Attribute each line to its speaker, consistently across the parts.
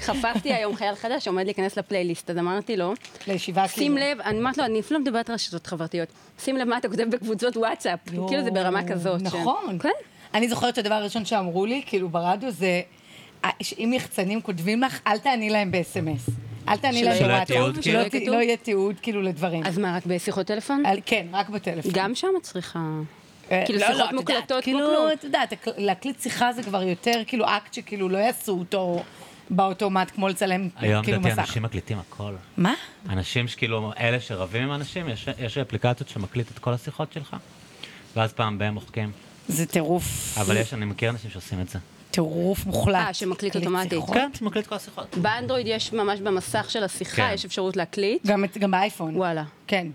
Speaker 1: חפפתי היום חייל חדש שעומד להיכנס לפלייליסט, אז אמרתי לו,
Speaker 2: לישיבה כאילו.
Speaker 1: שים לב, אני אמרתי לו, אני אפילו לא מדברת על רשתות חברתיות, שים לב מה אתה כותב בקבוצות וואטסאפ,
Speaker 2: יואו,
Speaker 1: כאילו זה ברמה כזאת. ש-
Speaker 2: לא. נכון.
Speaker 1: כן.
Speaker 2: אני זוכרת שהדבר הראשון שאמרו לי, כאילו ברדיו, זה אה, שאם יחצנים כותבים לך, אל תעני להם ב-SMS. אל תעני
Speaker 1: שלא
Speaker 2: להם
Speaker 1: יהיה
Speaker 2: בוואטסאפ.
Speaker 3: תיעוד, כאילו?
Speaker 2: שלא
Speaker 1: כן.
Speaker 2: ת- לא יהיה תיעוד, כאילו, לדברים.
Speaker 1: אז מה, רק בשיחות טלפון?
Speaker 2: על- כן, רק בטלפון.
Speaker 1: גם שם את צריכה...
Speaker 2: אה,
Speaker 1: כאילו
Speaker 2: לא, לא,
Speaker 1: שיחות
Speaker 2: את יודעת,
Speaker 1: מוקלטות כמו כלום.
Speaker 2: כאילו, את יודעת, הק- להקליט שיחה זה כבר יותר כאילו אקט שכאילו לא יעשו אותו באוטומט כמו לצלם
Speaker 3: היום
Speaker 2: כאילו
Speaker 3: לדעתי
Speaker 2: מסך.
Speaker 3: אנשים מקליטים הכל.
Speaker 2: מה?
Speaker 3: אנשים שכאילו, אלה שרבים עם אנשים, יש- יש אפליקציות שמקליט את כל השיחות שלך, ואז פעם בהם מוחקים.
Speaker 2: זה טירוף,
Speaker 3: אבל יש, אני מכיר אנשים שעושים את זה.
Speaker 2: טירוף מוחלט.
Speaker 1: אה, שמקליט
Speaker 2: להקליט
Speaker 1: אוטומטית.
Speaker 2: שיחות.
Speaker 3: כן, מקליט כן, כל השיחות.
Speaker 1: באנדרואיד יש ממש במסך של השיחה,
Speaker 3: כן.
Speaker 1: יש אפשרות להקליט.
Speaker 2: גם את- גם באייפון.
Speaker 1: וואלה.
Speaker 2: כן.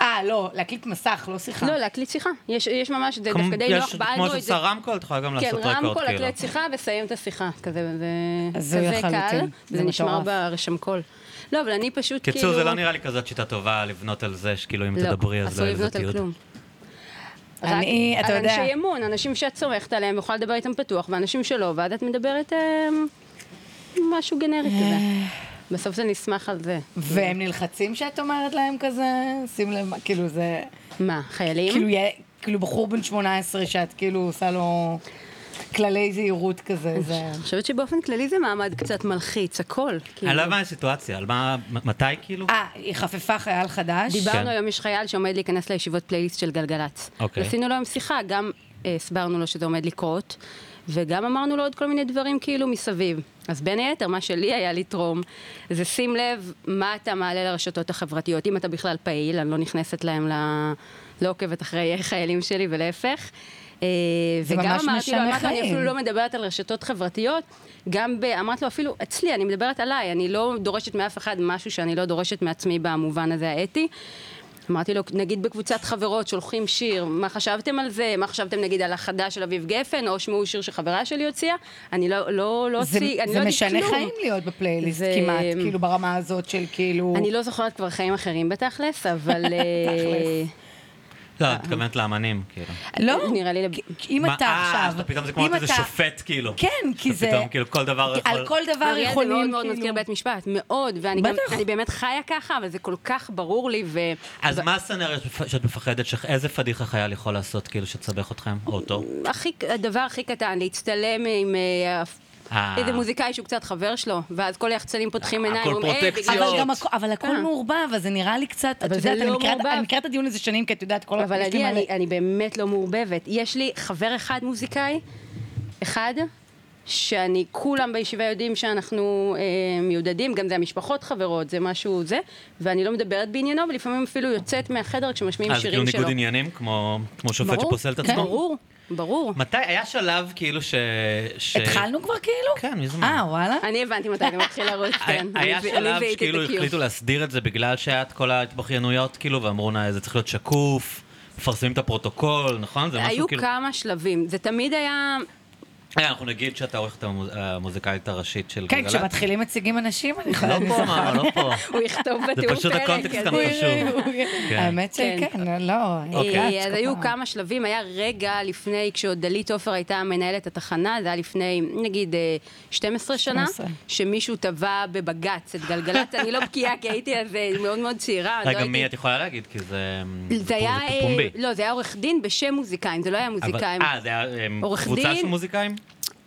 Speaker 2: אה, לא, להקליט מסך, לא שיחה.
Speaker 1: לא, להקליט שיחה. יש, יש ממש, זה
Speaker 3: כמו-
Speaker 1: דווקא די
Speaker 3: יש-
Speaker 1: נוח
Speaker 3: כמו
Speaker 1: באנדרואיד. זה-
Speaker 3: שעושה רמקול, את יכולה גם
Speaker 1: כן,
Speaker 3: לעשות רקורד,
Speaker 1: רמקול,
Speaker 3: כאילו.
Speaker 1: להקליט שיחה וסיים את השיחה. כזה, זה,
Speaker 2: הזוי
Speaker 1: כזה קל,
Speaker 2: לחלוטין, זה
Speaker 1: זה נשמר
Speaker 2: מטורף.
Speaker 1: ברשמקול. לא, אבל אני פשוט כאילו...
Speaker 3: קיצור, זה לא נראה לי כזאת שיטה טובה לבנות על זה, שכאילו אם
Speaker 1: לא,
Speaker 3: תדברי אז לא
Speaker 1: אסור
Speaker 3: יהיה לזה
Speaker 1: לבנות על
Speaker 3: תיעוד.
Speaker 1: כלום.
Speaker 2: אני-
Speaker 1: רק
Speaker 2: אתה יודע-
Speaker 1: על אנשי אמון, אנשים שאת סומכת עליהם ויכולה לדבר איתם פתוח, ואנשים שלא, ואז את מדברת אה, משהו גנרי כזה.
Speaker 2: אה.
Speaker 1: בסוף זה נסמך על זה.
Speaker 2: והם נלחצים שאת אומרת להם כזה? שים לב, מה, כאילו זה...
Speaker 1: מה, חיילים?
Speaker 2: כאילו, יה- כאילו בחור בן 18 שאת כאילו עושה לו כללי זהירות כזה, זה...
Speaker 1: אני חושבת שבאופן כללי זה מעמד קצת מלחיץ, הכל. כאילו.
Speaker 3: אני לא מבין הסיטואציה, על מה, מ- מתי כאילו?
Speaker 2: אה, היא חפפה חייל חדש?
Speaker 3: כן.
Speaker 1: דיברנו היום, יש חייל שעומד להיכנס לישיבות פלייליסט של גלגלצ.
Speaker 3: אוקיי.
Speaker 1: עשינו לו היום שיחה, גם אה, הסברנו לו שזה עומד לקרות, וגם אמרנו לו עוד כל מיני דברים כאילו מסביב. אז בין היתר, מה שלי היה לתרום, זה שים לב מה אתה מעלה לרשתות החברתיות, אם אתה בכלל פעיל, אני לא נכנסת להם ל... לא עוקבת אחרי חיילים שלי ולהפך. אה,
Speaker 2: זה
Speaker 1: וגם
Speaker 2: ממש
Speaker 1: אמרתי לו,
Speaker 2: משנה
Speaker 1: אמרתי לו, אני
Speaker 2: חיים."
Speaker 1: אפילו לא מדברת על רשתות חברתיות, גם ב... אמרת לו אפילו, אצלי, אני מדברת עליי, אני לא דורשת מאף אחד משהו שאני לא דורשת מעצמי במובן הזה האתי. אמרתי לו, נגיד בקבוצת חברות שולחים שיר, מה חשבתם על זה? מה חשבתם נגיד על החדש של אביב גפן, או שמעו שיר שחברה שלי הוציאה? אני לא, לא, לא
Speaker 2: זה,
Speaker 1: הוציא, אני
Speaker 2: זה
Speaker 1: לא יודעת
Speaker 2: משנה
Speaker 1: כלום.
Speaker 2: חיים להיות בפלייליסט
Speaker 1: זה-
Speaker 2: כמעט, כאילו ברמה הזאת של כאילו...
Speaker 1: אני לא זוכרת כבר חיים אחרים בתכלס, אבל... אה,
Speaker 3: לא, את מתכוונת לאמנים, כאילו.
Speaker 2: לא,
Speaker 1: נראה לי לב-
Speaker 2: כי- אם
Speaker 3: מה-
Speaker 2: אתה
Speaker 3: אה,
Speaker 2: עכשיו...
Speaker 3: אז אתה פתאום זה כמו
Speaker 2: אם
Speaker 3: איזה
Speaker 2: אתה-
Speaker 3: שופט, כאילו.
Speaker 2: כן, כי זה...
Speaker 3: פתאום, כאילו, כל דבר
Speaker 2: על
Speaker 3: יכול-
Speaker 2: כל דבר
Speaker 1: אריאל זה מאוד
Speaker 2: יכולים,
Speaker 1: מאוד מזכיר
Speaker 2: כאילו...
Speaker 1: בית משפט, מאוד, ואני גם,
Speaker 2: בטח.
Speaker 1: אני באמת חיה ככה, אבל זה כל כך ברור לי, ו...
Speaker 3: אז מה הסצנריו שאת- שאת מפחדת, ש- איזה פדיחה חייל יכול לעשות, כאילו, שתסבך אתכם, או אותו?
Speaker 1: הכי, הדבר הכי קטן, להצטלם עם אה,
Speaker 3: אה.
Speaker 1: איזה מוזיקאי שהוא קצת חבר שלו, ואז כל היחצנים פותחים
Speaker 3: הכל
Speaker 1: עיניים, אומרים, "אה,
Speaker 3: פרוטקציות."
Speaker 1: בגלל
Speaker 2: אבל,
Speaker 3: פציעות.
Speaker 2: גם הכ... אבל הכל
Speaker 1: אה.
Speaker 2: מעורבב, אז זה נראה לי קצת, את
Speaker 1: אבל זה
Speaker 2: יודעת, אני
Speaker 1: לא
Speaker 2: מכירה את-
Speaker 1: מעורבב.
Speaker 2: אני מכירה את הדיון הזה שנים, כי את יודעת, כל...
Speaker 1: אבל
Speaker 2: לא, יש לי
Speaker 1: אני,
Speaker 2: מלא-
Speaker 1: אני, אני באמת לא מעורבבת. יש לי חבר אחד מוזיקאי, אחד, שאני, כולם בישיבה יודעים שאנחנו אה, מיודדים, גם זה המשפחות חברות, זה משהו זה, ואני לא מדברת בעניינו, ולפעמים אפילו יוצאת מהחדר כשמשמיעים
Speaker 3: אז כאילו
Speaker 1: שירים שלו.
Speaker 3: ניגוד עניינים, כמו כמו שופט
Speaker 1: ברור,
Speaker 3: שפוסל את
Speaker 1: כן.
Speaker 3: עצמו?
Speaker 1: ברור, ברור.
Speaker 3: מתי, היה שלב, כאילו, ש... ש-
Speaker 2: התחלנו כבר כאילו?
Speaker 3: כן, מזמן.
Speaker 2: אה, וואלה?
Speaker 1: אני הבנתי מתי זה מתחיל לרוץ, כן.
Speaker 3: היה
Speaker 1: אני- אני
Speaker 3: שלב
Speaker 1: זיהיתי את
Speaker 3: שכאילו
Speaker 1: הקיום.
Speaker 3: החליטו להסדיר את זה בגלל שהיה את כל ההתבכיינויות, כאילו, ואמרו, "נה, זה צריך להיות שקוף, מפרסמים את הפרוטוקול, נכון? זה משהו
Speaker 1: היו
Speaker 3: כאילו...
Speaker 1: כמה שלבים, זה תמיד היה...
Speaker 3: אה, אנחנו נגיד שאתה עורכת המוז- המוזיקאית הראשית של
Speaker 2: כן,
Speaker 3: גלגלצ.
Speaker 2: כשמתחילים מציגים אנשים, אני
Speaker 3: לא
Speaker 2: חייבת
Speaker 3: פה, מאמה, לא פה.
Speaker 1: הוא יכתוב
Speaker 3: זה
Speaker 1: בתיאור פרק.
Speaker 3: פשוט הקונטקסט
Speaker 1: אז-
Speaker 3: המ- חשוב. כן.
Speaker 2: האמת
Speaker 1: כן.
Speaker 2: שכן, לא,
Speaker 3: אוקיי.
Speaker 2: יודעת,
Speaker 1: אה, אז
Speaker 2: כל
Speaker 1: היו
Speaker 2: פעם.
Speaker 1: כמה שלבים, היה רגע לפני, כשעוד דלית עופר הייתה מנהלת התחנה, זה היה לפני, נגיד, אה, 12 שנה,
Speaker 2: 12.
Speaker 1: שמישהו תבע בבג"ץ את גלגלצ, אני לא בקיאה, כי הייתי אז אה, מאוד מאוד צעירה, לא
Speaker 3: רגע,
Speaker 1: הייתי...
Speaker 3: מי את יכולה להגיד? כי זה...
Speaker 1: זה היה,
Speaker 3: זה
Speaker 1: אה,
Speaker 3: פומבי.
Speaker 1: לא, זה היה עורך דין בשם מוזיקאים, זה לא היה
Speaker 3: אבל-
Speaker 1: מוזיקאים.
Speaker 3: אה, זה היה אה,
Speaker 1: עורך
Speaker 3: קבוצה
Speaker 1: דין.
Speaker 3: של מוזיקאים?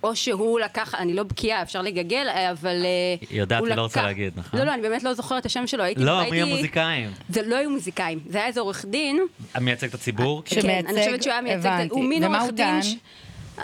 Speaker 1: או שהוא לקח, אני לא בקיאה, אפשר לגגל, אה, אבל... אה,
Speaker 3: היא יודעת,
Speaker 1: הוא
Speaker 3: היא לא
Speaker 1: לקח-
Speaker 3: רוצה להגיד, נכון?
Speaker 1: לא, לא, אני באמת לא זוכרת את השם שלו, הייתי...
Speaker 3: לא,
Speaker 1: הייתי-
Speaker 3: מי המוזיקאים?
Speaker 1: זה לא היו מוזיקאים, זה היה איזה עורך דין.
Speaker 3: המייצג את הציבור?
Speaker 2: ש- שמייצג,
Speaker 1: כן, אני חושבת שהוא היה מייצג,
Speaker 2: הבנתי.
Speaker 1: הוא מין
Speaker 2: ומה
Speaker 1: עורך
Speaker 2: הוא
Speaker 1: דין...
Speaker 2: טען?
Speaker 1: ש-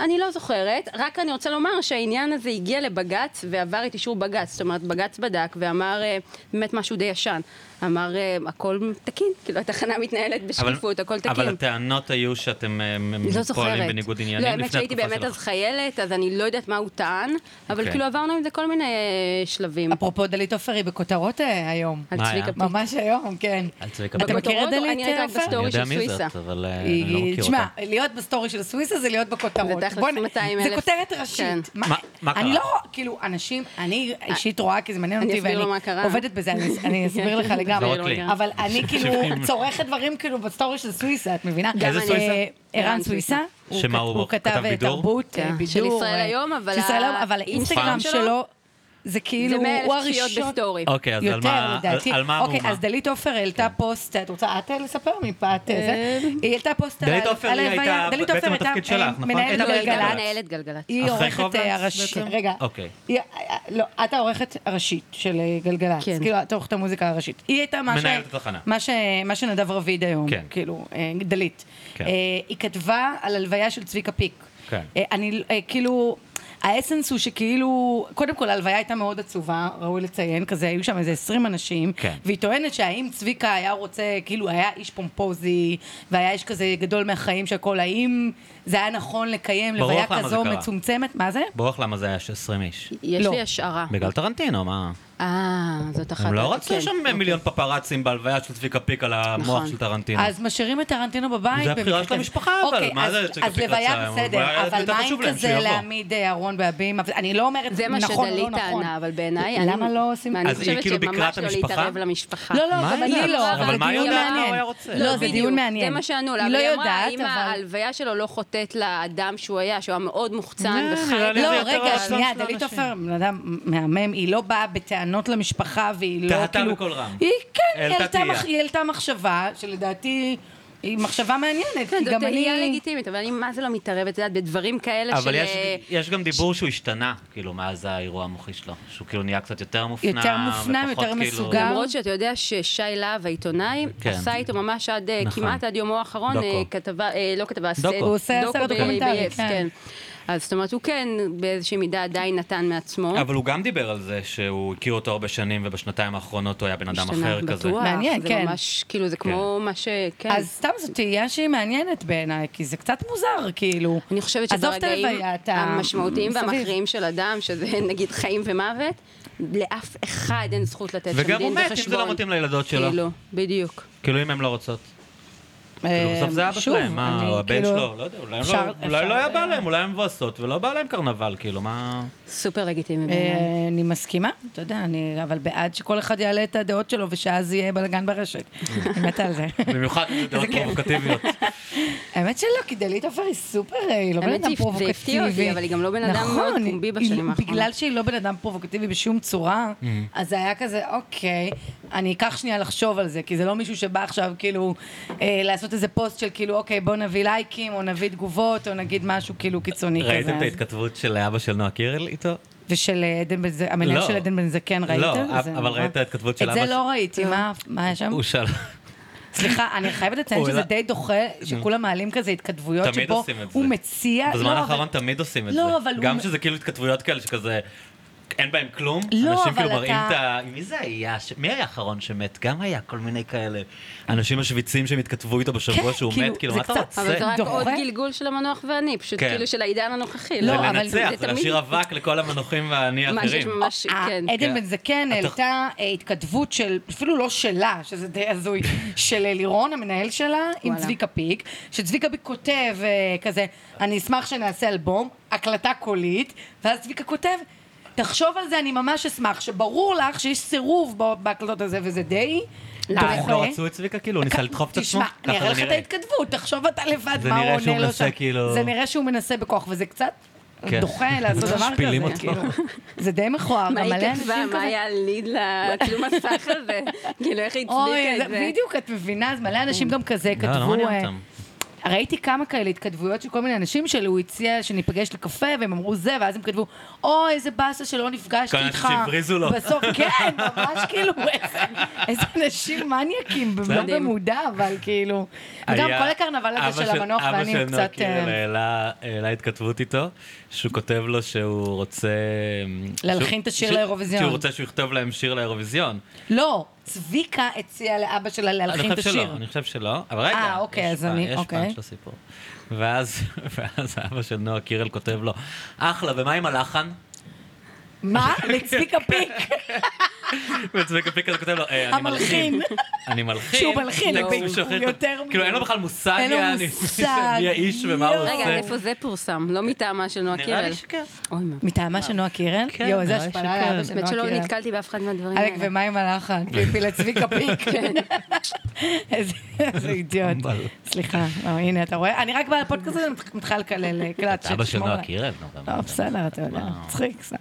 Speaker 1: אני לא זוכרת, רק אני רוצה לומר שהעניין הזה הגיע לבג"ץ ועבר את אישור בג"ץ, זאת אומרת בג"ץ בדק ואמר אה, באמת משהו די ישן, אמר אה, הכל תקין, כאילו התחנה מתנהלת
Speaker 3: אבל-
Speaker 1: בשקיפות, הכל תקין.
Speaker 3: אבל הטענות היו שאתם אה,
Speaker 1: אני לא
Speaker 3: פועלים
Speaker 1: זוכרת.
Speaker 3: בניגוד
Speaker 1: לא,
Speaker 3: עניינים לפני
Speaker 1: האמת שהייתי
Speaker 3: התקופה
Speaker 1: באמת אז
Speaker 3: שלך.
Speaker 1: חיילת, אז אני לא יודעת מה הוא טען, אבל
Speaker 3: אוקיי.
Speaker 1: כאילו עברנו עם זה כל מיני אה, שלבים.
Speaker 2: אפרופו דלית עופר היא בכותרות אה, היום.
Speaker 1: על
Speaker 3: מה
Speaker 1: צביקה
Speaker 3: היה?
Speaker 1: פיק.
Speaker 2: ממש היום, כן.
Speaker 3: אל צביקה
Speaker 2: אתה
Speaker 3: פיק.
Speaker 2: מכיר את
Speaker 1: בכותרות, אני
Speaker 2: דלית אה,
Speaker 1: ראיתי רק
Speaker 2: עופר?
Speaker 1: בסטורי
Speaker 3: אני
Speaker 1: של
Speaker 3: יודע מי
Speaker 1: סוויסה.
Speaker 3: זאת, אבל אה, אני לא
Speaker 2: היא-
Speaker 3: מכיר
Speaker 2: תשמע,
Speaker 3: אותה.
Speaker 2: להיות בסטורי של סוויסה זה להיות בכותרות.
Speaker 1: זה תכלס
Speaker 2: בוא נ-
Speaker 1: 200,000.
Speaker 2: זה כותרת ראשית.
Speaker 1: כן.
Speaker 3: מה- מה
Speaker 2: אני
Speaker 3: קרה?
Speaker 2: לא, כאילו, אנשים, אני אישית רואה, כי זה מעניין
Speaker 1: אני
Speaker 2: אותי,
Speaker 1: אסביר לו מה
Speaker 2: ואני
Speaker 1: קרה.
Speaker 2: עובדת בזה, אני- אני אסביר לך
Speaker 1: לא
Speaker 2: לגמרי.
Speaker 3: רק לי.
Speaker 2: אבל אני כאילו
Speaker 3: שבעים.
Speaker 2: צורכת דברים כאילו בסטורי של סוויסה, את מבינה?
Speaker 1: גם איזה אני. סוויסה?
Speaker 2: אה, ערן
Speaker 1: ערן
Speaker 2: סוויסה.
Speaker 3: שמה
Speaker 2: כת-
Speaker 3: הוא-
Speaker 2: הוא
Speaker 3: כתב
Speaker 2: כתב אה,
Speaker 3: בידור?
Speaker 2: תרבות, אה,
Speaker 1: כן,
Speaker 2: בידור.
Speaker 1: של ישראל
Speaker 2: אה,
Speaker 1: היום, אבל
Speaker 2: של ישראל היום, אבל
Speaker 1: האינסטגרם
Speaker 2: האינסטגרם
Speaker 1: שלו?
Speaker 2: שלו... זה כאילו,
Speaker 1: זה 100,000
Speaker 2: הוא
Speaker 1: צפיות
Speaker 2: הראשון.
Speaker 1: בסטורי.
Speaker 3: אוקיי, אז על מה-
Speaker 2: יותר, לדעתי.
Speaker 3: על- על מה
Speaker 2: אוקיי,
Speaker 3: המהומה? כן.
Speaker 2: אז דלית עופר העלתה פוסט, את רוצה את לספר מפאת אה, זה? היא העלתה פוסט על
Speaker 3: דלית
Speaker 2: ה-
Speaker 3: עופר
Speaker 2: על
Speaker 3: היא
Speaker 2: ההלוויה.
Speaker 3: הייתה
Speaker 2: דלית
Speaker 3: בעצם
Speaker 2: עופר הייתה,
Speaker 3: התפקיד שלך,
Speaker 2: אה,
Speaker 3: נכון?
Speaker 2: מנהלת
Speaker 3: הייתה
Speaker 1: גלגלצ.
Speaker 2: גלגלצ.
Speaker 1: לא, מנהלת גלגלצ.
Speaker 2: היא
Speaker 3: אחרי
Speaker 2: העורכת
Speaker 3: קובלנץ
Speaker 2: אה, הראשית,
Speaker 3: בעצם?
Speaker 2: רגע,
Speaker 3: אוקיי.
Speaker 2: היא- אה, לא, את העורכת הראשית של אה, גלגלצ,
Speaker 1: כן.
Speaker 2: כאילו את עורכת המוזיקה הראשית. היא הייתה מה ש-
Speaker 3: מנהלת התחנה.
Speaker 2: מה ש- מה שנדב רביד היום,
Speaker 3: כן.
Speaker 2: כאילו, אה, דלית.
Speaker 3: כן.
Speaker 2: אה, היא כתבה על הלוויה של צביקה פיק.
Speaker 3: כן.
Speaker 2: אה, אני, אה, כאילו, האסנס הוא שכאילו, קודם כל ההלוויה הייתה מאוד עצובה, ראוי לציין, כזה, היו שם איזה 20 אנשים,
Speaker 3: כן.
Speaker 2: והיא טוענת שהאם צביקה היה רוצה, כאילו, היה איש פומפוזי, והיה איש כזה גדול מהחיים שהכל, האם זה היה נכון לקיים
Speaker 3: ברור
Speaker 2: לוויה
Speaker 3: לך למה זה
Speaker 2: כזו
Speaker 3: קרה.
Speaker 2: מצומצמת? מה זה?
Speaker 3: ברוח למה זה היה 20 איש.
Speaker 1: יש
Speaker 2: לא.
Speaker 1: לי השערה.
Speaker 3: בגלל טרנטינו, מה?
Speaker 1: אה, זאת אחת.
Speaker 3: הם לא
Speaker 1: ה-
Speaker 3: רצו
Speaker 1: כן.
Speaker 3: שם מיליון פפראצים בהלוויה של צביקה פיק על המוח
Speaker 1: נכון.
Speaker 3: של טרנטינו.
Speaker 2: אז משאירים את טרנטינו בבית.
Speaker 3: זה הבחירה
Speaker 2: במקרה
Speaker 3: של
Speaker 2: כזה.
Speaker 3: המשפחה, אבל
Speaker 2: אוקיי,
Speaker 3: מה
Speaker 2: אז-
Speaker 3: זה צביקה
Speaker 2: אז
Speaker 3: פיק רצה?
Speaker 2: לוויה
Speaker 3: אבל
Speaker 2: בסדר, אבל
Speaker 3: יותר
Speaker 2: מה
Speaker 3: חשוב
Speaker 2: אם
Speaker 3: להם,
Speaker 2: כזה
Speaker 3: שיבוא.
Speaker 2: להעמיד אה, אהרון והבים? אבל אני לא אומרת
Speaker 1: זה מה
Speaker 2: נכון, לא
Speaker 1: שדלית
Speaker 2: נכון.
Speaker 1: טענה, אבל בעיניי...
Speaker 2: למה
Speaker 1: אני-
Speaker 2: לא עושים...
Speaker 1: אני
Speaker 3: אז היא
Speaker 1: חושבת
Speaker 3: כאילו
Speaker 1: שממש
Speaker 3: ביקרה את
Speaker 1: לא
Speaker 3: המשפחה?
Speaker 1: להתערב למשפחה.
Speaker 2: לא, לא,
Speaker 3: מה
Speaker 2: גם
Speaker 3: היא
Speaker 2: אני לא,
Speaker 3: יודעת?
Speaker 2: אבל
Speaker 3: אבל
Speaker 2: זה
Speaker 3: מה היא
Speaker 2: דיון
Speaker 3: יודעת מה
Speaker 2: מעניין.
Speaker 3: הוא היה רוצה?
Speaker 2: לא, זה
Speaker 1: בדיוק.
Speaker 2: דיון מעניין.
Speaker 1: זה מה שענו לה,
Speaker 2: היא לא
Speaker 1: אבל היא אמרה,
Speaker 2: יודעת,
Speaker 1: האם
Speaker 2: אבל-
Speaker 1: ההלוויה שלו לא חוטאת לאדם שהוא היה, שהוא היה מאוד מוחצן
Speaker 3: אה,
Speaker 1: וחי.
Speaker 3: נראה לי
Speaker 2: לא,
Speaker 3: זה יותר
Speaker 2: רגע,
Speaker 3: הרצון
Speaker 2: שנייה,
Speaker 3: של
Speaker 2: דלית
Speaker 3: האנשים.
Speaker 2: עופר, בן אדם מהמם, היא לא באה בטענות למשפחה, והיא לא
Speaker 3: טעתה
Speaker 2: כאילו...
Speaker 3: בקול רם.
Speaker 2: היא, כן, היא
Speaker 3: העלתה
Speaker 2: העלתה
Speaker 3: תהייה.
Speaker 2: מח- היא העלתה מחשבה, שלדעתי, היא מחשבה מעניינת,
Speaker 1: כן,
Speaker 2: כי
Speaker 1: זאת
Speaker 2: גם
Speaker 1: תהייה
Speaker 2: אני...
Speaker 1: לגיטימית, אבל אני מה זה לא מתערבת, את יודעת, בדברים כאלה של...
Speaker 3: אבל יש-
Speaker 1: אה,
Speaker 3: יש גם דיבור שהוא השתנה, כאילו, מאז האירוע המוחי שלו. שהוא כאילו נהיה קצת יותר מופנם.
Speaker 2: יותר מופנם,
Speaker 3: ופחות
Speaker 2: יותר
Speaker 3: כאילו-
Speaker 2: מסוגל.
Speaker 1: למרות שאתה יודע ששי להב העיתונאי
Speaker 3: כן.
Speaker 1: עשה איתו ממש עד, אה,
Speaker 3: נכון.
Speaker 1: כמעט עד יומו האחרון, אה,
Speaker 3: דוקו.
Speaker 1: כתבה, אה, לא כתבה,
Speaker 3: דוקו.
Speaker 1: סט-
Speaker 3: הוא
Speaker 2: עושה
Speaker 1: דוקו
Speaker 2: סרט
Speaker 1: ב-
Speaker 2: דוקומנטרי,
Speaker 1: ב-yes,
Speaker 2: כן.
Speaker 1: כן. אז זאת אומרת, הוא כן באיזושהי מידה עדיין נתן מעצמו.
Speaker 3: אבל הוא גם דיבר על זה שהוא הכיר אותו הרבה שנים, ובשנתיים האחרונות הוא היה בן אדם
Speaker 1: השתנה,
Speaker 3: אחר כזה.
Speaker 1: בטוח,
Speaker 2: מעניין,
Speaker 1: זה
Speaker 2: כן.
Speaker 1: ממש, כאילו, זה כמו מה ש... כן.
Speaker 2: אז סתם זו תהייה שהיא מעניינת בעיניי, כי זה קצת מוזר, כאילו.
Speaker 1: אני חושבת
Speaker 2: עזוב את
Speaker 1: שברגעים
Speaker 2: הלוויה, אתה-
Speaker 1: המשמעותיים
Speaker 2: מסביב.
Speaker 1: והמכריעים של אדם, שזה נגיד חיים ומוות, לאף אחד אין זכות לתת שם דין
Speaker 3: וגם
Speaker 1: וחשבון.
Speaker 3: הוא מת, אם זה לא מתאים לילדות שלו.
Speaker 1: כאילו, בדיוק.
Speaker 3: כאילו, אם הן לא רוצות. כאילו, בסוף זה אבא
Speaker 2: אה, שוב,
Speaker 3: שלהם, מה,
Speaker 2: אני
Speaker 3: או הבן
Speaker 2: כאילו-
Speaker 3: שלו, לא יודע, אולי הם לא-
Speaker 2: אפשר-
Speaker 3: אולי
Speaker 2: אפשר-
Speaker 3: לא היה בא להם, אולי הם מבואסות, ולא בא להם קרנבל, כאילו, מה...
Speaker 1: סופר לגיטימי בעיניי.
Speaker 2: אה, אני מסכימה, אתה יודע, אני אבל בעד שכל אחד יעלה את הדעות שלו ושאז יהיה בלאגן ברשת. אני מתה על זה.
Speaker 3: במיוחד אם זה דעות פרובוקטיביות.
Speaker 2: האמת שלא, כי דלית עופר היא סופר, היא לא בן
Speaker 1: האמת
Speaker 2: אדם
Speaker 1: שהיא- זה
Speaker 2: פרובוקטיבי.
Speaker 1: הפתיע אותי, אבל היא גם לא בן אדם
Speaker 2: נכון,
Speaker 1: מאוד פומבי
Speaker 2: היא-
Speaker 1: בשנים האחרונות.
Speaker 2: בגלל שהיא לא בן אדם פרובוקטיבי בשום צורה,
Speaker 3: Mm-hmm.
Speaker 2: אז זה היה כזה, אוקיי, אני אקח שנייה לחשוב על זה, כי זה לא מישהו שבא עכשיו כאילו אה, לעשות איזה פוסט של כאילו, אוקיי, בוא נביא לייקים, או נביא תגובות, או נגיד משהו כאילו קיצוני כזה.
Speaker 3: ראיתם את
Speaker 2: אז-
Speaker 3: ההתכתבות של אבא של נועה קירל איתו?
Speaker 2: ושל אה, עדן בן זקן, המנהל
Speaker 3: לא.
Speaker 2: של עדן בן זקן,
Speaker 3: לא,
Speaker 2: ראית?
Speaker 3: אבל-
Speaker 2: זה
Speaker 3: אבל
Speaker 2: נורא.
Speaker 3: ראית את ההתכתבות
Speaker 2: את
Speaker 3: של אבא
Speaker 2: זה
Speaker 3: ש-
Speaker 2: לא ראיתי, מה- מה היה שם?
Speaker 3: הוא שאל...
Speaker 2: סליחה, אני חייבת לציין
Speaker 3: הוא
Speaker 2: שזה
Speaker 3: העלה-
Speaker 2: די דוחה, שכולם מעלים כזה התכתבויות
Speaker 3: תמיד
Speaker 2: שבו
Speaker 3: עושים את זה.
Speaker 2: הוא מציע...
Speaker 3: בזמן
Speaker 2: לא, אבל-
Speaker 3: האחרון תמיד עושים את זה.
Speaker 2: לא, אבל הוא-
Speaker 3: גם שזה כאילו התכתבויות כאלה שכזה... אין בהם כלום,
Speaker 2: לא,
Speaker 3: אנשים
Speaker 2: אבל
Speaker 3: כאילו מראים
Speaker 2: אתה-
Speaker 3: את ה... מי זה היה? ש- מי היה האחרון שמת? גם היה כל מיני כאלה. אנשים משוויצים שהם התכתבו איתו בשבוע
Speaker 2: כן,
Speaker 3: שהוא
Speaker 2: כאילו,
Speaker 3: מת, כאילו,
Speaker 2: זה
Speaker 3: מה אתה
Speaker 2: קצת-
Speaker 1: אבל זה
Speaker 3: רוצה?
Speaker 1: רק
Speaker 2: דוחה.
Speaker 1: עוד גלגול של המנוח ואני, פשוט
Speaker 3: כן.
Speaker 1: כאילו של העידן הנוכחי.
Speaker 3: זה
Speaker 2: לא, אבל
Speaker 3: לנצח,
Speaker 1: זה
Speaker 3: זה
Speaker 1: תמיד-
Speaker 3: להשאיר אבק לכל המנוחים והאני
Speaker 1: מה שיש
Speaker 3: האחרים.
Speaker 1: ממש,
Speaker 2: אה,
Speaker 1: כן.
Speaker 2: עדן
Speaker 3: כן.
Speaker 2: בן זקן העלתה אה, התכתבות של, אפילו לא שלה, שזה די הזוי, של אה, לירון, המנהל שלה, עם
Speaker 1: וואלה.
Speaker 2: צביקה פיק, שצביקה פיק כותב אה, כזה, אני אשמח שנעשה אלבום, הקלטה קולית, ואז צביקה כותב, תחשוב על זה, אני ממש אשמח, שברור לך שיש סירוב ב- בהקלטות הזה, וזה די
Speaker 3: אה, הם לא
Speaker 2: דוחה.
Speaker 3: רצו את צביקה כאילו? הוא ניסה לדחוף את עצמו?
Speaker 2: אוקיי, תשמע, אני
Speaker 3: ככה
Speaker 2: אראה לך
Speaker 3: זה
Speaker 2: את
Speaker 3: נראה.
Speaker 2: ההתכתבות, תחשוב אתה לבד
Speaker 3: זה
Speaker 2: מה הוא
Speaker 3: נראה שהוא
Speaker 2: עונה לו
Speaker 3: מנסה,
Speaker 2: שם.
Speaker 3: כאילו-
Speaker 2: זה נראה שהוא מנסה בכוח, וזה קצת
Speaker 3: כן.
Speaker 2: דוחה לעשות דבר
Speaker 3: משפילים
Speaker 2: כזה,
Speaker 3: אותו.
Speaker 2: כאילו. זה די מכוער,
Speaker 1: מה
Speaker 2: גם
Speaker 1: היא
Speaker 2: מלא אנשים
Speaker 1: כתבה, מה
Speaker 2: כזה.
Speaker 1: היה הליד ל- כאילו מסך הזה? כאילו, איך היא
Speaker 2: אוי,
Speaker 1: הצדיקה את
Speaker 2: זה-
Speaker 1: זה? Mm.
Speaker 2: בדיוק, את מבינה, אז מלא אנשים גם כזה
Speaker 3: לא, לא
Speaker 2: כתבו...
Speaker 3: מעניין
Speaker 2: אה,
Speaker 3: אותם.
Speaker 2: ראיתי כמה כאלה התכתבויות של כל מיני אנשים שהוא הציע שניפגש לקפה, והם אמרו זה, ואז הם כתבו, אוי, איזה באסה שלא נפגשתי
Speaker 3: כל האנשים
Speaker 2: איתך.
Speaker 3: שהבריזו לו.
Speaker 2: בסוף, כן, ממש כאילו, איזה- איזה אנשים מניאקים, לא
Speaker 1: מדהים.
Speaker 2: במודע, אבל כאילו... וגם
Speaker 3: היה-
Speaker 2: כל הקרנבל
Speaker 3: אבא
Speaker 2: הזה של המנוח ואני
Speaker 3: אבא
Speaker 2: הוא
Speaker 3: של נועה
Speaker 2: קצת...
Speaker 3: קירל
Speaker 2: אה,
Speaker 3: העלה- העלה התכתבות איתו, שהוא כותב לו שהוא רוצה... אמ,
Speaker 2: להלחין
Speaker 3: שהוא-
Speaker 2: את השיר
Speaker 3: שהוא-
Speaker 2: לאירוויזיון.
Speaker 3: שהוא רוצה שהוא יכתוב להם שיר לאירוויזיון.
Speaker 2: לא, צביקה הציע לאבא שלה להלחין את
Speaker 3: אני חושב שלא,
Speaker 2: השיר.
Speaker 3: אני חושב שלא, אבל רגע,
Speaker 2: אה, אוקיי,
Speaker 3: יש
Speaker 2: אז
Speaker 3: פן-
Speaker 2: אני-
Speaker 3: יש
Speaker 2: אוקיי.
Speaker 3: פן של הסיפור. ואז ואז אבא של נועה קירל כותב לו, אחלה, ומה עם הלחן?
Speaker 2: מה? לצביקה פיק.
Speaker 3: וצביקה פיק כזה כותב לו, "אה, אני
Speaker 2: המלחין.
Speaker 3: מלחין. אני מלחין.
Speaker 2: שהוא מלחין,
Speaker 3: טקסט
Speaker 2: הוא
Speaker 3: מישהו אחר.
Speaker 2: יותר
Speaker 3: כאילו אין לו
Speaker 2: מ-
Speaker 3: בכלל מושג,
Speaker 2: אין לו
Speaker 3: יעני,
Speaker 2: מושג.
Speaker 3: מי האיש ומה הוא
Speaker 2: יואו.
Speaker 1: רגע, אז
Speaker 3: עושה.
Speaker 1: איפה זה פורסם? לא מטעמה של נועה
Speaker 3: נראה
Speaker 1: קירל.
Speaker 3: לי שכן.
Speaker 1: אוי, מה.
Speaker 2: מטעמה של נועה קירל?
Speaker 3: כן,
Speaker 2: יואו,
Speaker 1: אה,
Speaker 2: איזה
Speaker 3: נראה לי
Speaker 2: השפלה על אבא
Speaker 3: שכן.
Speaker 2: של
Speaker 1: באמת
Speaker 2: נועה
Speaker 1: שלא
Speaker 2: אה, קירל.
Speaker 1: נתקלתי באף אחד מהדברים
Speaker 2: עלק,
Speaker 1: האלה.
Speaker 2: ומה עם הלחן? פיפי לצביקה פיק. כן. איזה איזה אידיוט.
Speaker 3: אמבל.
Speaker 2: סליחה, לא, הנה, אתה רואה? אני רק בפודקאסט הזה מת- מתחילה לקלל אה, קלאץ'.
Speaker 3: אבא של
Speaker 2: שתשמור
Speaker 3: נועה
Speaker 2: עליי.
Speaker 3: קירל, נו, גם.
Speaker 2: לא, בסדר, אתה יודע, מצחיק, סתם.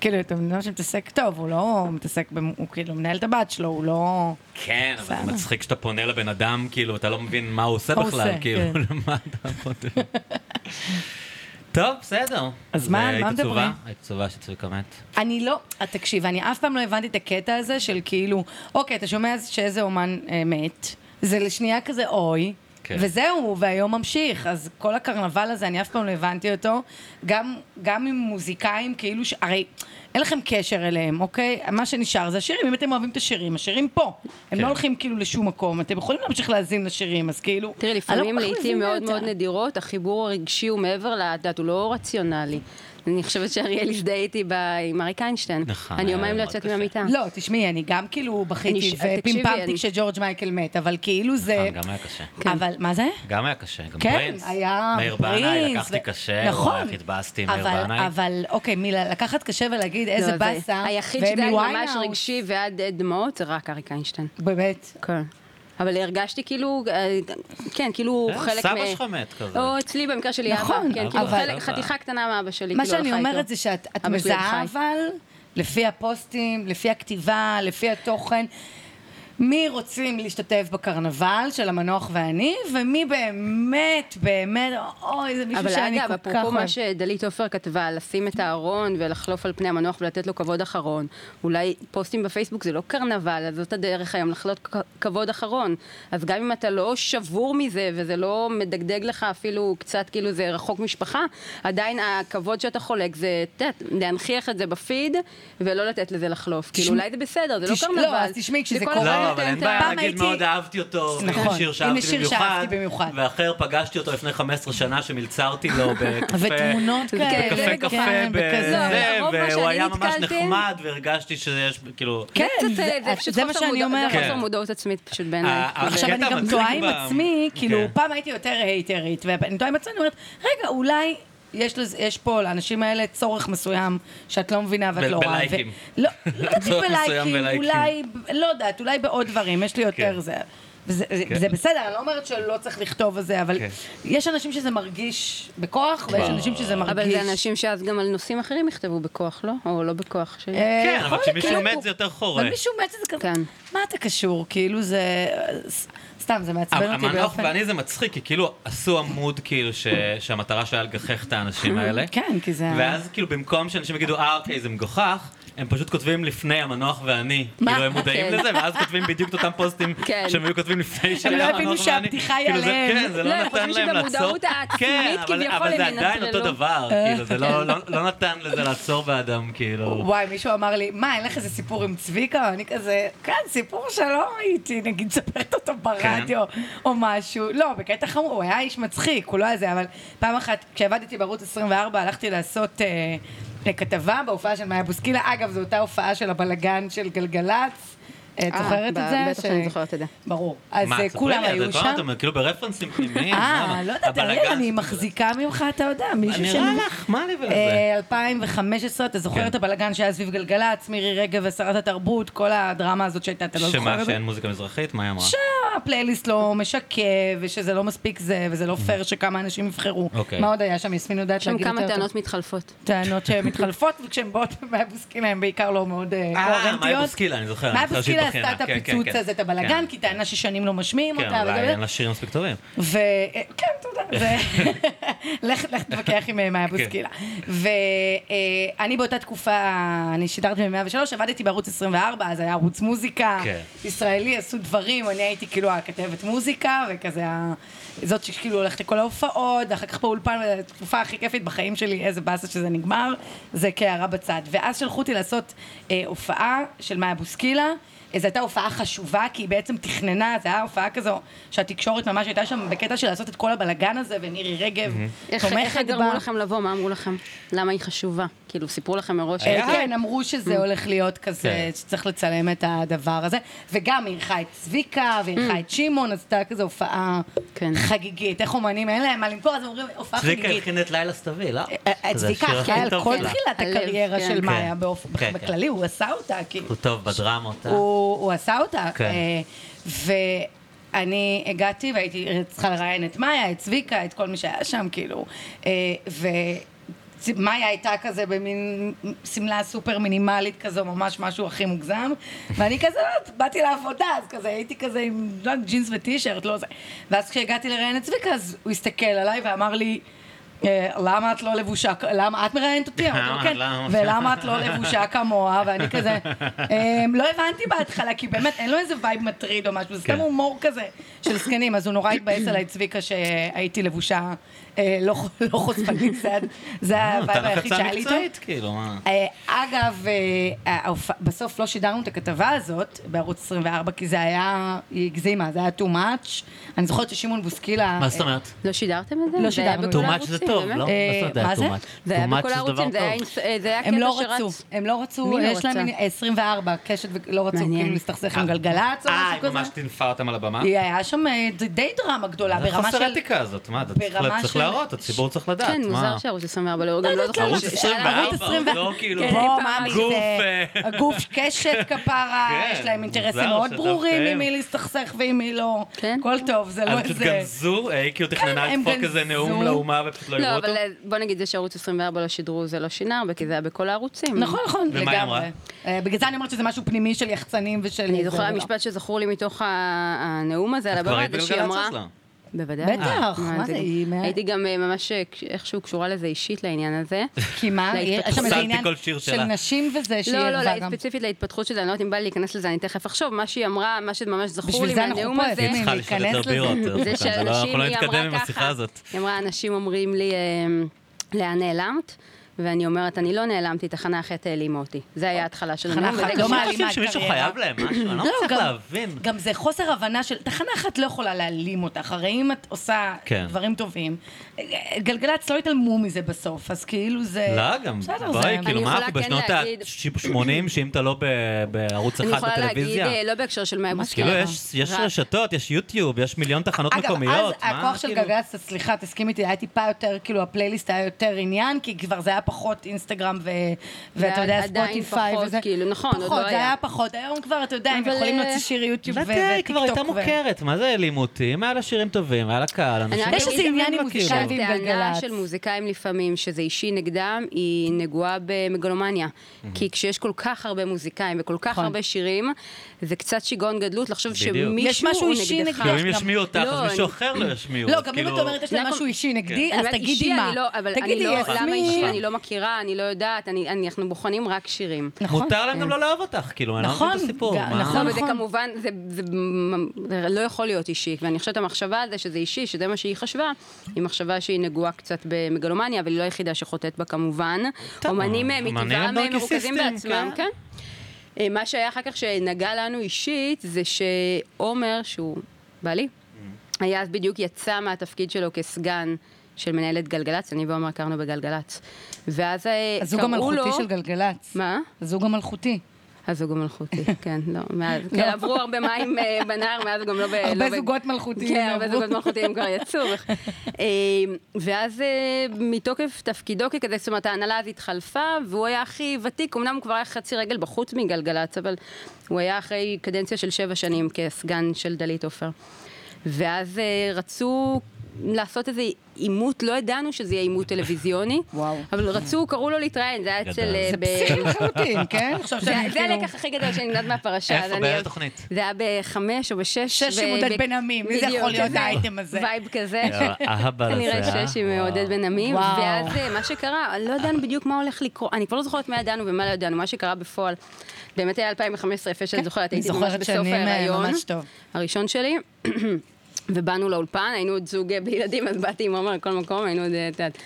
Speaker 2: כאילו, אתה מבין שמתעסק טוב, הוא לא מתעסק, במ- הוא כאילו מנהל את הבת שלו, הוא לא...
Speaker 3: כן, אבל זה
Speaker 2: בסדר.
Speaker 3: מצחיק שאתה פונה לבן אדם, כאילו, אתה לא מבין מה הוא עושה
Speaker 2: מה הוא
Speaker 3: בכלל,
Speaker 2: עושה,
Speaker 3: כאילו,
Speaker 2: כן.
Speaker 3: למה אתה פונה. טוב, בסדר.
Speaker 2: אז מה, על מה
Speaker 3: היית
Speaker 2: מדברים?
Speaker 3: עצובה? היית עצובה שצביקה מת.
Speaker 2: אני לא, תקשיב, אני אף פעם לא הבנתי את הקטע הזה של כאילו, אוקיי, אתה שומע שאיזה אומן אה, מת, זה לשנייה כזה אוי,
Speaker 3: כן.
Speaker 2: כן. וזהו, והיום ממשיך. אז כל הקרנבל הזה, אני אף פעם לא הבנתי אותו. גם, גם עם מוזיקאים, כאילו, ש... הרי אין לכם קשר אליהם, אוקיי? מה שנשאר זה השירים, אם אתם אוהבים את השירים, השירים פה. הם
Speaker 3: כן.
Speaker 2: לא הולכים כאילו לשום מקום, אתם יכולים להמשיך להאזין לשירים, אז כאילו...
Speaker 1: תראי,
Speaker 2: אני לא כל כך
Speaker 1: לפעמים, לעיתים
Speaker 2: מבינה
Speaker 1: מאוד
Speaker 2: את זה.
Speaker 1: מאוד נדירות, החיבור הרגשי הוא מעבר לדת, הוא לא רציונלי. אני חושבת שאריאל הזדהה איתי ב- עם אריק איינשטיין.
Speaker 3: נכון,
Speaker 1: אני יומיים
Speaker 3: היה
Speaker 1: לא
Speaker 3: מאוד
Speaker 1: יצאתי
Speaker 3: קשה.
Speaker 1: מהמיטה.
Speaker 2: לא, תשמעי, אני גם כאילו
Speaker 1: אני
Speaker 2: בכיתי
Speaker 1: ש- תקשיבי,
Speaker 2: ופימפמתי
Speaker 1: אני- כן.
Speaker 2: כשג'ורג' מייקל מת, אבל כאילו זה...
Speaker 3: גם היה קשה.
Speaker 2: אבל מה זה?
Speaker 3: גם היה קשה, גם
Speaker 2: כן,
Speaker 3: פרינס.
Speaker 2: היה
Speaker 3: מאיר בנאי,
Speaker 2: פרינס,
Speaker 3: לקחתי
Speaker 2: ו-
Speaker 3: קשה,
Speaker 2: נכון.
Speaker 3: וואי, איך התבאסתי עם מאיר
Speaker 2: אבל,
Speaker 3: בנאי.
Speaker 2: אבל אוקיי, מילה, לקחת קשה ולהגיד
Speaker 1: לא,
Speaker 2: איזה
Speaker 1: זה-
Speaker 2: באסה,
Speaker 1: היחיד
Speaker 2: ואמי
Speaker 1: שזה היה ממש
Speaker 2: ויינהאוס.
Speaker 1: רגשי ועד אה, דמעות זה רק אריק איינשטיין.
Speaker 2: באמת.
Speaker 1: כן. אבל הרגשתי כאילו, אה, כן, כאילו
Speaker 3: אה,
Speaker 1: חלק
Speaker 3: סבא שלך מת כזה.
Speaker 1: או אצלי במקרה שלי אבא.
Speaker 2: נכון,
Speaker 1: כן, כאילו
Speaker 2: אבל-
Speaker 1: חלק- חתיכה קטנה מאבא שלי.
Speaker 2: מה
Speaker 1: כאילו,
Speaker 2: שאני
Speaker 1: הלכה איתו.
Speaker 2: אומרת זה שאת את
Speaker 1: אבא שלי
Speaker 2: מזהה
Speaker 1: חי.
Speaker 2: אבל, לפי הפוסטים, לפי הכתיבה, לפי התוכן, מי רוצים להשתתף בקרנבל של המנוח ואני, ומי באמת, באמת, אוי, זה מישהו
Speaker 1: אבל
Speaker 2: שאני
Speaker 1: אגב,
Speaker 2: כל כך
Speaker 1: אפרופו
Speaker 2: אוהבת.
Speaker 1: מה שדלית עופר כתבה, לשים את הארון ולחלוף על פני המנוח ולתת לו כבוד אחרון. אולי פוסטים בפייסבוק זה לא קרנבל, אז זאת הדרך היום לחלות כ- כבוד אחרון. אז גם אם אתה לא שבור מזה, וזה לא מדגדג לך אפילו קצת כאילו זה רחוק משפחה, עדיין הכבוד שאתה חולק זה, את יודעת, להנכיח את זה בפיד, ולא לתת לזה לחלוף. כאילו אולי זה בסדר, זה לא
Speaker 2: תש-
Speaker 1: קרנבל.
Speaker 2: לא, אז תשמעי, כשזה
Speaker 1: זה כל
Speaker 2: קורה-
Speaker 1: אחד נותן
Speaker 3: לא, אבל אין
Speaker 1: את ה-
Speaker 3: בעיה
Speaker 2: פעם
Speaker 3: להגיד
Speaker 2: הייתי-
Speaker 3: מאוד אהבתי אותו,
Speaker 2: נכון.
Speaker 3: שיר
Speaker 2: הנה
Speaker 3: שאהבתי
Speaker 2: שיר שאהבתי
Speaker 3: במיוחד,
Speaker 2: במיוחד.
Speaker 3: ואחר פגשתי אותו לפני 15 שנה שמלצרתי לו בקפה.
Speaker 2: ותמונות כאלה,
Speaker 3: בקפה
Speaker 2: כן,
Speaker 3: קפה, בזה,
Speaker 2: וכזה.
Speaker 1: לא, לרוב מה
Speaker 3: והוא
Speaker 1: שאני
Speaker 3: היה ממש
Speaker 1: נתקלתי-
Speaker 3: נחמד והרגשתי שיש, כאילו...
Speaker 1: זה
Speaker 2: כן,
Speaker 1: קצת, אה,
Speaker 2: זה-
Speaker 1: זה פשוט
Speaker 2: זה מה
Speaker 1: חוסר
Speaker 2: שאני
Speaker 1: מודעות-
Speaker 2: אומרת.
Speaker 1: זה חוסר מודעות עצמית פשוט בעיניי.
Speaker 3: כן.
Speaker 1: כאילו.
Speaker 3: אה, אה,
Speaker 2: עכשיו
Speaker 3: הקטע
Speaker 2: אני גם
Speaker 3: המצחיק
Speaker 2: טועה עם
Speaker 3: ב-
Speaker 2: עצמי,
Speaker 3: כן.
Speaker 2: כאילו, פעם הייתי יותר הייטרית, ואני טועה עם עצמי, אני אומרת, רגע, אולי יש לזה- יש פה לאנשים האלה צורך מסוים שאת לא מבינה
Speaker 3: ב-
Speaker 2: ואת לא רואה.
Speaker 3: בלייקים.
Speaker 2: ו- לא, לא תמיד
Speaker 3: צורך מסוים
Speaker 2: בלייקים,
Speaker 3: בלייקים.
Speaker 2: אולי, לא יודעת, אולי בעוד דברים, יש לי
Speaker 3: כן.
Speaker 2: יותר זה. וזה זה-
Speaker 3: כן.
Speaker 2: זה בסדר, אני לא אומרת שלא צריך לכתוב על זה, אבל
Speaker 3: כן.
Speaker 2: יש אנשים שזה מרגיש בכוח, ויש
Speaker 3: וואו.
Speaker 2: אנשים שזה מרגיש...
Speaker 1: אבל זה אנשים שאז גם על נושאים אחרים יכתבו בכוח, לא? או לא בכוח שלי.
Speaker 2: אה,
Speaker 3: כן,
Speaker 2: יכול
Speaker 3: אבל
Speaker 2: להיות,
Speaker 3: כשמישהו
Speaker 2: כאילו,
Speaker 3: מת זה יותר חורה.
Speaker 2: אבל מישהו מת זה כזה,
Speaker 1: כן.
Speaker 2: מה אתה קשור? כאילו זה... ס- סתם, זה מעצבן אותי
Speaker 3: המנוח
Speaker 2: באופן...
Speaker 3: ואני זה מצחיק, כי כאילו עשו עמוד כאילו ש- שהמטרה שלו היה לגחך את האנשים האלה.
Speaker 2: כן, כי זה...
Speaker 3: ואז כאילו במקום שאנשים יגידו, אה אוקיי זה מגוחך, הם פשוט כותבים לפני המנוח ואני.
Speaker 2: מה?
Speaker 3: כאילו הם מודעים
Speaker 1: כן.
Speaker 3: לזה, ואז כותבים בדיוק את אותם פוסטים
Speaker 1: כן.
Speaker 3: שהם היו כותבים לפני שהיה
Speaker 2: לא
Speaker 3: המנוח ואני.
Speaker 2: הבינו שהבדיחה היא
Speaker 3: כאילו, זה-
Speaker 2: עליהם.
Speaker 3: כן, זה
Speaker 1: לא,
Speaker 3: לא
Speaker 1: הם
Speaker 3: נתן
Speaker 1: חושבים
Speaker 3: להם לעצור.
Speaker 1: שבמודעות העצמית
Speaker 3: כן, אבל-
Speaker 1: כביכול
Speaker 3: אבל
Speaker 1: הם
Speaker 3: זה עדיין
Speaker 1: ינטרלו.
Speaker 3: אותו דבר, כאילו, זה לא- לא לא נתן לזה לעצור באדם, כאילו.
Speaker 2: אה, כן. וואי, מישהו אמר לי, מה, אין לך איזה סיפור עם צביקה? אני כזה, כן, סיפור שלא הייתי, נגיד, מספרת אותו ברדיו
Speaker 3: כן.
Speaker 2: או משהו. לא, בקטע חמור, הוא היה איש מצחיק, הוא לא היה זה, אבל פעם אחת, כשעבדתי בערוץ 24, הלכתי לעשות אה, אה, כתבה בהופעה של מאיה בוסקילה. אגב, זו אותה הופעה של הבלגן של גלגלצ. אה, את
Speaker 1: אה,
Speaker 2: זוכרת
Speaker 1: ב-
Speaker 2: את זה?
Speaker 1: בטח שאני זוכרת את זה.
Speaker 2: ברור. אז
Speaker 3: מה,
Speaker 2: אה,
Speaker 3: ספרי
Speaker 2: כולם
Speaker 3: לי,
Speaker 2: היו
Speaker 3: את יודעת,
Speaker 2: שם.
Speaker 3: אתם כאילו ברפרנסים פנימיים.
Speaker 2: אה,
Speaker 3: למה?
Speaker 2: לא יודעת, אריאל,
Speaker 3: הבלגן
Speaker 2: אני
Speaker 3: של-
Speaker 2: מחזיקה ממך, אתה יודע, מישהו ש...
Speaker 3: נראה לך, מה לי ולזה?
Speaker 2: אה, 2015, אתה זוכר
Speaker 3: כן.
Speaker 2: את הבלגן שהיה סביב גלגלצ, מירי רגב ושרת התרבות, כל הדרמה הזאת שהייתה, אתה לא זוכר את זה?
Speaker 3: שמה, כן. שאין מוזיקה מזרחית? מה היא אמרה?
Speaker 2: שהפלייליסט לא משקף, ושזה לא מספיק זה, וזה לא פייר שכמה אנשים יבחרו.
Speaker 3: אוקיי.
Speaker 2: מה עוד היה שם? יסמין יודעת
Speaker 1: יש שם
Speaker 2: להגיד יותר
Speaker 1: כמה
Speaker 2: טוב.
Speaker 1: טענות מתחלפות.
Speaker 2: טענות שמתחלפות, וכשהן באות מהבוסקילה הן בעיקר לא מאוד אה,
Speaker 3: אה,
Speaker 2: קוהרנטיות.
Speaker 3: מאיה בוסקילה, אני זוכר, אני
Speaker 2: מאיה
Speaker 3: זוכר
Speaker 2: בוסקילה
Speaker 3: שהתבכיינה.
Speaker 2: עשתה את
Speaker 3: כן, כן,
Speaker 2: הפיצוץ
Speaker 3: כן.
Speaker 2: הזה, את
Speaker 3: כן.
Speaker 2: הבלגן, כי טענה ששנים לא משמיעים
Speaker 3: כן,
Speaker 2: אותה.
Speaker 3: אולי
Speaker 2: וזה-
Speaker 3: אין לה שירים מספיק טובים.
Speaker 2: ו... כן, תודה. זה... לך לך תתווכח עם אה, מאיה בוסקילה. ואני אה, באותה תקופה, אני שידרתי ב-103, עבדתי בערוץ 24, אז היה ערוץ מוזיקה.
Speaker 3: כן.
Speaker 2: ישראלי, עשו דברים, אני הייתי כאילו הכתבת מוזיקה, וכזה ה... זאת שכאילו הולכת לכל ההופעות, אחר כך באולפן, התקופה הכי כיפית בחיים שלי, איזה באסה שזה נגמר, זה כהערה בצד. ואז שלחו אותי לעשות אה, הופעה של מאיה בוסקילה. זו הייתה הופעה חשובה, כי היא בעצם תכננה, זו הייתה הופעה כזו שהתקשורת ממש הייתה שם בקטע של לעשות את כל הבלגן הזה, ומירי רגב
Speaker 1: איך, איך
Speaker 2: תומכת
Speaker 1: גרמו
Speaker 2: בה.
Speaker 1: לכם לבוא? מה אמרו לכם? למה היא חשובה? כאילו, סיפרו לכם מראש?
Speaker 2: אה, כן, אמרו שזה הולך להיות כזה,
Speaker 3: כן.
Speaker 2: שצריך לצלם את הדבר הזה. וגם היא אירחה את צביקה, ואירחה את שמעון, אז הייתה כזו הופעה
Speaker 1: כן.
Speaker 2: חגיגית. איך אומנים, אין להם מה למכור, אז הם אומרים, הופעה
Speaker 3: צביקה
Speaker 2: חגיגית.
Speaker 3: הלחין את לילה סתווי, לא?
Speaker 2: אה,
Speaker 3: זה
Speaker 2: צביקה
Speaker 3: השיר הכי
Speaker 2: אחראי על
Speaker 3: טוב
Speaker 2: כל
Speaker 3: שלה.
Speaker 2: תחילת
Speaker 1: הלב,
Speaker 2: הקריירה
Speaker 1: כן.
Speaker 2: של
Speaker 1: כן.
Speaker 2: מאיה באופ-
Speaker 3: כן,
Speaker 2: בכללי, הוא עשה אותה, כאילו. כי
Speaker 3: הוא טוב בדרמות. אה?
Speaker 2: הוא הוא עשה אותה.
Speaker 3: כן.
Speaker 2: אה, ואני הגעתי והייתי צריכה לראיין את מאיה, את צביקה, את כל מי שהיה שם, כאילו. אה, ו... צ- מאיה הייתה כזה במין שמלה סופר מינימלית כזו, ממש משהו הכי מוגזם. ואני כזה, לא, באתי לעבודה, אז כזה, הייתי כזה עם לא, יודעת, ג'ינס וטישרט, לא זה. ואז כשהגעתי לראיין את צביקה, אז הוא הסתכל עליי ואמר לי, "אה, למה את לא לבושה, כ- למה את מראיינת אותי? אמרתי לו,
Speaker 3: למה-
Speaker 2: כן.
Speaker 3: למה?
Speaker 2: ולמה את לא לבושה כמוה, ואני כזה, "אמ, לא הבנתי בהתחלה, כי באמת אין לו איזה וייב מטריד או משהו, זה סתם
Speaker 3: כן.
Speaker 2: הומור כזה של זקנים, אז הוא נורא התבאס עליי, צביקה, שהייתי לבושה אה, לא ח- לא חושפנית, זה ה- זה
Speaker 3: אה,
Speaker 2: הווייב
Speaker 3: נתן לך
Speaker 2: היחיד
Speaker 3: הצעה
Speaker 2: שהיה לי איתו.
Speaker 3: מקצועית, כאילו, מה?
Speaker 2: אה, אגב, אה, ההופ- בסוף לא שידרנו את הכתבה הזאת בערוץ 24, כי זה היה, היא הגזימה, זה היה too much. אני זוכרת ששמעון בוסקילה...
Speaker 3: מה זאת אומרת?
Speaker 1: לא שידרתם את זה?
Speaker 2: לא
Speaker 1: זה היה
Speaker 2: שידרנו.
Speaker 1: בכל
Speaker 3: too
Speaker 2: אה,
Speaker 3: much זה
Speaker 1: הערוצים,
Speaker 3: טוב,
Speaker 1: באמת?
Speaker 3: לא?
Speaker 2: אה,
Speaker 3: מה זאת אומרת,
Speaker 2: מה זה?
Speaker 3: too much?
Speaker 1: זה היה
Speaker 3: Too much
Speaker 1: בכל
Speaker 3: זה
Speaker 1: הערוצים,
Speaker 3: דבר
Speaker 1: זה היה
Speaker 3: טוב.
Speaker 1: אינס- אה, זה היה
Speaker 2: הם
Speaker 1: קטע
Speaker 2: לא רצו,
Speaker 1: שרץ.
Speaker 2: הם לא רצו,
Speaker 1: מי לא
Speaker 2: יש להם
Speaker 1: רצה?
Speaker 2: עניין- 24, קשת ולא רצו
Speaker 1: מעניין.
Speaker 2: כאילו להסתכסך עם גלגלצ או
Speaker 3: אה,
Speaker 2: משהו
Speaker 3: היא
Speaker 2: כזה.
Speaker 3: ממש טינפה אותם על הבמה?
Speaker 2: היא היה שם אה, ד- די דרמה גדולה,
Speaker 3: זה
Speaker 2: ברמה
Speaker 3: חוסר
Speaker 2: של...
Speaker 3: אתיקה הזאת, מה? אתה
Speaker 2: ברמה
Speaker 3: צריך- צריך
Speaker 2: של-
Speaker 3: להראות, הציבור צריך לדעת,
Speaker 1: כן,
Speaker 3: מה?
Speaker 1: מוזר שערוץ 24 לא, גם לא
Speaker 2: יודעת
Speaker 1: זוכר.
Speaker 2: למה.
Speaker 3: ערוץ 24, הוא לא כאילו...
Speaker 1: כן,
Speaker 2: בוא,
Speaker 1: פעם
Speaker 2: מאמי,
Speaker 3: גוף,
Speaker 2: זה
Speaker 3: אה,
Speaker 2: הגוף קשת כפרה,
Speaker 3: כן,
Speaker 2: יש להם אינטרסים
Speaker 3: מוזר
Speaker 2: מאוד
Speaker 3: שדווקא
Speaker 2: ברורים
Speaker 3: הם.
Speaker 2: עם מי להסתכסך ועם מי לא.
Speaker 1: כן.
Speaker 2: הכל טוב, זה לא
Speaker 3: הם פשוט
Speaker 2: איזה...
Speaker 3: גנזו, אה, כאילו תכננה
Speaker 2: הם
Speaker 3: לדפוק איזה
Speaker 2: גנזו.
Speaker 3: נאום לאומה ופשוט לא
Speaker 1: לא,
Speaker 3: יראו אותו?
Speaker 1: אבל אה, בוא נגיד זה שערוץ 24 לא שידרו, זה לא שינה הרבה, כי זה היה בכל הערוצים.
Speaker 2: נכון, נכון,
Speaker 3: ומה היא
Speaker 2: לגמרי.
Speaker 3: אמרה?
Speaker 2: אה, בגלל זה אני אומרת שזה משהו פנימי של יחצנים ושל...
Speaker 1: אני
Speaker 2: זה,
Speaker 1: זוכרת
Speaker 2: זה לא.
Speaker 1: המשפט שזכור לי מתוך ה- הנאום הזה על
Speaker 3: את לא כבר
Speaker 1: הבמה,
Speaker 3: ראית
Speaker 1: זה שהיא
Speaker 3: גלגלצ
Speaker 1: אמרה...
Speaker 3: אצלה.
Speaker 1: בוודאי.
Speaker 2: בטח, מה זה,
Speaker 1: גם-
Speaker 2: היא מה-
Speaker 1: הייתי גם אה, ממש אה, כש- איכשהו קשורה לזה אישית לעניין הזה.
Speaker 2: כי מה? יש שם איזה
Speaker 3: פסלתי
Speaker 2: עניין
Speaker 3: כל שיר
Speaker 2: של
Speaker 3: שלה.
Speaker 2: נשים וזה, שהיא
Speaker 1: לא, לא,
Speaker 2: ערבה
Speaker 1: לא,
Speaker 2: גם.
Speaker 1: ספציפית להתפתחות של זה, אני לא יודעת אם בא לי להיכנס לזה, אני תכף אחשוב. מה שהיא אמרה, מה שממש זכור
Speaker 2: בשביל
Speaker 1: לי
Speaker 2: זה אנחנו
Speaker 1: מהנאום
Speaker 2: פה,
Speaker 1: הזה,
Speaker 2: יפים,
Speaker 3: צריכה לשתות
Speaker 2: כן, להיכנס
Speaker 3: יותר
Speaker 2: לזה.
Speaker 3: בירות. זה לא-
Speaker 1: זה
Speaker 3: אנחנו לא
Speaker 1: שאנשים, היא
Speaker 3: נתקדם עם
Speaker 1: אמרה
Speaker 3: השיחה
Speaker 1: ככה,
Speaker 3: הזאת.
Speaker 1: היא אמרה, אנשים אומרים לי, אמ, לאן נעלמת? ואני אומרת, אני לא נעלמתי, תחנה אחת העלימה אותי. זה היה ההתחלה של
Speaker 2: תחנה
Speaker 1: הנאום.
Speaker 2: אחת
Speaker 1: וזה
Speaker 2: לא
Speaker 1: גם-
Speaker 2: מעלימה.
Speaker 3: חושבים
Speaker 2: את
Speaker 3: שמישהו
Speaker 2: קריירה.
Speaker 3: חייב להם משהו, אני לא מצליח
Speaker 2: גם-
Speaker 3: להבין.
Speaker 2: גם זה חוסר הבנה של... תחנה אחת לא יכולה להעלים אותך, הרי אם את עושה
Speaker 3: כן.
Speaker 2: דברים טובים, גלגלצ לא יתעלמו מזה בסוף, אז כאילו זה...
Speaker 3: לא, גם,
Speaker 2: בסדר, זה-
Speaker 3: בואי, כאילו,
Speaker 1: אני
Speaker 3: מה
Speaker 1: יכולה
Speaker 3: אנחנו
Speaker 1: כן
Speaker 3: בשנות
Speaker 1: להגיד-
Speaker 3: ה-80, שאם אתה לא ב- בערוץ
Speaker 1: אני
Speaker 3: אחד
Speaker 1: יכולה להגיד,
Speaker 3: בטלוויזיה?
Speaker 1: אה, לא בהקשר של מאי
Speaker 2: אז
Speaker 1: בוסקילה.
Speaker 3: כאילו, יש- יש
Speaker 1: רק-
Speaker 3: רשתות, יש יוטיוב, יש מיליון תחנות
Speaker 2: אגב,
Speaker 3: מקומיות.
Speaker 2: אז
Speaker 3: מה,
Speaker 2: הכוח של
Speaker 3: כאילו?
Speaker 2: גלגלצ, סליחה, תסכים איתי, היה טיפה יותר, כאילו הפלייליסט היה יותר עניין, כי כבר זה היה פחות אינסטגרם ו- ואתה יודע,
Speaker 1: ועדיין
Speaker 2: ספוטיפיי
Speaker 1: פחות,
Speaker 2: וזה.
Speaker 1: כאילו, נכון, עוד לא
Speaker 2: פחות, זה
Speaker 1: היה.
Speaker 2: היה פחות. היום כבר, אתה יודע, הם
Speaker 1: אבל,
Speaker 2: יכולים
Speaker 1: אה,
Speaker 2: להוציא שיר יוטיוב ו-
Speaker 3: לא
Speaker 2: וטיקטוק.
Speaker 3: יודע, היא כבר הייתה
Speaker 2: ו-
Speaker 3: מוכרת, מה זה העלימו אותי? אם היה לה שירים טובים, היה לה קהל, אנשים...
Speaker 1: רק
Speaker 2: יש
Speaker 1: אגיד
Speaker 2: איזה
Speaker 1: גם
Speaker 2: עניין עם
Speaker 3: כאילו.
Speaker 2: מוזיקאים ועם
Speaker 1: הטענה
Speaker 2: גלגלצ.
Speaker 1: של מוזיקאים לפעמים, שזה אישי נגדם, היא נגועה במגלומניה. כי כשיש כל כך הרבה מוזיקאים וכל כך
Speaker 2: נכון.
Speaker 1: הרבה שירים, זה קצת שיגעון גדלות לחשוב
Speaker 3: בדיוק.
Speaker 2: יש
Speaker 1: שמישהו
Speaker 2: משהו
Speaker 1: הוא
Speaker 2: אישי
Speaker 1: נגדך.
Speaker 2: נגדו.
Speaker 3: כאילו, אם
Speaker 2: גם-
Speaker 3: ישמיעו אותך,
Speaker 1: לא,
Speaker 3: אז מישהו
Speaker 1: אני-
Speaker 3: אחר לא ישמיעו.
Speaker 2: לא,
Speaker 3: אז
Speaker 2: גם אם
Speaker 3: כאילו- כן.
Speaker 2: את אומרת יש לה
Speaker 1: למה-
Speaker 2: משהו אישי נגדי,
Speaker 1: נכון. אני
Speaker 2: אז
Speaker 1: אומרת,
Speaker 2: תגידי
Speaker 1: אישי
Speaker 2: מה.
Speaker 1: אני לא, אבל אני
Speaker 2: תגידי,
Speaker 1: לא-
Speaker 2: אז
Speaker 1: למה
Speaker 2: מי-
Speaker 1: אישי? אני לא מכירה, אני לא יודעת, אני- אני- אנחנו בוחנים רק שירים.
Speaker 2: נכון.
Speaker 3: מותר להם גם לא לאהוב אותך, כאילו, אני לא
Speaker 2: נכון,
Speaker 3: מבין את הסיפור.
Speaker 2: גם-
Speaker 3: מה?
Speaker 2: נכון.
Speaker 1: לא, וזה כמובן, זה, זה, זה לא יכול להיות אישי, ואני חושבת המחשבה על זה שזה אישי, שזה מה שהיא חשבה, היא מחשבה שהיא נגועה קצת במגלומניה, אבל היא לא היחידה שחוטאת בה כמובן.
Speaker 3: טוב,
Speaker 1: אומנים אה,
Speaker 3: אמנים
Speaker 1: מטבעם
Speaker 3: הם
Speaker 1: אה, מרוכזים
Speaker 3: נרקיסיסטים,
Speaker 1: בעצמם,
Speaker 3: כן.
Speaker 1: כן. אה, מה שהיה אחר כך שנגע לנו אישית, זה שעומר, שהוא בעלי, היה אז בדיוק יצא מהתפקיד שלו כסגן. של מנהלת גלגלצ, אני ועומר הכרנו בגלגלצ. ואז אה,
Speaker 2: הזוג
Speaker 1: קראו לו...
Speaker 2: המלכותי של גלגלצ.
Speaker 1: מה?
Speaker 2: הזוג המלכותי.
Speaker 1: הזוג המלכותי, כן, לא, מאז,
Speaker 2: לא.
Speaker 1: כן, עברו הרבה מים אה, בנהר, מאז גם לא ב...
Speaker 2: הרבה
Speaker 1: לא ב-
Speaker 2: זוגות מלכותיים
Speaker 1: כן, הרבה
Speaker 2: עברו.
Speaker 1: זוגות מלכותיים כבר יצאו. אה, ואז אה, מתוקף תפקידו ככזה, זאת אומרת, ההנהלה אז התחלפה, והוא היה הכי ותיק, אמנם הוא כבר היה חצי רגל בחוץ מגלגלצ, אבל הוא היה אחרי קדנציה של שבע שנים כסגן של דלית עופר. ואז אה, רצו... לעשות איזה עימות, לא ידענו שזה יהיה עימות טלוויזיוני,
Speaker 2: וואו.
Speaker 1: אבל רצו, קראו לו להתראיין, זה היה
Speaker 3: גדל.
Speaker 1: אצל... אה,
Speaker 2: זה
Speaker 1: ב-
Speaker 2: פסיכי לחלוטין, כן? עכשיו
Speaker 1: זה
Speaker 2: שאני
Speaker 1: זה
Speaker 2: כאילו...
Speaker 1: הלקח הכי גדול שאני יודעת מהפרשה.
Speaker 3: איפה?
Speaker 1: אז אני-
Speaker 3: באיזה תוכנית?
Speaker 1: זה היה בחמש או בשש.
Speaker 2: שש
Speaker 1: ו-
Speaker 2: עם עודד
Speaker 1: ב-
Speaker 2: בן עמי, מי זה
Speaker 1: בדיוק,
Speaker 2: יכול להיות
Speaker 1: כזה
Speaker 2: האייטם הזה?
Speaker 1: וייב כזה.
Speaker 3: יאללה, אהבה לזה, אה?
Speaker 1: כנראה שש עם
Speaker 3: וואו.
Speaker 1: עודד בן עמי.
Speaker 2: וואו.
Speaker 1: ואז אה, מה שקרה, לא ידענו בדיוק מה הולך לקרות. אני כבר לא זוכרת מה ידענו ומה לא ידענו, מה שקרה בפועל. באמת היה 2015, יפה שאני זוכרת, הייתי ממש
Speaker 2: כן. זוכרת
Speaker 1: בסוף
Speaker 2: שאני, אה,
Speaker 1: ההיריון.
Speaker 2: ממש טוב.
Speaker 1: הראשון שלי. ובאנו לאולפן, היינו עוד זוג אה, בילדים, אז באתי עם עומר לכל מקום, היינו עוד, אה, את יודעת.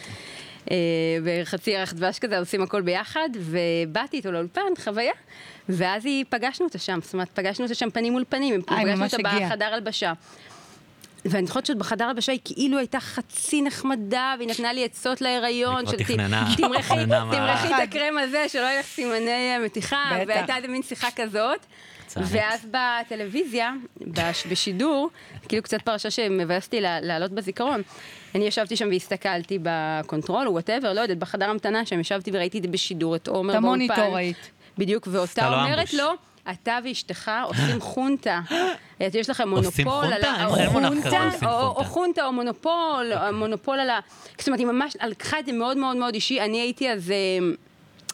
Speaker 1: אה, בחצי ירח דבש כזה, עושים הכל ביחד, ובאתי איתו לאולפן, חוויה, ואז היא, פגשנו אותה שם, זאת אומרת, פגשנו אותה שם פנים מול פנים,
Speaker 2: אה, היא
Speaker 1: פגשנו
Speaker 2: ממש
Speaker 1: אותה
Speaker 2: הגיעה.
Speaker 1: בחדר הלבשה. ואני זוכרת שעוד בחדר הלבשה היא כאילו הייתה חצי נחמדה, והיא נתנה לי עצות להיריון,
Speaker 3: היא כבר
Speaker 1: של ת-
Speaker 3: תכנננה,
Speaker 1: תמרחי,
Speaker 3: תכננה מה-
Speaker 1: תמרחי את הקרם הזה, שלא יהיה לך סימני אה, מתיחה,
Speaker 2: בטח.
Speaker 1: והייתה איזה מין שיחה כזאת.
Speaker 3: צענית.
Speaker 1: ואז בטלוויזיה, בש- בשידור, כאילו קצת פרשה שמבאס אותי לה- להעלות בזיכרון. אני ישבתי שם והסתכלתי בקונטרול, או וואטאבר, לא יודעת, בחדר המתנה שם ישבתי וראיתי את זה בשידור, את עומר
Speaker 2: את
Speaker 1: באולפן.
Speaker 2: המוניטור ראית.
Speaker 1: בדיוק,
Speaker 3: עשתה
Speaker 1: ואותה
Speaker 3: לו
Speaker 1: אומרת
Speaker 3: אמבוש.
Speaker 1: לו, אתה ואשתך עושים חונטה. את- יש לכם
Speaker 3: עושים
Speaker 1: מונופול על
Speaker 3: חונטה?
Speaker 1: ה...
Speaker 3: אין- אין מונח כזה,
Speaker 1: חונטה,
Speaker 3: עושים
Speaker 1: או-
Speaker 3: חונטה.
Speaker 1: או חונטה או מונופול, או מונופול על ה... זאת אומרת, היא ממש לקחה את זה מאוד מאוד מאוד אישי. אני הייתי אז... אה,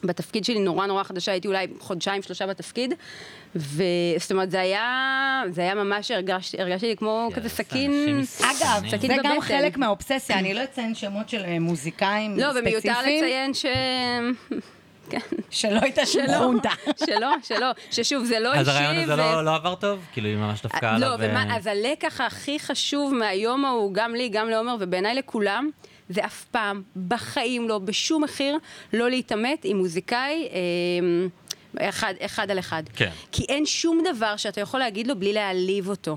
Speaker 1: בתפקיד שלי נורא נורא חדשה, הייתי אולי חודשיים, שלושה בתפקיד, וזאת אומרת, זה היה, זה היה ממש, הרגשתי, הרגשתי כמו כזה סכין,
Speaker 3: אנשים
Speaker 2: אגב,
Speaker 3: מסכנים.
Speaker 1: שקית
Speaker 2: זה גם
Speaker 1: בבטן.
Speaker 2: חלק מהאובססיה, אני לא אציין שמות של אה, מוזיקאים
Speaker 1: לא, ומיותר
Speaker 2: ספציפיים,
Speaker 1: לציין ש... כן,
Speaker 2: שלא הייתה שום
Speaker 1: שלא,
Speaker 2: חונטה.
Speaker 1: שלא, שלא, ששוב, זה לא אישי.
Speaker 3: אז הרעיון הזה
Speaker 1: ו-
Speaker 3: לא לא עבר טוב? כאילו, היא ממש דפקה
Speaker 1: לא,
Speaker 3: עליו.
Speaker 1: ומה,
Speaker 3: אה,
Speaker 1: אז הלקח הכי חשוב מהיום ההוא, גם לי, גם לעומר, ובעיניי לכולם, זה אף פעם, בחיים לא, בשום מחיר, לא להתעמת עם מוזיקאי. אה, אחד, אחד על אחד.
Speaker 3: כן.
Speaker 1: כי אין שום דבר שאתה יכול להגיד לו בלי להעליב אותו.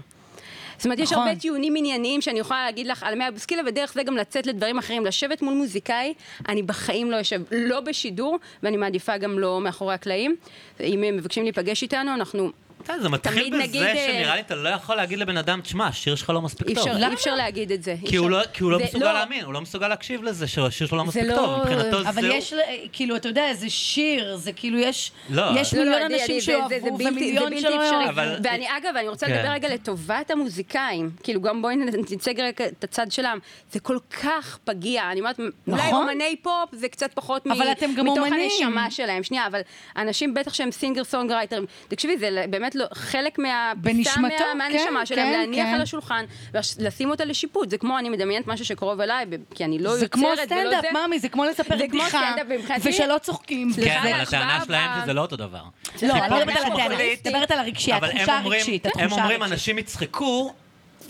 Speaker 1: זאת אומרת, יש
Speaker 2: נכון.
Speaker 1: הרבה טיעונים ענייניים שאני יכולה להגיד לך על מאיה בוסקילה, ודרך זה גם לצאת לדברים אחרים. לשבת מול מוזיקאי, אני בחיים לא יושב, לא בשידור, ואני מעדיפה גם לא מאחורי הקלעים. אם הם מבקשים להיפגש איתנו, אנחנו
Speaker 3: אתה יודע, זה מתחיל
Speaker 1: תמיד
Speaker 3: בזה
Speaker 1: נגיד, אה,
Speaker 3: שנראה לי אתה לא יכול להגיד לבן אדם, תשמע, השיר שלך לא מספיק
Speaker 1: אי
Speaker 3: טוב.
Speaker 1: אפשר,
Speaker 2: למה?
Speaker 1: אי אפשר להגיד את זה. אי
Speaker 3: כי הוא
Speaker 1: אפשר.
Speaker 3: לא- כי הוא לא
Speaker 1: זה-
Speaker 3: מסוגל להאמין, הוא לא מסוגל להקשיב לזה שהשיר שלו לא מספיק
Speaker 1: לא-
Speaker 3: טוב. מבחינתו
Speaker 2: אה, אבל
Speaker 3: זהו.
Speaker 2: יש, ל- כאילו, אתה יודע, זה שיר, זה כאילו, יש
Speaker 3: לא.
Speaker 2: יש
Speaker 1: לא, לא,
Speaker 2: מיליון
Speaker 1: עדי, עדי,
Speaker 2: אנשים
Speaker 1: זה- זה- זה
Speaker 2: שאוהבו
Speaker 1: בלתי- זה
Speaker 2: ומיליון
Speaker 1: בלתי
Speaker 2: שלא
Speaker 1: אפשרי.
Speaker 2: אוהבו.
Speaker 3: אבל-
Speaker 1: ואני, אגב, אני רוצה
Speaker 3: כן.
Speaker 1: לדבר רגע לטובת המוזיקאים. כאילו, גם בואי נצג רגע את הצד שלהם. זה כל כך פגיע. אני אומרת, אולי
Speaker 2: נכון.
Speaker 1: אומני פופ זה קצת פחות מ-
Speaker 2: אבל אתם גם
Speaker 1: מתוך
Speaker 2: אומנים.
Speaker 1: הנשמה שלהם. שנייה, אבל אנשים בטח שהם סינגר סונגרייטרים. תקשיבי, זה באמת לא- חלק מה...
Speaker 2: בנשמתו,
Speaker 1: פיסה מה-
Speaker 2: כן,
Speaker 1: מהנשמה שלהם,
Speaker 2: כן,
Speaker 1: להניח
Speaker 2: כן.
Speaker 1: על השולחן, ולשים אותה לשיפוט. זה כמו, אני מדמיינת משהו שקרוב אליי, ב- כי אני לא
Speaker 2: זה
Speaker 1: יוצרת
Speaker 2: כמו
Speaker 1: ולא זה.
Speaker 2: סטנדאפ, מאמי, זה כמו לספר
Speaker 1: זה כמו
Speaker 2: בדיחה,
Speaker 1: סטנדאפ, ומבחינתי-
Speaker 2: ושלא צוחקים.
Speaker 1: סליחה,
Speaker 3: כן,
Speaker 1: אבל
Speaker 3: אבל הטענה
Speaker 1: ההשוואה
Speaker 3: שלהם
Speaker 1: ב-
Speaker 3: שזה לא אותו דבר.
Speaker 2: לא, אני
Speaker 1: סליחה,
Speaker 2: לא מדברת על
Speaker 1: אבל
Speaker 2: הטענה, אני
Speaker 1: פופוליסטית.
Speaker 2: מדברת על הרגשי,
Speaker 3: אבל הם
Speaker 2: התחושה
Speaker 3: אומרים,
Speaker 2: הרגשית,
Speaker 3: הם
Speaker 2: התחושה
Speaker 3: אומרים,
Speaker 2: הרגשית.
Speaker 3: אנשים יצחקו,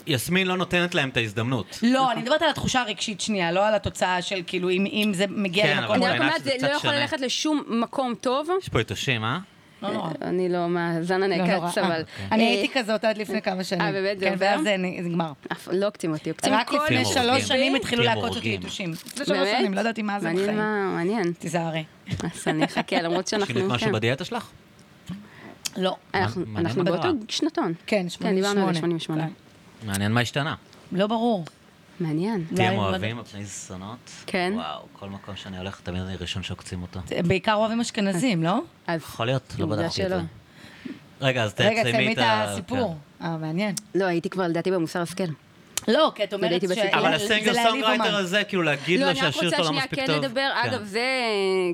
Speaker 3: יסמין לא נותנת להם את ההזדמנות.
Speaker 2: לא, אני מדברת על התחושה הרגשית שנייה, לא על התוצאה של כאילו, אם- אם זה מגיע
Speaker 3: כן,
Speaker 2: למקום...
Speaker 3: אבל
Speaker 1: אני
Speaker 3: בעיניי
Speaker 1: רק אומרת,
Speaker 3: שזה
Speaker 1: זה לא
Speaker 3: קצת
Speaker 1: יכול
Speaker 3: שונה.
Speaker 1: ללכת לשום מקום טוב.
Speaker 3: יש פה יתושים, אה?
Speaker 2: לא נורא.
Speaker 1: אני לא מהזן
Speaker 2: לא נורא.
Speaker 1: הנעקץ,
Speaker 2: אה,
Speaker 1: אבל...
Speaker 2: אני
Speaker 1: אה,
Speaker 2: הייתי כזאת עד לפני כמה שנים.
Speaker 1: אה, באמת? זה
Speaker 2: כן,
Speaker 1: עובר?
Speaker 2: ואז זה נ- זה נגמר.
Speaker 1: אף- לא הקצינו אותי, הקצינו
Speaker 2: רק
Speaker 1: כל
Speaker 2: לפני
Speaker 1: מיני
Speaker 3: הורגים.
Speaker 2: שלוש שנים התחילו
Speaker 3: הורגים.
Speaker 2: להכות אותי יתושים. לפני שלוש
Speaker 1: באמת?
Speaker 2: שנים, לא ידעתי מה זה
Speaker 1: מעניין
Speaker 2: בחיים.
Speaker 1: מה- מעניין.
Speaker 2: תיזהרי.
Speaker 1: אז אני אחכה, למרות שאנחנו...
Speaker 3: שינית משהו
Speaker 1: כן.
Speaker 3: בדיאטה שלך?
Speaker 2: לא.
Speaker 1: אנחנו-
Speaker 3: מעניין
Speaker 1: אנחנו
Speaker 3: מה
Speaker 1: באותו
Speaker 3: קרה.
Speaker 1: שנתון.
Speaker 2: כן,
Speaker 1: כן, דיברנו על
Speaker 2: 88.
Speaker 1: 88.
Speaker 2: כן.
Speaker 3: מעניין מה השתנה.
Speaker 2: לא ברור.
Speaker 1: מעניין.
Speaker 3: תהיה
Speaker 2: אולי-
Speaker 3: מאוהבים על פני זונות?
Speaker 1: כן.
Speaker 3: וואו, כל מקום שאני הולך, תמיד אני ראשון שעוקצים אותו.
Speaker 2: בעיקר אוהבים אשכנזים,
Speaker 3: כן.
Speaker 2: לא?
Speaker 1: אז...
Speaker 3: יכול להיות, לא
Speaker 1: עובדה
Speaker 3: בדקתי את זה.
Speaker 1: שלא.
Speaker 3: רגע, אז
Speaker 2: רגע,
Speaker 3: תסיימי את ה...
Speaker 2: הסיפור.
Speaker 3: כן.
Speaker 2: אה, מעניין.
Speaker 1: לא, הייתי כבר לדעתי במוסר השכל.
Speaker 2: לא, כי את אומרת
Speaker 1: הייתי
Speaker 2: ש...
Speaker 1: בסיפור.
Speaker 3: כן. אבל
Speaker 2: זה
Speaker 3: הסינגל
Speaker 2: להעליב
Speaker 3: סונגרייטר
Speaker 2: אומן.
Speaker 3: הזה, כאילו להגיד
Speaker 1: לא,
Speaker 3: לו
Speaker 1: אני רק
Speaker 3: שהשיר
Speaker 1: רוצה
Speaker 3: שלו לא
Speaker 1: שנייה
Speaker 3: מספיק
Speaker 1: כן
Speaker 3: טוב.
Speaker 1: לדבר, אגב, זה...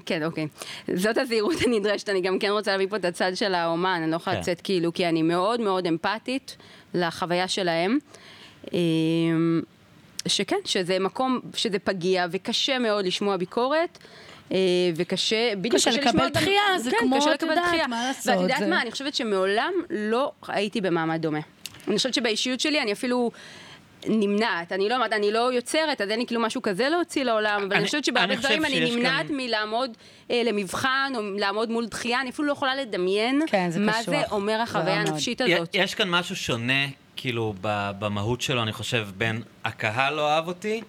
Speaker 1: כן, אוקיי. זאת הזהירות הנדרשת, אני גם כן רוצה להביא פה את הצד של האומן, אני לא יכולה
Speaker 3: כן.
Speaker 1: לצאת כאילו, כי אני מאוד מאוד אמפתית לחוויה שלהם. אמ, שכן, שזה מקום, שזה פגיע, וקשה מאוד לשמוע ביקורת. אה, וקשה, בדיוק
Speaker 2: קשה לקבל
Speaker 1: לשמוע גם-
Speaker 2: דחייה, זה
Speaker 1: כן,
Speaker 2: כמו,
Speaker 1: קשה
Speaker 2: את
Speaker 1: לקבל
Speaker 2: יודעת,
Speaker 1: דחייה.
Speaker 2: מה לעשות,
Speaker 1: ואת יודעת
Speaker 2: זה-
Speaker 1: מה, אני חושבת שמעולם לא הייתי במעמד דומה. אני חושבת שבאישיות שלי אני אפילו נמנעת. אני לא אומרת, אני לא יוצרת, אז אין לי כאילו משהו כזה להוציא לעולם, אבל
Speaker 3: אני-
Speaker 1: אני חושבת שבהרבה
Speaker 3: אני חושב
Speaker 1: דברים אני
Speaker 3: שיש
Speaker 1: נמנעת
Speaker 3: גם-
Speaker 1: מלעמוד אה, למבחן, או לעמוד מול דחייה, אני אפילו לא יכולה לדמיין
Speaker 2: כן, זה
Speaker 1: מה
Speaker 2: קשוח.
Speaker 1: זה אומר החוויה
Speaker 2: רע מאוד.
Speaker 1: הנפשית
Speaker 3: י-
Speaker 1: הזאת.
Speaker 3: יש כאן משהו שונה, כאילו, ב- במהות שלו, אני חושב, בין הקהל לא אהב אותי,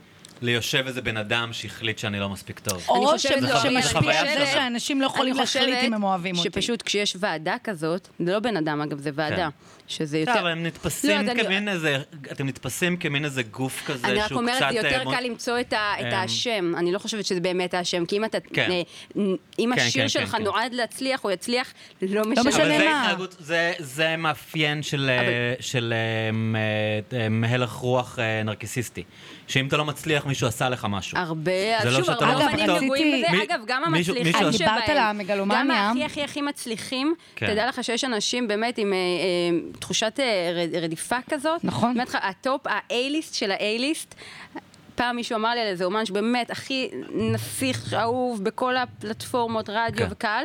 Speaker 3: ליושב איזה בן אדם שהחליט שאני לא מספיק טוב.
Speaker 1: אני
Speaker 2: או
Speaker 1: חושבת-
Speaker 2: שהם-
Speaker 1: לא, אני
Speaker 2: שמשפיע על זה
Speaker 1: חושבת-
Speaker 2: שאנשים לא יכולים
Speaker 1: אני חושבת
Speaker 2: להחליט אם הם אוהבים אותי.
Speaker 1: שפשוט כשיש ועדה כזאת, זה לא בן אדם אגב, זה ועדה, שזה
Speaker 3: בסדר,
Speaker 1: יותר...
Speaker 3: אבל הם נתפסים
Speaker 1: לא, אז אני-
Speaker 3: כמין איזה, אתם נתפסים כמין איזה גוף כזה שהוא קצת...
Speaker 1: אני רק אומרת, זה יותר
Speaker 3: אה, מו-
Speaker 1: קל למצוא את ה- את
Speaker 3: אה,
Speaker 1: האשם. אני לא חושבת שזה באמת האשם, כי אם אתה...
Speaker 3: כן.
Speaker 1: אה, נ- אם
Speaker 3: כן, כן,
Speaker 1: השיר שלך
Speaker 3: כן.
Speaker 1: נועד להצליח, הוא יצליח, לא
Speaker 3: אבל
Speaker 2: משנה
Speaker 1: משנה.
Speaker 3: זה
Speaker 2: מה.
Speaker 3: התנהגות, זה- זה מאפיין של, אה, של אה, מ- אה, מ- הלך רוח אה, נרקיסיסטי. שאם אתה לא מצליח, מישהו עשה לך משהו.
Speaker 1: הרבה,
Speaker 3: זה
Speaker 1: אז
Speaker 3: לא
Speaker 1: שוב,
Speaker 3: שאתה
Speaker 1: הרבה
Speaker 3: לא
Speaker 2: מספיק
Speaker 1: אומנים
Speaker 2: טוב.
Speaker 1: נגועים בזה,
Speaker 3: מי-
Speaker 1: אגב, גם
Speaker 3: מישהו-
Speaker 1: המצליחים
Speaker 3: מישהו-
Speaker 1: שבהם.
Speaker 3: את
Speaker 2: דיברת על המגלומניה.
Speaker 1: גם הכי הכי הכי מצליחים,
Speaker 3: כן.
Speaker 1: תדע לך שיש אנשים באמת עם אה, אה, תחושת אה, ר- רדיפה כזאת.
Speaker 2: נכון.
Speaker 1: באמת, הטופ, ה-A-ליסט של ה-A-ליסט. פעם מישהו אמר לי על איזה אומן שבאמת הכי נסיך, אהוב בכל הפלטפורמות, רדיו
Speaker 3: כן.
Speaker 1: וקהל.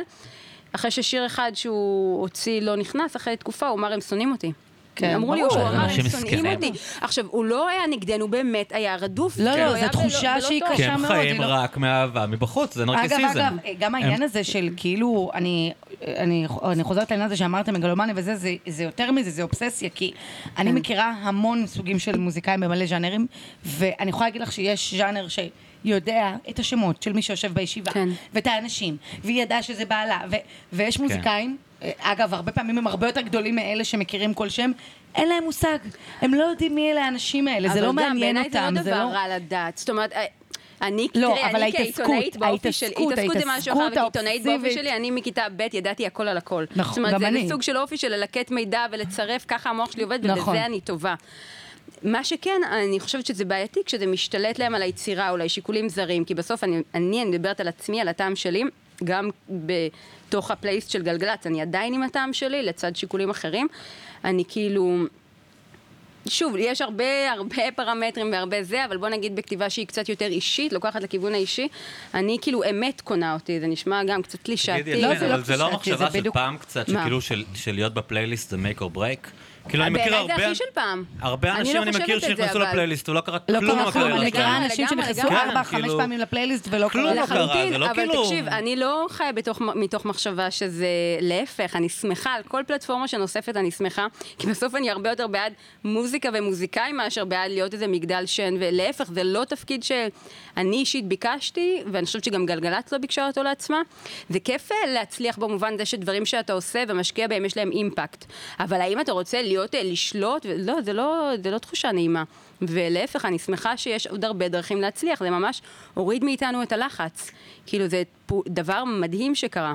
Speaker 1: אחרי ששיר אחד שהוא הוציא לא נכנס, אחרי תקופה הוא אמר, הם שונאים אותי.
Speaker 2: כן,
Speaker 1: אמרו לי,
Speaker 2: ברור.
Speaker 1: הוא אמר,
Speaker 3: אנשים
Speaker 1: הם שונאים
Speaker 3: מסכנים.
Speaker 1: אותי. עכשיו, הוא לא היה נגדנו, באמת היה רדוף.
Speaker 2: לא,
Speaker 1: כאילו,
Speaker 2: לא,
Speaker 1: היה בלא-
Speaker 2: זו תחושה
Speaker 1: בלא
Speaker 2: שהיא
Speaker 1: טוב.
Speaker 3: כי
Speaker 2: קשה
Speaker 3: הם
Speaker 2: מאוד, היא
Speaker 3: חיים
Speaker 2: לא-
Speaker 3: רק מאהבה מבחוץ, זה
Speaker 2: אגב,
Speaker 3: נרקיסיזם.
Speaker 2: אגב,
Speaker 1: אה,
Speaker 2: גם העניין הזה של כאילו, אני, אני, אני חוזרת לעניין הזה שאמרתם מגלומני וזה, זה, זה יותר מזה, זה אובססיה, כי אני
Speaker 1: כן.
Speaker 2: מכירה המון סוגים של מוזיקאים במלא ז'אנרים, ואני יכולה להגיד לך שיש ז'אנר ש... יודע את השמות של מי שיושב בישיבה,
Speaker 1: כן.
Speaker 2: ואת האנשים, והיא ידעה שזה בעלה, ו- ויש מוזיקאים, אגב, הרבה פעמים הם הרבה יותר גדולים מאלה שמכירים כל שם, אין להם מושג, הם לא יודעים מי אלה האנשים האלה, זה לא מעניין אותם,
Speaker 1: אבל גם בעיניי זה
Speaker 2: זה
Speaker 1: לא דבר רע לדעת. זאת אומרת, אה, אני,
Speaker 2: לא,
Speaker 1: תראה,
Speaker 2: אבל
Speaker 1: אני
Speaker 2: ההתעסקות,
Speaker 1: כעיתונאית באופי שלי,
Speaker 2: ההתעסקות,
Speaker 1: התעסקות זה משהו אחר,
Speaker 2: ההתעסקות
Speaker 1: וכעיתונאית באופי
Speaker 2: האובססיבית.
Speaker 1: שלי, אני מכיתה ב' ידעתי הכל על הכל.
Speaker 2: נכון,
Speaker 1: זאת אומרת,
Speaker 2: גם
Speaker 1: זה-
Speaker 2: אני.
Speaker 1: זה סוג של אופי של ללקט מידע ולצרף, ככה המוח שלי עובד,
Speaker 2: נכון.
Speaker 1: ולזה אני טובה. מה שכן, אני חושבת שזה בעייתי כשזה משתלט להם על היצירה, אולי שיקולים זרים, כי בסוף אני, אני, אני מדברת על עצמי, על הטעם שלי, גם בתוך הפלייסט של גלגלצ, אני עדיין עם הטעם שלי, לצד שיקולים אחרים. אני כאילו, שוב, יש הרבה הרבה פרמטרים והרבה זה, אבל בוא נגיד בכתיבה שהיא קצת יותר אישית, לוקחת לכיוון האישי, אני כאילו אמת קונה אותי, זה נשמע גם קצת
Speaker 3: תגידי,
Speaker 1: קלישאתי.
Speaker 2: לא,
Speaker 3: אלין,
Speaker 2: זה לא
Speaker 3: אבל זה לא
Speaker 2: קלישאתי,
Speaker 3: המחשבה
Speaker 2: זה
Speaker 3: של
Speaker 2: בדיוק-
Speaker 3: פעם קצת,
Speaker 1: מה?
Speaker 3: שכאילו של של להיות בפלייליסט זה make or break? כאילו אני מכיר
Speaker 1: בעיניי זה
Speaker 3: הרבה...
Speaker 1: הכי של פעם.
Speaker 3: הרבה
Speaker 1: אני
Speaker 3: אנשים
Speaker 1: לא
Speaker 3: אני
Speaker 1: חושבת
Speaker 3: מכיר
Speaker 1: את זה,
Speaker 3: שנכנסו
Speaker 1: אבל-
Speaker 3: לפלייליסט ולא קרה
Speaker 2: לא
Speaker 3: כלום
Speaker 2: קרה כלום,
Speaker 3: בקריירה
Speaker 2: אני מכירה
Speaker 1: לגמרי,
Speaker 3: שלהם.
Speaker 2: אנשים
Speaker 1: לגמרי,
Speaker 2: שנכנסו
Speaker 1: לגמרי.
Speaker 2: ארבע, חמש
Speaker 3: כאילו-
Speaker 2: פעמים לפלייליסט ולא
Speaker 3: כלום.
Speaker 2: קרה
Speaker 3: לא קרה, זה לא
Speaker 1: אבל
Speaker 3: כאילו-
Speaker 1: תקשיב, אני לא חיה בתוך, מתוך מחשבה שזה להפך, אני שמחה על כל פלטפורמה שנוספת, אני שמחה, כי בסוף אני הרבה יותר בעד מוזיקה ומוזיקאים מאשר בעד להיות איזה מגדל שן, ולהפך, זה לא תפקיד שאני אישית ביקשתי, ואני חושבת שגם גלגלצ לא ביקשה אותו לעצמה. זה כיף אה, להצליח במובן זה שדברים שאתה עושה ומשקיע בהם יש להם אימפקט, אבל האם אתה רוצה להיות, אה, לשלוט, ו- לא, זה לא, זה לא תחושה נעימה. ולהפך, אני שמחה שיש עוד הרבה דרכים להצליח, זה ממש הוריד מאיתנו את הלחץ. כאילו, זה פו- דבר מדהים שקרה.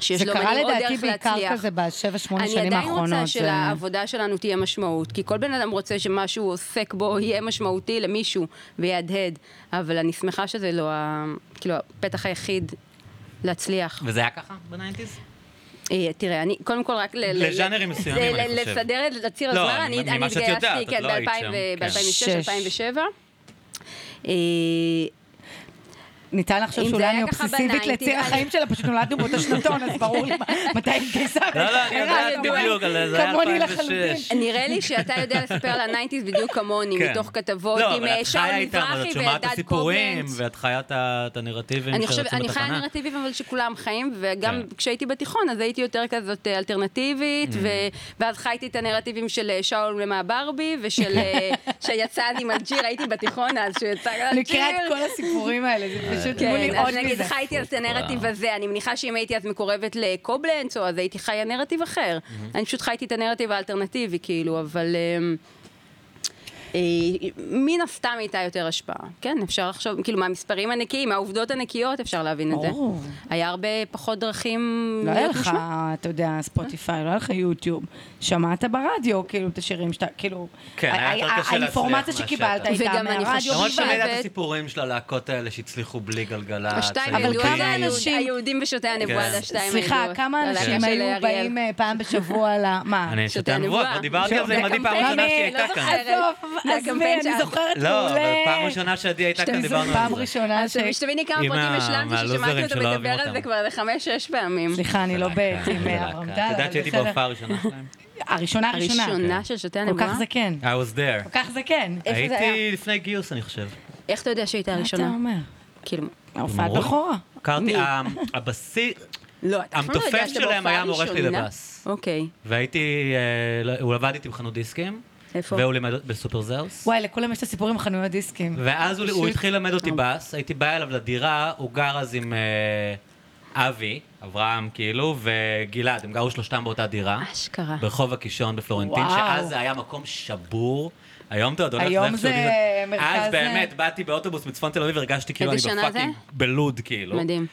Speaker 1: שיש
Speaker 2: זה
Speaker 1: לאמנים
Speaker 2: קרה
Speaker 1: עוד
Speaker 2: לדעתי
Speaker 1: דרך
Speaker 2: בעיקר
Speaker 1: לא, להצליח.
Speaker 2: כזה בשבע, שמונה
Speaker 1: אני
Speaker 2: שנים
Speaker 1: עדיין רוצה
Speaker 2: האחרונות. זה-
Speaker 1: שלעבודה שלנו תהיה משמעות, כי כל בן אדם רוצה שמה שהוא עוסק בו יהיה משמעותי למישהו ויהדהד, אבל אני שמחה שזה לא ה... כאילו, הפתח היחיד להצליח.
Speaker 3: וזה היה ככה בניינטיז?
Speaker 1: אה, תראה, אני, קודם כל רק... ל- ל-
Speaker 3: לז'אנרים
Speaker 1: ל-
Speaker 3: מסוימים,
Speaker 1: ל-
Speaker 3: אני חושב.
Speaker 1: לסדר את הציר
Speaker 3: לא,
Speaker 1: הזמן,
Speaker 3: אני-
Speaker 1: אני אני
Speaker 3: ממה שאת יודעת,
Speaker 1: התגייסתי,
Speaker 3: את
Speaker 1: כן,
Speaker 3: לא היית שם, כן.
Speaker 2: שש.
Speaker 1: ב-2006-2007. אה,
Speaker 2: ניתן לחשוב
Speaker 1: אם זה
Speaker 2: שאולי
Speaker 1: היה
Speaker 2: אני
Speaker 1: ככה
Speaker 2: אובססיבית
Speaker 1: בניינטיז,
Speaker 2: לציר
Speaker 1: אני-
Speaker 2: החיים שלה, פשוט נולדנו באותו שנתון, אז ברור לי מה- מתי היא התגייסה.
Speaker 3: לא, לא, אני יודעת בדיוק, אבל זה היה
Speaker 2: כמוני
Speaker 3: 2006.
Speaker 2: לחלוטין.
Speaker 1: נראה לי שאתה יודע לספר על הניינטיז בדיוק כמוני,
Speaker 3: כן.
Speaker 1: מתוך כתבות
Speaker 3: לא,
Speaker 1: עם
Speaker 3: אבל
Speaker 1: אה,
Speaker 3: את
Speaker 1: שאול
Speaker 3: חיה איתם, אז
Speaker 1: מזרחי
Speaker 3: את שומעת את
Speaker 1: ואלדד
Speaker 3: הסיפורים,
Speaker 1: קובלנץ.
Speaker 3: ואת חיה את ה- את הנרטיבים
Speaker 1: אני חושבת,
Speaker 3: שרצים
Speaker 1: אני חיה
Speaker 3: בתחנה.
Speaker 1: נרטיבים אבל שכולם חיים, וגם
Speaker 3: כן. Mm.
Speaker 1: כשהייתי בתיכון אז הייתי יותר כזאת אה, אלטרנטיבית, ו- ואז חייתי את הנרטיבים של אה, שאול ומהברבי, ושל אה, שיצא אז עם אלג'יר, הייתי בתיכון אז שהוא יצא עם
Speaker 2: אני
Speaker 1: אלג'יר.
Speaker 2: מכירה את כל הסיפורים האלה,
Speaker 3: אה,
Speaker 2: זה פשוט תנו לי
Speaker 1: כן,
Speaker 2: עוד
Speaker 1: אז נגיד
Speaker 2: מזה.
Speaker 1: חייתי אז את הנרטיב הזה, אני מניחה שאם הייתי אז מקורבת לקובלנץ, או אז הייתי חיה נרטיב אחר.
Speaker 3: Mm-hmm.
Speaker 1: אני פשוט חייתי את הנרטיב האלטרנטיבי, כאילו, אבל... אמ, אה, מן הסתם הייתה יותר השפעה, כן, אפשר לחשוב, כאילו מהמספרים הנקיים, מהעובדות הנקיות אפשר להבין את זה.
Speaker 2: ברור.
Speaker 1: היה הרבה פחות דרכים
Speaker 2: לא היה
Speaker 1: להיות
Speaker 2: לך,
Speaker 1: מושמע.
Speaker 2: אתה יודע, ספוטיפיי, לא היה לך יוטיוב. שמעת ברדיו, כאילו, את השירים שאתה, כאילו...
Speaker 3: כן, היה
Speaker 2: ה-
Speaker 3: יותר
Speaker 2: ה-
Speaker 3: קשה להצליח
Speaker 2: האינפורמציה
Speaker 3: מהשטח.
Speaker 2: שקיבלת הייתה
Speaker 1: וגם אני
Speaker 2: מהרדיו
Speaker 1: חושבת-
Speaker 3: למרות שאני יודע את
Speaker 1: יושבת.
Speaker 3: הסיפורים של הלהקות האלה שהצליחו בלי גלגלצ.
Speaker 1: השתיים
Speaker 2: אבל
Speaker 3: היו לא,
Speaker 1: הידועות,
Speaker 2: כמה
Speaker 1: זה היהוד-
Speaker 2: אנשים-
Speaker 1: היהודים ושוטי הנבואה,
Speaker 3: כן.
Speaker 1: זה השתיים הידועות. לא,
Speaker 2: סליחה, כמה אנשים היו באים אה, פעם בשבוע ל... מה?
Speaker 3: אני
Speaker 1: שוטי
Speaker 3: שותה נבואה,
Speaker 1: הנבואה.
Speaker 3: כבר דיברתי על זה עם עדי
Speaker 1: בקמפיין,
Speaker 3: פעם ראשונה שהיא
Speaker 1: לא
Speaker 3: הייתה כאן.
Speaker 1: זוכרת. לא, זה הקמפיין שם.
Speaker 2: עזוב, עזבי, אני זוכרת
Speaker 3: לא, אבל
Speaker 2: מעולה.
Speaker 3: פעם ראשונה שעדי הייתה כאן דיברנו על
Speaker 2: פעם
Speaker 3: זה.
Speaker 2: ראשונה ש...
Speaker 1: אז שתביני כמה
Speaker 3: עם
Speaker 1: פרטים
Speaker 3: ה-
Speaker 1: השלמתי ששמעתי
Speaker 3: מהלוזרים
Speaker 1: אותו
Speaker 3: שלא אוהבים
Speaker 1: מדבר על זה
Speaker 3: אותם.
Speaker 1: כבר איזה חמש-שש פעמים.
Speaker 2: סליחה, אני לא בעצם
Speaker 3: זה להקה.
Speaker 2: אברהם
Speaker 3: את
Speaker 2: טל.
Speaker 3: יודעת שהייתי
Speaker 2: אבל בסדר. אוקיי.
Speaker 3: בהופעה
Speaker 2: הראשונה,
Speaker 3: הראשונה שלהם?
Speaker 2: הראשונה.
Speaker 1: הראשונה אוקיי. אה, של שוטי
Speaker 2: כל
Speaker 1: הנבואה?
Speaker 2: כך זקן.
Speaker 3: I was there.
Speaker 2: כל כך כן. זקן.
Speaker 1: איפה זה היה?
Speaker 3: הייתי לפני גיוס, אני חושב.
Speaker 1: איך אתה יודע שהייתה
Speaker 2: מה אתה
Speaker 1: הראשונה?
Speaker 2: אומר?
Speaker 1: כאילו,
Speaker 2: הופעת
Speaker 3: אמרו לי.
Speaker 2: בכורה.
Speaker 3: הכרתי,
Speaker 1: מי?
Speaker 3: ה- הבסיס,
Speaker 1: לא, אתה אף פעם לא
Speaker 3: המתופף
Speaker 1: יודע שאתה
Speaker 3: שלהם
Speaker 1: בהופעה
Speaker 3: היה המורה שלי
Speaker 1: ראשונה?
Speaker 3: לבאס.
Speaker 1: אוקיי.
Speaker 3: והייתי, אה, לא- הוא עבד איתי בחנות דיסקים.
Speaker 1: איפה?
Speaker 3: והוא לימד בסופר זאוס.
Speaker 2: וואי, לכולם יש את הסיפור עם חנויות דיסקים.
Speaker 3: ואז הוא- הוא
Speaker 2: פשוט-
Speaker 3: התחיל ללמד אותי בס, הייתי בא אליו לדירה, הוא גר אז עם אה, אבי, אברהם כאילו, וגלעד, הם גרו שלושתם באותה דירה.
Speaker 1: אשכרה.
Speaker 3: ברחוב הקישון בפלורנטין,
Speaker 2: וואו.
Speaker 3: שאז זה היה מקום שבור. היום אתה עוד הולך
Speaker 2: היום
Speaker 3: ואיך
Speaker 2: זה
Speaker 3: שעודים
Speaker 2: מרכז,
Speaker 3: אז
Speaker 2: אה,
Speaker 3: באמת, באתי באוטובוס מצפון תל אביב, הרגשתי כאילו אני
Speaker 1: איזה שנה זה?
Speaker 3: בפאקינג בלוד, כאילו.
Speaker 1: מדהים.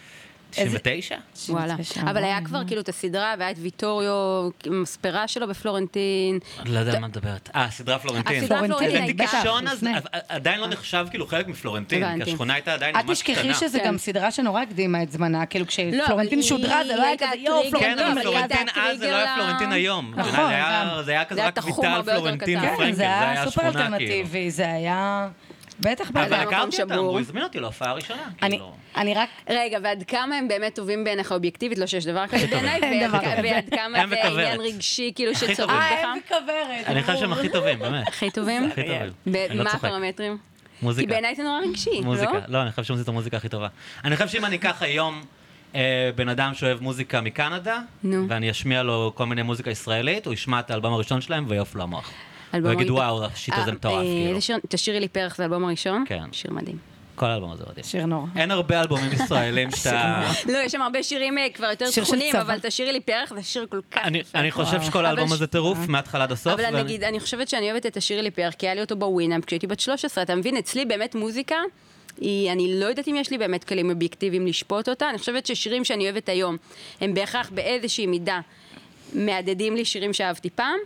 Speaker 3: 99?
Speaker 1: וואלה. אבל היה כבר כאילו את הסדרה, והיה את ויטוריו, מספרה שלו בפלורנטין.
Speaker 3: לא יודע על מה את מדברת. אה, סדרה פלורנטין.
Speaker 1: הסדרה פלורנטין,
Speaker 3: לדעתי
Speaker 1: בטח,
Speaker 3: קישון אז
Speaker 2: לפני.
Speaker 3: ע- עדיין לא נחשב כאילו חלק מפלורנטין,
Speaker 1: הבנתי.
Speaker 3: כי השכונה הייתה עדיין
Speaker 2: אל
Speaker 3: ממש קטנה.
Speaker 2: תשכחי שזה
Speaker 1: כן.
Speaker 2: גם סדרה שנורא הקדימה את זמנה, כאילו
Speaker 1: אבל
Speaker 2: כשפלורנטין
Speaker 1: היא-
Speaker 2: שודרה זה לא היה
Speaker 1: היא
Speaker 2: כזה
Speaker 1: הייתה
Speaker 2: יואו,
Speaker 1: טריגר,
Speaker 3: כן,
Speaker 1: לא,
Speaker 2: פלורנטין
Speaker 3: אבל
Speaker 1: אבל היא הייתה
Speaker 2: מרכז.
Speaker 3: פלורנטין אז זה
Speaker 1: טריגר
Speaker 3: לא היה
Speaker 1: ל-
Speaker 3: פלורנטין היום.
Speaker 2: נכון,
Speaker 3: זה היה-
Speaker 2: גם.
Speaker 3: זה היה
Speaker 1: זה
Speaker 3: כזה
Speaker 1: היה
Speaker 3: רק
Speaker 1: תחום
Speaker 3: מיטל
Speaker 1: הרבה יותר
Speaker 3: פלורנטין
Speaker 1: קטן.
Speaker 2: כן,
Speaker 3: ופרנקל,
Speaker 2: זה היה סופר
Speaker 3: השכונה כאילו.
Speaker 2: אלטרנטיבי, זה היה... בטח,
Speaker 1: אבל
Speaker 2: בטח.
Speaker 3: אבל
Speaker 1: כן, מקום
Speaker 3: הכרתי אותם,
Speaker 1: שבור.
Speaker 3: הוא הזמין אותי להופעה הראשונה,
Speaker 2: אני-
Speaker 3: כאילו.
Speaker 2: אני רק...
Speaker 1: רגע, ועד כמה הם באמת טובים בעיניך אובייקטיבית? לא שיש דבר כזה בעיניי,
Speaker 2: אין
Speaker 1: ועד-
Speaker 2: דבר כזה.
Speaker 1: ועד כמה
Speaker 3: הם
Speaker 1: זה
Speaker 3: וכוורת.
Speaker 1: עניין רגשי, כאילו
Speaker 3: הכי
Speaker 1: שצורך
Speaker 3: טובים.
Speaker 1: בך?
Speaker 2: אה, הם וכוורת.
Speaker 3: אני חושב שהם
Speaker 2: ברור.
Speaker 3: הכי טובים, באמת.
Speaker 1: הכי טובים?
Speaker 3: הכי טובים. אני לא
Speaker 1: במה
Speaker 3: צוחק.
Speaker 1: הפרמטרים? כי
Speaker 3: מוזיקה.
Speaker 1: בעיניי זה נורא רגשי,
Speaker 3: מוזיקה.
Speaker 1: לא?
Speaker 3: לא, אני חושב שהם עושים את המוזיקה הכי טובה. אני חושב שאם אני אקח היום אה, בן אדם שאוהב מוזיקה מקנדה,
Speaker 1: נו.
Speaker 3: ואני אשמיע לו כל מיני מוזיקה ישראלית, הוא ישמע את האלבום הראשון שלהם ויעוף לו המוח.
Speaker 1: אלבום
Speaker 3: הוא יגיד,
Speaker 1: ראית-
Speaker 3: וואו, השיט הזה
Speaker 1: אה,
Speaker 3: מטורף,
Speaker 1: אה,
Speaker 3: כאילו.
Speaker 1: איזה שיר- תשאירי לי פרח, זה האלבום הראשון?
Speaker 3: כן.
Speaker 1: שיר מדהים.
Speaker 3: כל האלבום הזה מדהים.
Speaker 2: שיר נורא.
Speaker 3: אין הרבה אלבומים ישראלים שאתה...
Speaker 1: לא, יש שם הרבה שירים אה, כבר יותר
Speaker 2: שיר של
Speaker 1: תכונים,
Speaker 2: צבא.
Speaker 1: אבל תשאירי לי פרח זה שיר כל כך
Speaker 3: אני-
Speaker 1: יפה.
Speaker 3: אני חושב שכל
Speaker 1: אבל
Speaker 3: האלבום
Speaker 1: ש-
Speaker 3: הזה טירוף, מההתחלה עד הסוף.
Speaker 1: אה. אבל אני
Speaker 3: ואני-
Speaker 1: נגיד, אני חושבת שאני אוהבת את השיר לי פאר, כי היה לי אותו בווינאפ כשהייתי בת 13, אתה מבין? אצלי באמת מוזיקה, היא, אני לא יודעת אם יש לי באמת כלים אובייקטיביים לשפוט אותה, אני חושבת ששירים שאני אוהבת היום, הם בהכרח באיזושהי מידה מהדהדים לי שירים שאהבתי פעם,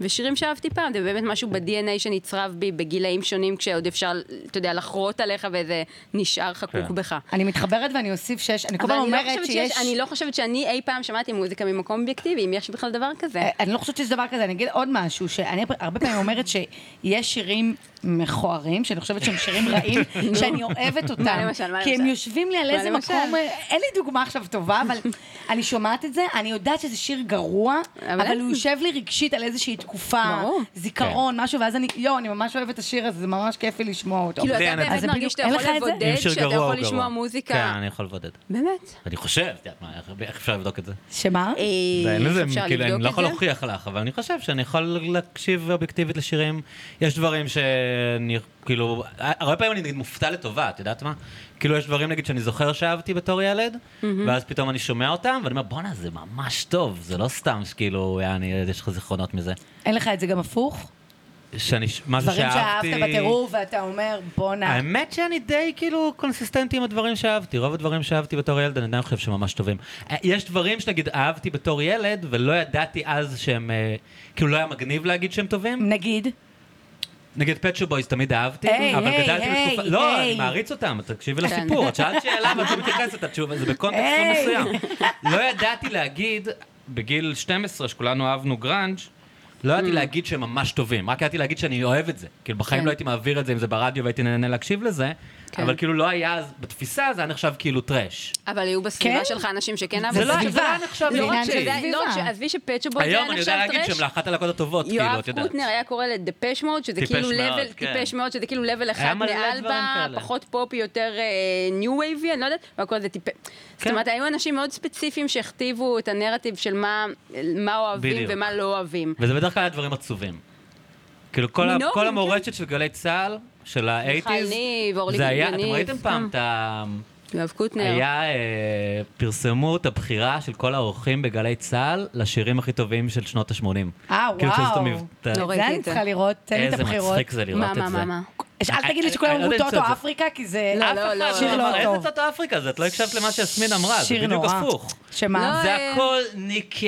Speaker 1: ושירים שאהבתי פעם, זה באמת משהו ב-DNA שנצרב בי בגילאים שונים, כשעוד אפשר, אתה יודע, לחרות עליך וזה נשאר חקוק
Speaker 3: כן.
Speaker 1: בך.
Speaker 2: אני מתחברת ואני אוסיף שיש, אני כל
Speaker 1: אבל
Speaker 2: פעם
Speaker 1: אני לא,
Speaker 2: אומרת
Speaker 1: חושבת שיש...
Speaker 2: שיש...
Speaker 1: אני לא חושבת שאני אי פעם שמעתי מוזיקה ממקום אובייקטיבי, אם יש בכלל דבר כזה.
Speaker 2: אה, אני לא חושבת שזה דבר כזה, אני אגיד עוד משהו, שאני הרבה פעמים אומרת שיש שירים מכוערים, שאני חושבת שהם שירים רעים, שאני אוהבת אותם.
Speaker 1: למשל? מה
Speaker 2: כי הם
Speaker 1: למשל?
Speaker 2: יושבים לי על
Speaker 1: מה
Speaker 2: איזה
Speaker 1: למשל?
Speaker 2: מקום, אה, אין לי דוגמה עכשיו טובה, אבל אני שומעת את זה, אני יודעת שזה שיר גרוע,
Speaker 1: אבל
Speaker 2: אבל
Speaker 1: אין.
Speaker 2: הוא יושב לי רגשית על איזושהי תקופה,
Speaker 1: ברור.
Speaker 2: זיכרון,
Speaker 3: כן.
Speaker 2: משהו, ואז אני, יואו, אני ממש אוהבת את השיר הזה, זה ממש כיף לי לשמוע אותו.
Speaker 1: כאילו,
Speaker 3: זה
Speaker 1: אתה
Speaker 3: אני-
Speaker 1: באמת
Speaker 2: אז
Speaker 1: מרגיש שאתה
Speaker 2: בדיוק, אין
Speaker 1: יכול
Speaker 2: לך את זה?
Speaker 1: לבודד,
Speaker 3: אם שיר
Speaker 1: שאתה
Speaker 3: גרוע הוא
Speaker 1: יכול
Speaker 3: גרוע.
Speaker 1: לשמוע מוזיקה.
Speaker 3: כן, אני יכול לבודד.
Speaker 1: באמת.
Speaker 3: אני חושב, את יודעת מה, איך- איך אפשר לבדוק את זה?
Speaker 2: שמה?
Speaker 1: אה,
Speaker 3: זה אין לזה,
Speaker 1: אפשר
Speaker 3: אה, כאילו,
Speaker 1: לבדוק
Speaker 3: אני לא
Speaker 1: את
Speaker 3: יכול
Speaker 1: זה?
Speaker 3: להוכיח לך, אבל אני חושב שאני יכול להקשיב אובייקטיבית לשירים. יש דברים שאני, כאילו, הרבה פעמים אני נגיד מופתע לטובה, את יודעת מה? כאילו, יש דברים, נגיד, שאני זוכר שאהבתי בתור ילד, ואז פתאום אני שומע אותם, ואני אומר, בואנה, זה ממש טוב, זה לא סתם שכאילו, יעני, יש לך זיכרונות מזה.
Speaker 2: אין לך את זה גם הפוך?
Speaker 3: שאני, ש- משהו
Speaker 2: דברים
Speaker 3: שאהבתי...
Speaker 2: שאהבת בטירוף, ואתה אומר, בואנה.
Speaker 3: האמת שאני די כאילו קונסיסטנטי עם הדברים שאהבתי. רוב הדברים שאהבתי בתור ילד, אני עדיין חושב שהם ממש טובים. אה, יש דברים שנגיד אהבתי בתור ילד, ולא ידעתי אז שהם... אה, כאילו לא היה מגניב להגיד שהם טובים.
Speaker 2: נגיד,
Speaker 3: נגיד פצ'ו בויז תמיד אהבתי,
Speaker 2: היי,
Speaker 3: אבל
Speaker 2: היי,
Speaker 3: גדלתי
Speaker 2: היי,
Speaker 3: בתקופה... לא,
Speaker 2: היי.
Speaker 3: אני מעריץ אותם, תקשיבי
Speaker 1: כן.
Speaker 3: לסיפור. את שאלת שאלה ואת מתייחסת, התשובה זה בקונטקסט לא
Speaker 2: היי.
Speaker 3: מסוים. לא ידעתי להגיד, בגיל 12, שכולנו אהבנו גראנג', לא ידעתי
Speaker 2: Mm.
Speaker 3: להגיד שהם ממש טובים, רק ידעתי להגיד שאני אוהב את זה. כאילו, בחיים
Speaker 1: כן.
Speaker 3: לא הייתי מעביר את זה, אם זה ברדיו והייתי נהנה להקשיב לזה,
Speaker 1: כן.
Speaker 3: אבל כאילו לא היה, אז- בתפיסה זה היה נחשב כאילו טראש.
Speaker 1: אבל היו
Speaker 2: כן?
Speaker 1: בסביבה שלך אנשים שכן אהבו.
Speaker 3: זה לא
Speaker 1: את
Speaker 3: זה לא היה נחשב
Speaker 1: לא רק
Speaker 2: עניין של
Speaker 1: שזה,
Speaker 3: טראש.
Speaker 2: סביבה.
Speaker 1: לא רק ש... עזבי שפצ'בול זה היה
Speaker 3: היום אני
Speaker 1: נחשב
Speaker 3: יודע להגיד
Speaker 1: טרש.
Speaker 3: שהם לאחת הלהקות הטובות, כאילו,
Speaker 1: יואב
Speaker 3: את יודעת.
Speaker 1: קוטנר היה קורא לדפש מוד, שזה
Speaker 3: טיפש
Speaker 1: כאילו
Speaker 3: מאוד,
Speaker 1: לבל,
Speaker 3: כן.
Speaker 1: טיפש מאוד, שזה כאילו לבל אחד
Speaker 3: מלא
Speaker 1: מעל
Speaker 3: דברים
Speaker 1: בה,
Speaker 3: כאלה.
Speaker 1: פחות פופ, יותר ניו וייבי, אני לא יודעת, והכל זה טיפש.
Speaker 3: כן.
Speaker 1: זאת אומרת, היו אנשים מאוד ספציפיים שהכתיבו את הנרטיב של מה מה אוהבים
Speaker 3: בדיוק.
Speaker 1: ומה לא אוהבים.
Speaker 3: וזה בדרך כלל היה דברים עצובים. כאילו, כל, ה-
Speaker 1: מינורים,
Speaker 3: כל
Speaker 1: כן.
Speaker 3: המורשת של גלי צה"ל, של האייטיז,
Speaker 1: ניב, אורלי
Speaker 3: זה היה, אתם
Speaker 1: גניב,
Speaker 3: ראיתם פעם
Speaker 1: כן.
Speaker 3: את ה...
Speaker 1: יואב קוטנר.
Speaker 3: היה, אה, פרסמו את הבחירה של כל האורחים בגלי צה"ל לשירים הכי טובים של שנות ה-80.
Speaker 2: אה,
Speaker 3: כאילו, כשעשו את
Speaker 2: וואו.
Speaker 3: המבט-
Speaker 1: לא
Speaker 2: את זה
Speaker 1: ראיתי
Speaker 2: אני
Speaker 1: את זה.
Speaker 2: צריכה לראות, תן לי את
Speaker 3: איזה
Speaker 2: הבחירות.
Speaker 3: מצחיק זה לראות
Speaker 1: מה,
Speaker 3: את זה.
Speaker 1: מה, מה, מה?
Speaker 2: אל תגיד לי
Speaker 3: אני
Speaker 2: שכולם
Speaker 3: לא
Speaker 2: אמרו
Speaker 3: יודע אם
Speaker 2: טוטו
Speaker 3: זה-
Speaker 2: אפריקה, כי זה...
Speaker 1: לא,
Speaker 3: אף אחד
Speaker 1: לא,
Speaker 2: שיר לא
Speaker 3: אמר,
Speaker 2: טוב.
Speaker 3: איזה טוטו אפריקה זה? את לא הקשבת למה שיסמין אמרה, זה
Speaker 2: שיר
Speaker 3: בדיוק
Speaker 2: נורא.
Speaker 3: הפוך.
Speaker 2: שמה?
Speaker 1: לא,
Speaker 3: זה
Speaker 1: אה,
Speaker 3: הכל ניק
Speaker 2: כן.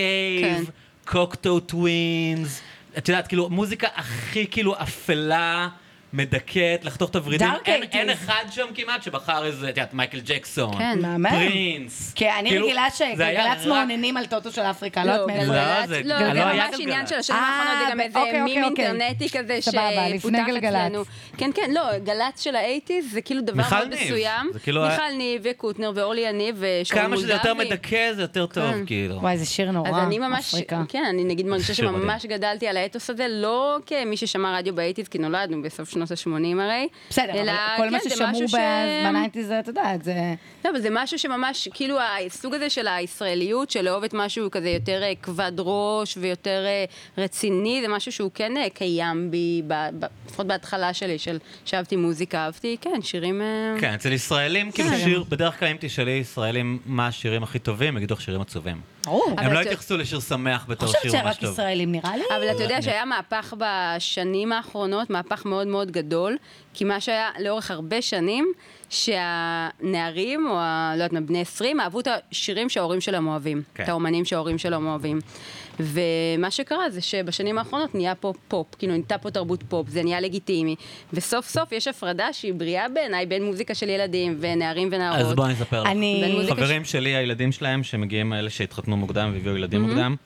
Speaker 3: קייב, קוקטו טווינס, את יודעת, כאילו, מוזיקה הכי כאילו אפלה, מדכאת, לחתוך את הוורידים.
Speaker 2: Dark
Speaker 3: אין-
Speaker 2: 80s.
Speaker 3: אין אחד שם כמעט שבחר איזה, את יודעת, מייקל ג'קסון,
Speaker 1: כן.
Speaker 2: מהמם.
Speaker 3: פרינס.
Speaker 2: כי אני
Speaker 3: כאילו,
Speaker 2: רגילה
Speaker 3: זה היה
Speaker 2: שגלגלצ
Speaker 3: רק-
Speaker 2: מעוננים על טוטו של אפריקה, לא
Speaker 1: לא,
Speaker 2: יודעת מאיפה.
Speaker 3: לא,
Speaker 1: גלגלצ,
Speaker 3: זה-
Speaker 1: לא,
Speaker 3: לא
Speaker 1: זה
Speaker 3: היה
Speaker 1: ממש
Speaker 3: גלגלצ.
Speaker 1: עניין של השנים
Speaker 2: אה,
Speaker 1: האחרונות, זה גם
Speaker 2: ב-
Speaker 1: איזה
Speaker 2: אוקיי,
Speaker 1: מים
Speaker 2: אוקיי, אוקיי.
Speaker 1: אינטרנטי כזה
Speaker 2: סבבה, לפני
Speaker 1: שפותח
Speaker 2: גלגלצ.
Speaker 1: אצלנו. כן, כן, לא, גלגלצ של האייטיז זה כאילו דבר
Speaker 3: מיכל
Speaker 1: מאוד
Speaker 3: ניב,
Speaker 1: מסוים.
Speaker 3: זה כאילו
Speaker 1: מיכל ניב וקוטנר ואורלי יניב ושרון
Speaker 3: כמה שזה יותר
Speaker 1: מולדבי.
Speaker 3: מדכא, זה יותר טוב, כאילו.
Speaker 2: כן. וואי, זה שיר נורא,
Speaker 1: אז אני ממש,
Speaker 2: אפריקה.
Speaker 1: כן, אני נגיד מרגישה
Speaker 3: שיר מדהים.
Speaker 1: שממש גדלתי על האתוס הזה, לא כמי ששמע רדיו באייטיז, כי נולדנו בסוף שנות ה-80 הרי.
Speaker 2: בסדר,
Speaker 1: אלא,
Speaker 2: אבל כל מה
Speaker 1: כן, זה
Speaker 2: ששמעו
Speaker 1: משהו ש-
Speaker 2: בניינטיז, את יודעת, זה...
Speaker 1: לא, אבל זה משהו שממש, כאילו, הסוג הזה של הישראליות, של לאהוב את משהו כזה יותר אה, כבד ראש ויותר אה, רציני, זה משהו שהוא כן אה, קיים בי, ב- ב- לפחות בהתחלה שלי, של שאהבתי מוזיקה, אהבתי, כן, שירים... אה,
Speaker 3: כן, אצל ישראלים, כאילו
Speaker 2: כן.
Speaker 3: שיר, בדרך כלל אם תשאלי ישראלים מה השירים הכי טובים, יגידו לך שירים עצובים.
Speaker 2: ברור.
Speaker 1: אבל
Speaker 3: הם
Speaker 1: אתה-
Speaker 3: לא התייחסו לשיר שמח בתור
Speaker 2: לא חושבת
Speaker 3: שיר ממש
Speaker 2: שרק
Speaker 3: טוב.
Speaker 2: ישראלים, נראה לי.
Speaker 1: אבל אתה
Speaker 3: אה,
Speaker 1: יודע שהיה מהפך בשנים האחרונות, מהפך מאוד מאוד גדול, כי מה שהיה לאורך הרבה שנים, שהנערים, או ה... לא יודעת מה, בני 20, אהבו את השירים שההורים שלהם אוהבים.
Speaker 3: כן.
Speaker 1: את האומנים שההורים שלהם אוהבים. ומה שקרה זה שבשנים האחרונות נהיה פה פופ, כאילו נהייתה פה תרבות פופ, זה נהיה לגיטימי. וסוף סוף יש הפרדה שהיא בריאה בעיניי בין מוזיקה של ילדים ונערים ונערות.
Speaker 3: אז בואי אני אספר לך.
Speaker 2: אני...
Speaker 1: בין מוזיקה- Mm-hmm.
Speaker 3: חברים שלי, הילדים שלהם, שמגיעים, אלה שהתחתנו מוקדם והביאו ילדים מוקדם,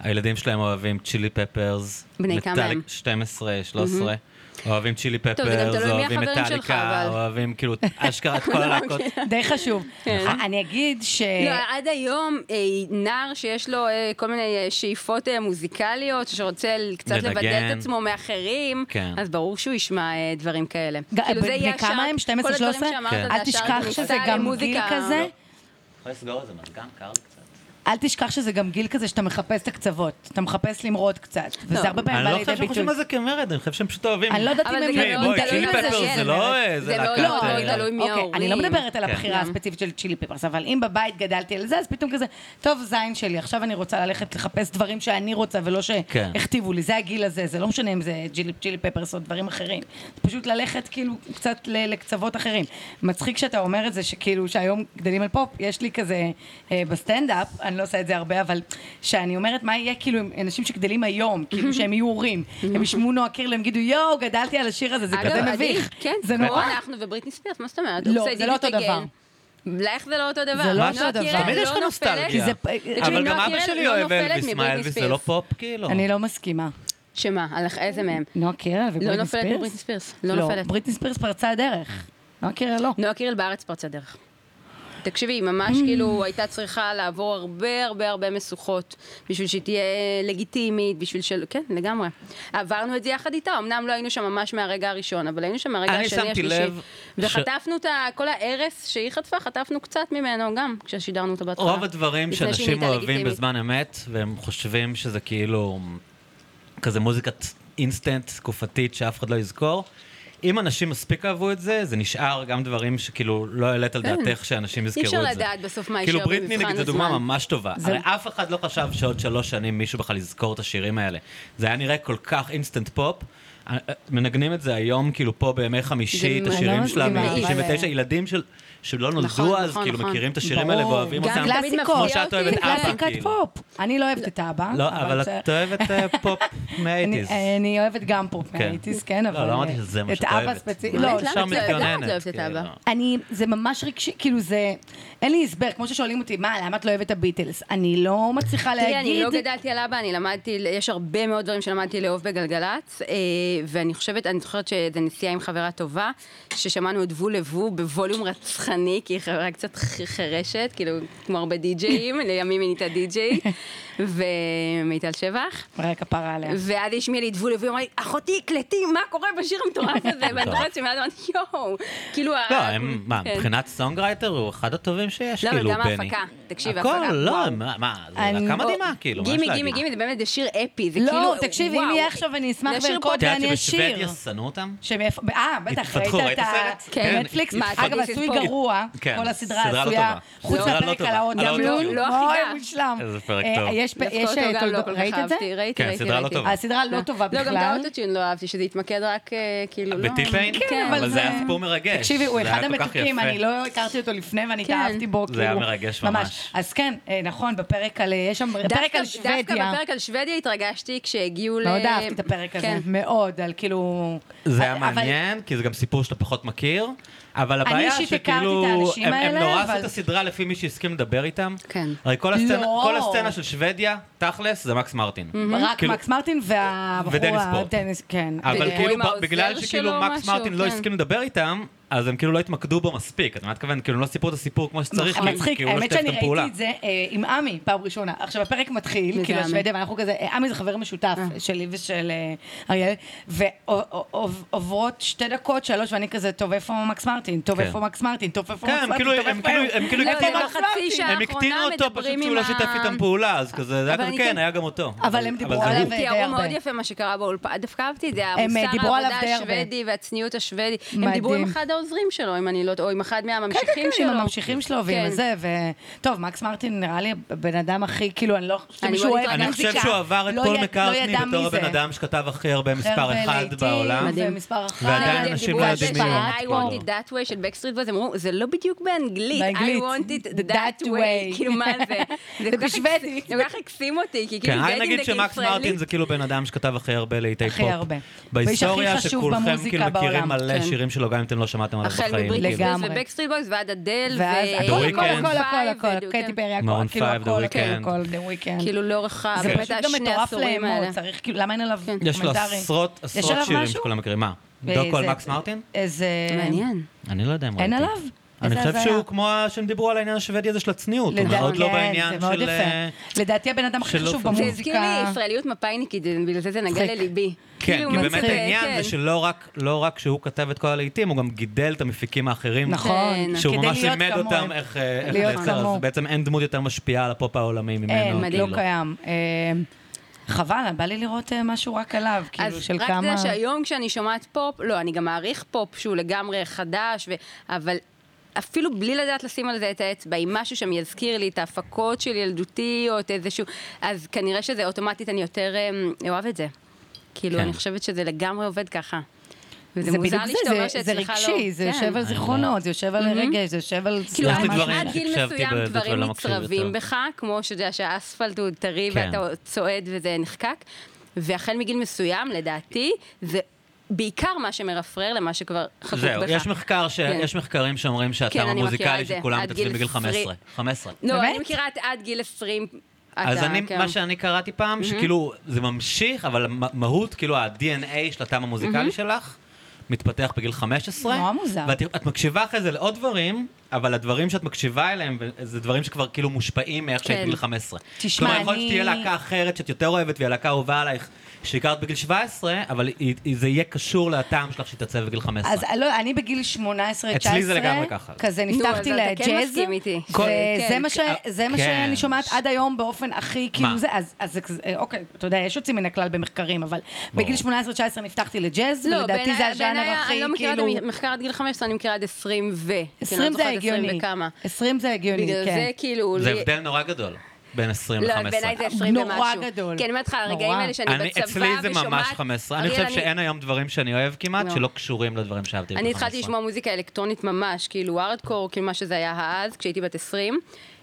Speaker 3: הילדים שלהם אוהבים צ'ילי פפרס.
Speaker 1: בני כמה
Speaker 3: מטאליק-
Speaker 1: הם? Mm-hmm.
Speaker 3: 12, 13. אוהבים צ'ילי
Speaker 1: גם תלוי
Speaker 3: פפרס,
Speaker 1: מי
Speaker 3: אוהבים
Speaker 1: החברים שלך,
Speaker 3: מטאליקה,
Speaker 1: אבל. לא,
Speaker 3: אוהבים כאילו אשכרה את כל הלהקות.
Speaker 2: די חשוב.
Speaker 3: נכון.
Speaker 1: כן.
Speaker 2: אני אגיד ש...
Speaker 1: לא, עד היום אה, נער שיש לו אה, כל מיני אה, שאיפות אה, מוזיקליות, שרוצה ל- קצת
Speaker 3: לנגן.
Speaker 1: לבדל את עצמו מאחרים,
Speaker 3: כן.
Speaker 1: אז ברור שהוא ישמע אה, דברים כאלה. כאילו,
Speaker 2: ג-
Speaker 1: זה יהיה
Speaker 2: בני כמה
Speaker 1: השאר-
Speaker 2: הם? 12,
Speaker 1: כל הדברים
Speaker 2: 13?
Speaker 1: שאמרת,
Speaker 3: כן.
Speaker 1: זה
Speaker 2: אל
Speaker 1: השאר
Speaker 2: תשכח
Speaker 1: זה
Speaker 2: שזה
Speaker 1: מוזיקה,
Speaker 2: גם גיל
Speaker 1: מוזיקה.
Speaker 2: כזה.
Speaker 3: יכול לסגור את זה, מזגן קר קצת.
Speaker 2: אל תשכח שזה גם גיל כזה שאתה מחפש את הקצוות. אתה מחפש למרוד קצת. וזה
Speaker 1: לא.
Speaker 2: הרבה פעמים
Speaker 3: אני
Speaker 2: כן, בא
Speaker 3: לא
Speaker 2: לידי
Speaker 3: חושב שהם
Speaker 2: ביטוי.
Speaker 3: חושבים על זה כמרד, אני חושב שהם פשוט אוהבים.
Speaker 2: אני לא יודעת אם
Speaker 1: אבל
Speaker 2: הם
Speaker 1: זה גם
Speaker 3: תראי,
Speaker 1: לא-
Speaker 3: בואי,
Speaker 1: תלוי
Speaker 3: צ'ילי
Speaker 1: מה זה
Speaker 3: פפרס זה
Speaker 1: של,
Speaker 3: לא
Speaker 1: באמת.
Speaker 3: איזה
Speaker 1: זה לא-
Speaker 3: להקת...
Speaker 1: לא,
Speaker 3: אה,
Speaker 1: אבל תלוי מי
Speaker 2: אוקיי, אני לא
Speaker 1: ההורים.
Speaker 2: מדברת על
Speaker 3: כן.
Speaker 2: הבחירה
Speaker 1: גם.
Speaker 2: הספציפית של צ'ילי פפרס, אבל אם בבית גדלתי על זה, אז פתאום כזה, טוב, זין שלי, עכשיו אני רוצה ללכת לחפש דברים שאני רוצה ולא
Speaker 3: כן.
Speaker 2: שהכתיבו לי, זה הגיל הזה, זה לא משנה אם זה ג'ילי- צ'ילי פפרס או דברים אחרים. זה פשוט ללכת כאילו קצת ל- לקצוות אחרים. מצחיק שאתה אומר את זה, שכאילו, שהיום גדלים על פופ, יש לי כזה אה, בסטנדאפ, אני לא עושה את זה הרבה, אבל שאני אומרת, מה יהיה כאילו עם אנשים שגדלים היום, כאילו שהם יהיו הורים, הם ישמעו נועה קירל, הם יגידו, יואו, גדלתי על השיר הזה, זה
Speaker 1: אגב,
Speaker 2: כזה
Speaker 1: עדי,
Speaker 2: מביך.
Speaker 1: כן,
Speaker 2: זה
Speaker 1: כמו
Speaker 2: נורא.
Speaker 1: אנחנו ובריטני ספירס, מה זאת אומרת?
Speaker 2: לא,
Speaker 1: Obside
Speaker 2: זה לא
Speaker 1: It
Speaker 2: אותו
Speaker 1: Again.
Speaker 2: דבר.
Speaker 1: לך זה לא אותו דבר.
Speaker 2: זה
Speaker 1: נועה
Speaker 2: לא אותו דבר.
Speaker 1: קירל
Speaker 3: תמיד
Speaker 1: לא
Speaker 3: יש לך
Speaker 1: נופלת-
Speaker 3: נוסטלגיה.
Speaker 2: כי זה פ- תקשיבי,
Speaker 3: אבל גם
Speaker 1: נועה
Speaker 3: אבא
Speaker 1: קירל
Speaker 3: שלי
Speaker 1: לא
Speaker 3: אוהב
Speaker 1: נופלת
Speaker 3: אלביס, מה
Speaker 1: מבריטני
Speaker 3: אלביס זה
Speaker 1: ספירס.
Speaker 3: לא פופ כאילו?
Speaker 2: אני לא מסכימה.
Speaker 1: שמה? על איך- איזה מהם?
Speaker 2: נועה קירל
Speaker 1: לא
Speaker 2: ובריטני
Speaker 1: נופלת
Speaker 2: ספירס?
Speaker 1: מבריטני ספירס. לא נופלת.
Speaker 2: בריטני ספירס פרצה הדרך. נועה קירל לא.
Speaker 1: נועה קירל בארץ פרצה דרך. תקשיבי, היא
Speaker 3: Mm.
Speaker 1: ממש כאילו הייתה צריכה לעבור הרבה הרבה הרבה משוכות בשביל שהיא תהיה לגיטימית, בשביל של... כן, לגמרי. עברנו את זה יחד איתה, אמנם לא היינו שם ממש מהרגע הראשון, אבל היינו שם מהרגע
Speaker 3: אני
Speaker 1: השני,
Speaker 3: שמתי
Speaker 1: השלישי.
Speaker 3: לב ש-
Speaker 1: וחטפנו את ה- כל ההרס שהיא חטפה, חטפנו קצת ממנו גם, כששידרנו אותה בהתחלה.
Speaker 3: רוב הדברים
Speaker 1: לפני שהיא
Speaker 3: שאנשים
Speaker 1: נהייתה
Speaker 3: אוהבים
Speaker 1: לגיטימית.
Speaker 3: בזמן אמת, והם חושבים שזה כאילו כזה מוזיקת אינסטנט תקופתית שאף אחד לא יזכור. אם אנשים מספיק אהבו את זה, זה נשאר גם דברים שכאילו לא העלית על דעתך שאנשים יזכרו את זה.
Speaker 1: כן. אפשר לדעת בסוף מה
Speaker 3: כאילו
Speaker 1: יישאר
Speaker 3: בריטני
Speaker 1: במבחן
Speaker 3: נגיד זו
Speaker 1: הזמן.
Speaker 3: דוגמה ממש טובה.
Speaker 2: זה-
Speaker 3: הרי אף אחד לא חשב שעוד שלוש שנים מישהו בכלל יזכור את השירים האלה. זה היה נראה כל כך אינסטנט פופ. אה, אה, מנגנים את זה היום, כאילו פה בימי חמישי, את
Speaker 1: זה
Speaker 3: השירים
Speaker 2: מאוד
Speaker 3: שלה
Speaker 2: מדהים, אבל-
Speaker 3: מ-99, ילדים של- שלא
Speaker 1: נכון,
Speaker 3: נולדו אז,
Speaker 1: נכון,
Speaker 3: כאילו
Speaker 1: נכון.
Speaker 3: מכירים את השירים האלה
Speaker 2: ברור.
Speaker 3: ואוהבים
Speaker 1: גם
Speaker 3: אותם.
Speaker 1: קלאסיקות.
Speaker 2: תמיד מפתיע
Speaker 3: כמו שאת אוהבת
Speaker 1: אותי,
Speaker 2: זה
Speaker 3: אבא,
Speaker 2: קלאסיקת
Speaker 3: כאילו.
Speaker 2: פופ. אני לא אוהבת את אבא.
Speaker 3: לא, אבל
Speaker 2: בסדר.
Speaker 3: את אוהבת אה, פופ מהאייטיז.
Speaker 2: אני- אני אוהבת גם פופ
Speaker 3: כן.
Speaker 2: מהאיטיז, כן, אבל...
Speaker 3: לא, לא אמרתי
Speaker 2: אה,
Speaker 3: שזה מה
Speaker 2: את
Speaker 3: שאת
Speaker 2: אבא
Speaker 3: אוהבת.
Speaker 2: ספציפית.
Speaker 1: מה,
Speaker 2: לא,
Speaker 1: את למה את
Speaker 3: ישר
Speaker 1: לא אוהבת? למה את לא
Speaker 3: מתלוננת,
Speaker 1: אוהבת את
Speaker 3: כאילו.
Speaker 1: אבא?
Speaker 2: אני, זה ממש רגשי, כאילו זה, אין לי הסבר, כמו ששואלים אותי, מה, למה את לא אוהבת את הביטלס? אני לא מצליחה להגיד...
Speaker 1: תראי, אני לא גדלתי על אבא, אני למדתי, יש הרבה מאוד דברים שלמדתי לאהוב בגלגלצ, אה, ואני חושבת, אני זוכרת שזה נסיעה עם חברה טובה, ששמענו את וו לבו בווליום רצחני, כי היא חברה קצת ח- חירשת, כאילו, כמו הרבה די-ג'אים, לימים היא נהייתה די-ג'יי, ומיטל שבח.
Speaker 2: רק כפרה עליה.
Speaker 1: ואז היא השמיעה לי את וו לבו, היא אמרה לי, אחותי, קלטי, מה קורה בשיר המטורף הזה? ואני זוכרת שמאז אמרתי, יואו, כאילו... ה-
Speaker 3: לא, הם, מה,
Speaker 1: כן.
Speaker 3: מבחינת סונגרייטר הוא אחד הטובים שיש,
Speaker 1: לא, אבל
Speaker 3: כאילו,
Speaker 1: גם
Speaker 3: בני.
Speaker 1: ההפקה, תקשיב,
Speaker 3: הכל,
Speaker 1: ההפקה,
Speaker 3: לא,
Speaker 1: וואו.
Speaker 3: מה, מה, זה
Speaker 2: אני-
Speaker 3: להקה
Speaker 2: או-
Speaker 3: מדהימה, כאילו, מה יש
Speaker 1: גימי,
Speaker 3: להגיד?
Speaker 1: גימי, גימי, זה באמת, זה שיר אפי, זה
Speaker 2: לא,
Speaker 1: כאילו,
Speaker 2: תקשיבי, אם
Speaker 1: וואו.
Speaker 2: יהיה עכשיו, אני אשמח
Speaker 1: זה שיר
Speaker 2: לרקוד
Speaker 1: פופ.
Speaker 3: את יודעת
Speaker 2: ואני אשיר.
Speaker 3: שבשוודיה שנאו אותם?
Speaker 2: שמאיפה, אה, בטח, ראית
Speaker 3: התפתחו,
Speaker 2: את
Speaker 3: ראית
Speaker 2: ה...
Speaker 3: הסרט?
Speaker 1: כן.
Speaker 2: נטפליקס,
Speaker 1: מה,
Speaker 2: אגב,
Speaker 1: התפתחו?
Speaker 2: עשוי גרוע,
Speaker 3: כן,
Speaker 2: כל הסדרה
Speaker 3: סדרה לא
Speaker 2: עשויה,
Speaker 3: טובה.
Speaker 2: חוץ
Speaker 3: סדרה לא
Speaker 2: מהפרק
Speaker 3: טובה.
Speaker 2: על ההון,
Speaker 3: על ההון
Speaker 1: טיוב. לא אחידה.
Speaker 2: אוי, מושלם.
Speaker 3: איזה פרק
Speaker 2: אה,
Speaker 3: טוב.
Speaker 2: יש,
Speaker 1: דווקא
Speaker 2: יש,
Speaker 1: אותו
Speaker 2: אה,
Speaker 1: גם
Speaker 2: תולדות-
Speaker 1: לא כל כך
Speaker 2: ראית את זה?
Speaker 1: אהבתי, ראיתי,
Speaker 3: כן,
Speaker 1: ראיתי,
Speaker 3: הסדרה לא
Speaker 1: ראיתי.
Speaker 3: טובה.
Speaker 2: הסדרה לא טובה
Speaker 1: לא, גם את
Speaker 2: בכלל.
Speaker 1: האוטוטיון לא אהבתי, שזה התמקד רק, אה, כאילו, לא...
Speaker 3: בטיפיין?
Speaker 1: כן,
Speaker 3: אבל זה היה סיפור מרגש.
Speaker 2: תקשיבי, הוא
Speaker 3: זה היה
Speaker 2: אחד
Speaker 3: כל כך
Speaker 2: המתוקים,
Speaker 3: יפה.
Speaker 2: אני לא הכרתי אותו לפני ואני
Speaker 1: כן.
Speaker 2: התאהבתי בו,
Speaker 3: זה
Speaker 2: כאילו.
Speaker 3: היה מרגש ממש.
Speaker 2: אז כן, אה, נכון, בפרק על, אה, יש שם
Speaker 1: דווקא-
Speaker 2: פרק על שוודיה.
Speaker 1: דווקא בפרק על שוודיה התרגשתי כשהגיעו ל...
Speaker 2: מאוד אהבתי את הפרק הזה,
Speaker 1: כן.
Speaker 2: מאוד, על כאילו...
Speaker 3: זה היה
Speaker 2: אבל-
Speaker 3: מעניין, כי זה גם סיפור שאתה פחות מכיר, אבל הבעיה
Speaker 2: אישית הכרתי
Speaker 3: שכאילו,
Speaker 2: את האנשים
Speaker 3: הם- הם
Speaker 2: האלה,
Speaker 3: נורא עשו
Speaker 2: אבל-
Speaker 3: את הסדרה לפי מי שהסכים לדבר איתם.
Speaker 1: כן.
Speaker 3: הרי כל הסצנה-
Speaker 2: לא. Mm-hmm.
Speaker 3: כל הסצנה של שוודיה, תכלס, זה מקס מרטין.
Speaker 2: רק
Speaker 3: כאילו-
Speaker 2: מקס מרטין והבחור...
Speaker 3: ודניס
Speaker 2: ה-
Speaker 3: פורט.
Speaker 2: דניס, כן.
Speaker 3: אבל
Speaker 1: אה,
Speaker 3: כאילו,
Speaker 1: עם העוזר
Speaker 3: בגלל
Speaker 1: שלו
Speaker 3: שכאילו מקס
Speaker 1: משהו,
Speaker 3: מרטין לא
Speaker 1: כן.
Speaker 3: הסכים לדבר איתם, אז הם כאילו לא התמקדו בו מספיק, את מבינה מה התכוונת? כאילו, הם לא סיפרו את הסיפור כמו שצריך,
Speaker 1: נכון.
Speaker 3: כי-
Speaker 2: נכון. מצחיק,
Speaker 3: כי הוא לא
Speaker 2: האמת
Speaker 3: שיתף
Speaker 2: שאני
Speaker 3: איתם
Speaker 2: ראיתי
Speaker 3: פעולה.
Speaker 2: את זה אה, עם עמי פעם ראשונה. עכשיו הפרק מתחיל,
Speaker 1: וזה
Speaker 2: כאילו
Speaker 1: עמי.
Speaker 2: השוודיה, ואנחנו כזה, אה, עמי זה חבר משותף שלי ושל אה, אריאל, ועוברות שתי דקות, שלוש, ואני כזה, טוב, איפה מקס מרטין? טוב,
Speaker 3: כן.
Speaker 2: איפה מקס מרטין? טוב, איפה
Speaker 3: כן,
Speaker 2: מקס
Speaker 3: הם
Speaker 2: מרטין?
Speaker 3: כאילו-
Speaker 2: טוב,
Speaker 3: הם
Speaker 2: איפה
Speaker 3: כאילו-
Speaker 2: הוא?"
Speaker 3: הם כאילו-
Speaker 1: לא,
Speaker 2: איפה
Speaker 1: זה
Speaker 2: מקס
Speaker 1: בחצי
Speaker 2: מרטין?
Speaker 1: שעה.
Speaker 3: הם הקטינו
Speaker 1: האחרונה
Speaker 3: אותו, פשוט
Speaker 1: מדברים
Speaker 3: שהוא
Speaker 1: עם
Speaker 3: לא
Speaker 1: ה-
Speaker 3: שיתף איתם פעולה, אז כזה, זה היה
Speaker 1: אבל
Speaker 3: כזה,
Speaker 1: אני
Speaker 3: כן,
Speaker 1: כן-
Speaker 3: היה גם אותו.
Speaker 2: אבל הם דיברו
Speaker 3: זה
Speaker 2: עליו
Speaker 3: הוא.
Speaker 1: אבל
Speaker 2: די
Speaker 1: הם תיארו
Speaker 2: הרבה.
Speaker 1: מאוד יפה מה שקרה באולפן, דווקא אהבתי את זה,
Speaker 2: הם, אה,
Speaker 1: המוסר
Speaker 2: דיברו עליו
Speaker 1: העבודה
Speaker 2: די הרבה.
Speaker 1: השוודי והצניעות השוודי. הם דיברו עם
Speaker 2: מדהים.
Speaker 1: אחד העוזרים שלו, אם אני לא... או עם אחד
Speaker 2: כן, כן,
Speaker 1: מהממשיכים
Speaker 2: כן,
Speaker 1: שלו.
Speaker 2: עם הממשיכים שלו ועם
Speaker 1: כן.
Speaker 2: זה, ו... טוב, מקס מרטין נראה לי הבן אדם הכי, כאילו, אני לא חושבת
Speaker 1: אני
Speaker 2: שמישהו
Speaker 1: מאוד
Speaker 2: אוהב
Speaker 3: אני
Speaker 2: מוזיקה.
Speaker 3: חושב שהוא עבר את
Speaker 2: לא
Speaker 3: פול
Speaker 2: יד- לא
Speaker 3: מקארטני
Speaker 2: ידע
Speaker 3: בתור
Speaker 2: מי זה. כן,
Speaker 3: הבן אדם שכתב הכי הרבה מספר
Speaker 2: חרבל
Speaker 3: אחד
Speaker 2: לעיתים,
Speaker 3: בעולם.
Speaker 1: מדהים.
Speaker 2: ומספר אחת. אה,
Speaker 3: ועדיין
Speaker 1: הם
Speaker 3: אנשים
Speaker 1: דיברו
Speaker 3: לא
Speaker 1: על
Speaker 3: יודעים
Speaker 1: זה
Speaker 3: מי
Speaker 1: ש-
Speaker 3: הוא.
Speaker 1: I want it that way של Backstreet Boys, הם אמרו, זה לא בדיוק באנגלית, I
Speaker 2: באנגלית.
Speaker 1: want it
Speaker 2: That
Speaker 1: that
Speaker 2: way."
Speaker 1: way, כאילו מה זה?
Speaker 2: זה
Speaker 1: כל כך
Speaker 2: בשבדית.
Speaker 1: הקס- זה כל כך הקסים אותי, כי
Speaker 3: כן,
Speaker 1: כאילו
Speaker 3: רק נגיד
Speaker 1: דייטינג
Speaker 3: שמקס מרטין
Speaker 1: ישראלי.
Speaker 3: זה כאילו בן אדם שכתב הכי הרבה לעיתי פופ.
Speaker 2: הכי הרבה. והאיש הכי
Speaker 3: בהיסטוריה
Speaker 2: חשוב
Speaker 3: שכולכם
Speaker 2: במוזיקה
Speaker 3: כאילו
Speaker 2: בעולם.
Speaker 3: מכירים מלא
Speaker 1: כן.
Speaker 3: שירים שלו, גם אם אתם לא שמעתם עליו
Speaker 1: החל
Speaker 3: בחיים.
Speaker 1: מבריטני
Speaker 3: כאילו.
Speaker 2: לגמרי.
Speaker 1: ספירס ובקסטריט בויז ועד אדל ו...
Speaker 2: ואז
Speaker 1: ו-
Speaker 2: הכל, הכל, הכל,
Speaker 3: The
Speaker 1: Maroon
Speaker 2: הכל,
Speaker 1: five
Speaker 2: הכל,
Speaker 1: ו-
Speaker 2: קטי פרי, הכל,
Speaker 3: Maroon
Speaker 2: כאילו
Speaker 3: five, The
Speaker 2: הכל, הכל,
Speaker 3: Weeknd.
Speaker 2: הכל, דה וויקנד.
Speaker 1: כאילו לאורך ה...
Speaker 2: זה
Speaker 1: באמת
Speaker 2: פשוט גם
Speaker 1: השני
Speaker 2: מטורף
Speaker 1: העשורים האלה.
Speaker 2: לאמור, צריך, כאילו, למה אין עליו קומנטרי?
Speaker 3: יש לו עשרות,
Speaker 2: יש
Speaker 3: עשרות
Speaker 2: עליו
Speaker 3: שירים
Speaker 2: משהו?
Speaker 3: שכולם מכירים. מה?
Speaker 2: ואיזה-
Speaker 3: דוקו על מקס מרטין?
Speaker 2: איזה...
Speaker 1: מעניין.
Speaker 3: אני לא יודע אם
Speaker 2: אין
Speaker 3: ראיתי.
Speaker 2: עליו?
Speaker 3: אני
Speaker 2: איזה
Speaker 3: חושב
Speaker 2: הזיה.
Speaker 3: שהוא כמו ה- שהם דיברו על העניין השוודי הזה של הצניעות. הוא
Speaker 2: לדע-
Speaker 3: מאוד לא
Speaker 2: כן,
Speaker 3: בעניין
Speaker 2: זה מאוד
Speaker 3: של...
Speaker 2: יפה.
Speaker 3: אה,
Speaker 2: לדעתי הבן אדם הכי
Speaker 3: של
Speaker 2: חשוב
Speaker 3: לא-
Speaker 1: זה הזכיר לי
Speaker 2: במוזיקה.
Speaker 1: ישראליות מפאיניקית, בגלל זה זה נגע
Speaker 2: מצחיק.
Speaker 1: לליבי.
Speaker 3: כן,
Speaker 1: כאילו,
Speaker 3: כי
Speaker 1: מה
Speaker 3: באמת
Speaker 1: זה-
Speaker 3: העניין
Speaker 1: כן.
Speaker 3: זה שלא רק- לא רק שהוא כתב את כל הלהיטים, הוא גם גידל את המפיקים האחרים.
Speaker 2: נכון.
Speaker 1: כן.
Speaker 3: שהוא
Speaker 2: כדי
Speaker 3: ממש
Speaker 2: להיות
Speaker 3: לימד
Speaker 2: כמוהם.
Speaker 3: אותם איך אה, איך
Speaker 2: להיות
Speaker 3: לייצר,
Speaker 2: כמוהו.
Speaker 3: אז בעצם אין דמות יותר משפיעה על הפופ העולמי
Speaker 1: אה,
Speaker 3: ממנו.
Speaker 2: אין,
Speaker 3: כאילו.
Speaker 2: לא קיים. אה, חבל, בא לי לראות אה, משהו רק עליו, כאילו, של
Speaker 1: אז רק
Speaker 2: כמה...
Speaker 1: זה שהיום כשאני שומעת פופ, לא, אני גם מעריך פופ שהוא לגמרי חדש, ו... אבל אפילו בלי לדעת לשים על זה את האצבע, אם משהו שם יזכיר לי את ההפקות של ילדותי, או את איזשהו... אז כנראה שזה אוטומטית, אני יותר אמ, אוהב את זה. כאילו,
Speaker 3: כן.
Speaker 1: אני חושבת שזה לגמרי עובד ככה. וזה
Speaker 2: זה
Speaker 1: מוזר
Speaker 2: בדיוק
Speaker 1: לי
Speaker 2: זה,
Speaker 1: שאתה אומר
Speaker 2: זה, זה
Speaker 1: שאצלך לא...
Speaker 2: רגשי, זה
Speaker 1: כן. Mhm.
Speaker 2: יושב על
Speaker 3: לא-
Speaker 2: זיכרונות, זה יושב על רגש, זה יושב על...
Speaker 1: כאילו,
Speaker 3: יש לי
Speaker 1: עד
Speaker 2: משהו.
Speaker 3: דברים
Speaker 1: עד גיל
Speaker 3: שהקשבתי
Speaker 1: מסוים
Speaker 3: בילדות
Speaker 1: דברים
Speaker 3: ולא מקשיב
Speaker 1: נצרבים
Speaker 3: לא יותר.
Speaker 1: בך, כמו שאתה יודע שהאספלט הוא טרי
Speaker 3: כן.
Speaker 1: ואתה צועד וזה נחקק, והחל מגיל מסוים, לדעתי, זה בעיקר מה שמרפרר למה שכבר חקוק
Speaker 3: זהו,
Speaker 1: בך.
Speaker 3: יש מחקר ש...
Speaker 1: כן.
Speaker 3: יש מחקרים שאומרים
Speaker 1: כן,
Speaker 3: שהטעם
Speaker 1: אני מכירה
Speaker 3: המוזיקלי
Speaker 1: את זה.
Speaker 3: של כולם
Speaker 1: עד
Speaker 3: מתעצבים
Speaker 1: גיל
Speaker 3: בגיל 15.
Speaker 1: עשרים.
Speaker 3: 15.
Speaker 1: לא,
Speaker 2: באמת?
Speaker 1: אני מכירה את עד גיל 20.
Speaker 3: אז
Speaker 1: אתה-
Speaker 3: אני,
Speaker 1: כן.
Speaker 3: מה שאני קראתי פעם, שכאילו זה ממשיך, אבל המהות, כאילו ה-DNA של הטעם המוזיקלי שלך, מתפתח בגיל 15.
Speaker 2: נורא מוזר.
Speaker 3: ואת את מקשיבה אחרי זה לעוד דברים, אבל הדברים שאת מקשיבה אליהם, זה דברים שכבר כאילו מושפעים מאיך שהיית
Speaker 1: כן.
Speaker 3: בגיל 15.
Speaker 2: תשמע,
Speaker 3: כלומר, יכול להיות
Speaker 2: אני-
Speaker 3: שתהיה להקה אחרת שאת יותר אוהבת, והיא הלהקה האהובה עלייך, שהכרת בגיל 17, אבל היא- היא- זה יהיה קשור לטעם שלך שהתעצב בגיל 15.
Speaker 2: אז לא, אני בגיל 18, 19,
Speaker 3: אצלי זה לגמרי ככה.
Speaker 2: כזה
Speaker 1: נו, אז
Speaker 2: נפתחתי
Speaker 1: אתה כן
Speaker 2: לג'אז,
Speaker 1: מסכים איתי.
Speaker 2: וזה
Speaker 1: כל-
Speaker 2: זה
Speaker 1: כן.
Speaker 2: מה ש- זה מה
Speaker 3: כן.
Speaker 2: שאני שומעת עד היום באופן הכי, כאילו
Speaker 3: מה?
Speaker 2: זה, אז- אז זה כזה, אה, אוקיי, אתה יודע, יש יוצאים מן הכלל במחקרים, אבל בגיל 18-19 נפתחתי לג'אז,
Speaker 1: לא,
Speaker 2: ולדעתי
Speaker 1: בעיניי-
Speaker 2: זה הז'אנר
Speaker 1: בעיניי
Speaker 2: הכי,
Speaker 1: אני לא מכירה את
Speaker 2: כאילו,
Speaker 1: המחקר עד גיל 15, אני מכירה עד 20 ו... כן, אני
Speaker 2: 20 זה
Speaker 1: זוכרת 20
Speaker 2: הגיוני,
Speaker 1: וכמה.
Speaker 2: 20 זה הגיוני,
Speaker 1: בגלל
Speaker 2: כן.
Speaker 1: זה כאילו...
Speaker 3: זה
Speaker 1: לי-
Speaker 3: הבדל נורא גדול בין 20 ל-15.
Speaker 1: לא, בעיניי זה 20
Speaker 2: נורא
Speaker 1: ומשהו.
Speaker 2: גדול.
Speaker 1: כי אני אומרת לך, הרגעים
Speaker 2: נורא.
Speaker 1: האלה שאני
Speaker 3: אני,
Speaker 1: בצבא
Speaker 3: אצלי
Speaker 1: ושומעת...
Speaker 3: זה ממש 15. אני
Speaker 1: אריאל,
Speaker 3: חושב שאין היום דברים שאני אוהב כמעט,
Speaker 1: לא.
Speaker 3: שלא קשורים לדברים שאהבתי בגיל
Speaker 1: אני התחלתי
Speaker 3: 15.
Speaker 1: לשמוע מוזיקה אלקטרונית ממש, כאילו הארדקור, כאילו מה שזה היה אז, כשהייתי בת 20.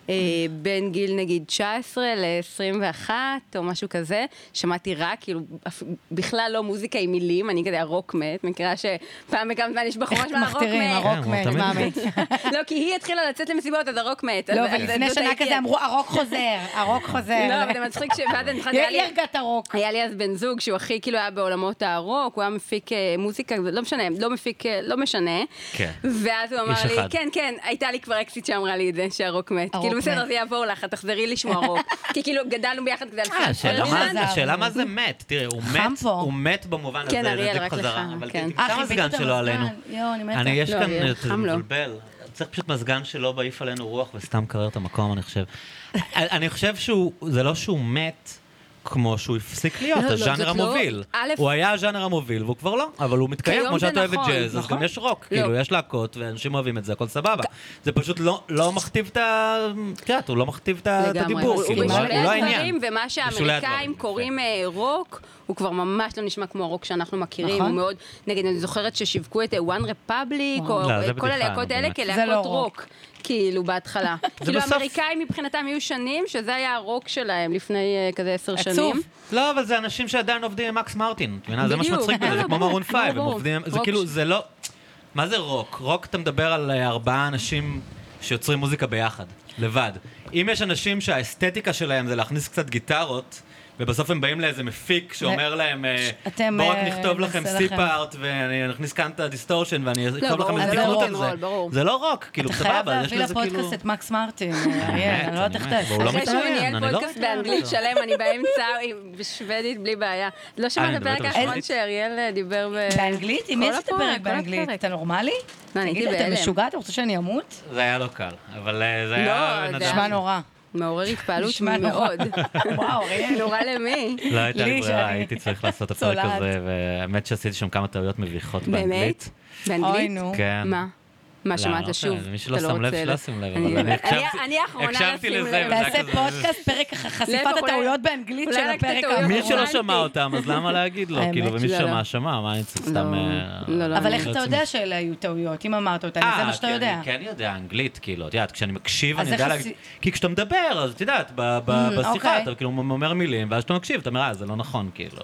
Speaker 1: אה, בין גיל נגיד 19 ל-21 או משהו כזה, שמעתי רק, כאילו, אפ- בכלל לא מוזיקה עם מילים, אני כזה הרוק מת, מכירה שפעם בכמה זמן יש בחורה
Speaker 2: איך
Speaker 1: שאומרת הרוק
Speaker 2: מכתירים,
Speaker 1: מת.
Speaker 2: הרוק
Speaker 3: כן, הוא
Speaker 2: מת,
Speaker 3: תמיד
Speaker 2: מה
Speaker 3: מת.
Speaker 2: מת.
Speaker 1: לא, כי היא התחילה לצאת למסיבות, אז הרוק מת.
Speaker 2: לא,
Speaker 1: אז- אז
Speaker 2: ולפני
Speaker 1: זאת
Speaker 2: שנה
Speaker 1: הייתי-
Speaker 2: כזה אמרו, אה, הרוק חוזר, הרוק חוזר.
Speaker 1: לא, אבל זה מצחיק שוועד הנכחת, היה
Speaker 2: היא
Speaker 1: לי...
Speaker 2: הרגה את הרוק.
Speaker 1: היה לי אז בן זוג שהוא הכי כאילו היה בעולמות הרוק, הוא היה מפיק אה, מוזיקה, לא משנה, לא מפיק, אה, לא משנה.
Speaker 3: כן.
Speaker 1: ואז הוא
Speaker 3: איש
Speaker 1: אמר לי,
Speaker 3: אחד.
Speaker 1: כן, כן, הייתה לי כבר אקסיט שאמרה לי את זה, שהרוק מת.
Speaker 2: הרוק
Speaker 1: כאילו, בסדר,
Speaker 2: מת.
Speaker 1: זה יעבור לך, תחזרי לשמוע רוק. כי כאילו, גדלנו ביחד כזה על
Speaker 3: אה, השאלה
Speaker 1: לא
Speaker 3: מה-
Speaker 2: חזרנו.
Speaker 3: השאלה מה זה מת, תראי, הוא
Speaker 2: חם
Speaker 3: מת,
Speaker 2: פה.
Speaker 3: הוא מת במובן הזה,
Speaker 1: כן,
Speaker 3: זה
Speaker 1: אריאל,
Speaker 3: טיפ
Speaker 1: רק
Speaker 3: חזרה,
Speaker 1: לך,
Speaker 3: אבל
Speaker 1: כן.
Speaker 3: תמצא
Speaker 2: אה, חיבית
Speaker 3: מזגן
Speaker 2: את
Speaker 3: שלו
Speaker 2: המזגן.
Speaker 3: עלינו.
Speaker 2: יואו, אני מתה.
Speaker 3: אני, יש
Speaker 1: לא,
Speaker 3: כאן,
Speaker 1: אריאל,
Speaker 3: אה, זה
Speaker 1: חם לו.
Speaker 3: מבלבל. צריך פשוט מזגן שלא בעיף עלינו רוח וסתם קרר את המקום, אני חושב. אני- אני חושב שהוא, זה לא שהוא מת. כמו שהוא הפסיק להיות,
Speaker 1: לא, לא, זאת
Speaker 3: הז'אנר
Speaker 1: לא-
Speaker 3: המוביל.
Speaker 1: א'-
Speaker 3: הוא היה הז'אנר המוביל והוא כבר לא, אבל הוא מתקיים,
Speaker 1: כיום
Speaker 3: כמו
Speaker 1: זה
Speaker 3: שאת אוהבת
Speaker 1: נכון,
Speaker 3: ג'אז, אז
Speaker 1: נכון.
Speaker 3: גם יש רוק,
Speaker 1: לא.
Speaker 3: כאילו, יש להקות, ואנשים אוהבים את זה, הכל סבבה. זה פשוט לא- לא מכתיב את ה... את יודעת, הוא לא מכתיב את ה- את
Speaker 1: לגמרי.
Speaker 3: הדיבור,
Speaker 1: הוא
Speaker 3: כאילו, הוא
Speaker 1: בשולי
Speaker 3: לא
Speaker 1: הדברים,
Speaker 3: העניין. כן.
Speaker 1: ומה
Speaker 3: בשולי הדברים,
Speaker 1: שהאמריקאים
Speaker 3: יפה.
Speaker 1: קוראים אה, רוק, הוא כבר ממש לא נשמע כמו הרוק שאנחנו מכירים.
Speaker 2: נכון.
Speaker 1: הוא מאוד, נגיד, אני זוכרת ששיווקו את אה, One Republic,
Speaker 3: לא,
Speaker 1: או
Speaker 3: זה
Speaker 1: אה, כל
Speaker 3: בדיחה,
Speaker 1: הלהקות
Speaker 3: נו,
Speaker 1: האלה
Speaker 3: באמת.
Speaker 2: זה לא
Speaker 1: כלהקות רוק, כאילו, בהתחלה. כאילו,
Speaker 3: בסוף-
Speaker 1: האמריקאים מבחינתם היו שנים, שזה היה הרוק שלהם לפני אה, כזה עשר
Speaker 2: עצוב.
Speaker 1: שנים.
Speaker 3: לא, אבל זה אנשים שעדיין עובדים עם מקס מרטין, את מבינה? זה מה
Speaker 1: בדיוק.
Speaker 3: שמצחיק בזה, זה
Speaker 1: לא,
Speaker 3: כמו
Speaker 1: ברור,
Speaker 3: מרון פייב, הם
Speaker 1: ברור.
Speaker 3: עובדים, זה
Speaker 1: רוק
Speaker 3: כאילו,
Speaker 1: ש-
Speaker 3: זה לא... מה זה רוק? רוק, אתה מדבר על אה, ארבעה אנשים שיוצרים מוזיקה ביחד, לבד. אם יש אנשים שהאסתטיקה שלהם זה להכניס קצת גיטרות, ובסוף הם באים לאיזה מפיק שאומר להם, אה,
Speaker 2: אתם,
Speaker 3: בואו רק
Speaker 2: אה,
Speaker 3: נכתוב לכם
Speaker 2: נעשה לכם."
Speaker 3: סי-פארט, ואני אכניס כאן את הדיסטורשן, ואני אכתוב
Speaker 1: ברור,
Speaker 3: לכם
Speaker 1: זה
Speaker 3: איזה
Speaker 1: לא
Speaker 3: תקנות על
Speaker 1: רוק אנד
Speaker 3: זה.
Speaker 1: רול,
Speaker 3: זה לא רוק, כאילו,
Speaker 2: אתה חייב
Speaker 3: סבבה, יש
Speaker 2: להביא
Speaker 3: לזה כאילו...
Speaker 2: לפודקאסט את מקס מרטין, אריאל,
Speaker 3: באמת,
Speaker 2: אני לא יודעת
Speaker 3: אני
Speaker 2: איך
Speaker 3: מת,
Speaker 2: אתה...
Speaker 3: והוא לא
Speaker 1: אחרי שהוא
Speaker 3: מתראיין,
Speaker 1: ניהל
Speaker 3: אני לא
Speaker 1: פודקאסט
Speaker 3: יודעת.
Speaker 1: באנגלית שלם, אני באמצע עם- בשוודית בלי בעיה. לא
Speaker 3: אה, אני
Speaker 1: שמעת
Speaker 3: מדברת
Speaker 1: בפרק
Speaker 3: על
Speaker 1: האחרון
Speaker 3: שוודית?
Speaker 1: שאריאל אה, דיבר ב...
Speaker 2: באנגלית? עם מי
Speaker 1: כל
Speaker 2: יש את
Speaker 1: הפרק,
Speaker 2: הפרק
Speaker 1: כל
Speaker 2: באנגלית?
Speaker 1: הפרק.
Speaker 2: אתה נורמלי?
Speaker 1: לא, אני
Speaker 2: תגיד
Speaker 1: הייתי
Speaker 2: לי, אתה
Speaker 1: בהלם. כן.
Speaker 2: משוגע? אתה רוצה שאני אמות?
Speaker 3: זה היה לא קל, אבל אה, זה היה...
Speaker 1: זה היה-
Speaker 3: בן אדם-
Speaker 2: נשמע נורא.
Speaker 1: מעורר התפעלות
Speaker 2: נשמע נורא.
Speaker 1: מאוד.
Speaker 2: וואו, אריאל.
Speaker 1: נורא למי?
Speaker 3: לא הייתה לי
Speaker 2: לי
Speaker 3: ברירה,
Speaker 2: שאני-
Speaker 3: הייתי צריך לעשות את הפרק
Speaker 2: צולעת.
Speaker 3: הזה, והאמת שעשיתי שם כמה טעויות מביכות
Speaker 1: באמת?
Speaker 3: באנגלית.
Speaker 1: באנגלית?
Speaker 2: אוי, נו.
Speaker 3: כן.
Speaker 1: מה? מה
Speaker 3: לא, לא
Speaker 1: שמעת
Speaker 3: משנה,
Speaker 1: שוב?
Speaker 3: מי שלא
Speaker 1: אתה
Speaker 3: שם לב,
Speaker 1: רוצה
Speaker 3: שלא
Speaker 1: ל-
Speaker 3: שם לב,
Speaker 1: אני-
Speaker 3: אבל אני
Speaker 1: אני-
Speaker 3: הקשבתי-
Speaker 1: אני האחרונה
Speaker 3: הקשבתי
Speaker 1: לשים
Speaker 3: לזה,
Speaker 1: לב. לא,
Speaker 3: וזה היה
Speaker 2: תעשה
Speaker 3: כזה-
Speaker 2: פודקאסט, פרק חשיפת
Speaker 1: לב, אולי-
Speaker 2: הטעויות באנגלית
Speaker 1: אולי
Speaker 2: של
Speaker 1: רק את
Speaker 2: הפרק
Speaker 1: הטעויות.
Speaker 2: האחרון.
Speaker 3: מי שלא שמע
Speaker 1: הבנתי.
Speaker 3: אותם, אז למה להגיד לו?
Speaker 2: האמת
Speaker 3: כאילו, ומי
Speaker 1: שלא,
Speaker 3: ששמע,
Speaker 1: לא.
Speaker 3: שמע, מה אני צריך
Speaker 1: לא,
Speaker 3: סתם...
Speaker 1: לא,
Speaker 3: אה,
Speaker 1: לא, לא.
Speaker 2: אבל
Speaker 1: אני
Speaker 2: איך אתה
Speaker 3: לא
Speaker 2: יודע שאלה היו טעויות, אם אמרת אותן,
Speaker 3: אה,
Speaker 2: זה מה שאתה
Speaker 3: כי
Speaker 2: יודע.
Speaker 3: אני כן יודע אנגלית, כאילו, את יודעת, כשאני מקשיב,
Speaker 2: אז
Speaker 3: אני יודע
Speaker 2: איך
Speaker 3: להגיד...
Speaker 2: עשי-
Speaker 3: כי כשאתה מדבר, אז את יודעת, ב- ב- בשיחה
Speaker 2: אוקיי.
Speaker 3: אתה כאילו אומר מילים, ואז כשאתה מקשיב, אתה אומר, אה, זה לא נכון, כאילו.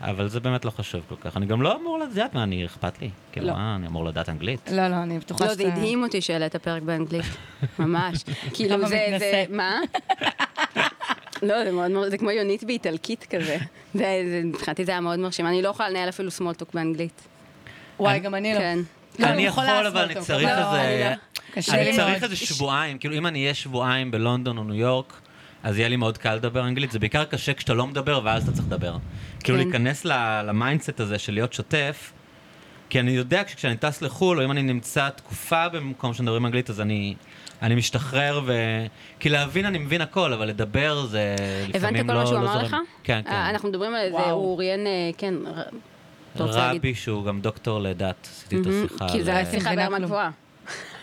Speaker 3: אבל זה באמת לא חשוב כל כך. אני גם לא אמור לדעת מה אני, אכפת לי. כאילו,
Speaker 1: לא.
Speaker 3: מה, אני אמור לדעת אנגלית?
Speaker 2: לא, לא, אני בטוחה
Speaker 1: לא,
Speaker 2: שאתה...
Speaker 1: זה הדהים אותי שהעלית פרק באנגלית, ממש. כאילו
Speaker 2: כמה
Speaker 1: זה, זה,
Speaker 2: מתנשא.
Speaker 1: מה? לא, זה מאוד מר... זה כמו יונית באיטלקית כזה. זה, זה, מבחינתי זה היה מאוד מרשים. אני לא יכולה לנהל אפילו סמולטוק באנגלית.
Speaker 2: וואי,
Speaker 3: אני-
Speaker 2: גם אני לא.
Speaker 1: כן.
Speaker 2: לא,
Speaker 3: אני
Speaker 2: יכולה
Speaker 3: יכול,
Speaker 2: לעשות
Speaker 3: אבל אני
Speaker 2: אותו.
Speaker 3: צריך
Speaker 1: לא,
Speaker 3: איזה...
Speaker 1: אני
Speaker 2: קשה
Speaker 3: אני
Speaker 2: לי
Speaker 3: צריך
Speaker 2: מאוד.
Speaker 3: איזה שבועיים. כאילו, אם אני אהיה שבועיים בלונדון או ניו יורק, אז יהיה לי מאוד קל לדבר אנגלית. זה בעיקר קשה כשאתה לא מדבר, ואז אתה צריך לדבר. כאילו,
Speaker 1: כן.
Speaker 3: להיכנס ל- למיינדסט הזה של להיות שוטף, כי אני יודע שכשאני טס לחו"ל, או אם אני נמצא תקופה במקום שמדברים אנגלית, אז אני... אני משתחרר ו... כי להבין אני מבין הכל, אבל לדבר זה לפעמים לא...
Speaker 1: הבנת כל מה שהוא
Speaker 3: לא
Speaker 1: אמר
Speaker 3: זורם.
Speaker 1: לך?
Speaker 3: כן, כן.
Speaker 1: אה, אנחנו מדברים על איזה,
Speaker 2: וואו.
Speaker 1: הוא אוריין, אה, כן, ר- אתה רוצה להגיד?
Speaker 3: רבי, שהוא גם דוקטור לדת, עשיתי את
Speaker 1: מהמם,
Speaker 3: השיחה.
Speaker 1: כי זה
Speaker 3: על-
Speaker 1: היה שיחה
Speaker 2: מבינה
Speaker 1: ברמה
Speaker 2: כלום.
Speaker 1: גבוהה.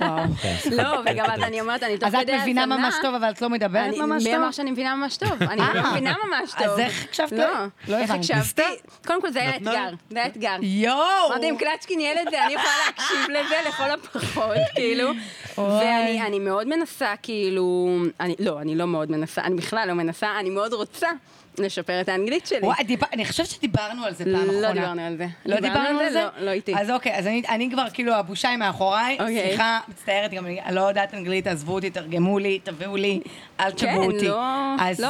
Speaker 2: וואו.
Speaker 3: כן, שיחה
Speaker 1: לא, וגם אז
Speaker 3: דוקטור.
Speaker 1: אני אומרת, אני תוך
Speaker 2: אז
Speaker 1: כדי
Speaker 2: את מבינה
Speaker 1: האזנה-
Speaker 2: ממש טוב, אבל את לא מדברת
Speaker 1: אני-
Speaker 2: ממש
Speaker 1: מי
Speaker 2: טוב? אה,
Speaker 1: אמר שאני מבינה ממש טוב? אני לא מבינה ממש
Speaker 2: אז
Speaker 1: טוב.
Speaker 2: איך הקשבת?
Speaker 1: לא,
Speaker 2: לא
Speaker 1: איך
Speaker 2: הבנתי.
Speaker 1: הקשבתי? קודם כל זה היה
Speaker 3: נתנה-
Speaker 1: אתגר, זה היה אתגר.
Speaker 2: יואו!
Speaker 1: אמרתי, לא אם קלצ'קין ילד זה, אני יכולה להקשיב לזה לכל הפחות, כאילו. ואני אני מאוד מנסה, כאילו... אני- לא, אני לא מאוד מנסה, אני בכלל לא מנסה, אני מאוד רוצה לשפר את האנגלית שלי.
Speaker 2: וואי, דיבר- אני חושבת שדיברנו על זה פעם
Speaker 1: לא
Speaker 2: אחרונה.
Speaker 1: דיברנו על זה.
Speaker 2: לא דיברנו על זה?
Speaker 1: לא, לא איתי.
Speaker 2: אז אוקיי, אז אני- אני כבר, כאילו, הבושה היא מאחוריי.
Speaker 1: אוקיי.
Speaker 2: סליחה, מצטערת, גם אני אני לא יודעת אנגלית, עזבו אותי, תרגמו לי, תביאו לי, אל
Speaker 1: כן,
Speaker 2: תשגעו אותי.
Speaker 1: לא,
Speaker 2: אז,
Speaker 1: לא.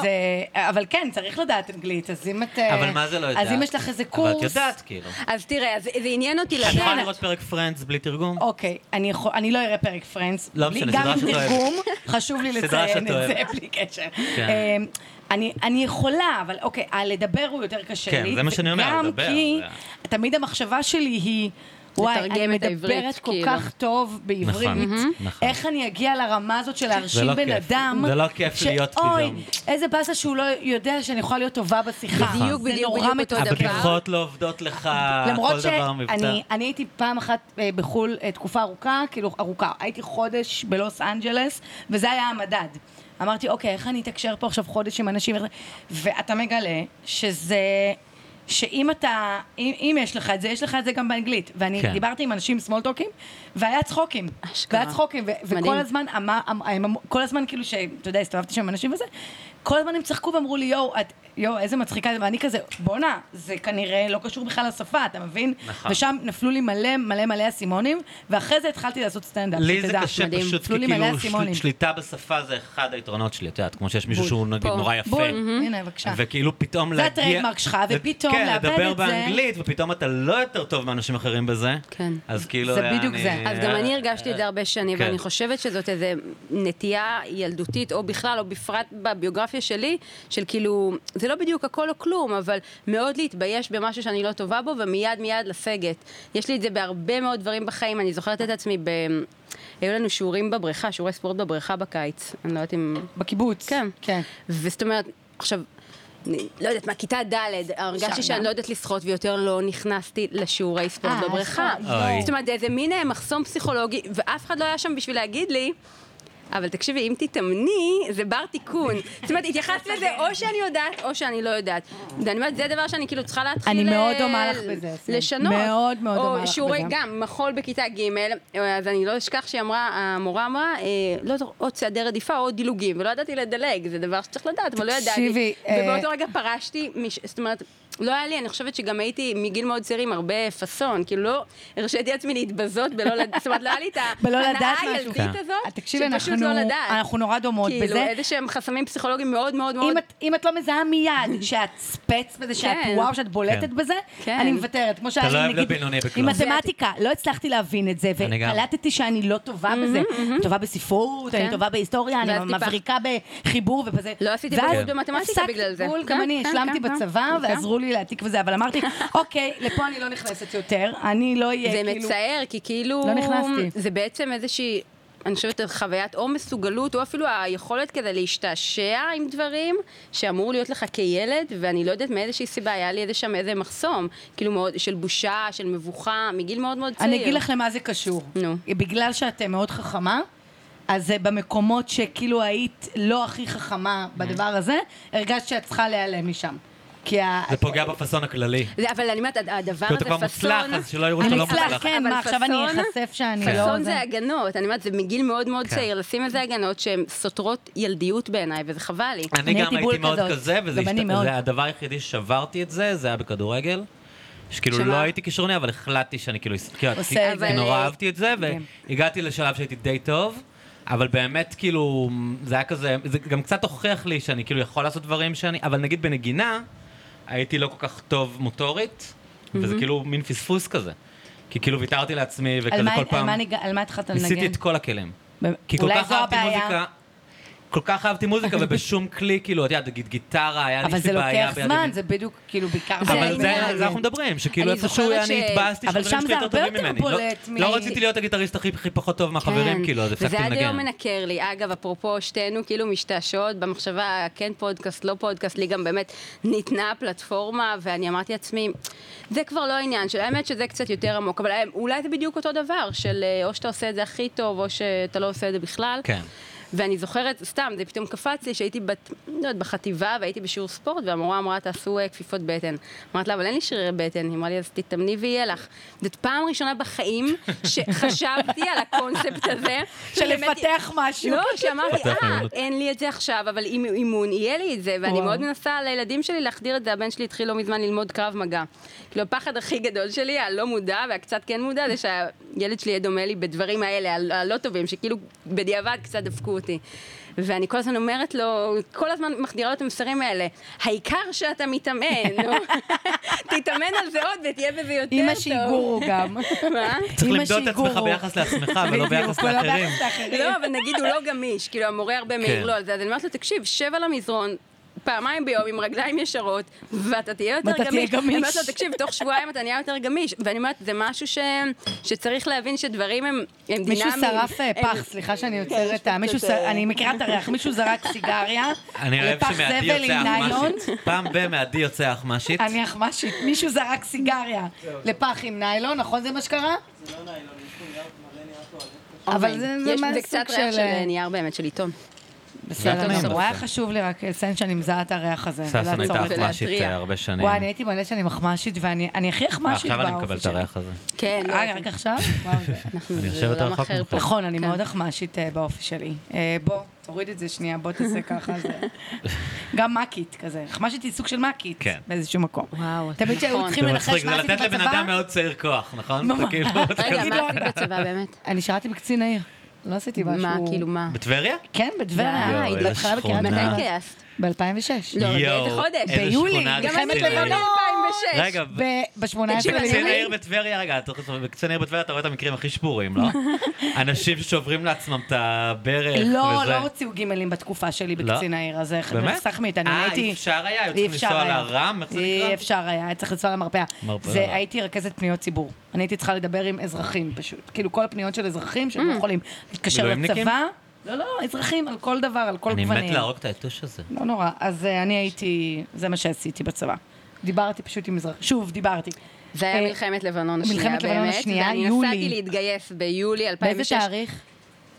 Speaker 2: אה, אבל כן, צריך לדעת אנגלית, אז אם את... אה,
Speaker 3: אבל מה זה לא יודעת?
Speaker 2: אז אם יש לך איזה
Speaker 3: אבל את
Speaker 2: קורס... לא
Speaker 3: יודעת, כאילו.
Speaker 1: אז תראה, אז זה עניין אותי
Speaker 3: אני יכולה
Speaker 1: לדעת.
Speaker 3: לראות פרק פרנדס בלי תרגום?
Speaker 2: אוקיי, אני, יכול, אני לא אראה פרק פרנדס,
Speaker 3: לא
Speaker 2: בלי-
Speaker 3: משנה,
Speaker 2: גם
Speaker 3: סדרה
Speaker 2: עם
Speaker 3: שאת אוהבת.
Speaker 2: תרגום, חשוב לי
Speaker 3: סדרה שאת
Speaker 2: לציין את זה
Speaker 3: אוהבת.
Speaker 2: בלי קשר.
Speaker 3: כן.
Speaker 2: אה, אני, אני יכולה, אבל אוקיי, הלדבר הוא יותר קשה
Speaker 3: כן,
Speaker 2: לי.
Speaker 3: זה מה שאני אומר,
Speaker 2: וגם
Speaker 3: לדבר,
Speaker 2: כי
Speaker 3: זה-
Speaker 2: תמיד המחשבה שלי היא, וואי,
Speaker 1: לתרגם
Speaker 2: אני
Speaker 1: את העברית,
Speaker 2: מדברת כל
Speaker 1: כאילו."
Speaker 2: כך טוב בעברית,
Speaker 3: נכון, מהמם. נכון.
Speaker 2: איך אני אגיע לרמה הזאת של
Speaker 3: זה
Speaker 2: להרשים
Speaker 3: לא
Speaker 2: בן
Speaker 3: כיף.
Speaker 2: אדם,
Speaker 3: זה לא כיף להיות
Speaker 2: שאוי,
Speaker 3: פתאום.
Speaker 2: איזה באסה שהוא לא יודע שאני יכולה להיות טובה בשיחה.
Speaker 1: בדיוק,
Speaker 2: זה
Speaker 1: בדיוק,
Speaker 2: נורא
Speaker 1: בדיוק אותו
Speaker 2: מתסכל.
Speaker 1: דבר.
Speaker 3: הבדיחות לא עובדות לך, כל
Speaker 2: למרות
Speaker 3: דבר מבצע.
Speaker 2: שאני אני הייתי פעם אחת אה, בחו"ל אה, תקופה ארוכה, כאילו ארוכה, הייתי חודש בלוס אנג'לס, וזה היה המדד. אמרתי, אוקיי, איך אני אתקשר פה עכשיו חודש עם אנשים? איך זה?" ואתה מגלה שזה... שאם אתה, אם, אם יש לך את זה, יש לך את זה גם באנגלית. ואני
Speaker 3: כן.
Speaker 2: כן. דיברתי עם אנשים סמולטוקים, והיה צחוקים.
Speaker 1: אשכרה.
Speaker 2: והיה צחוקים, ו-
Speaker 1: מדהים.
Speaker 2: וכל הזמן, אמר, אמ, הם אמרו- כל הזמן כאילו, ש- אתה יודע, הסתובבתי שם עם אנשים וזה, כל הזמן הם צחקו ואמרו לי, יואו, את, יואו, איזה מצחיקה, זה", ואני כזה, בואנה, זה כנראה לא קשור בכלל לשפה, אתה מבין?
Speaker 3: נכון.
Speaker 2: ושם נפלו לי מלא מלא מלא אסימונים, ואחרי זה התחלתי לעשות סטנדאפ,
Speaker 3: לי זה
Speaker 2: שתדע.
Speaker 3: קשה
Speaker 1: מדהים.
Speaker 3: פשוט,
Speaker 2: נפלו
Speaker 3: כי
Speaker 2: לי מלא
Speaker 3: כאילו של-
Speaker 2: אסימונים.
Speaker 3: שליטה בשפה זה אחד היתרונות שלי, את יודעת, כמו שיש מישהו
Speaker 2: בול.
Speaker 3: שהוא נגיד
Speaker 1: בול.
Speaker 3: נורא יפה.
Speaker 2: בול, הנה, בבקשה.
Speaker 3: וכאילו פתאום
Speaker 2: זה
Speaker 3: להגיע...
Speaker 2: הטריידמרק שלך,
Speaker 3: לד-
Speaker 2: ופתאום לאבד
Speaker 3: כן, לדבר
Speaker 2: את זה.
Speaker 3: באנגלית, ופתאום אתה לא יותר טוב מאנשים אחרים בזה.
Speaker 1: כן.
Speaker 3: אז כאילו...
Speaker 2: זה בדיוק
Speaker 3: אני-
Speaker 2: זה.
Speaker 1: אז גם אני הרגשתי את זה הרבה שנים,
Speaker 3: כן.
Speaker 1: ואני חושבת שזאת איזו נטייה ילדותית, או בכלל, או בפרט בביוגרפיה שלי, של כאילו, זה לא בדיוק הכל או כלום, אבל מאוד להתבייש במשהו שאני לא טובה בו, ומיד מיד לסגת. יש לי את זה בהרבה מאוד דברים בחיים, אני זוכרת את עצמי ב... היו לנו שיעורים בבריכה, שיעורי ספורט בבריכה בקיץ. אני לא יודעת אם...
Speaker 2: בקיבוץ.
Speaker 1: כן.
Speaker 2: כן.
Speaker 1: וזאת אומרת, עכשיו, אני לא יודעת, מהכיתה ד', הרגשתי
Speaker 2: שם
Speaker 1: שאני
Speaker 2: גם.
Speaker 1: לא יודעת לשחות ויותר לא נכנסתי לשיעורי ספורט
Speaker 2: אה,
Speaker 1: בבריכה.
Speaker 2: אז
Speaker 3: אוי.
Speaker 1: זאת אומרת, זה איזה מין אה, מחסום פסיכולוגי, ואף אחד לא היה שם בשביל להגיד לי... אבל תקשיבי, אם תתאמני, זה בר תיקון. זאת אומרת, התייחסת לזה או שאני יודעת או שאני לא יודעת. ואני אומרת, זה דבר שאני כאילו צריכה להתחיל...
Speaker 2: אני מאוד
Speaker 1: אה,
Speaker 2: דומה לך בזה, יסמין.
Speaker 1: לשנות.
Speaker 2: מאוד מאוד דומה
Speaker 1: או
Speaker 2: לך
Speaker 1: שיעורי
Speaker 2: בזה.
Speaker 1: גם, מחול בכיתה ג', אז אני לא אשכח שהיא אמרה, המורה אמרה, אה, לא זוכר, או צעדי רדיפה או דילוגים, ולא ידעתי לדלג, זה דבר שצריך לדעת, אבל לא
Speaker 2: תקשיבי,
Speaker 1: ידעתי.
Speaker 2: אה,
Speaker 1: ובאותו רגע פרשתי, מש- זאת אומרת, לא היה לי, אני חושבת שגם הייתי מגיל מאוד צעיר עם הרבה פאסון, כאילו לא הרשיתי לעצמי להתבזות בלא לדעת, זאת אומרת, לא היה לי את
Speaker 2: בלא
Speaker 1: ההנאה
Speaker 2: לדעת משהו. אה,
Speaker 1: הילדית
Speaker 3: כן.
Speaker 1: הזאת,
Speaker 2: תקשיבי,
Speaker 1: שפשוט לא
Speaker 2: אנחנו-
Speaker 1: לדעת.
Speaker 2: אנחנו נורא דומות
Speaker 1: כאילו,
Speaker 2: בזה.
Speaker 1: איזה שהם חסמים פסיכולוגיים מאוד מאוד מאוד...
Speaker 2: אם את, אם את לא מזהה מיד שאת ספץ בזה, שאת
Speaker 1: כן.
Speaker 2: וואו, שאת בולטת
Speaker 3: כן.
Speaker 2: בזה,
Speaker 1: כן.
Speaker 2: אני מוותרת. כמו שהיה
Speaker 3: לא
Speaker 2: לי
Speaker 3: אוהב
Speaker 2: נגיד,
Speaker 3: לבינוני
Speaker 2: עם
Speaker 3: בכלום.
Speaker 2: מתמטיקה, לא הצלחתי להבין את זה,
Speaker 3: אני גם.
Speaker 2: וקלטתי שאני לא טובה בזה. אני טובה בספרות,
Speaker 1: כן.
Speaker 2: אני טובה בהיסטוריה, אני
Speaker 1: ואז טיפה-
Speaker 2: מבריקה בחיבור ובזה.
Speaker 1: לא עשיתי
Speaker 2: ואז
Speaker 1: בגרות במתמטיקה
Speaker 2: הפסקתי
Speaker 1: בגלל זה.
Speaker 2: בול,
Speaker 1: כן,
Speaker 2: גם אני
Speaker 1: כן,
Speaker 2: השלמתי
Speaker 1: כן, כן.
Speaker 2: בצבא,
Speaker 1: כן.
Speaker 2: ועזרו לי להעתיק וזה, אבל אמרתי, אוקיי, לפה אני לא נכנסת יותר, אני לא אהיה
Speaker 1: זה
Speaker 2: כאילו...
Speaker 1: מצער, כי כאילו...
Speaker 2: לא נכנסתי.
Speaker 1: זה בעצם איזושהי, אני חושבת, חוויית או מסוגלות, או אפילו היכולת כזה להשתעשע עם דברים שאמור להיות לך כילד, ואני לא יודעת מאיזושהי סיבה, היה לי איזה שם איזה מחסום, כאילו מאוד, של בושה, של מבוכה, מגיל מאוד מאוד צעיר.
Speaker 2: אני אגיד לך למה זה קשור.
Speaker 1: נו.
Speaker 2: בגלל שאת אה, מאוד חכמה, אז אה, במקומות שכאילו היית לא הכי חכמה בדבר הזה, הרגשת שאת צריכה להיעלם משם. כי ה...
Speaker 3: זה פוגע בפאסון הכללי.
Speaker 1: זה- אבל אני אומרת, הדבר
Speaker 3: כי
Speaker 1: הזה,
Speaker 3: הוא כבר מוצלח,
Speaker 1: פאסון,
Speaker 3: אז שלא יראו שאתה
Speaker 2: אני
Speaker 3: לא
Speaker 1: מוצלח,
Speaker 3: מוצלח.
Speaker 2: אצלח, כן,
Speaker 1: אבל
Speaker 2: מה, עכשיו אני
Speaker 1: פאסון-
Speaker 2: אחשף שאני לא...
Speaker 1: פאסון זה הגנות, אני אומרת, זה מגיל מאוד מאוד
Speaker 3: כן.
Speaker 1: צעיר, לשים איזה הגנות שהן סותרות ילדיות בעיניי, וזה חבל לי.
Speaker 3: אני
Speaker 2: אני
Speaker 3: גם
Speaker 2: הייתי
Speaker 3: הייתי
Speaker 2: בול
Speaker 3: מאוד
Speaker 2: כזאת.
Speaker 3: כזה, וזה
Speaker 2: גם אני
Speaker 3: השת-
Speaker 2: מאוד.
Speaker 3: זה הדבר היחידי ששברתי את זה, זה היה בכדורגל. שכאילו
Speaker 1: שמה?
Speaker 3: לא הייתי כישרוני, אבל החלטתי שאני כאילו, כאילו,
Speaker 2: עושה
Speaker 3: כי-
Speaker 2: את זה.
Speaker 3: כי נורא
Speaker 1: אבל-
Speaker 3: אהבתי את זה, והגעתי לשלב שהייתי די טוב, אבל באמת כאילו, זה היה כזה, זה גם קצת הוכיח לי שאני כאילו יכול לעשות דברים שאני, אבל נגיד בנגינה, הייתי לא כל כך טוב מוטורית, וזה כאילו מין פספוס כזה. כי כאילו ויתרתי לעצמי,
Speaker 2: על
Speaker 3: וכזה
Speaker 2: מה-
Speaker 3: כל
Speaker 2: על
Speaker 3: פעם,
Speaker 2: מה ניג- על מה התחלת לנגן?
Speaker 3: ניסיתי את כל הכלים.
Speaker 2: ב-
Speaker 3: כי כל
Speaker 2: אולי
Speaker 3: כך
Speaker 2: זו
Speaker 3: אהבתי
Speaker 2: הבעיה.
Speaker 3: מוזיקה, כל כך אהבתי מוזיקה, ובשום כלי, כאילו, את יודעת, נגיד גיטרה, היה לי
Speaker 2: אבל
Speaker 3: איזושהי
Speaker 2: זה
Speaker 3: בעיה.
Speaker 2: לוקח
Speaker 3: ביד
Speaker 2: זמן,
Speaker 3: ימין.
Speaker 2: זה בדיוק, כאילו, בעיקר...
Speaker 1: זה
Speaker 3: אבל זה
Speaker 1: העניין.
Speaker 3: זה אנחנו מדברים, שכאילו
Speaker 1: אני
Speaker 3: איפשהו
Speaker 1: זוכרת
Speaker 3: אני
Speaker 1: ש-
Speaker 3: התבאסתי
Speaker 2: אבל
Speaker 3: שחברים
Speaker 2: שם
Speaker 3: שלי
Speaker 2: זה
Speaker 3: יותר
Speaker 2: הרבה יותר
Speaker 3: טובים ממני. לא-
Speaker 2: בולט מ- כן.
Speaker 3: לא רציתי להיות הגיטריסט הכי הכי פחות טוב מהחברים, כאילו, אז הפסקתי
Speaker 1: וזה עד היום
Speaker 3: לנגן.
Speaker 1: מנקר לי. אגב, אפרופו, שתינו כאילו משתעשעות במחשבה, כן פודקאסט, לא פודקאסט, לי גם באמת ניתנה הפלטפורמה, ואני אמרתי לעצמי, זה כבר לא העניין של, האמת שזה קצת יותר עמוק, אבל אולי זה בדיוק אותו דבר, של אה, או שאתה עושה את זה הכי טוב, או שאתה לא עושה את זה בכלל.
Speaker 3: כן.
Speaker 1: ואני זוכרת, סתם, זה פתאום קפץ לי, שהייתי בת, לא יודעת, בחטיבה והייתי בשיעור ספורט, והמורה אמרה, תעשו אה, כפיפות בטן. אמרתי לה, אבל אין לי שרירי בטן. היא אמרה לי, אז תתאמני ויהיה לך. זאת פעם ראשונה בחיים שחשבתי על הקונספט הזה.
Speaker 2: של
Speaker 1: שבאמת-
Speaker 2: לפתח משהו.
Speaker 1: לא, שאמרתי,
Speaker 3: לפתח
Speaker 1: אה,
Speaker 3: מיומנות."
Speaker 1: אין לי את זה עכשיו, אבל עם אימון יהיה לי את זה, ואני
Speaker 2: וואו.
Speaker 1: מאוד מנסה לילדים שלי להחדיר את זה. הבן שלי התחיל לא מזמן ללמוד קרב מגע. כאילו, הפחד הכי גדול שלי, הלא מודע והקצת כן מודע, זה שהילד שלי יהיה דומה לי בדברים האלה, ה- הלא טובים, שכאילו בדיעבד קצת דפקו אותי. ואני כל הזמן אומרת לו, כל הזמן מחדירה לו את המסרים האלה, העיקר שאתה מתאמן, נו. תתאמן על זה עוד ותהיה בזה יותר טוב.
Speaker 2: אימא שהיא גורו גם.
Speaker 1: מה?
Speaker 3: צריך
Speaker 2: אמא
Speaker 3: למדוד את
Speaker 2: שהיא
Speaker 3: עצמך
Speaker 2: גורו.
Speaker 3: ביחס לעצמך, ולא
Speaker 2: בדיוק,
Speaker 3: ביחס
Speaker 2: ולא
Speaker 3: לאחרים.
Speaker 2: ביחס לאחרים.
Speaker 1: לא, אבל נגיד הוא לא גמיש, כאילו המורה הרבה מעיר לו על זה, אז אני אומרת לו, תקשיב, שב על המזרון. פעמיים ביום עם רגליים ישרות, ואתה תהיה יותר
Speaker 2: ואתה
Speaker 1: גמיש.
Speaker 2: תהיה גמיש.
Speaker 1: אני אומרת לו, תקשיב, תוך שבועיים אתה נהיה יותר גמיש. ואני אומרת, זה משהו ש... שצריך להבין שדברים הם, הם דינמיים.
Speaker 2: מישהו שרף אה,
Speaker 1: הם- כן,
Speaker 2: פח, סליחה שאני
Speaker 1: יש
Speaker 2: עוצרת,
Speaker 1: פה
Speaker 2: אה, מישהו
Speaker 1: קצת,
Speaker 2: ש-
Speaker 1: אה,
Speaker 2: אני מכירה את הריח, מישהו זרק סיגריה
Speaker 3: אני אוהב
Speaker 2: לפח
Speaker 3: שמעדי
Speaker 2: זבל
Speaker 3: יוצא
Speaker 2: עם ניילון.
Speaker 3: אחמ"שית. פעם במעדי יוצא אחמ"שית.
Speaker 2: אני אחמ"שית, מישהו זרק סיגריה לפח עם ניילון, נכון זה מה שקרה? אבל זה- זה
Speaker 1: יש
Speaker 2: מה
Speaker 1: בזה
Speaker 2: סוג
Speaker 1: קצת ריח
Speaker 2: של,
Speaker 1: של
Speaker 2: אה,
Speaker 1: נייר באמת, של עיתון.
Speaker 2: בסדר,
Speaker 1: טוב,
Speaker 2: גמור.
Speaker 3: לא בסדר.
Speaker 2: היה חשוב לי רק לציין שאני מזהה את הריח הזה.
Speaker 3: ששון
Speaker 2: ולעצור
Speaker 3: הייתה
Speaker 2: את זה.
Speaker 1: ולהתריע.
Speaker 3: אחמ"שית אה, הרבה שנים.
Speaker 2: לא
Speaker 3: אה,
Speaker 2: וואי, אני הייתי מלא שאני מחמ"שית, ואני אני הכי אחמ"שית
Speaker 3: עכשיו אני
Speaker 2: באופי
Speaker 3: מקבל את
Speaker 2: שלי.
Speaker 3: הריח הזה.
Speaker 1: כן, לא,
Speaker 2: אה, רק עכשיו? וואו, זה-
Speaker 1: אנחנו
Speaker 3: אני
Speaker 1: זה
Speaker 3: יושבת
Speaker 1: עולם
Speaker 3: רחוק
Speaker 1: אחר
Speaker 3: ממך.
Speaker 1: פה.
Speaker 2: נכון, אני
Speaker 1: כן.
Speaker 2: מאוד אחמ"שית אה, באופי שלי. אה, בוא, תוריד את זה שנייה, בוא תעשה ככה. זה- גם מאקית כזה. אחמ"שית היא סוג של מאקית,
Speaker 3: כן.
Speaker 2: באיזשהו מקום.
Speaker 1: וואו,
Speaker 2: תמיד שהיו
Speaker 1: נכון.
Speaker 2: צריכים
Speaker 3: זה
Speaker 2: לנחש
Speaker 3: מצחיק, זה
Speaker 2: מה עשיתי
Speaker 3: לתת לבן
Speaker 2: בצבא?
Speaker 3: אדם מאוד צעיר כוח, נכון?
Speaker 2: ממש.
Speaker 3: אתה כאילו, אתה
Speaker 1: רגע,
Speaker 2: כן.
Speaker 3: כזה-
Speaker 1: מה עשית בצבא באמת?
Speaker 2: אני שירתי בקצין העיר. לא עשיתי משהו...
Speaker 1: מה, כאילו, מה? אה,
Speaker 3: בטבריה?
Speaker 2: כן,
Speaker 1: די,
Speaker 2: בטבריה.
Speaker 1: יואו,
Speaker 3: איזה
Speaker 2: בהתחלה בקריית
Speaker 3: שכונה.
Speaker 2: גת.
Speaker 1: מתי התגייסת?
Speaker 2: ב-2006.
Speaker 1: לא, באיזה
Speaker 3: יואו,
Speaker 1: חודש?
Speaker 3: איזה
Speaker 2: ביולי,
Speaker 3: שכונה
Speaker 2: גם
Speaker 1: גם
Speaker 2: אני
Speaker 1: אני לא-
Speaker 3: רצינית.
Speaker 2: לבנון.
Speaker 1: לבנון 2006.
Speaker 3: רגע, ב-
Speaker 2: ב-18
Speaker 3: בקצין
Speaker 2: ליולי.
Speaker 3: העיר בטבריה, רגע, אתה חושב, בקצין העיר בטבריה אתה רואה את המקרים הכי שבורים, לא? אנשים ששוברים לעצמם את הברך וזה. לא?
Speaker 2: לא, לא הוציאו גימלים בתקופה שלי בקצין העיר, אז איך
Speaker 3: באמת?
Speaker 2: נחסך מאיתנו, אני
Speaker 3: אה,
Speaker 2: הייתי...
Speaker 3: אי אפשר היה? היו
Speaker 2: אי
Speaker 3: צריכים
Speaker 2: אפשר
Speaker 3: לנסוע
Speaker 2: היה.
Speaker 3: לרם? איך זה נקרא?
Speaker 2: אי אפשר היה, היה צריך לנסוע למרפאה.
Speaker 3: מרפאה.
Speaker 2: זה, הייתי רכזת פניות ציבור. אני הייתי צריכה לדבר עם אזרחים פשוט. כאילו כל הפניות של אזרחים שהם לא
Speaker 1: Mm.
Speaker 2: יכולים להתקשר
Speaker 3: מילואימניקים?
Speaker 2: לצבא. לא, לא, אזרחים על כל דבר, על כל
Speaker 3: אני
Speaker 2: גוונים.
Speaker 3: מת להרוג את היתוש הזה.
Speaker 2: לא נורא. אז אה, אני הייתי, זה מה שעשיתי בצבא. דיברתי פשוט עם אזרחים. שוב, דיברתי.
Speaker 1: זה היה
Speaker 2: אה,
Speaker 1: מלחמת לבנון השנייה,
Speaker 2: מלחמת לבנון
Speaker 1: באמת,
Speaker 2: השנייה,
Speaker 1: ואני
Speaker 2: יולי.
Speaker 1: נסעתי להתגייס ביולי 2006.
Speaker 2: באיזה תאריך?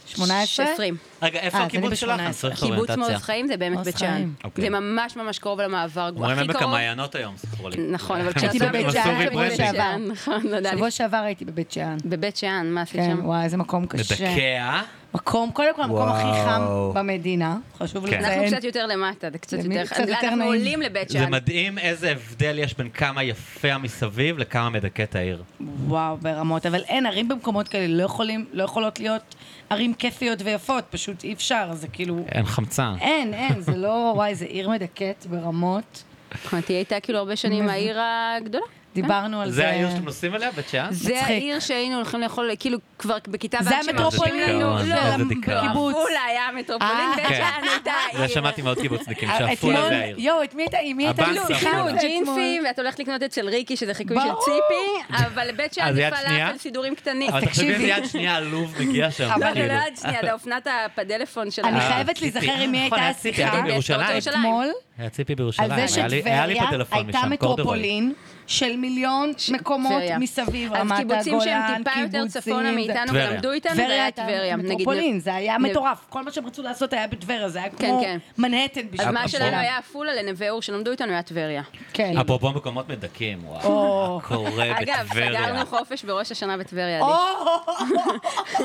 Speaker 2: 18?
Speaker 1: 20.
Speaker 3: רגע, איפה
Speaker 2: אה, אז
Speaker 3: הקיבוץ
Speaker 2: אני
Speaker 3: שלך?
Speaker 2: ב-
Speaker 3: אני צריך
Speaker 1: קיבוץ מעוז
Speaker 3: אוריינטציה.
Speaker 1: חיים זה באמת
Speaker 2: מעוז
Speaker 1: בית שאן.
Speaker 2: חיים.
Speaker 3: אוקיי.
Speaker 1: זה ממש ממש קרוב למעבר. הוא
Speaker 3: אומרים
Speaker 1: הכי
Speaker 3: הם
Speaker 1: קרוב.
Speaker 3: במעיינות היום, סיפרו לי.
Speaker 1: נכון, אבל
Speaker 2: הייתי
Speaker 1: כשעשו-
Speaker 2: בבית
Speaker 1: כשעשו
Speaker 2: שאן,
Speaker 1: את
Speaker 2: שבוע
Speaker 1: בית
Speaker 2: שעבר.
Speaker 1: שאן, נכון, לא יודע. לי.
Speaker 2: שבוע שעבר הייתי בבית שאן.
Speaker 1: בבית שאן, מה עשית
Speaker 2: כן,
Speaker 1: שם?
Speaker 2: וואי, איזה מקום קשה.
Speaker 3: מדכא.
Speaker 2: מקום, קודם כל המקום הכי חם
Speaker 3: וואו.
Speaker 2: במדינה. חשוב
Speaker 3: כן.
Speaker 2: לציין.
Speaker 1: אנחנו קצת יותר למטה, זה קצת
Speaker 2: למי
Speaker 1: יותר...
Speaker 2: קצת יותר
Speaker 1: אנחנו
Speaker 2: נעים?
Speaker 1: עולים לבית
Speaker 3: זה
Speaker 1: שאן.
Speaker 3: מדהים איזה הבדל יש בין כמה יפה המסביב לכמה מדכא את העיר.
Speaker 2: וואו, ברמות. אבל אין, ערים במקומות כאלה לא יכולים, לא יכולות להיות ערים כיפיות ויפות, פשוט אי אפשר, זה כאילו...
Speaker 3: אין חמצן.
Speaker 2: אין, אין, זה לא, וואי, זה עיר מדכאת ברמות.
Speaker 1: נכון, תהיה הייתה כאילו הרבה שנים העיר הגדולה.
Speaker 2: דיברנו על זה.
Speaker 3: זה העיר שאתם נוסעים אליה, בית שאן?
Speaker 1: זה
Speaker 2: מצחיק.
Speaker 1: העיר שהיינו הולכים לאכול, כאילו, כבר בכיתה...
Speaker 2: זה
Speaker 1: ו' שמרשים
Speaker 2: המטרופולין
Speaker 1: לנו-
Speaker 3: של
Speaker 1: לא,
Speaker 3: איזה
Speaker 2: דיכאון. בקיבוץ.
Speaker 1: עפולה היה המטרופולין,
Speaker 2: אה.
Speaker 1: בית
Speaker 3: כן.
Speaker 1: שאן הייתה העיר.
Speaker 3: זה שמעתי מאוד קיבוצניקים,
Speaker 2: אה,
Speaker 3: שעפולה
Speaker 2: אתמול-
Speaker 3: זה העיר.
Speaker 2: יואו, את מי הייתה? עם מי הייתה לי
Speaker 3: הבנק
Speaker 2: שיחה?
Speaker 3: ספרו
Speaker 1: כאילו
Speaker 3: לה.
Speaker 2: אתמול?
Speaker 1: ג'ינסים, ואת הולכת לקנות אצל ריקי, שזה חיקוי של
Speaker 2: ברור.
Speaker 1: ציפי, אבל בית שאן
Speaker 3: אז
Speaker 1: זה
Speaker 3: יד שנייה?
Speaker 1: פלאפל סידורים קטנים.
Speaker 3: אבל תחשבי איזה
Speaker 2: תקשיבי.
Speaker 3: יד שנייה עלוב מגיע שם.
Speaker 2: אבל
Speaker 1: אבל זה
Speaker 3: כאילו. אה,
Speaker 1: לא יד שנייה, זה אופנת הפדלפון של
Speaker 2: אני
Speaker 1: ה-
Speaker 2: חייבת
Speaker 3: ציפי.
Speaker 2: להיזכר עם מי
Speaker 3: נכון,
Speaker 2: הייתה
Speaker 3: היה ציפי,
Speaker 2: השיחה.
Speaker 3: היה בירושלים.
Speaker 1: בירושלים.
Speaker 2: אתמול,
Speaker 3: היה ציפי
Speaker 2: על
Speaker 3: בירושלים.
Speaker 2: זה
Speaker 3: היה לי- היה לי
Speaker 2: שטבריה
Speaker 3: בטלפון
Speaker 2: הייתה
Speaker 3: משם, קורדורוי.
Speaker 2: מטרופולין, של מיליון מקומות
Speaker 1: טבריה.
Speaker 2: מסביב, רמת
Speaker 1: אז
Speaker 2: הגולן,
Speaker 1: קיבוצים שהם טיפה יותר
Speaker 2: קיבוצים,
Speaker 1: צפונה
Speaker 2: זה-
Speaker 1: מאיתנו
Speaker 3: טבריה.
Speaker 1: ולמדו איתנו, זה היה טבריה. נגיד,
Speaker 2: מטרופולין, זה היה
Speaker 1: נ-
Speaker 2: מטורף. כל מה שהם רצו לעשות היה בטבריה, זה היה כמו
Speaker 1: כן.
Speaker 2: מנהטן
Speaker 1: אז
Speaker 2: בשביל...
Speaker 1: מה
Speaker 3: אפרופו.
Speaker 1: שלנו היה עפולה לנווה אור, שלמדו איתנו היה טבריה.
Speaker 2: כן.
Speaker 3: אפרופו מקומות מדכאים, וואו,
Speaker 2: או.
Speaker 3: מה קורה
Speaker 1: אגב,
Speaker 3: אה, בטבריה?
Speaker 1: סגרנו חופש בראש השנה בטבריה. עדי.
Speaker 2: או,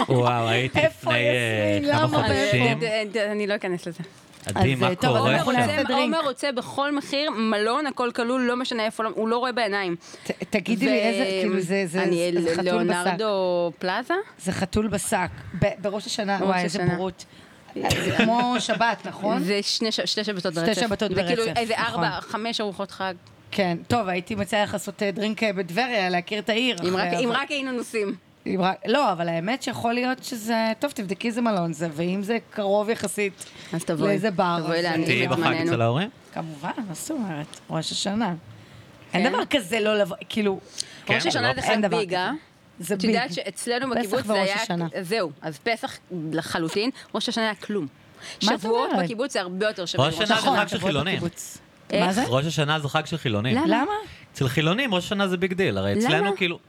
Speaker 3: וואו, הייתי
Speaker 2: איפה,
Speaker 3: לפני אה,
Speaker 2: יסמין?
Speaker 3: כמה
Speaker 2: למה, לא
Speaker 1: אבל,
Speaker 3: חודשים,
Speaker 1: אה, ד- ד- אני לא אכנס לזה.
Speaker 3: עדי,
Speaker 2: אז,
Speaker 3: מה
Speaker 2: אה, טוב,
Speaker 3: קורה?
Speaker 1: עומר
Speaker 2: אנחנו
Speaker 3: שם?
Speaker 2: נעשה
Speaker 1: רוצה-
Speaker 2: דרינק.
Speaker 1: עומר רוצה בכל מחיר מלון, הכל כלול, לא משנה איפה, לא- הוא לא רואה בעיניים.
Speaker 2: ת- תגידי לי איזה, כאילו זה זה-
Speaker 1: אני
Speaker 2: זה חתול בשק.
Speaker 1: ליאונרדו פלאזה?
Speaker 2: זה חתול בשק. ב- בראש השנה,
Speaker 1: בראש
Speaker 2: וואי, איזה
Speaker 1: השנה.
Speaker 2: בורות. זה כמו שבת, נכון?
Speaker 1: זה שני ש- שתי שבתות
Speaker 2: שתי
Speaker 1: ברצף.
Speaker 2: שבתות
Speaker 1: זה כאילו
Speaker 2: ברצף,
Speaker 1: איזה
Speaker 2: נכון.
Speaker 1: ארבע, חמש ארוחות חג.
Speaker 2: כן. טוב, הייתי מציעה לך לעשות אה, דרינק אה, בטבריה, להכיר את העיר.
Speaker 1: אם רק-
Speaker 2: אחרי
Speaker 1: אם
Speaker 2: הזה.
Speaker 1: רק היינו נוסעים.
Speaker 2: אם רק- לא, אבל האמת שיכול להיות שזה... טוב, תבדקי איזה מלון זה, ואם זה קרוב יחסית
Speaker 1: אז תבואי.
Speaker 2: לאיזה בר.
Speaker 1: תבואי
Speaker 2: אז,
Speaker 1: להנעים
Speaker 2: אה,
Speaker 3: תהיי בחג
Speaker 1: בזמננו.
Speaker 3: אצל ההורים?
Speaker 2: כמובן, מה זאת אומרת? ראש השנה. אין דבר כזה לא לבוא, כאילו...
Speaker 3: כן,
Speaker 1: כן. ראש השנה
Speaker 3: לא-
Speaker 1: זה
Speaker 2: אין
Speaker 1: חג
Speaker 2: דבר
Speaker 1: ביג, אה?
Speaker 2: זה
Speaker 1: את יודעת
Speaker 2: ביג.
Speaker 1: שאצלנו
Speaker 2: פסח
Speaker 1: בקיבוץ זה
Speaker 2: וראש
Speaker 1: היה...
Speaker 2: השנה.
Speaker 1: זהו, אז פסח לחלוטין, ראש השנה היה כלום.
Speaker 2: מה את
Speaker 1: שבועות
Speaker 2: אומרת?
Speaker 1: בקיבוץ זה הרבה יותר שווה.
Speaker 3: ראש
Speaker 1: מראש
Speaker 3: השנה זה
Speaker 1: השנה.
Speaker 3: חג של
Speaker 2: תבואי
Speaker 3: חילונים. נכון.
Speaker 2: לקיבוץ.
Speaker 1: איך?
Speaker 2: נכון, מה זה?
Speaker 3: ראש השנה זה חג של חילונים.
Speaker 1: למה?
Speaker 2: למה?
Speaker 3: אצל חילונים ראש השנה זה ביג דיל, הרי אצלנו
Speaker 1: למה?
Speaker 3: כאילו...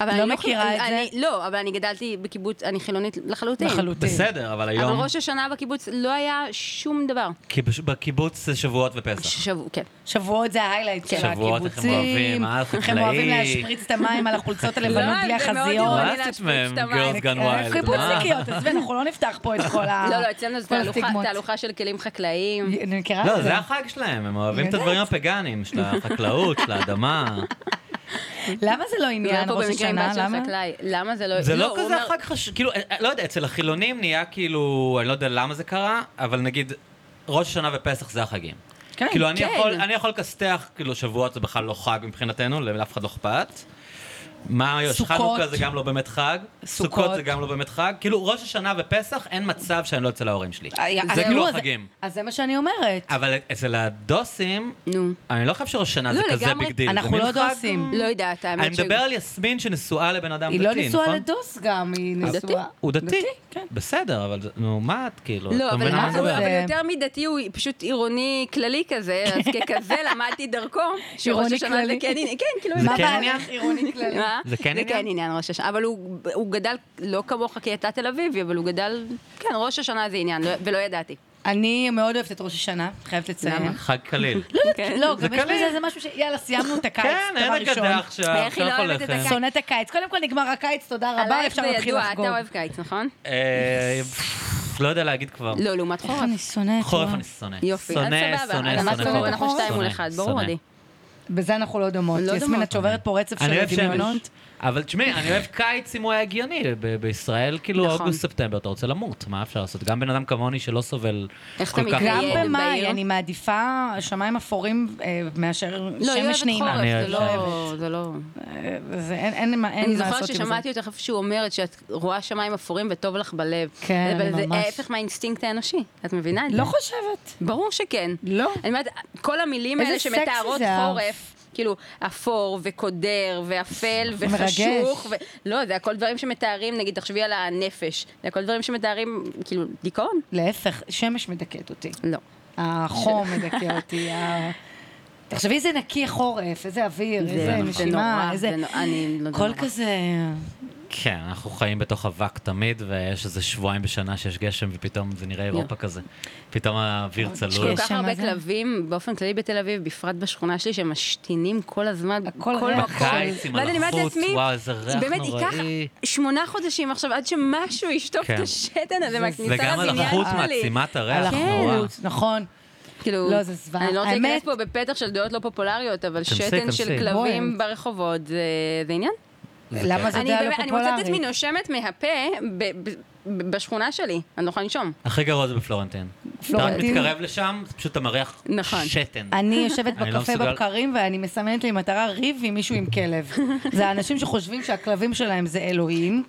Speaker 1: אבל
Speaker 2: לא
Speaker 1: אני
Speaker 2: מכירה את זה.
Speaker 1: אני- לא, אבל אני גדלתי בקיבוץ, אני חילונית לחלוטין.
Speaker 2: לחלוטין.
Speaker 3: בסדר, אבל
Speaker 1: אבל
Speaker 3: היום...
Speaker 1: ראש השנה בקיבוץ לא היה שום דבר.
Speaker 2: נכון.
Speaker 3: כי בש- בקיבוץ זה שבועות ופסח.
Speaker 1: שבוע, כן.
Speaker 2: שבועות זה ההיילייט של
Speaker 1: כן.
Speaker 3: שבועות, איך הם
Speaker 2: הקיבוצים.
Speaker 3: אוהבים, אה,
Speaker 2: הם אוהבים
Speaker 3: חקלאי.
Speaker 2: להשפריץ את המים על החולצות הלבנות בלי
Speaker 1: לא, זה מאוד
Speaker 2: החזיות. אה,
Speaker 1: אירוני
Speaker 3: מה עשית
Speaker 1: להשפריץ
Speaker 3: מהם,
Speaker 1: את המים.
Speaker 3: girls gone wild?
Speaker 2: קיבוצניקיות,
Speaker 3: אה.
Speaker 2: עזבי, אנחנו לא נפתח פה את כל ה...
Speaker 1: לא, לא, אצלנו זה
Speaker 2: כל
Speaker 1: תהלוכה-
Speaker 2: הסטיגמות.
Speaker 1: תהלוכה של כלים חקלאיים.
Speaker 2: אני מכירה את
Speaker 3: לא, זה החג שלהם, הם אוהבים את
Speaker 2: יודעת.
Speaker 3: הדברים הפגאניים, של החקלאות, של האדמה.
Speaker 2: למה זה לא
Speaker 1: נראה
Speaker 2: עניין
Speaker 1: פה
Speaker 2: ראש
Speaker 1: במקרה עם
Speaker 2: השנה?
Speaker 1: בת של
Speaker 2: למה?
Speaker 1: חקלאי. למה זה לא...
Speaker 3: זה לא
Speaker 1: הוא
Speaker 3: כזה
Speaker 1: אומר-
Speaker 3: החג חשוב, כאילו, אה, אה, לא יודע, אצל החילונים נהיה כאילו, אני לא יודע למה זה קרה, אבל נגיד, ראש השנה ופסח זה החגים.
Speaker 2: כן.
Speaker 3: כאילו, אני
Speaker 1: כן.
Speaker 3: יכול- אני יכול לכסתח, כאילו, שבועות זה בכלל לא חג מבחינתנו, לאף אחד לא אכפת. מה, יש
Speaker 2: סוכות.
Speaker 3: חנוכה זה גם לא באמת חג,
Speaker 2: סוכות.
Speaker 3: סוכות זה גם לא באמת חג, כאילו ראש השנה ופסח אין מצב שאני לא אצל ההורים שלי.
Speaker 2: היה-
Speaker 3: זה אה,
Speaker 2: אז
Speaker 3: כאילו
Speaker 2: נו, אז-
Speaker 3: החגים.
Speaker 2: אז זה מה שאני אומרת.
Speaker 3: אבל אצל הדוסים,
Speaker 1: נו.
Speaker 3: אני לא חושב שראש השנה
Speaker 1: לא,
Speaker 3: זה כזה
Speaker 1: לגמרי.
Speaker 3: ביג דיל. זה
Speaker 2: אנחנו
Speaker 3: מין
Speaker 2: לא
Speaker 3: חג-
Speaker 2: דוסים.
Speaker 1: לא יודעת, האמת
Speaker 3: אני מדבר על יסמין שנשואה לבן אדם דתי,
Speaker 2: היא
Speaker 3: נכון?
Speaker 2: לא נשואה לדוס גם, היא
Speaker 1: הוא דתי?
Speaker 2: נשואה.
Speaker 3: הוא דתי,
Speaker 2: כן.
Speaker 3: בסדר, אבל זה- נו, מה את כאילו?
Speaker 1: לא,
Speaker 3: אתה
Speaker 1: אבל
Speaker 3: מבין על מה
Speaker 1: למה
Speaker 3: אני
Speaker 1: זה
Speaker 3: מדבר?
Speaker 1: אבל
Speaker 2: זה-
Speaker 1: יותר מדתי הוא פשוט עירוני כללי כזה, אז ככזה למדתי דרכו, שראש
Speaker 2: עירוני
Speaker 1: השנה זה
Speaker 2: כללי.
Speaker 1: כן עניין, כן, כאילו...
Speaker 3: זה
Speaker 2: מה
Speaker 3: כן
Speaker 2: בעיה
Speaker 3: עניין?
Speaker 2: עירוני כללי?
Speaker 1: מה?
Speaker 3: זה כן
Speaker 1: זה כן
Speaker 3: עניין?
Speaker 1: עניין ראש השנה, אבל הוא הוא גדל לא כמוך כי אתה תל אביבי, אבל הוא גדל, כן, ראש השנה זה עניין, לא- ולא ידעתי.
Speaker 2: אני מאוד אוהבת את ראש השנה, חייבת לציין.
Speaker 1: למה?
Speaker 3: חג קליל.
Speaker 1: כן.
Speaker 2: לא,
Speaker 3: זה
Speaker 2: גם יש
Speaker 3: קליל.
Speaker 2: בזה איזה משהו ש... יאללה, סיימנו את הקיץ,
Speaker 3: כן, אין
Speaker 2: דבר ראשון.
Speaker 3: אגדה עכשיו,
Speaker 1: איך היא
Speaker 3: עכשיו
Speaker 1: לא אוהבת את
Speaker 3: הולכת.
Speaker 1: הקיץ?
Speaker 2: שונאת הקיץ. קודם כל נגמר הקיץ, תודה רבה,
Speaker 1: עלייך זה
Speaker 2: אפשר להתחיל
Speaker 1: ידוע, אתה
Speaker 2: לחגוג.
Speaker 1: אוהב קיץ, נכון?
Speaker 3: אה, פפפ, לא יודע להגיד כבר.
Speaker 1: לא, לעומת חורף.
Speaker 2: איך אני שונאת.
Speaker 3: חורף
Speaker 2: וואו.
Speaker 3: אני שונא.
Speaker 1: יופי, אז
Speaker 3: שונא,
Speaker 1: סבבה.
Speaker 3: שונא,
Speaker 1: אנחנו-
Speaker 3: שונא חורף.
Speaker 1: אנחנו שתיים מול
Speaker 3: שונא,
Speaker 1: אחד, ברור,
Speaker 3: שונא.
Speaker 1: עדי.
Speaker 2: בזה אנחנו לא דומות.
Speaker 1: לא
Speaker 2: יסמין,
Speaker 1: דומות.
Speaker 2: את שוברת פה רצף
Speaker 3: אני
Speaker 2: של
Speaker 3: אוהב
Speaker 2: דמיונות.
Speaker 3: שמש. אבל תשמעי, אני אוהב קיץ אם הוא היה הגיוני. ב- בישראל, כאילו,
Speaker 1: נכון.
Speaker 3: אוגוסט-ספטמבר, אתה רוצה למות, מה אפשר לעשות? גם בן אדם כמוני שלא סובל
Speaker 1: איך אתה
Speaker 3: כל כך...
Speaker 1: מתגאה?
Speaker 2: גם
Speaker 1: בעיר. בעיר.
Speaker 2: במאי, אני מעדיפה שמיים אפורים אה, מאשר
Speaker 1: לא, היא
Speaker 2: שמש
Speaker 1: אוהבת
Speaker 2: נעימה.
Speaker 1: חורף,
Speaker 3: אני
Speaker 1: זה
Speaker 3: אוהבת
Speaker 1: לא... זה לא...
Speaker 2: אה, זה- אין- אין מה אין
Speaker 1: אני
Speaker 2: מה לעשות עם זה.
Speaker 1: זוכרת ששמעתי אותך איפשהו אומרת שאת רואה שמיים אפורים וטוב לך בלב.
Speaker 2: כן,
Speaker 1: אבל זה
Speaker 2: ממש.
Speaker 1: ההפך מהאינסטינקט האנושי, את מבינה את זה?
Speaker 2: לא חושבת.
Speaker 1: ברור שכן.
Speaker 2: לא.
Speaker 1: אני אומרת, כל המילים
Speaker 2: איזה
Speaker 1: האלה
Speaker 2: סקסי
Speaker 1: שמתארות
Speaker 2: זה,
Speaker 1: חורף, כאילו, אפור וקודר ואפל
Speaker 2: מרגש.
Speaker 1: וחשוך. ו... לא, זה הכל דברים שמתארים, נגיד, תחשבי על הנפש. זה הכל דברים שמתארים, כאילו, דיכאון?
Speaker 2: להפך, שמש מדכאת אותי.
Speaker 1: לא.
Speaker 2: החום מדכא אותי. ה- תחשבי איזה נקי חורף, איזה אוויר, איזה
Speaker 1: נורא,
Speaker 2: נשימה,
Speaker 1: זה
Speaker 2: איזה...
Speaker 1: נורא, אני לא- זה
Speaker 2: כל
Speaker 1: נורא.
Speaker 2: כזה...
Speaker 3: כן, אנחנו חיים בתוך אבק תמיד, ויש איזה שבועיים בשנה שיש גשם, ופתאום זה נראה אירופה כזה. פתאום האוויר
Speaker 1: יש
Speaker 3: צלול.
Speaker 1: כל כך
Speaker 2: שם,
Speaker 1: הרבה
Speaker 2: מה זה?
Speaker 1: כלבים, באופן כללי בתל אביב, בפרט בשכונה שלי, שמשתינים כל הזמן,
Speaker 2: הכל
Speaker 1: כל
Speaker 2: ריח.
Speaker 1: מקום.
Speaker 3: הקיץ עם
Speaker 1: ואז אני אומרת
Speaker 3: הלחות,
Speaker 1: לעצמי,
Speaker 3: וואו, איזה ריח
Speaker 1: באמת ייקח
Speaker 3: נוראי.
Speaker 1: שמונה חודשים עכשיו עד שמשהו ישטוף
Speaker 3: כן.
Speaker 1: את השתן הזה מהכניסה
Speaker 3: וגם
Speaker 1: לבניין
Speaker 3: הלחות
Speaker 1: שלי. כן.
Speaker 3: מעצימה את הריח, נורא.
Speaker 2: הלחות, נכון.
Speaker 1: כאילו,
Speaker 2: לא, זה זוועה.
Speaker 1: אני לא רוצה
Speaker 2: האמת-
Speaker 1: להיכנס פה בפתח של דעות לא פופולריות, אבל
Speaker 3: תנסי,
Speaker 1: שתן של
Speaker 3: תנסי.
Speaker 1: כלבים
Speaker 2: בואי.
Speaker 1: ברחובות זה זה עניין.
Speaker 2: למה זה
Speaker 1: אני
Speaker 2: דעה לא
Speaker 1: באמת- אני מוצאת את עצמי
Speaker 2: פופולרית?
Speaker 1: נושמת מהפה ב- ב- ב- בשכונה שלי, אני לא יכולה לנשום.
Speaker 3: הכי גרוע זה בפלורנטין. אתה רק
Speaker 2: פלורנטין?
Speaker 3: מתקרב לשם, זה פשוט אתה מריח
Speaker 1: נכון.
Speaker 3: שתן.
Speaker 2: אני יושבת
Speaker 3: אני לא
Speaker 2: בקפה
Speaker 3: מסוגל-
Speaker 2: בבקרים ואני מסמנת לי מטרה ריב עם מישהו עם כלב. זה האנשים שחושבים שהכלבים שלהם זה אלוהים,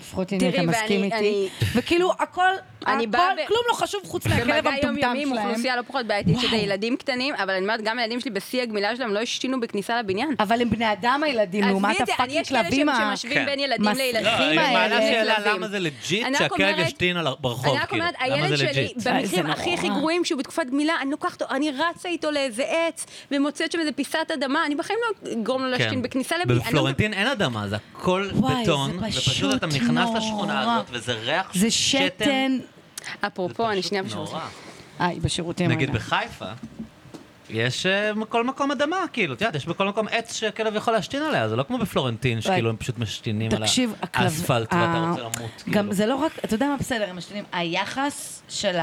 Speaker 2: לפחות הנה אתה
Speaker 1: תראי,
Speaker 2: מסכים
Speaker 1: ואני-
Speaker 2: איתי.
Speaker 1: אני-
Speaker 2: וכאילו, הכל,
Speaker 1: אני
Speaker 2: הכל,
Speaker 1: באה ב-
Speaker 2: כלום לא חשוב חוץ מהכלב
Speaker 1: במגע
Speaker 2: המטומטם
Speaker 1: יומיומי עם
Speaker 2: שלהם.
Speaker 1: אוכלוסייה לא פחות בעייתית, שזה
Speaker 2: וואו.
Speaker 1: ילדים קטנים, אבל אני אומרת, גם הילדים שלי בשיא הגמילה שלהם לא השתינו בכניסה לבניין.
Speaker 2: אבל הם בני אדם
Speaker 1: עזבי
Speaker 2: הילדים, אה, לעומת
Speaker 1: את זה, אני-
Speaker 2: הפאקינג
Speaker 1: יש כאלה
Speaker 2: כלבים
Speaker 1: שהם-
Speaker 2: ה...
Speaker 1: שמשווים
Speaker 3: כן.
Speaker 1: בין ילדים
Speaker 2: מס-
Speaker 1: לילדים.
Speaker 3: לא, היא
Speaker 2: האלה,
Speaker 3: מעלה שאלה
Speaker 1: כלבים.
Speaker 3: למה זה לג'יט
Speaker 1: אני רק
Speaker 3: שהכלב
Speaker 1: אומרת-
Speaker 3: ישתין על ברחוב,
Speaker 1: אני רק
Speaker 3: כאילו.
Speaker 1: אומרת,
Speaker 3: למה
Speaker 1: הילד
Speaker 3: זה
Speaker 1: שלי,
Speaker 3: לג'יט?
Speaker 2: איי, אה, זה
Speaker 1: במקרים
Speaker 2: נורא.
Speaker 1: הכי הכי גרועים, שהוא בתקופת גמילה, אני לוקחת אותו, אני רצה איתו לאיזה עץ, ומוצאת שם איזה פיסת אדמה, אני בחיים לא אגרום לו
Speaker 3: כן.
Speaker 1: להשתין בכניסה לבניין.
Speaker 3: בפלורנטין אין אדמה, זה הכל
Speaker 2: וואי, זה
Speaker 3: בטון,
Speaker 2: פשוט
Speaker 3: ופשוט אתה נכנס
Speaker 2: נורא.
Speaker 3: לשכונה הזאת, וזה ריח
Speaker 2: זה שתן...
Speaker 1: אפרופו, אני
Speaker 3: פשוט
Speaker 1: שנייה
Speaker 3: נורא.
Speaker 1: בשביל...
Speaker 2: איי, בשירותים.
Speaker 3: נגיד
Speaker 2: האלה.
Speaker 3: בחיפה, יש אה, בכל מקום אדמה, כאילו, את יודעת, יש בכל מקום עץ שכלב יכול להשתין עליה, זה לא כמו בפלורנטין, שכאילו הם פשוט משתינים על
Speaker 2: תקשיב, הכלב...
Speaker 3: האספלט ואתה
Speaker 2: ה-
Speaker 3: רוצה למות,
Speaker 2: גם
Speaker 3: כאילו.
Speaker 2: זה לא רק, אתה יודע מה בסדר, הם משתנים. היחס של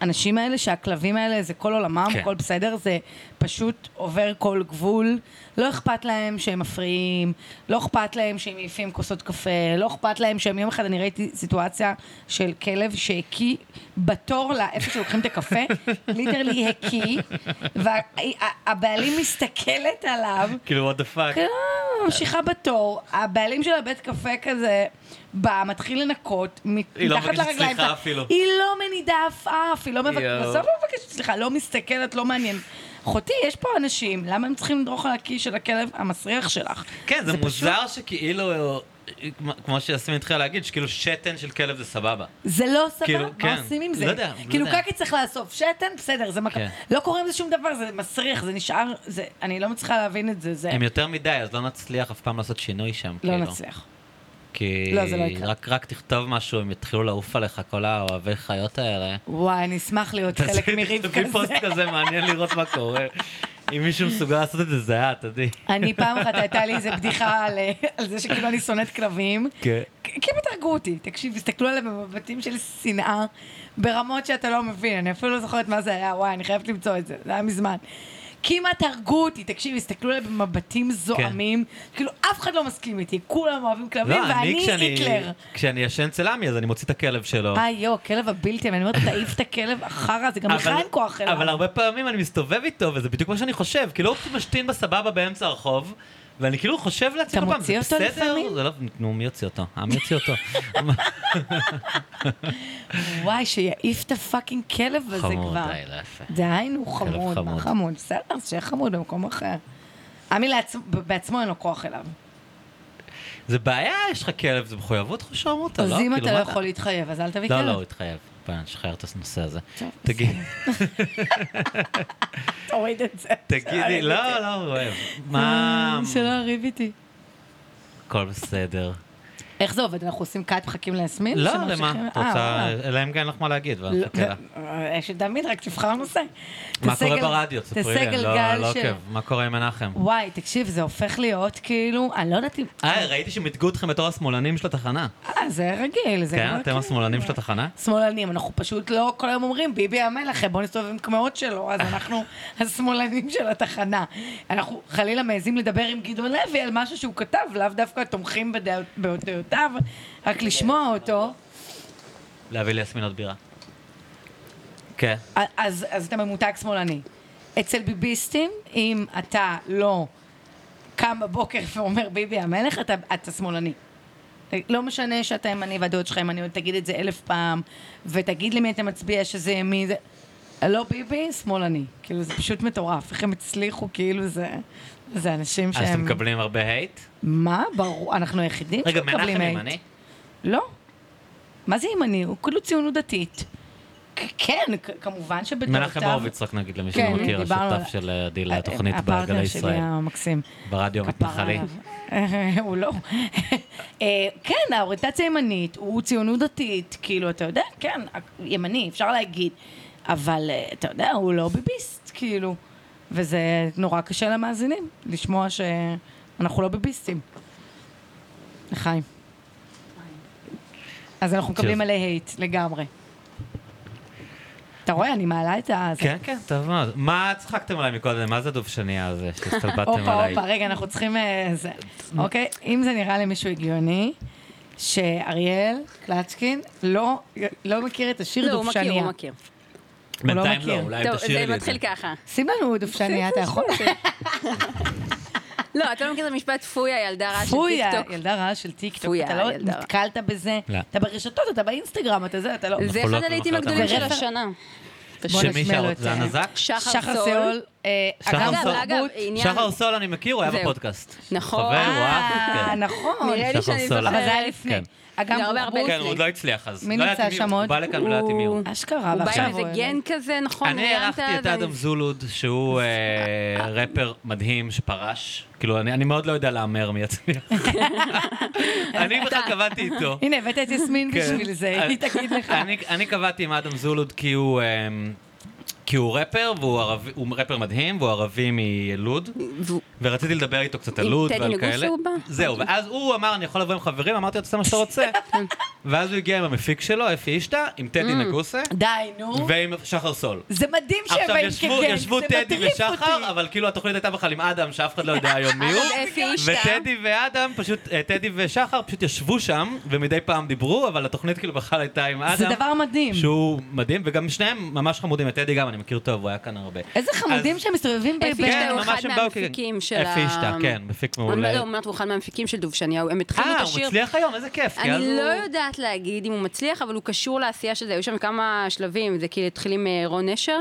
Speaker 2: האנשים האלה, שהכלבים האלה, זה כל עולמם,
Speaker 3: כן.
Speaker 2: הכל בסדר, זה פשוט עובר כל גבול. לא אכפת להם שהם מפריעים, לא אכפת להם שהם מעיפים כוסות קפה, לא אכפת להם שהם יום אחד, אני ראיתי סיטואציה של כלב שהקיא בתור לאיפה שלוקחים את הקפה, ליטרלי הקיא, והבעלים מסתכלת עליו,
Speaker 3: כאילו, what the fuck.
Speaker 2: כן, ממשיכה בתור, הבעלים של הבית קפה כזה בא, מתחיל לנקות, מת-
Speaker 3: היא לא
Speaker 2: מתחת
Speaker 3: מבקשת
Speaker 2: לרגליים.
Speaker 3: סליחה
Speaker 2: שלה.
Speaker 3: אפילו.
Speaker 2: היא לא מנידה עפעף, היא לא מבקשת,
Speaker 3: יואו.
Speaker 2: בסוף לא מבקשת סליחה, לא מסתכלת, לא מעניין. אחותי, יש פה אנשים, למה הם צריכים לדרוך על הקיא של הכלב המסריח שלך?
Speaker 3: כן, זה מוזר שכאילו, כמו שיסמין התחילה להגיד, שכאילו שתן של כלב זה סבבה.
Speaker 2: זה לא סבבה,
Speaker 3: כאילו,
Speaker 2: מה
Speaker 3: כן.
Speaker 2: עושים עם זה?
Speaker 3: לא יודע, לא
Speaker 2: כאילו
Speaker 3: יודע.
Speaker 2: קקי צריך לאסוף שתן, בסדר, זה מק...
Speaker 3: כן.
Speaker 2: לא קורה עם זה שום דבר, זה מסריח, זה נשאר, זה... אני לא מצליחה להבין את זה, זה...
Speaker 3: הם יותר מדי, אז לא נצליח אף פעם לעשות שינוי שם,
Speaker 2: לא
Speaker 3: כאילו.
Speaker 2: נצליח.
Speaker 3: כי
Speaker 2: לא, זה לא יקרה.
Speaker 3: רק- רק תכתוב משהו, הם יתחילו לעוף עליך, כל האוהבי חיות האלה.
Speaker 2: וואי, אני אשמח להיות חלק מריב
Speaker 3: תכתבי פוסט
Speaker 2: כזה.
Speaker 3: כזה, מעניין לראות מה קורה. אם מישהו מסוגל לעשות את זה, זה את, עדי.
Speaker 2: אני פעם אחת הייתה לי איזה בדיחה על, אה, על זה שכאילו אני שונאת כלבים.
Speaker 3: כן.
Speaker 2: כ- כאילו תהרגו אותי, תקשיב, הסתכלו עליהם במבטים של שנאה, ברמות שאתה לא מבין, אני אפילו לא זוכרת מה זה היה, וואי, אני חייבת למצוא את זה, זה היה מזמן. כמעט הרגו אותי, תקשיב, הסתכלו עליהם במבטים זועמים, כאילו אף אחד לא מסכים איתי, כולם אוהבים כלבים,
Speaker 3: כן. לא, אני
Speaker 2: ואני
Speaker 3: כשאני-
Speaker 2: היטלר.
Speaker 3: כשאי ישן צלמי, אז אני מוציא את הכלב שלו.
Speaker 2: אה, יו, כלב הבלתי, אני אומרת, תעיף את הכלב אחרא, זה גם לך
Speaker 3: אבל-
Speaker 2: אין כוח אליו.
Speaker 3: אבל הרבה פעמים אני מסתובב איתו, וזה בדיוק מה שאני חושב. כאילו, הוא משתין בסבבה באמצע הרחוב, ואני כאילו חושב לעצמי,
Speaker 2: אתה
Speaker 3: כל פעם,
Speaker 2: מוציא
Speaker 3: זה
Speaker 2: אותו
Speaker 3: בסדר?
Speaker 2: לפעמים?
Speaker 3: זה לא- נו, מי יוציא אותו? העם יוציא אותו.
Speaker 2: וואי, שיעיף את הפאקינג כלב הזה
Speaker 3: חמור,
Speaker 2: כבר.
Speaker 3: די, לא יפה.
Speaker 2: דהיינו, חמוד, מה
Speaker 3: חמוד.
Speaker 2: חמוד? בסדר, אז שיהיה חמוד במקום אחר. עמי לעצ- ב- בעצמו אין לו כוח אליו.
Speaker 3: זה בעיה, יש לך כלב, זה מחויבות לך לשמור אותו, לא?
Speaker 2: אז אם
Speaker 3: כאילו,
Speaker 2: אתה
Speaker 3: מה
Speaker 2: לא יכול להתחייב, אז אל תביא
Speaker 3: לא, לא, הוא
Speaker 2: כלב.
Speaker 3: התחייב. בואי, נשחרר את הנושא הזה.
Speaker 2: טוב,
Speaker 3: תגיד,
Speaker 2: תוריד את זה.
Speaker 3: תגידי, לא, לא, הוא אוהב. מה...
Speaker 2: שלא יריב איתי.
Speaker 3: הכל בסדר.
Speaker 2: איך זה עובד? אנחנו עושים קאט, מחכים להסמין?
Speaker 3: לא,
Speaker 2: שממשיכים?
Speaker 3: למה? את
Speaker 2: אה,
Speaker 3: רוצה,
Speaker 2: וואלה.
Speaker 3: אלא אם כן אין לך מה להגיד, ואז
Speaker 2: לא,
Speaker 3: נחכה לה.
Speaker 2: אה, שתמיד רק תבחר נושא.
Speaker 3: מה
Speaker 2: תעשה
Speaker 3: קורה
Speaker 2: גל-
Speaker 3: ברדיו? תספרי
Speaker 2: תעשה
Speaker 3: לי, אני
Speaker 2: גלגל
Speaker 3: לא לא
Speaker 2: של-
Speaker 3: עוקב. מה קורה עם מנחם?
Speaker 2: וואי, תקשיב, זה הופך להיות כאילו, אני לא יודעת אם...
Speaker 3: אה, ראיתי שמיתגו אתכם בתור השמאלנים של התחנה.
Speaker 2: אה, זה רגיל, זה
Speaker 3: כן,
Speaker 2: כבר
Speaker 3: אתם
Speaker 2: כאילו-
Speaker 3: השמאלנים של התחנה?
Speaker 2: שמאלנים, אנחנו פשוט לא כל היום אומרים ביבי המלך, בואו נסתובב עם קמעות שלו, אז אנחנו השמאלנים של התחנה. אנחנו חלילה מעזים לדבר עם גדעון לוי על משהו שהוא כתב, לאו דווקא תומכים בדעות- בדעותיו, רק לשמוע אותו.
Speaker 3: להביא לי יסמין עוד בירה. כן.
Speaker 2: אז, אז אתה ממותג שמאלני. אצל ביביסטים, אם אתה לא קם בבוקר ואומר ביבי המלך, אתה, אתה שמאלני. לא משנה שאתה ימני והדעות שלך ימניות, תגיד את זה אלף פעם, ותגיד למי אתה מצביע שזה ימין. זה... לא ביבי, שמאלני. כאילו, זה פשוט מטורף. איך הם הצליחו, כאילו, זה... זה אנשים שהם...
Speaker 3: אז אתם מקבלים הרבה הייט?
Speaker 2: מה? ברור, אנחנו היחידים
Speaker 3: רגע,
Speaker 2: שמקבלים
Speaker 3: מנחם
Speaker 2: hate.
Speaker 3: ימני?
Speaker 2: לא. מה זה ימני? הוא כאילו ציונות דתית. כ- כן, כ- כמובן שבדעותיו...
Speaker 3: מנחם הורוביץ, רק נגיד למי שלא
Speaker 2: כן,
Speaker 3: מכיר,
Speaker 2: דיברנו על-
Speaker 3: השותף של עדי לתוכנית בגלי
Speaker 2: אה, הפרטנר שלי
Speaker 3: ישראל.
Speaker 2: המקסים.
Speaker 3: ברדיו המתנחלי.
Speaker 2: עליו. הוא לא. אה, כן, האוריינטציה הימנית, הוא ציונות דתית, כאילו, אתה יודע, כן, ימני, אפשר להגיד, אבל אה, אתה יודע, הוא לא ביביסט, כאילו, וזה נורא קשה למאזינים, לשמוע שאנחנו לא ביביסטים. לחיים. אז אנחנו מקבלים
Speaker 3: טוב.
Speaker 2: עלי הייט לגמרי. אתה רואה, אני מעלה את ה...
Speaker 3: כן, כן, טוב מאוד. מה צחקתם עליי מקודם? מה זה הדובשנייה הזה שהסתלבטתם
Speaker 2: הופה,
Speaker 3: עליי?
Speaker 2: הופה, רגע, אנחנו צריכים... אה, זה. אוקיי, אם זה נראה למישהו הגיוני, שאריאל קלצ'קין לא לא מכיר את השיר
Speaker 1: לא, הוא מכיר,
Speaker 2: דובשניה.
Speaker 1: הוא מכיר.
Speaker 3: בינתיים
Speaker 2: מכיר.
Speaker 3: לא, אולי
Speaker 1: טוב,
Speaker 3: תשאיר
Speaker 1: זה
Speaker 2: כן,
Speaker 3: לי את זה.
Speaker 1: מתחיל ככה.
Speaker 2: שים לנו דובשניה, אתה יכול?
Speaker 1: לא, אתה לא מכיר את המשפט פויה, ילדה רעה של
Speaker 2: פויה,
Speaker 1: טיקטוק.
Speaker 2: ילדה רעה של טיקטוק,
Speaker 1: פויה,
Speaker 2: אתה לא
Speaker 1: ילדה רעה.
Speaker 2: נתקלת בזה,
Speaker 3: לא.
Speaker 2: אתה ברשתות, אתה באינסטגרם, אתה זה, אתה לא...
Speaker 1: זה
Speaker 3: אנחנו
Speaker 1: אחד
Speaker 3: לא-
Speaker 1: הלהיטים
Speaker 3: אנחנו
Speaker 1: הגדולים
Speaker 2: לא-
Speaker 1: של השנה.
Speaker 2: בוא
Speaker 3: שמי
Speaker 2: נשמיע לו
Speaker 3: שרות?
Speaker 2: את
Speaker 3: זה
Speaker 2: זה.
Speaker 3: הנזק?
Speaker 1: שחר
Speaker 2: שחר
Speaker 1: סול.
Speaker 2: סול, אה,
Speaker 3: שחר
Speaker 2: אגב,
Speaker 3: סול.
Speaker 1: אגב,
Speaker 2: תרבות,
Speaker 1: עניין-
Speaker 3: שחר סול אני מכיר, הוא היה
Speaker 1: זהו.
Speaker 3: בפודקאסט.
Speaker 1: נכון.
Speaker 3: חבר, הוא אהב,
Speaker 2: אה,
Speaker 3: כן.
Speaker 2: נכון,
Speaker 1: נראה לי
Speaker 3: שחר
Speaker 1: שאני
Speaker 3: סול.
Speaker 1: זוכרת.
Speaker 2: אבל זה היה לפני.
Speaker 3: כן.
Speaker 2: אגם
Speaker 1: זה הרבה הרבה
Speaker 2: ברבוס,
Speaker 3: כן, הוא עוד לא הצליח אז.
Speaker 2: מי
Speaker 3: לא
Speaker 2: נמצא
Speaker 3: ידעתי
Speaker 2: שם
Speaker 3: הוא
Speaker 2: עוד?
Speaker 3: בא לכאן ולא ידעתי מי הוא.
Speaker 2: אשכרה,
Speaker 1: הוא בא
Speaker 2: ועכשיו
Speaker 1: עם איזה
Speaker 2: הוא-
Speaker 1: גן כזה, נכון?
Speaker 3: אני
Speaker 1: ראיינת,
Speaker 3: הערכתי את
Speaker 1: ואני-
Speaker 3: אדם זולוד, שהוא אה, ראפר מדהים שפרש. כאילו, אני אני מאוד לא יודע להמר מי יצליח. אני בכלל קבעתי איתו.
Speaker 2: הנה, הבאת את יסמין
Speaker 3: כן.
Speaker 2: בשביל זה,
Speaker 3: אני-
Speaker 2: היא תגיד לך.
Speaker 3: אני- אני קבעתי עם אדם זולוד כי הוא... אמ, כי הוא ראפר, והוא ערבי, הוא ראפר מדהים, והוא ערבי מלוד,
Speaker 1: והוא-
Speaker 3: ורציתי לדבר איתו קצת
Speaker 1: עם
Speaker 3: על לוד
Speaker 1: טדי
Speaker 3: ועל
Speaker 1: נגוסה
Speaker 3: כאלה.
Speaker 1: הוא בא?
Speaker 3: זהו, ואז הוא אמר, אני יכול לבוא עם חברים, אמרתי לו, תעשה מה שאתה רוצה.
Speaker 2: כן.
Speaker 3: ואז הוא הגיע עם המפיק שלו, אפי אישטה, עם
Speaker 2: Mm.
Speaker 3: טדי נגוסה,
Speaker 2: די, נו.
Speaker 3: ועם שחר סול.
Speaker 2: זה מדהים שהם
Speaker 3: עכשיו
Speaker 2: באים
Speaker 3: ישבו,
Speaker 2: כגן, כן, זה
Speaker 3: ישבו טדי
Speaker 2: מטריף אותי.
Speaker 3: ושחר, אבל כאילו התוכנית הייתה בכלל עם אדם, שאף אחד לא יודע היום מי
Speaker 1: אה, אבל
Speaker 3: הוא.
Speaker 1: אפי אישטה.
Speaker 3: וטדי ואדם, פשוט, אה, טדי ושחר פשוט ישבו שם, ומדי פעם דיברו, אבל התוכנית כאילו בכלל הייתה עם אדם.
Speaker 2: זה דבר מדהים.
Speaker 3: שהוא מדהים, וגם שניהם ממש חמודים, את טדי גם, אני מכיר טוב, הוא היה כאן הרבה.
Speaker 2: איזה חמודים
Speaker 3: אז- כן,
Speaker 2: שהם מסתובבים ב-
Speaker 1: אפי
Speaker 2: ב-
Speaker 1: אישטה הוא
Speaker 3: ממש
Speaker 1: אחד
Speaker 3: הם באו כן.
Speaker 1: מהמפיקים
Speaker 3: כ-
Speaker 1: של ה...
Speaker 3: אפי אישטה, כן, מפיק מעולה.
Speaker 1: אני לא אומרת, הוא אחד מהמפיקים של דובשניהו, הם התחילו את
Speaker 3: אה,
Speaker 1: השיר.
Speaker 3: הוא מצליח היום, איזה כיף. כן? כי אז
Speaker 1: אני
Speaker 3: הוא-
Speaker 1: לא יודעת להגיד אם הוא מצליח, אבל הוא קשור לעשייה של זה. היו שם כמה שלבים, זה כאילו התחיל עם אה, רון נשר,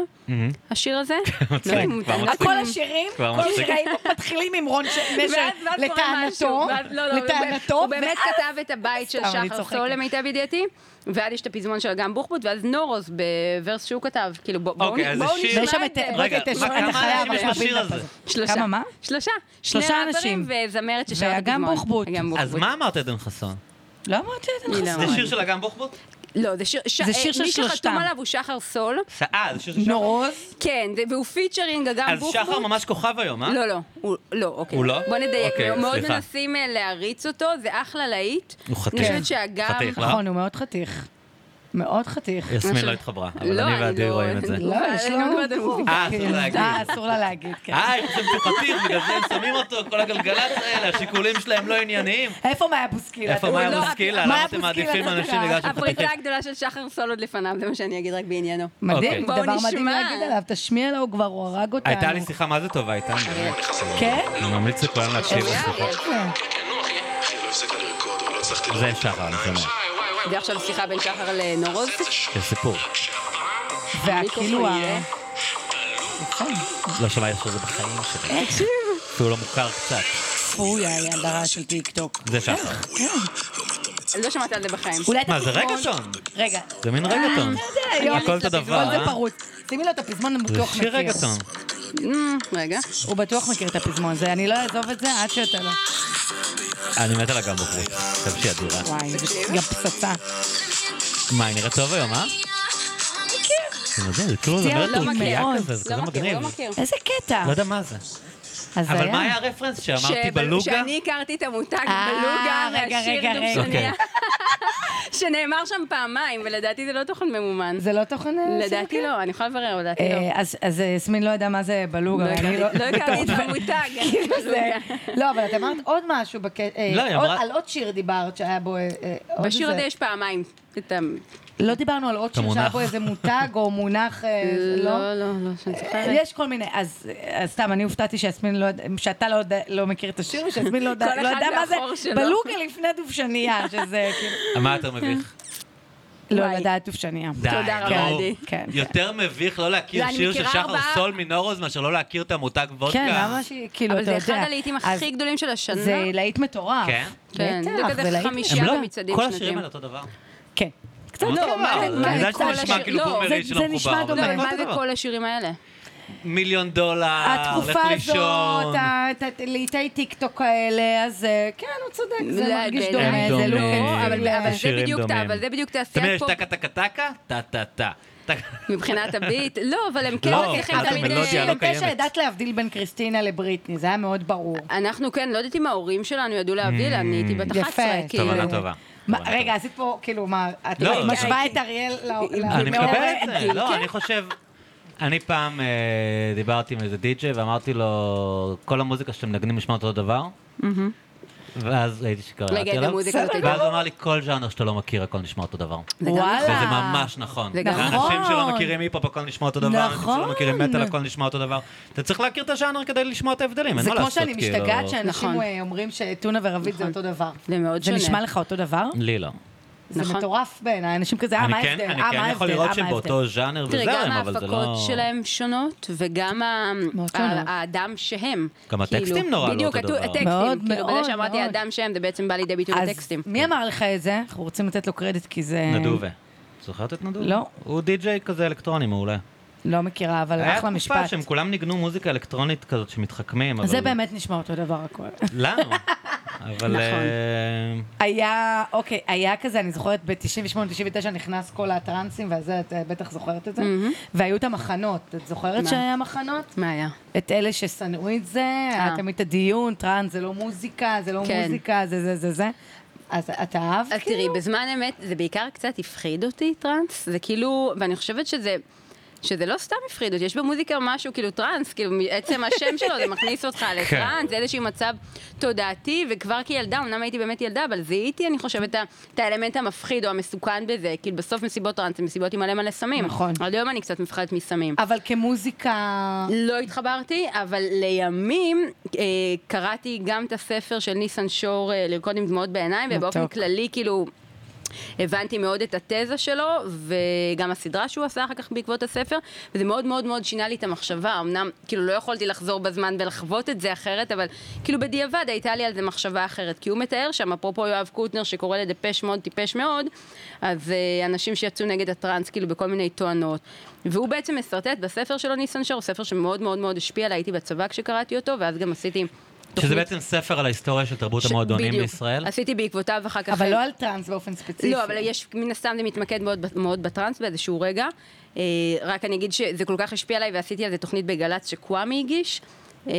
Speaker 1: השיר הזה. לא יודעת אם הוא-
Speaker 3: כן, כבר
Speaker 1: אני לא יודעת
Speaker 3: מצחיק.
Speaker 2: אה, כל
Speaker 1: אם-
Speaker 2: השירים,
Speaker 3: כבר
Speaker 2: כל
Speaker 3: מצחיק.
Speaker 2: השירים מתחילים עם רון ש- נשר,
Speaker 1: ואז- ואז קורה משהו.
Speaker 2: לטענתו,
Speaker 1: ואז- לא, לא, הוא באמת-
Speaker 2: לטענתו,
Speaker 1: הוא באמת
Speaker 2: ואז-
Speaker 1: כתב את הבית של
Speaker 2: סתם, אני
Speaker 1: שחר
Speaker 2: צוחקת.
Speaker 1: סול למיטב ידיעתי, ואז יש את הפזמון של אגם בוחבוט, ואז נורוס בוורס שהוא כתב, כאילו בוא- בואו
Speaker 3: אוקיי, אז
Speaker 1: בואו
Speaker 3: השיר-
Speaker 1: נשמע
Speaker 2: ויש שם את-
Speaker 1: את זה.
Speaker 3: רגע,
Speaker 2: את- את-
Speaker 3: מה-
Speaker 2: את
Speaker 3: כמה
Speaker 2: החיה,
Speaker 3: אנשים יש
Speaker 2: אבל
Speaker 3: בשיר
Speaker 2: להבין את
Speaker 3: הזה?
Speaker 1: שלושה.
Speaker 2: כמה, מה?
Speaker 1: שלושה.
Speaker 2: שלושה
Speaker 1: שני ראפרים
Speaker 2: אנשים.
Speaker 1: וזמרת ששרה את
Speaker 2: ואגם
Speaker 1: הפזמון.
Speaker 2: בוחבוט.
Speaker 1: אגם
Speaker 3: אז מה אמרת עדן חסון?
Speaker 2: לא אמרתי את
Speaker 1: אני
Speaker 2: זה
Speaker 1: לא
Speaker 2: נכון.
Speaker 3: זה שיר של אגם בוחבוט?
Speaker 1: לא, זה שיר... ש-
Speaker 2: זה שיר
Speaker 1: אה,
Speaker 2: של
Speaker 1: מי שחתום
Speaker 2: שלושתם.
Speaker 1: עליו הוא שחר סול.
Speaker 3: ש- אה, זה שיר של שחר?
Speaker 2: נורוז,
Speaker 1: כן, זה- והוא פיצ'רינג אגם
Speaker 3: אז
Speaker 1: בוחבוט.
Speaker 3: שחר ממש כוכב היום, אה?
Speaker 1: לא, לא, הוא לא, אוקיי.
Speaker 3: הוא לא?
Speaker 1: בוא נדייק,
Speaker 3: אוקיי,
Speaker 1: מאוד
Speaker 3: סליחה.
Speaker 1: מנסים אה, להריץ אותו, זה אחלה להיט.
Speaker 3: הוא חתיך.
Speaker 1: אני חושבת שאגם...
Speaker 3: חתיך, לא?
Speaker 2: נכון, הוא מאוד חתיך. מאוד חתיך.
Speaker 3: יסמין
Speaker 1: עכשיו-
Speaker 3: לא התחברה, אבל אני ועדי
Speaker 1: לא-
Speaker 3: רואים את זה.
Speaker 2: לא, יש
Speaker 1: אבל
Speaker 2: לו-
Speaker 1: גם דיברת על מוזיקה.
Speaker 3: אה, אסור להגיד.
Speaker 2: אה, אסור לה להגיד, כן.
Speaker 3: אה, הם חושבים שהוא חתיך, בגלל זה הם שמים אותו, כל הגלגלצ האלה, השיקולים שלהם לא ענייניים.
Speaker 2: איפה מאיה בוסקילה?
Speaker 3: איפה
Speaker 2: אתה-
Speaker 3: מאיה
Speaker 1: לא,
Speaker 3: בוסקילה?
Speaker 2: מאיה
Speaker 3: למה אתם
Speaker 2: בוסקילה,
Speaker 3: מעדיפים
Speaker 2: אתה
Speaker 3: אנשים
Speaker 2: יודע.
Speaker 3: בגלל שהם חתיכים?
Speaker 1: הפריצה הגדולה של שחר סול עוד לפניו, זה מה שאני אגיד רק בעניינו.
Speaker 2: מדהים,
Speaker 1: אוקיי.
Speaker 2: דבר
Speaker 1: בואו
Speaker 2: מדהים
Speaker 1: נשמע.
Speaker 2: להגיד עליו, תשמיע לו, הוא כבר הוא הרג אותנו.
Speaker 3: הייתה לי שיחה מה זה טובה איתם.
Speaker 2: כן?
Speaker 3: אני ממליץ לכולם להקשיב לשיחה. זה שחר, אני שומע.
Speaker 1: זה עכשיו שיחה בין שחר לנורוז.
Speaker 3: זה סיפור.
Speaker 2: והכאילו,
Speaker 1: המיקרופון יהיה.
Speaker 3: לא שמעתי איך שזה בחיים שלי. שהוא לא מוכר קצת.
Speaker 2: פויה היא הדרה של טיקטוק.
Speaker 3: זה שחר.
Speaker 1: לא שמעת על אה, זה אה, בחיים.
Speaker 2: אולי את
Speaker 3: מה, זה
Speaker 2: הפזמון-
Speaker 3: רגטון?
Speaker 2: רגע.
Speaker 3: זה מין רגטון.
Speaker 2: אני לא
Speaker 3: הכל אותו דבר,
Speaker 2: הפזמון זה
Speaker 3: אה?
Speaker 2: פרוץ. שימי לו את הפזמון, הוא
Speaker 3: זה
Speaker 2: בטוח
Speaker 3: שיר
Speaker 2: מכיר.
Speaker 3: רגטון.
Speaker 1: אמ, רגע.
Speaker 2: הוא בטוח מכיר את הפזמון הזה, אני לא אעזוב את זה עד שאתה לא...
Speaker 3: אני מת על הגם בחוץ. חושב שהיא אדירה.
Speaker 2: וואי, זה גם פצצה.
Speaker 3: מה, היא נראית טוב היום, אה? אתם יודעים, זה כאילו
Speaker 2: הפתיע
Speaker 3: זמרת
Speaker 2: אותי
Speaker 3: טורקיה
Speaker 2: מאוד.
Speaker 3: כזה, זה
Speaker 1: כן. לא
Speaker 3: כזה
Speaker 1: מכיר,
Speaker 3: מגניב.
Speaker 1: לא מכיר.
Speaker 2: איזה קטע.
Speaker 3: לא יודע מה זה. אבל מה היה הרפרנס שאמרתי
Speaker 1: ש-
Speaker 3: בלוגה?
Speaker 1: שאני הכרתי את המותג
Speaker 2: אה,
Speaker 1: בלוגה,
Speaker 2: רגע,
Speaker 1: והשיר
Speaker 2: רגע, רגע. אוקיי.
Speaker 1: דובשניה. שנאמר שם פעמיים, ולדעתי זה לא תוכן ממומן.
Speaker 2: זה לא תוכן... אה,
Speaker 1: לדעתי
Speaker 2: סינגל?
Speaker 1: לא, אני יכולה לברר, לדעתי לא.
Speaker 2: אה, אז- אז אה, יסמין לא ידעה מה זה בלוג,
Speaker 1: לא
Speaker 2: אבל אני לא...
Speaker 1: הכרתי- לא הכרתי את המותג.
Speaker 2: כאילו זה... לא, אבל את אמרת עוד משהו בק... אה,
Speaker 3: לא, היא
Speaker 2: עוד-
Speaker 3: אמרה-
Speaker 2: על עוד שיר דיברת שהיה בו... אה, אה, עוד
Speaker 1: בשיר
Speaker 2: איזה-
Speaker 1: הזה יש פעמיים. את ה-
Speaker 2: לא דיברנו על עוד שיר שהיה
Speaker 3: המונח.
Speaker 2: בו איזה מותג או מונח... אה, לא? אה,
Speaker 1: לא, לא, לא, שאני זוכרת.
Speaker 2: יש כל מיני, אז אה, אז סתם, אני הופתעתי שיסמין לא, יודע- שאתה לא, יודע- לא מכיר את השיר, ושיסמין לא, יודע-
Speaker 1: כל
Speaker 2: לא
Speaker 1: אחד
Speaker 2: יודע מה זה,
Speaker 1: והחור שלו.
Speaker 2: בלוגה לפני דובשניה, שזה כאילו,
Speaker 3: מה יותר
Speaker 1: כן.
Speaker 3: מביך?
Speaker 2: לא
Speaker 1: וואי.
Speaker 2: לדעת דובשניה.
Speaker 3: די,
Speaker 1: תודה רבה,
Speaker 3: נו.
Speaker 1: עדי.
Speaker 2: כן,
Speaker 3: יותר מביך לא להכיר
Speaker 1: לא, אני
Speaker 3: שיר של
Speaker 1: מכירה
Speaker 3: שחר
Speaker 1: ארבעה-
Speaker 3: סול מנורוז מאשר לא להכיר את המותג וודקה.
Speaker 2: כן, למה ש... כאילו,
Speaker 1: אבל
Speaker 2: אתה
Speaker 1: זה
Speaker 2: יודע.
Speaker 1: אחד הלהיטים הכי גדולים של השנה.
Speaker 2: אז זה לא להיט מטורף.
Speaker 3: כן?
Speaker 1: כן, זה
Speaker 2: בטח,
Speaker 1: כזה
Speaker 2: להיט-
Speaker 1: חמישייה.
Speaker 3: הם
Speaker 1: שירת
Speaker 3: לא,
Speaker 1: מצעדים
Speaker 3: כל
Speaker 1: שנתיים.
Speaker 3: השירים האלה אותו דבר.
Speaker 2: כן. קצת
Speaker 3: אותו
Speaker 2: לא,
Speaker 3: דבר.
Speaker 2: מה זה-
Speaker 3: אני
Speaker 2: מה
Speaker 3: יודעת
Speaker 2: זה
Speaker 3: שזה
Speaker 2: כל
Speaker 3: נשמע
Speaker 1: השיר-
Speaker 3: כאילו
Speaker 1: לא,
Speaker 3: בומרי
Speaker 2: זה-
Speaker 3: שלא
Speaker 2: זה
Speaker 3: מחובר.
Speaker 2: נשמע
Speaker 1: לא,
Speaker 3: אבל
Speaker 2: דומה.
Speaker 1: אבל
Speaker 3: אותו
Speaker 1: מה זה
Speaker 3: דבר.
Speaker 1: כל השירים האלה?
Speaker 3: מיליון דולר, לך
Speaker 2: התקופה
Speaker 3: אה, לישון.
Speaker 2: הזאת, ה- ת- לעיתי טיקטוק האלה, אז אה, כן, הוא צודק, זה
Speaker 1: לא,
Speaker 2: מרגיש
Speaker 1: זה-
Speaker 2: דומה,
Speaker 3: דומה.
Speaker 2: זה לא...
Speaker 1: לא, אבל- אבל זה
Speaker 3: שירים
Speaker 1: בדיוק,
Speaker 3: דומים.
Speaker 1: אבל זה בדיוק
Speaker 3: תמיד
Speaker 1: תעשיית
Speaker 3: יש
Speaker 1: פופ
Speaker 3: טקה טקה טקה, טה טה טה. טק-
Speaker 1: מבחינת הביט. לא, אבל הם כן
Speaker 3: לא,
Speaker 1: מצליחים
Speaker 3: מבחינת
Speaker 1: תמיד...
Speaker 3: המלודיה,
Speaker 1: אה,
Speaker 3: לא קיימת.
Speaker 2: ב-99 ידעת להבדיל בין קריסטינה לבריטני, זה היה מאוד ברור.
Speaker 1: אנחנו כן, לא יודעת אם ההורים שלנו ידעו להבדיל,
Speaker 3: Mm.
Speaker 1: אני הייתי בת 11,
Speaker 2: יפה.
Speaker 1: כאילו.
Speaker 3: תובנה טובה.
Speaker 2: מה,
Speaker 3: תובנה
Speaker 2: רגע, עשית פה, כאילו, מה, את
Speaker 3: לא,
Speaker 2: משווה את אריאל ל... ל-
Speaker 3: אני
Speaker 2: לאורן?
Speaker 3: מקבל את זה, לא,
Speaker 1: כן.
Speaker 3: אני חושב... אני פעם אה, דיברתי עם איזה די-ג'יי ואמרתי לו, כל המוזיקה שאתם מנגנים נשמע אותו דבר. ואז ראיתי שקראתי
Speaker 1: רגע, את
Speaker 3: עליו,
Speaker 1: המוזיקה הזאת הייתה-
Speaker 3: ואז הוא אמר לי, כל ז'אנר שאתה לא מכיר, הכל נשמע אותו דבר.
Speaker 1: זה גם
Speaker 2: וואלה.
Speaker 1: נכון.
Speaker 3: וזה ממש נכון.
Speaker 1: זה גם
Speaker 3: אנשים
Speaker 2: אה. נכון.
Speaker 3: שלא מכירים היפ-הופ, הכל נשמע אותו דבר. אנשים שלא
Speaker 2: נכון.
Speaker 3: מכירים מטאל, הכל נשמע אותו דבר. אתה צריך להכיר את הז'אנר כדי לשמוע את ההבדלים, אין
Speaker 2: זה
Speaker 3: מה
Speaker 2: כמו
Speaker 3: לעשות,
Speaker 2: שאני
Speaker 3: כאילו.
Speaker 2: משתגעת שאנשים
Speaker 1: נכון.
Speaker 2: אה, אומרים שטונה ורביד זה אותו דבר.
Speaker 1: זה מאוד שונה.
Speaker 2: זה נשמע לך אותו דבר?
Speaker 3: לי לא.
Speaker 2: זה
Speaker 1: נכון.
Speaker 2: מטורף בעיניי, אנשים כזה, אה,
Speaker 3: אני
Speaker 2: מה
Speaker 3: כן,
Speaker 2: ההבדל?
Speaker 3: אני
Speaker 2: אה,
Speaker 3: כן
Speaker 2: מה
Speaker 3: יכול
Speaker 2: ההבדל?
Speaker 3: לראות
Speaker 2: אה,
Speaker 3: שהם
Speaker 2: מה ההבדל?
Speaker 3: באותו ז'אנר
Speaker 1: תראה, גם
Speaker 3: וזרם, אבל זה לא...
Speaker 1: ההפקות שלהם שונות, וגם ה-
Speaker 2: מאוד
Speaker 1: ה-
Speaker 2: שונות.
Speaker 1: האדם שהם.
Speaker 3: גם
Speaker 1: כאילו,
Speaker 3: הטקסטים נורא לא
Speaker 1: בדיוק,
Speaker 3: אותו
Speaker 1: הטו-
Speaker 3: דבר.
Speaker 2: מאוד,
Speaker 1: הטקסטים, כאילו, בזה
Speaker 2: מאוד,
Speaker 1: שאמרתי
Speaker 2: מאוד.
Speaker 1: האדם שהם, זה בעצם בא לידי ביטוי בטקסטים.
Speaker 2: אז מי אמר לך את זה? אנחנו רוצים לתת לו קרדיט כי זה...
Speaker 3: נדובה. זוכרת את נדובה?
Speaker 2: לא.
Speaker 3: הוא די-ג'יי כזה אלקטרוני מעולה.
Speaker 2: לא מכירה, אבל
Speaker 3: היה
Speaker 2: אחלה
Speaker 3: תקופה
Speaker 2: משפט.
Speaker 3: שהם כולם ניגנו מוזיקה אלקטרונית כזאת שמתחכמים, אבל...
Speaker 2: זה באמת נשמע אותו דבר הכל.
Speaker 3: לנו. אבל...
Speaker 1: נכון.
Speaker 3: אה,
Speaker 2: היה, אוקיי, היה כזה, אני זוכרת, ב-98-99 נכנס כל הטרנסים, וזה, את אה, בטח זוכרת את זה, והיו את המחנות. את זוכרת
Speaker 1: מה?
Speaker 2: שהיה מחנות?
Speaker 1: מה היה?
Speaker 2: את אלה ששנאו את זה, היה תמיד את הדיון, טראנס זה לא מוזיקה, זה לא
Speaker 1: אה. כן.
Speaker 2: מוזיקה, זה זה זה זה. אז את אהבת? כאילו?
Speaker 1: אז תראי, בזמן אמת זה בעיקר קצת הפחיד אותי, טראנס. זה כאילו, ואני חושבת שזה... שזה לא סתם הפחיד אותי, יש במוזיקה משהו כאילו טראנס, כאילו עצם השם שלו זה מכניס אותך
Speaker 2: כן.
Speaker 1: לטראנס, זה איזשהו מצב תודעתי, וכבר כילדה, אמנם הייתי באמת ילדה, אבל זיהיתי, אני חושבת, את האלמנט המפחיד או המסוכן בזה, כאילו בסוף מסיבות טראנס זה מסיבות עם מלא מלא סמים.
Speaker 2: נכון.
Speaker 1: עד היום אני קצת מפחדת מסמים.
Speaker 2: אבל כמוזיקה...
Speaker 1: לא התחברתי, אבל לימים אה, קראתי גם את הספר של ניסן שור, אה, לרקוד עם דמעות בעיניים,
Speaker 2: מתוק.
Speaker 1: ובאופן כללי, כאילו, הבנתי מאוד את התזה שלו, וגם הסדרה שהוא עשה אחר כך בעקבות הספר, וזה מאוד מאוד מאוד שינה לי את המחשבה. אמנם, כאילו, לא יכולתי לחזור בזמן ולחוות את זה אחרת, אבל כאילו בדיעבד הייתה לי על זה מחשבה אחרת. כי הוא מתאר שם, אפרופו יואב קוטנר שקורא לדפש מאוד טיפש מאוד, אז אה, אנשים שיצאו נגד הטראנס, כאילו, בכל מיני טוענות. והוא בעצם מסרטט בספר שלו, ניסן שור, ספר שמאוד מאוד מאוד השפיע עליי, הייתי בצבא כשקראתי אותו, ואז גם עשיתי...
Speaker 3: שזה
Speaker 1: תוכנית-
Speaker 3: בעצם ספר על ההיסטוריה של תרבות
Speaker 1: ש-
Speaker 3: המועדונים
Speaker 1: בדיוק.
Speaker 3: בישראל.
Speaker 1: עשיתי בעקבותיו אחר כך...
Speaker 2: אבל לא על טראנס באופן ספציפי.
Speaker 1: לא, אבל יש, מן הסתם זה מתמקד מאוד, ב- מאוד בטראנס באיזשהו רגע. אה, רק אני אגיד שזה כל כך השפיע עליי ועשיתי על זה תוכנית בגל"צ שקוואמי הגיש. אה,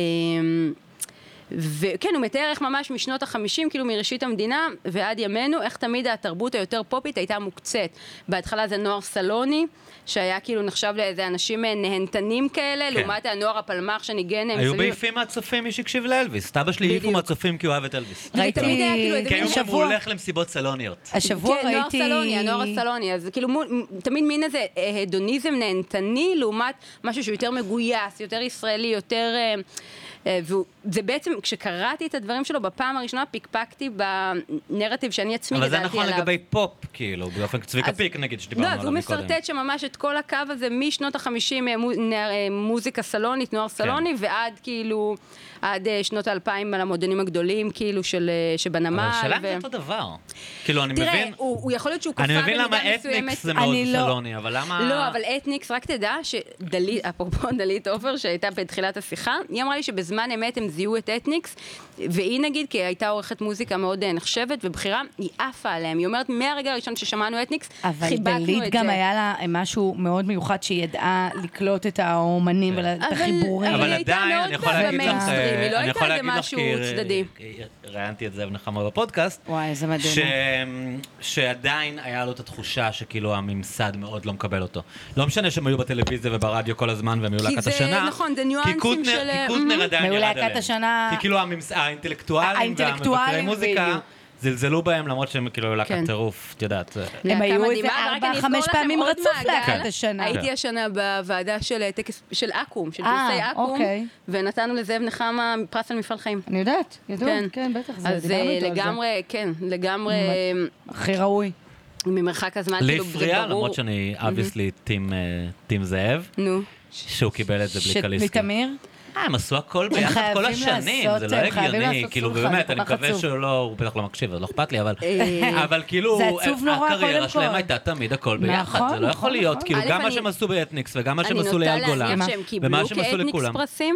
Speaker 1: וכן, הוא מתאר איך ממש משנות החמישים, כאילו מראשית המדינה ועד ימינו, איך תמיד התרבות היותר פופית הייתה מוקצית. בהתחלה זה נוער סלוני, שהיה כאילו נחשב לאיזה אנשים אה, נהנתנים כאלה,
Speaker 3: כן.
Speaker 1: לעומת הנוער הפלמ"ח שניגן... אה,
Speaker 3: היו
Speaker 1: מסביב.
Speaker 3: מעיפים מהצופים מי שהקשיב לאלוויס. סבא שלי העיפו
Speaker 1: בדיוק.
Speaker 3: מהצופים כי הוא אהב את אלוויס.
Speaker 1: זה תמיד היה כאילו איזה
Speaker 3: כי היו
Speaker 1: מין
Speaker 2: שבוע.
Speaker 3: אומרים, הוא הולך למסיבות סלוניות.
Speaker 2: השבוע
Speaker 1: כן,
Speaker 2: ראיתי...
Speaker 1: נוער סלוני, הנוער הסלוני, אז כאילו מול- מ- תמיד מין איזה אה, הדוניזם נהנתני לעומת משהו שהוא יותר מגויס, יותר ישראלי, יותר... אה, אה, והוא- זה בעצם, כשקראתי את הדברים שלו בפעם הראשונה, פיקפקתי בנרטיב שאני עצמי
Speaker 3: אבל
Speaker 1: גדלתי
Speaker 3: זה
Speaker 1: עליו.
Speaker 3: נכון לגבי פופ, כאילו, באופן צביקה
Speaker 1: אז-
Speaker 3: פיק נגיד, שדיברנו
Speaker 1: לא, אז
Speaker 3: עליו
Speaker 1: הוא
Speaker 3: מקודם.
Speaker 1: מסרטט שם ממש את כל הקו הזה משנות החמישים, אה, מו- נע- אה, מוזיקה סלונית,
Speaker 3: כן.
Speaker 1: נוער סלוני, ועד כאילו, עד אה, שנות האלפיים על המועדונים הגדולים, כאילו, של, אה, שבנמל.
Speaker 3: אבל השאלה אם
Speaker 1: ו-
Speaker 3: זה אותו דבר. כאילו, אני
Speaker 1: תראה,
Speaker 3: מבין...
Speaker 1: הוא, הוא יכול להיות שהוא כפה
Speaker 3: אני
Speaker 1: במידה
Speaker 3: מבין
Speaker 1: מסוימת.
Speaker 3: למה אתניקס זה אה. מאוד
Speaker 2: אני לא-
Speaker 3: סלוני, אבל למה...
Speaker 1: לא, אבל אתניקס, רק תדע שדלית, אפרופו דלית עופר שהייתה בתחילת השיחה, היא אמרה לי שבזמן אמת הם זיהו את אתניקס, והיא נגיד, כי הייתה עורכת מוזיקה מאוד אה, נחשבת ובכירה, היא עפה עליהם. היא אומרת, מהרגע הראשון ששמענו אתניקס,
Speaker 2: אבל
Speaker 1: חיבקנו את זה.
Speaker 2: דלית גם היה לה משהו מאוד מיוחד שהיא ידעה לקלוט את האומנים
Speaker 3: כן.
Speaker 2: ואת
Speaker 1: אבל-
Speaker 2: החיבורים.
Speaker 1: אבל
Speaker 3: אבל
Speaker 1: היא הייתה
Speaker 3: עדיין,
Speaker 1: מאוד
Speaker 3: אני יכול להגיד לך,
Speaker 1: במיינסטרים, היא לא
Speaker 3: אני
Speaker 1: הייתה
Speaker 3: יכול
Speaker 1: איזה
Speaker 3: להגיד לך,
Speaker 1: משהו
Speaker 3: כי
Speaker 1: צדדי.
Speaker 3: ראיינתי את זה ונחמה בפודקאסט.
Speaker 2: וואי, איזה מדהים.
Speaker 3: ש... שעדיין היה לו את התחושה שכאילו הממסד מאוד לא מקבל אותו. לא משנה שהם היו בטלוויזיה וברדיו כל הזמן והם היו
Speaker 1: כי
Speaker 3: להקת
Speaker 1: זה-
Speaker 3: השנה.
Speaker 1: נכון, זה
Speaker 3: כי
Speaker 1: ניואנסים
Speaker 3: קוטנר-
Speaker 1: של- אה,
Speaker 3: כי קוטנר
Speaker 1: מהמם.
Speaker 3: עדיין
Speaker 2: והיו
Speaker 3: ירד
Speaker 2: להקת
Speaker 3: עליהם.
Speaker 2: השנה-
Speaker 3: כי כאילו הממס... האינטלקטואלים
Speaker 2: האינטלקטואלים,
Speaker 3: והמבקרי מוזיקה
Speaker 2: בדיוק.
Speaker 3: זלזלו בהם למרות שהם כאילו היו להקת
Speaker 1: כן. כאילו
Speaker 3: טירוף, את יודעת.
Speaker 1: להקה
Speaker 2: הם היו איזה
Speaker 1: מדהימה,
Speaker 2: ארבע,
Speaker 1: ורק אני אסגור
Speaker 2: חמש
Speaker 1: לכם
Speaker 2: פעמים
Speaker 1: עוד
Speaker 2: רצוף
Speaker 1: מעגל.
Speaker 2: להקת השנה.
Speaker 3: כן.
Speaker 1: הייתי השנה בוועדה של אה, טקס, של אקו"ם, של
Speaker 2: אה,
Speaker 1: פרסי אקו"ם,
Speaker 2: אוקיי.
Speaker 1: ונתנו לזאב נחמה פרס על מפעל חיים.
Speaker 2: אני יודעת, ידעו,
Speaker 1: כן.
Speaker 2: כן, בטח, זה-
Speaker 1: אז
Speaker 2: דיברנו
Speaker 1: אה,
Speaker 2: איתו על זה.
Speaker 1: לגמרי, כן, לגמרי
Speaker 2: הכי ראוי.
Speaker 1: אה, ממרחק הזמן,
Speaker 3: לי
Speaker 1: כאילו, זה
Speaker 3: הפריע,
Speaker 1: ברור.
Speaker 3: למרות שאני אובייסלי טים זאב,
Speaker 1: נו.
Speaker 3: שהוא קיבל את זה בלי
Speaker 2: ש-
Speaker 3: קליסקי.
Speaker 2: מתמיר?
Speaker 3: אה, הם עשו הכל ביחד כל
Speaker 2: חייבים
Speaker 3: השנים,
Speaker 2: לעשות-
Speaker 3: זה לא
Speaker 2: הם חייבים
Speaker 3: הגיוני,
Speaker 2: לעשות
Speaker 3: כאילו
Speaker 2: סולחה,
Speaker 3: באמת,
Speaker 2: זה כל
Speaker 3: אני
Speaker 2: כך
Speaker 3: מקווה
Speaker 2: עצוב.
Speaker 3: שהוא לא, הוא בטח לא מקשיב, אז לא אכפת לי, אבל
Speaker 1: אה,
Speaker 3: אבל כאילו,
Speaker 2: זה עצוב נורא,
Speaker 3: הקריירה
Speaker 2: קודם כל.
Speaker 3: שלהם הייתה תמיד הכל ביחד,
Speaker 2: נכון,
Speaker 3: זה לא
Speaker 2: נכון,
Speaker 3: יכול להיות,
Speaker 2: נכון.
Speaker 3: כאילו,
Speaker 1: א',
Speaker 3: גם מה
Speaker 1: אני-
Speaker 3: שהם עשו באתניקס, וגם מה
Speaker 1: אני
Speaker 3: שהם עשו
Speaker 1: נוטה
Speaker 3: לאייל גולן,
Speaker 1: להניח שהם
Speaker 3: ומה
Speaker 1: קיבלו
Speaker 3: שהם עשו
Speaker 1: כאתניקס
Speaker 3: לכולם.
Speaker 1: פרסים,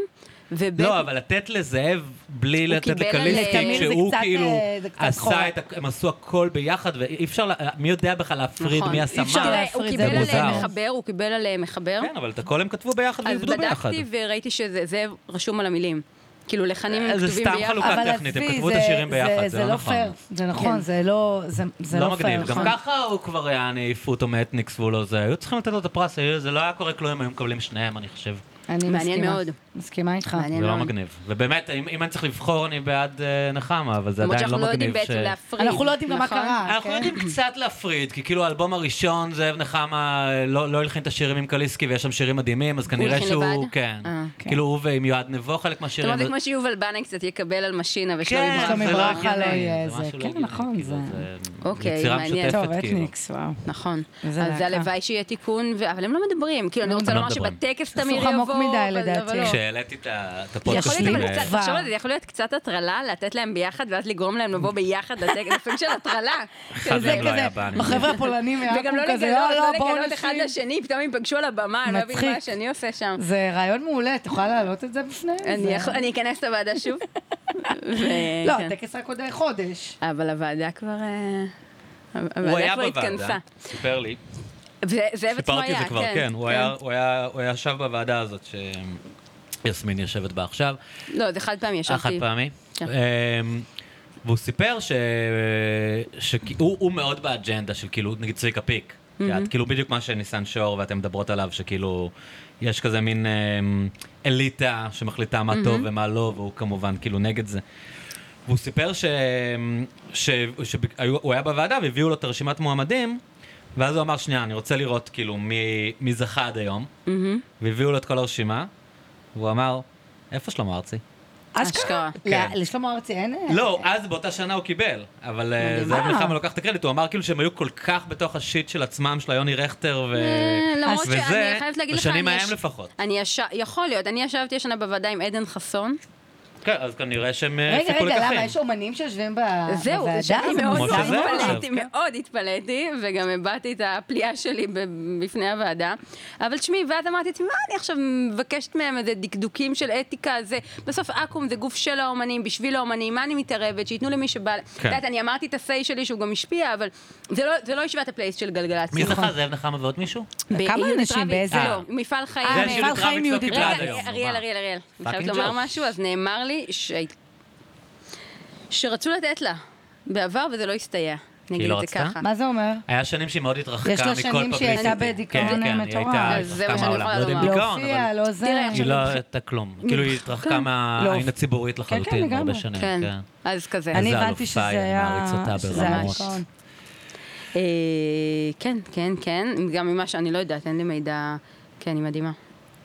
Speaker 1: ובית...
Speaker 3: לא, אבל לתת לזאב בלי לתת
Speaker 1: קיבל על-
Speaker 3: לקליסקי,
Speaker 1: לתמיר זה
Speaker 3: כשהוא
Speaker 2: קצת,
Speaker 3: כאילו
Speaker 2: אה, זה קצת חורה.
Speaker 3: עשה את, ה- הם עשו הכל ביחד, ואי אפשר, לה- מי יודע בכלל להפריד
Speaker 1: נכון.
Speaker 3: מי
Speaker 1: אי
Speaker 2: אפשר
Speaker 3: הסמן.
Speaker 1: תראה, הוא
Speaker 2: להפריד, זה
Speaker 1: קיבל
Speaker 3: מוזר.
Speaker 1: עליהם מחבר, הוא קיבל עליהם מחבר.
Speaker 3: כן, אבל את הכל הם כתבו ביחד
Speaker 1: אז
Speaker 3: ועבדו ביחד.
Speaker 1: בדקתי וראיתי שזה זאב רשום על המילים. כאילו, לחנים הם
Speaker 3: אה, זה
Speaker 1: כתובים
Speaker 3: סתם
Speaker 1: ביחד.
Speaker 3: חלוקה. חלוקה טכנית, הם כתבו את השירים ביחד, זה
Speaker 2: זה
Speaker 3: לא
Speaker 2: לא
Speaker 3: נכון.
Speaker 2: פייר. זה
Speaker 1: כן.
Speaker 2: נכון, זה לא זה- זה
Speaker 3: לא
Speaker 2: לא פייר.
Speaker 3: מגניב, גם
Speaker 2: נכון.
Speaker 3: ככה הוא כבר היה, העיפו אותו מאתניקס והוא לא זה, היו צריכים לתת לו את הפרס, היו- זה לא היה קורה כלום אם היו מקבלים שניהם, אני חושב.
Speaker 2: אני
Speaker 1: מעניין
Speaker 2: מסכימה.
Speaker 1: מאוד.
Speaker 2: מסכימה איתך.
Speaker 1: מעניין
Speaker 3: זה לא
Speaker 1: מאוד.
Speaker 3: מגניב. ובאמת, אם אם אני צריך לבחור, אני בעד אה, נחמה, אבל זה
Speaker 1: למרות
Speaker 3: עדיין לא
Speaker 1: שאנחנו לא יודעים
Speaker 3: מגניב.
Speaker 1: בעצם
Speaker 3: ש-
Speaker 1: להפריד.
Speaker 2: אנחנו לא יודעים גם מה
Speaker 1: נכון?
Speaker 2: קרה.
Speaker 3: אנחנו
Speaker 2: כן?
Speaker 3: יודעים קצת להפריד, כי כאילו האלבום הראשון, זאב נחמה אה, לא לא הלחין את השירים עם קליסקי, ויש שם שירים מדהימים, אז כנראה
Speaker 1: הלחין
Speaker 3: שהוא...
Speaker 1: לבד?
Speaker 3: כן.
Speaker 1: אה,
Speaker 2: כן.
Speaker 3: כאילו הוא ועם יועד נבו חלק
Speaker 1: זאת
Speaker 3: מהשירים.
Speaker 1: אומרת, זה כמו שיובל בנאי קצת יקבל על משינה ושלומי
Speaker 3: כן,
Speaker 1: ברכה.
Speaker 2: שלומי
Speaker 3: זה לא
Speaker 2: ברכה לא
Speaker 1: אה,
Speaker 3: הגיוני,
Speaker 2: יהיה
Speaker 3: זה
Speaker 2: זה.
Speaker 3: משהו לא
Speaker 2: כן,
Speaker 3: הגיוני,
Speaker 2: נכון,
Speaker 3: כאילו,
Speaker 2: זה-
Speaker 3: זה
Speaker 1: אוקיי,
Speaker 3: יצירה
Speaker 1: מעניין.
Speaker 3: משותפת,
Speaker 2: טוב,
Speaker 3: כאילו.
Speaker 2: אתניקס, וואו.
Speaker 1: נכון.
Speaker 2: איזה
Speaker 1: אז
Speaker 2: להקה.
Speaker 1: הלוואי שיהיה תיקון, ו- אבל הם לא מדברים. כאילו, אני רוצה
Speaker 3: לא
Speaker 1: לומר
Speaker 3: מדברים.
Speaker 1: שבטקסט
Speaker 2: עשו
Speaker 1: תמיר יבוא,
Speaker 2: חמוק מדי,
Speaker 1: אבל-
Speaker 2: לדעתי.
Speaker 1: אבל לא.
Speaker 3: כשהעליתי את ה- את
Speaker 1: יכול
Speaker 3: הפודקאסטים,
Speaker 1: להיות, אבל
Speaker 2: שלי,
Speaker 3: אה,
Speaker 1: קצת,
Speaker 2: אה,
Speaker 1: תחשוב על
Speaker 2: כבר.
Speaker 1: זה, זה יכול להיות קצת הטרלה, לתת להם ביחד, ואז לגרום להם לבוא ביחד לטקסט, זה סוג של הטרלה.
Speaker 3: אחד
Speaker 1: כזה.
Speaker 2: זה
Speaker 3: מהם לא היה בא,
Speaker 2: כזה,
Speaker 3: אני
Speaker 2: בחבר'ה הפולנים
Speaker 1: וגם לא
Speaker 2: מעכו כזה,
Speaker 1: לגלות, לא
Speaker 2: לא, לא, בואו
Speaker 1: לגלות אחד
Speaker 2: נשאיר.
Speaker 1: לשני, פתאום הם פגשו על הבמה, אני לא מבין מה
Speaker 2: מצחיק.
Speaker 1: השני עושה שם.
Speaker 2: זה רעיון מעולה, את יכולה להעלות את זה בפניהם?
Speaker 1: אני
Speaker 2: זה-
Speaker 1: יכול- אני אכנס לוועדה שוב. ו-
Speaker 2: לא,
Speaker 1: כן.
Speaker 2: הטקס רק עוד חודש.
Speaker 1: אבל הוועדה כבר... אה,
Speaker 3: הוא
Speaker 1: הוועדה
Speaker 3: היה
Speaker 1: כבר לא התכנסה.
Speaker 3: בוועדה, סיפר לי.
Speaker 1: וזאב עצמו
Speaker 3: סיפרתי
Speaker 1: היה,
Speaker 3: את זה כבר, כן. הוא היה- הוא היה- הוא ישב בוועדה הזאת שיסמין יושבת בה עכשיו.
Speaker 1: לא, זה חד פעמי,
Speaker 3: החד
Speaker 1: ישבתי.
Speaker 3: פעמי.
Speaker 1: כן.
Speaker 3: אמ, והוא סיפר ש... שהוא הוא מאוד באג'נדה של כאילו, נגיד צביקה פיק. את כאילו בדיוק מה שניסן שור ואתם מדברות עליו, שכאילו יש כזה מין אמ, אליטה שמחליטה מה טוב ומה לא, והוא כמובן כאילו נגד זה. והוא סיפר ש... ש... שהיו- הוא היה בוועדה והביאו לו את הרשימת מועמדים, ואז הוא אמר, שנייה, אני רוצה לראות כאילו מי, מי זכה עד היום, והביאו לו את כל הרשימה, והוא אמר, איפה שלמה ארצי?
Speaker 1: אשכרה.
Speaker 2: ל- לשלמה ארצי אין...
Speaker 3: לא, אז באותה שנה הוא קיבל, אבל אה,
Speaker 1: מדהים.
Speaker 3: זאב
Speaker 2: אה.
Speaker 3: נחמה לוקח את הקרדיט, הוא אמר כאילו שהם היו כל כך בתוך השיט של עצמם, של היוני רכטר ו...
Speaker 1: אה, למרות
Speaker 3: וזה,
Speaker 1: שאני חייבת להגיד לך,
Speaker 3: בשנים
Speaker 1: אני
Speaker 3: ההם
Speaker 1: יש-
Speaker 3: לפחות.
Speaker 1: אני ישב, יכול להיות, אני ישבתי השנה בוועדה עם עדן חסון.
Speaker 2: אה,
Speaker 3: כן, אז כנראה שהם אה,
Speaker 2: רגע,
Speaker 3: הפיקו
Speaker 2: רגע,
Speaker 3: לקחים.
Speaker 2: למה? יש אומנים שיושבים ב-
Speaker 1: זהו,
Speaker 2: בוועדה?
Speaker 1: שאני
Speaker 2: זה
Speaker 1: מאוד
Speaker 3: כמו
Speaker 1: מאוד
Speaker 2: מוזר
Speaker 3: שזה
Speaker 2: מאוד.
Speaker 3: עכשיו.
Speaker 1: התפלאתי, מאוד התפלאתי, וגם הבעתי את הפליאה שלי ב- בפני הוועדה. אבל תשמעי, ואז אמרתי לעצמי, מה אני עכשיו מבקשת מהם איזה דקדוקים של אתיקה, זה... בסוף אקו"ם זה גוף של האומנים, בשביל האומנים, מה אני מתערבת? שייתנו למי שבא... את
Speaker 3: כן.
Speaker 1: יודעת, אני אמרתי את הסיי שלי שהוא גם השפיע, אבל זה לא- זה לא ישיבת הפלייס של גלגלצ.
Speaker 3: מי זכה? זאב נחמה ועוד מישהו?
Speaker 2: כמה
Speaker 1: ביולי
Speaker 2: אנשים?
Speaker 1: טראביץ,
Speaker 2: באיזה-
Speaker 1: לא, מפעל חיים.
Speaker 2: אה,
Speaker 3: זה
Speaker 2: מפעל חיים
Speaker 3: שירי טראביץ לא
Speaker 2: יהודי.
Speaker 3: קיבלה עד
Speaker 1: רגע,
Speaker 3: היום.
Speaker 1: אריאל,
Speaker 3: נו, מה?
Speaker 1: אריאל, אריאל. אני
Speaker 3: Fucking
Speaker 1: חייבת לומר
Speaker 3: joke.
Speaker 1: משהו, אז נאמר לי ש- שרצו לתת לה בעבר וזה לא הסתייע. אני אגיד
Speaker 3: לא
Speaker 1: את זה
Speaker 3: רצתה?
Speaker 1: ככה.
Speaker 2: מה זה אומר?
Speaker 3: היה שנים שהיא מאוד התרחקה
Speaker 2: יש
Speaker 3: מכל
Speaker 2: לה
Speaker 3: פבליסיטי.
Speaker 2: שנים שהיא הייתה בדיכאון
Speaker 3: כן, כן, היא
Speaker 2: מטורף.
Speaker 3: הייתה
Speaker 1: אז זה מה
Speaker 3: התרחקה
Speaker 1: שאני
Speaker 3: מהעולם.
Speaker 1: יכולה
Speaker 3: לא יודעים
Speaker 1: לומר.
Speaker 3: דיכאון,
Speaker 2: להופיע,
Speaker 3: אבל
Speaker 2: לא זה.
Speaker 1: תראה,
Speaker 3: היא לא הייתה כלום. כאילו היא התרחקה מהעין הציבורית
Speaker 2: כן,
Speaker 3: לחלוטין הרבה
Speaker 2: לגמרי.
Speaker 3: שנים.
Speaker 1: כן,
Speaker 3: כן.
Speaker 1: אז כזה.
Speaker 2: אני
Speaker 3: איזה
Speaker 2: הבנתי שזה
Speaker 3: אלופה היא,
Speaker 2: היה... נכון.
Speaker 3: מעריץ אותה
Speaker 2: שזה היה
Speaker 1: ברמות.
Speaker 2: דיכאון.
Speaker 1: אה, כן, כן, כן, גם ממה שאני לא יודעת, אין לי מידע, כן, היא מדהימה.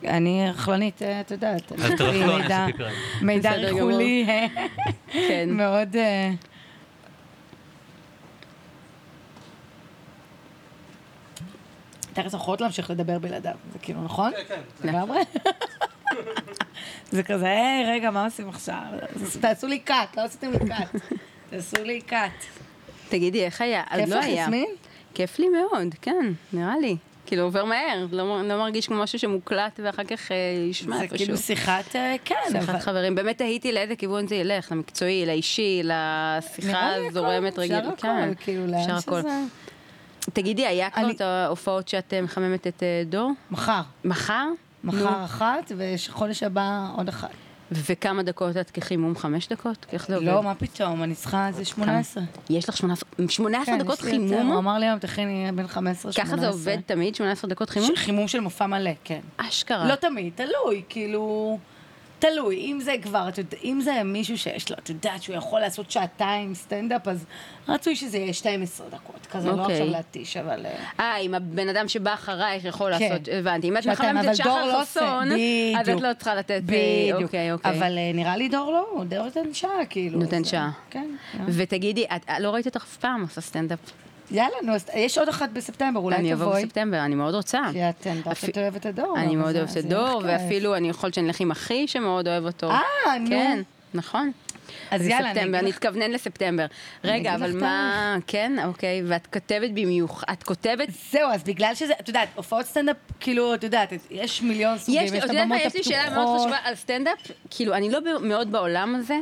Speaker 2: אני רכלנית, אה, את יודעת.
Speaker 3: אז תרכלו,
Speaker 2: מידע-
Speaker 3: אני עשיתי פירמידה.
Speaker 2: מידע
Speaker 1: בסדר גמור.
Speaker 2: ריחולי אה,
Speaker 1: כן.
Speaker 2: מאוד... אה, תכף אנחנו יכולות להמשיך לדבר בלעדיו, זה כאילו נכון? כן, כן. לגמרי? זה כזה, היי, רגע, מה עושים עכשיו? אז תעשו לי קאט, לא עשיתם לי קאט. תעשו לי קאט.
Speaker 1: תגידי, איך היה?
Speaker 2: כיף
Speaker 1: אז לא
Speaker 2: לך,
Speaker 1: היה.
Speaker 2: יסמין?
Speaker 1: כיף לי מאוד, כן, נראה לי. כאילו עובר מהר, לא לא מרגיש כמו משהו שמוקלט ואחר כך אה, ישמע
Speaker 2: זה
Speaker 1: איפשהו.
Speaker 2: כאילו שיחת, אה, כן, אבל...
Speaker 1: שיחת חברים, באמת תהיתי לאיזה כיוון זה ילך, למקצועי, לאישי, לשיחה
Speaker 2: נראה לי הכל,
Speaker 1: זורמת
Speaker 2: אפשר
Speaker 1: רגיל.
Speaker 2: הכל,
Speaker 1: כן,
Speaker 2: כאילו, לאן
Speaker 1: אפשר הכל.
Speaker 2: שזה-
Speaker 1: תגידי, היה כבר
Speaker 2: אני-
Speaker 1: את ההופעות שאת אה, מחממת את אה, דור?
Speaker 2: מחר.
Speaker 1: מחר?
Speaker 2: מחר אחת, וחודש הבא עוד אחת.
Speaker 1: וכמה דקות את כחימום? חמש דקות? איך זה עובד?
Speaker 2: לא, מה פתאום, אני צריכה, זה 18.
Speaker 1: יש לך שמונה עשרה- 18
Speaker 2: כן,
Speaker 1: דקות
Speaker 2: יש לי יותר. הוא
Speaker 1: חימום?
Speaker 2: אמר לי היום, תכיני בין 15 ל-18.
Speaker 1: ככה זה עובד תמיד? 18 דקות חימום? אה.
Speaker 2: חימום של מופע מלא, כן.
Speaker 1: אשכרה.
Speaker 2: לא תמיד, תלוי, כאילו... תלוי, אם זה כבר, את יודעת, אם זה מישהו שיש לו, את יודעת שהוא יכול לעשות שעתיים סטנדאפ, אז רצוי שזה יהיה 12 דקות, כזה לא
Speaker 1: אוקיי.
Speaker 2: עכשיו להתיש, אבל... אה,
Speaker 1: אה, אם הבן אדם שבא אחרייך יכול לא
Speaker 2: כן.
Speaker 1: לעשות, הבנתי. אם את
Speaker 2: שעתיים,
Speaker 1: מחממת
Speaker 2: אבל
Speaker 1: את
Speaker 2: דור
Speaker 1: שחר
Speaker 2: לא עושה,
Speaker 1: חסון, אז את
Speaker 2: בדיוק.
Speaker 1: לא צריכה לתת... אה,
Speaker 2: בדיוק.
Speaker 1: אוקיי, אוקיי.
Speaker 2: אבל אה, נראה לי דור לא, הוא דור נותן שעה, כאילו.
Speaker 1: נותן
Speaker 2: זה-
Speaker 1: שעה.
Speaker 2: כן.
Speaker 1: ותגידי, את לא ראית אותך אף פעם עושה סטנדאפ.
Speaker 2: יאללה, נו, אז יש עוד אחת
Speaker 1: אני
Speaker 2: בספטמבר, אולי
Speaker 1: אבוא
Speaker 2: תבואי.
Speaker 1: בספטמבר, אני מאוד רוצה.
Speaker 2: כי את אה,
Speaker 1: אפי-
Speaker 2: את אוהבת את הדור.
Speaker 1: אני
Speaker 2: אבל
Speaker 1: מאוד
Speaker 2: זה-
Speaker 1: אוהבת
Speaker 2: זה
Speaker 1: את דור,
Speaker 2: יהיה לך כיף.
Speaker 1: ואפילו אני יכול שאני אלך עם אחי שמאוד אוהב אותו.
Speaker 2: אה, נו.
Speaker 1: כן, נכון.
Speaker 2: אז
Speaker 1: זה
Speaker 2: יאללה, אני
Speaker 1: ספטמבר,
Speaker 2: אגיד
Speaker 1: אני
Speaker 2: לך-
Speaker 1: אתכוונן לספטמבר. רגע,
Speaker 2: אגיד
Speaker 1: אבל
Speaker 2: לך
Speaker 1: מה... כן, אוקיי, ואת כותבת במיוחד, את כותבת...
Speaker 2: זהו, אז בגלל שזה, את יודעת, הופעות סטנדאפ, כאילו, את יודעת, יש מיליון סוגים,
Speaker 1: יש
Speaker 2: יש
Speaker 1: לי,
Speaker 2: את
Speaker 1: את יודעת
Speaker 2: הבמות
Speaker 1: מה, יש לי שאלה מאוד
Speaker 2: הפתוחות.
Speaker 1: חשובה על סטנדאפ, כאילו, אני לא ב- מאוד בעולם הזה,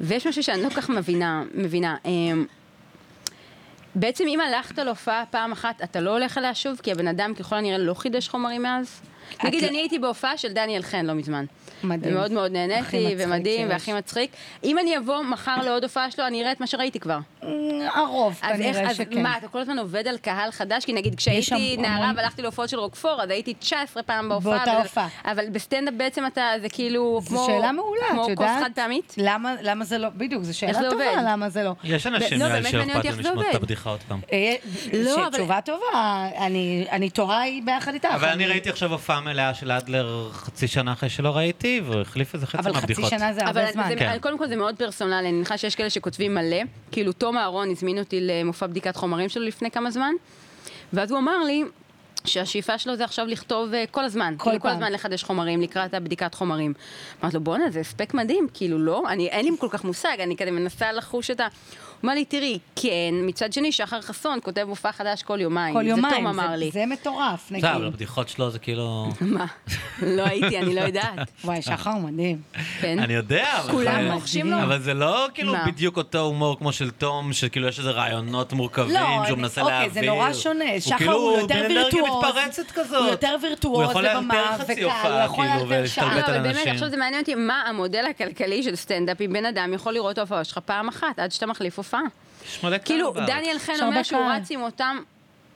Speaker 1: ויש משהו שאני לא כל כך מבינה, מבינה. אמ, בעצם אם הלכת להופעה פעם אחת, אתה לא הולך אליה שוב, כי הבן אדם ככל הנראה לא חידש חומרים מאז?
Speaker 2: את
Speaker 1: נגיד,
Speaker 2: לא-
Speaker 1: אני הייתי בהופעה של דניאל חן לא מזמן.
Speaker 2: מדהים.
Speaker 1: מאוד מאוד
Speaker 2: הכי
Speaker 1: נהניתי,
Speaker 2: מצחיק
Speaker 1: ומדהים,
Speaker 2: שיש.
Speaker 1: והכי מצחיק. אם אני אבוא מחר לעוד הופעה שלו, אני אראה את מה שראיתי כבר.
Speaker 2: Mm, הרוב
Speaker 1: אז איך,
Speaker 2: כנראה
Speaker 1: אז
Speaker 2: שכן.
Speaker 1: מה, אתה כל הזמן עובד על קהל חדש? כי נגיד
Speaker 2: שם
Speaker 1: כשהייתי
Speaker 2: המון-
Speaker 1: נערה והלכתי להופעות של רוקפור, אז הייתי 19 פעם בהופעה.
Speaker 2: באותה
Speaker 1: אבל-
Speaker 2: הופעה.
Speaker 1: אבל בסטנדאפ בעצם אתה, זה כאילו
Speaker 2: זו
Speaker 1: כמו...
Speaker 2: שאלה מעולה, את יודעת?
Speaker 1: כמו כוס חד פעמית?
Speaker 2: למה, למה זה לא, בדיוק, זו שאלה
Speaker 1: איך זה
Speaker 2: טובה,
Speaker 1: עובד?
Speaker 2: למה זה לא.
Speaker 3: יש אנשים
Speaker 1: לא,
Speaker 3: נראה לי
Speaker 1: באמת מעניין
Speaker 3: שאכפת
Speaker 1: אותי
Speaker 3: להם
Speaker 1: איך זה
Speaker 3: לשמוע את
Speaker 1: עובד.
Speaker 3: הבדיחה עוד פעם.
Speaker 2: אה,
Speaker 1: לא, אבל-
Speaker 2: תשובה טובה, אני, אני תוהה היא ביחד איתך.
Speaker 3: אבל אני ראיתי עכשיו הופעה מלאה של אדלר חצי שנה אחרי שלא ראיתי, והוא החליף איזה חצי
Speaker 2: אבל חצי
Speaker 3: מהבדיחות.
Speaker 2: שנה זה הרבה
Speaker 1: אבל
Speaker 2: זמן.
Speaker 1: זה,
Speaker 3: כן.
Speaker 1: קודם כל זה מאוד פרסונלי, אני מניחה שיש כאלה שכותבים מלא. כאילו, תום אהרון הזמין אותי למופע בדיקת חומרים שלו לפני כמה זמן, ואז הוא אמר לי שהשאיפה שלו זה עכשיו לכתוב אה, כל הזמן.
Speaker 2: כל
Speaker 1: כאילו, כל
Speaker 2: פעם.
Speaker 1: הזמן לחדש חומרים לקראת הבדיקת חומרים. אמרתי לו, בואנה, זה הספק מדהים, כאילו, לא, אני, אין לי כל כך מושג, אני כזה מנסה לחוש את ה... הוא אמר לי, תראי, כן, מצד שני, שחר חסון כותב מופע חדש כל יומיים.
Speaker 2: כל יומיים,
Speaker 1: זה תום אמר
Speaker 2: זה,
Speaker 1: לי.
Speaker 2: זה מטורף, נגיד.
Speaker 3: בסדר, אבל לא הבדיחות שלו זה כאילו...
Speaker 1: מה? לא הייתי, אני לא יודעת.
Speaker 3: אה.
Speaker 2: וואי, שחר הוא מדהים.
Speaker 1: כן.
Speaker 3: אני יודע, אבל...
Speaker 1: כולם
Speaker 3: זה-
Speaker 1: מוחשים לו.
Speaker 3: אבל זה לא כאילו
Speaker 1: מה?
Speaker 3: בדיוק אותו הומור כמו של תום, שכאילו יש איזה רעיונות מורכבים
Speaker 2: לא,
Speaker 3: שהוא
Speaker 2: אני-
Speaker 3: מנסה
Speaker 2: אוקיי,
Speaker 3: להעביר.
Speaker 2: זה נורא שונה. שחר
Speaker 3: כאילו
Speaker 2: הוא יותר
Speaker 3: בן אנרגיה
Speaker 2: וירטואוז.
Speaker 3: מתפרצת כזאת.
Speaker 2: הוא יותר וירטואוז
Speaker 3: יכול לאלתר
Speaker 2: בבמה
Speaker 3: חצי
Speaker 2: וקהל, הוא
Speaker 3: הופעה,
Speaker 2: יכול
Speaker 3: כאילו,
Speaker 2: לאלתר שעה.
Speaker 3: ולהשתלט
Speaker 1: לא,
Speaker 3: על
Speaker 1: אבל באמת,
Speaker 3: אנשים.
Speaker 1: עכשיו זה מעניין אותי מה המודל הכלכלי של סטנדאפ, אם בן אדם יכול לראות הופעה שלך פעם אחת, עד שאתה מחליף הופעה.
Speaker 3: יש מלא כאלה
Speaker 1: כאילו,
Speaker 3: בארץ.
Speaker 1: דניאל חן
Speaker 2: יש הרבה
Speaker 1: אומר שהוא
Speaker 2: קהל.
Speaker 1: רץ עם אותם...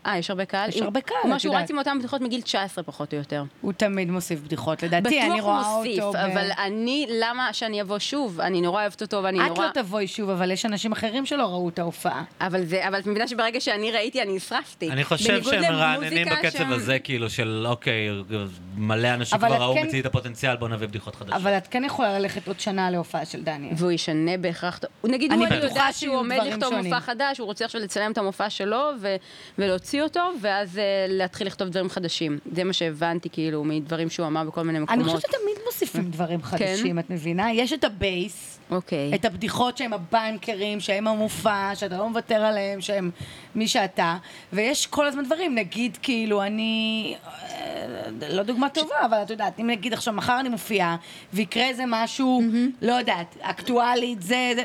Speaker 1: אה, יש הרבה קהל?
Speaker 2: יש
Speaker 1: עם-
Speaker 2: הרבה קהל,
Speaker 1: הוא אומר
Speaker 2: את
Speaker 1: שהוא
Speaker 2: יודעת.
Speaker 1: רץ עם אותם בדיחות מגיל 19 פחות או יותר.
Speaker 2: הוא תמיד מוסיף בדיחות, לדעתי, אני
Speaker 1: בטוח הוא
Speaker 2: רואה אותו...
Speaker 1: מוסיף,
Speaker 2: ב-
Speaker 1: אבל אני, למה שאני אבוא שוב? אני נורא אוהבת אותו ואני
Speaker 2: את
Speaker 1: נורא...
Speaker 2: לא תבואי שוב, אבל יש אנשים אחרים שלא ראו את ההופעה.
Speaker 1: אבל זה, אבל את מבינה שברגע שאני ראיתי, אני נשרפתי.
Speaker 3: אני חושב
Speaker 1: בניגוד
Speaker 3: שהם מרעננים
Speaker 1: למוזיקה
Speaker 3: בקצב
Speaker 1: שהם-
Speaker 3: הזה, כאילו, של אוקיי, מלא אנשים
Speaker 2: אבל
Speaker 3: כבר
Speaker 2: את
Speaker 3: ראו
Speaker 2: כן-
Speaker 3: מצידי את הפוטנציאל, בואו נביא בדיחות חדשות.
Speaker 2: אבל את כן יכולה ללכת עוד שנה להופעה של דניאל.
Speaker 1: והוא ישנה בהכרח... נגיד,
Speaker 2: אני
Speaker 1: הוא, אני
Speaker 2: בטוחה
Speaker 1: יודעת
Speaker 2: שיהיו
Speaker 1: שהוא עומד
Speaker 2: דברים
Speaker 1: לכתוב
Speaker 2: שונים.
Speaker 1: מופע חדש, הוא רוצה עכשיו לצלם את המופע שלו ו- ולהוציא אותו, ואז אה, להתחיל לכתוב דברים חדשים. זה מה שהבנתי, כאילו, מדברים שהוא אמר בכל מיני מקומות.
Speaker 2: אני חושבת שתמיד מוסיפים
Speaker 1: Mm.
Speaker 2: דברים
Speaker 1: כן?
Speaker 2: חדשים, את מבינה? יש את הבייס,
Speaker 1: אוקיי.
Speaker 2: את הבדיחות שהם הבנקרים, שהם המופע, שאתה לא מוותר עליהם, שהם מי שאתה, ויש כל הזמן דברים, נגיד כאילו אני, אה, לא דוגמה טובה, אבל את יודעת, אם נגיד עכשיו מחר אני מופיעה, ויקרה איזה משהו,
Speaker 1: Mm-hmm.
Speaker 2: לא יודעת, אקטואלית, זה... זה-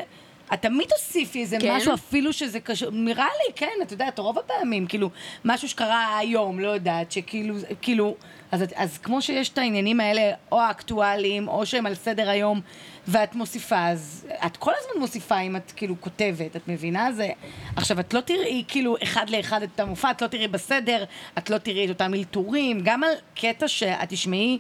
Speaker 2: את תמיד תוסיפי איזה
Speaker 1: כן?
Speaker 2: משהו, אפילו שזה קשור, נראה לי, כן, את יודעת, רוב הפעמים, כאילו, משהו שקרה היום, לא יודעת, שכאילו, כאילו, אז, את- אז כמו שיש את העניינים האלה, או האקטואליים, או שהם על סדר היום, ואת מוסיפה, אז את כל הזמן מוסיפה אם את כאילו כותבת, את מבינה? זה... עכשיו, את לא תראי כאילו אחד לאחד את המופע, את לא תראי בסדר, את לא תראי את אותם אלתורים, גם על קטע שאת תשמעי...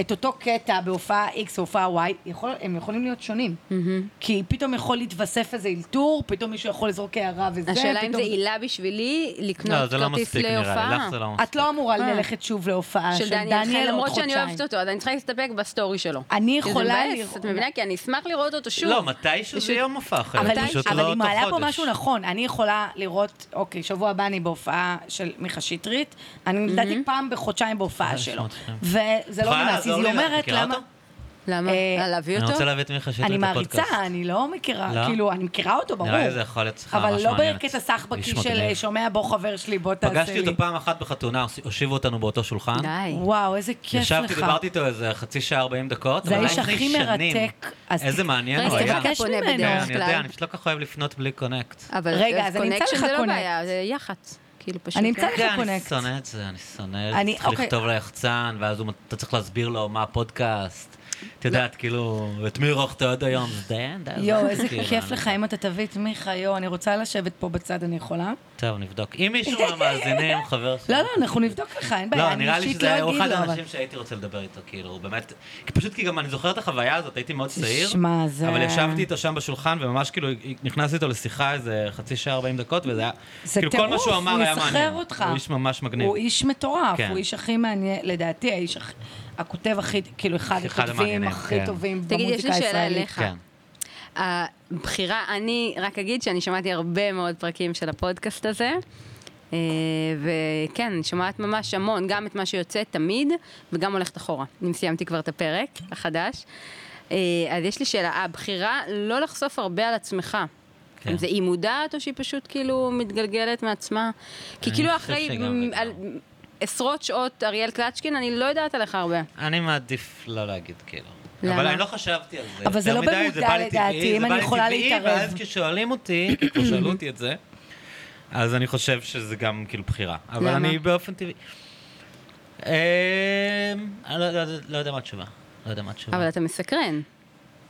Speaker 2: את אותו קטע בהופעה X או הופעה Y, יכול, הם יכולים להיות שונים. Mm-hmm. כי פתאום יכול להתווסף איזה אלתור, פתאום מישהו יכול לזרוק הערה וזה,
Speaker 1: השאלה אם זה
Speaker 2: פתאום...
Speaker 1: עילה בשבילי
Speaker 3: לא,
Speaker 1: לקנות
Speaker 3: זה לא
Speaker 1: כרטיס
Speaker 3: מספיק נראה לי,
Speaker 1: להופעה.
Speaker 3: לך זה לא
Speaker 2: את לא אמורה
Speaker 1: אה.
Speaker 2: ללכת שוב להופעה
Speaker 1: של דניאל חן,
Speaker 2: עוד
Speaker 1: למרות שאני
Speaker 2: חודשיים.
Speaker 1: אוהבת אותו, אז אני צריכה להסתפק בסטורי שלו.
Speaker 2: אני
Speaker 1: כי זה
Speaker 2: יכולה
Speaker 1: מבאס,
Speaker 2: לראות-
Speaker 1: את מבינה? כי אני אשמח לראות אותו שוב.
Speaker 3: לא, מתישהו זה
Speaker 1: פשוט-
Speaker 3: יום מופע אחר,
Speaker 2: אבל
Speaker 1: היא-
Speaker 3: פשוט
Speaker 2: אבל
Speaker 3: לא
Speaker 2: היא
Speaker 3: אותו
Speaker 2: מעלה פה
Speaker 3: חודש.
Speaker 2: משהו נכון, אני יכולה לראות, אוקיי, שבוע הבא אני בהופעה של מיכה שטרית, אני
Speaker 1: Mm-hmm.
Speaker 2: לדעתי פעם בחודשיים בהופעה
Speaker 3: זה
Speaker 2: שלו.
Speaker 3: נשמע מצחיק.
Speaker 2: וזה לא
Speaker 3: יכולה
Speaker 2: נמאס, אז
Speaker 3: לעזור
Speaker 2: היא
Speaker 3: לי? את
Speaker 2: אומרת
Speaker 3: מכירה
Speaker 2: למה...
Speaker 3: אותו?
Speaker 1: למה?
Speaker 2: אה,
Speaker 1: אה, להביא
Speaker 3: אני
Speaker 1: אותו?
Speaker 3: רוצה להביא את מיכה שטרית
Speaker 2: אני
Speaker 3: לפודקאסט.
Speaker 2: מעריצה, אני לא מכירה,
Speaker 3: לא?
Speaker 2: כאילו, אני מכירה אותו, ברור.
Speaker 3: נראה לי זה יכול להיות שיחה
Speaker 2: אבל
Speaker 3: ממש
Speaker 2: לא
Speaker 3: מעניינת.
Speaker 2: בקטע סחבקי
Speaker 3: איש
Speaker 2: של
Speaker 3: מגניב.
Speaker 2: אה, שומע בוא חבר שלי, בוא תעשה לי.
Speaker 3: פגשתי אותו פעם אחת בחתונה, הושיבו אותנו באותו שולחן.
Speaker 1: די.
Speaker 2: וואו, איזה כיף לך.
Speaker 3: ישבתי, דיברתי איתו איזה חצי שעה, 40 דקות.
Speaker 2: זה
Speaker 3: אבל
Speaker 2: האיש
Speaker 3: היה לפני
Speaker 2: הכי
Speaker 3: שנים.
Speaker 2: מרתק. אז לא,
Speaker 3: איזה
Speaker 2: ת-
Speaker 3: מעניין
Speaker 1: רגע,
Speaker 3: הוא היה.
Speaker 1: סליחה,
Speaker 3: כן,
Speaker 1: אתה
Speaker 2: תבקש
Speaker 1: פונה
Speaker 2: ממנו.
Speaker 1: בדרך
Speaker 3: אני יודע,
Speaker 1: כלל.
Speaker 3: אני פשוט לא כל כך אוהב לפנות בלי קונקט.
Speaker 2: אה,
Speaker 1: אבל
Speaker 2: רגע, אז אני אמצא
Speaker 1: קונקשן
Speaker 2: לך
Speaker 1: זה לא
Speaker 2: קונקט.
Speaker 1: בעיה, זה יח"צ. כאילו פשוט.
Speaker 2: אני אמצא לך
Speaker 3: כן, אני
Speaker 2: קונקט.
Speaker 3: שונא את זה, אני שונא את
Speaker 2: אני-
Speaker 3: זה. צריך
Speaker 2: אוקיי.
Speaker 3: לכתוב ליחצן, ואז הוא- אתה צריך להסביר לו מה הפודקאסט. את יודעת, כאילו, את מי אירחת עד היום? זה דיין, דיין.
Speaker 2: יואו, איזה
Speaker 3: כאילו,
Speaker 2: כיף
Speaker 3: אני-
Speaker 2: לך אם אתה תביא את מיכה, יואו, אני רוצה לשבת פה בצד, אני יכולה?
Speaker 3: טוב, נבדוק. אם מישהו מהמאזינים, חבר שלי.
Speaker 2: לא, לא, אנחנו נבדוק לך, אין בעיה,
Speaker 3: לא,
Speaker 2: אני
Speaker 3: נראה לי
Speaker 2: אישית לא
Speaker 3: שזה היה
Speaker 2: אגיד
Speaker 3: אחד
Speaker 2: לו, אבל...
Speaker 3: האנשים שהייתי רוצה לדבר איתו, כאילו, הוא באמת, כי פשוט כי גם אני זוכר את החוויה הזאת, הייתי מאוד צעיר,
Speaker 2: תשמע, זה-
Speaker 3: אבל ישבתי איתו שם בשולחן, וממש כאילו נכנסתי איתו לשיחה איזה חצי שעה, 40 דקות, וזה היה,
Speaker 2: זה
Speaker 3: כאילו כל מה
Speaker 2: טירוף,
Speaker 3: שהוא אמר
Speaker 2: הוא
Speaker 3: היה
Speaker 2: יסחרר
Speaker 3: מעניין,
Speaker 2: אותך.
Speaker 3: הוא איש ממש מגניב,
Speaker 2: הוא איש מטורף,
Speaker 3: כן.
Speaker 2: הוא איש הכי מעניין, לדעתי האיש הכי... הכותב הכי, כאילו, אחד
Speaker 3: אחד
Speaker 2: הכותבים
Speaker 3: המעניינים,
Speaker 2: הכי
Speaker 3: כן.
Speaker 2: טובים
Speaker 1: תגיד, יש לי
Speaker 2: במוזיקה
Speaker 1: שאלה
Speaker 2: הישראלית.
Speaker 1: אליך.
Speaker 3: כן.
Speaker 1: הבחירה, אני רק אגיד שאני שמעתי הרבה מאוד פרקים של הפודקאסט הזה. אה, וכן, אני שומעת ממש המון, גם את מה שיוצא תמיד, וגם הולכת אחורה. אם סיימתי כבר את הפרק החדש. אה, אז יש לי שאלה, הבחירה לא לחשוף הרבה על עצמך.
Speaker 3: כן.
Speaker 1: כן. זה היא מודעת או שהיא פשוט כאילו מתגלגלת מעצמה? כי
Speaker 3: אני
Speaker 1: כאילו
Speaker 3: חושב
Speaker 1: אחרי
Speaker 3: שגם
Speaker 1: מ-
Speaker 3: וגם.
Speaker 1: על, עשרות שעות אריאל קלצ'קין, אני לא יודעת עליך הרבה.
Speaker 3: אני מעדיף לא להגיד, כאילו.
Speaker 1: למה?
Speaker 3: אבל אני לא חשבתי על זה.
Speaker 2: אבל זה
Speaker 3: יותר
Speaker 2: לא
Speaker 3: מדי,
Speaker 2: במודע
Speaker 3: בא לי
Speaker 2: לדעתי,
Speaker 3: טבעי,
Speaker 2: אם
Speaker 3: זה
Speaker 2: אני
Speaker 3: בא לי
Speaker 2: יכולה
Speaker 3: טבעי,
Speaker 2: להתערב.
Speaker 3: ואז כששואלים אותי, כמו שאלו אותי את זה, אז אני חושב שזה גם כאילו בחירה. אבל
Speaker 1: למה?
Speaker 3: אני באופן טבעי... אה, אני לא- לא- לא יודע מה התשובה. לא יודע מה התשובה.
Speaker 1: אבל אתה מסקרן.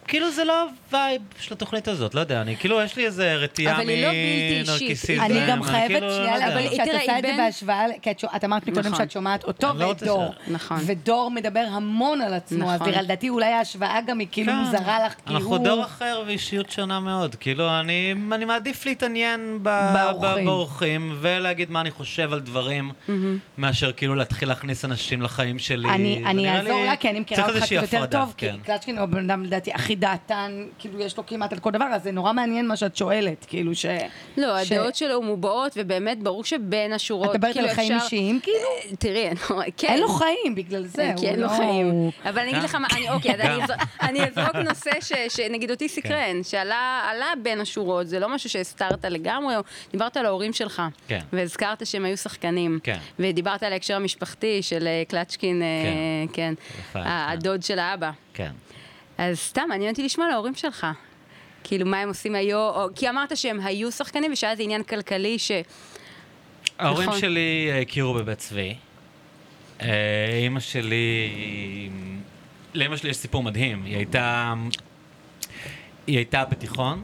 Speaker 3: כאילו זה לא הווייב של התוכנית הזאת, לא יודע, אני כאילו, יש לי איזה רתיעה
Speaker 1: אבל היא לא בלתי אישית.
Speaker 3: מנרקיסיזם.
Speaker 1: זה-
Speaker 4: אני גם
Speaker 3: אני
Speaker 4: חייבת
Speaker 3: כאילו, לא
Speaker 4: שנייה
Speaker 3: יודע.
Speaker 1: אבל
Speaker 4: להגיד
Speaker 1: היא-
Speaker 4: שאת
Speaker 1: תראה,
Speaker 4: עושה את זה
Speaker 1: בן-
Speaker 4: בהשוואה, כי את שומעת- את אמרת מקודם
Speaker 1: נכון.
Speaker 4: שאת שומעת אותו
Speaker 3: אני לא
Speaker 4: ואת
Speaker 3: רוצה
Speaker 4: דור.
Speaker 3: ש-
Speaker 1: נכון.
Speaker 4: ודור מדבר המון על עצמו, אז
Speaker 1: נכון.
Speaker 4: תראה, לדעתי אולי ההשוואה גם היא כאילו
Speaker 3: כן.
Speaker 4: מוזרה לך, כאילו- כי
Speaker 3: אנחנו
Speaker 4: הוא...
Speaker 3: דור אחר ואישיות שונה מאוד. כאילו, אני, אני מעדיף להתעניין ב,
Speaker 4: באורחים.
Speaker 3: ב- באורחים ולהגיד מה אני חושב על דברים, מאשר כאילו להתחיל להכניס אנשים לחיים שלי.
Speaker 4: אני,
Speaker 3: זה
Speaker 4: אני
Speaker 3: נראה
Speaker 4: אעזור
Speaker 3: לי-
Speaker 4: לה, כי אני מכירה
Speaker 3: צריך
Speaker 4: אותך קצת
Speaker 3: איזושהי
Speaker 4: יותר
Speaker 3: הפרדה,
Speaker 4: טוב, כי
Speaker 3: כן.
Speaker 4: קלצ'קין הוא בן אדם לדעתי הכי דעתן, כאילו יש לו כמעט על כל דבר, אז זה נורא מעניין מה שאת שואלת, כאילו ש...
Speaker 1: לא,
Speaker 4: ש-
Speaker 1: הדעות שלו מובעות, ובאמת ברור שבין השורות,
Speaker 4: את מדברת
Speaker 1: כאילו
Speaker 4: על חיים
Speaker 1: אפשר-
Speaker 4: אישיים, כאילו?
Speaker 1: אה, תראי, אני- כן.
Speaker 4: אין לו חיים, בגלל זה.
Speaker 1: כי
Speaker 4: הוא
Speaker 1: אין לו
Speaker 4: לא-
Speaker 1: חיים. אבל אני אגיד
Speaker 3: גם.
Speaker 1: לך מה, אני, אוקיי, אז
Speaker 3: גם. כן.
Speaker 1: אני אז- אני אזרוק נושא ש- שנגיד אותי סקרן, שעלה עלה בין השורות, זה לא משהו שהסתרת לגמרי, או- דיברת על ההורים שלך,
Speaker 3: כן.
Speaker 1: והזכרת שהם היו שחקנים,
Speaker 3: כן.
Speaker 1: ודיברת על ההקשר המשפחתי של אה, קלצ'קין, אה,
Speaker 3: כן.
Speaker 1: כן,
Speaker 3: יפה,
Speaker 1: ה-
Speaker 3: כן.
Speaker 1: הדוד של האבא.
Speaker 3: כן.
Speaker 1: אז סתם, מעניין אותי לשמוע להורים שלך. כאילו, מה הם עושים היו, או, כי אמרת שהם היו שחקנים, ושהיה זה עניין כלכלי ש...
Speaker 3: לא, ההורים
Speaker 1: נכון.
Speaker 3: שלי אה, הכירו בבית צבי. אה, אימא שלי... לאימא שלי יש סיפור מדהים. היא הייתה... היא הייתה בתיכון,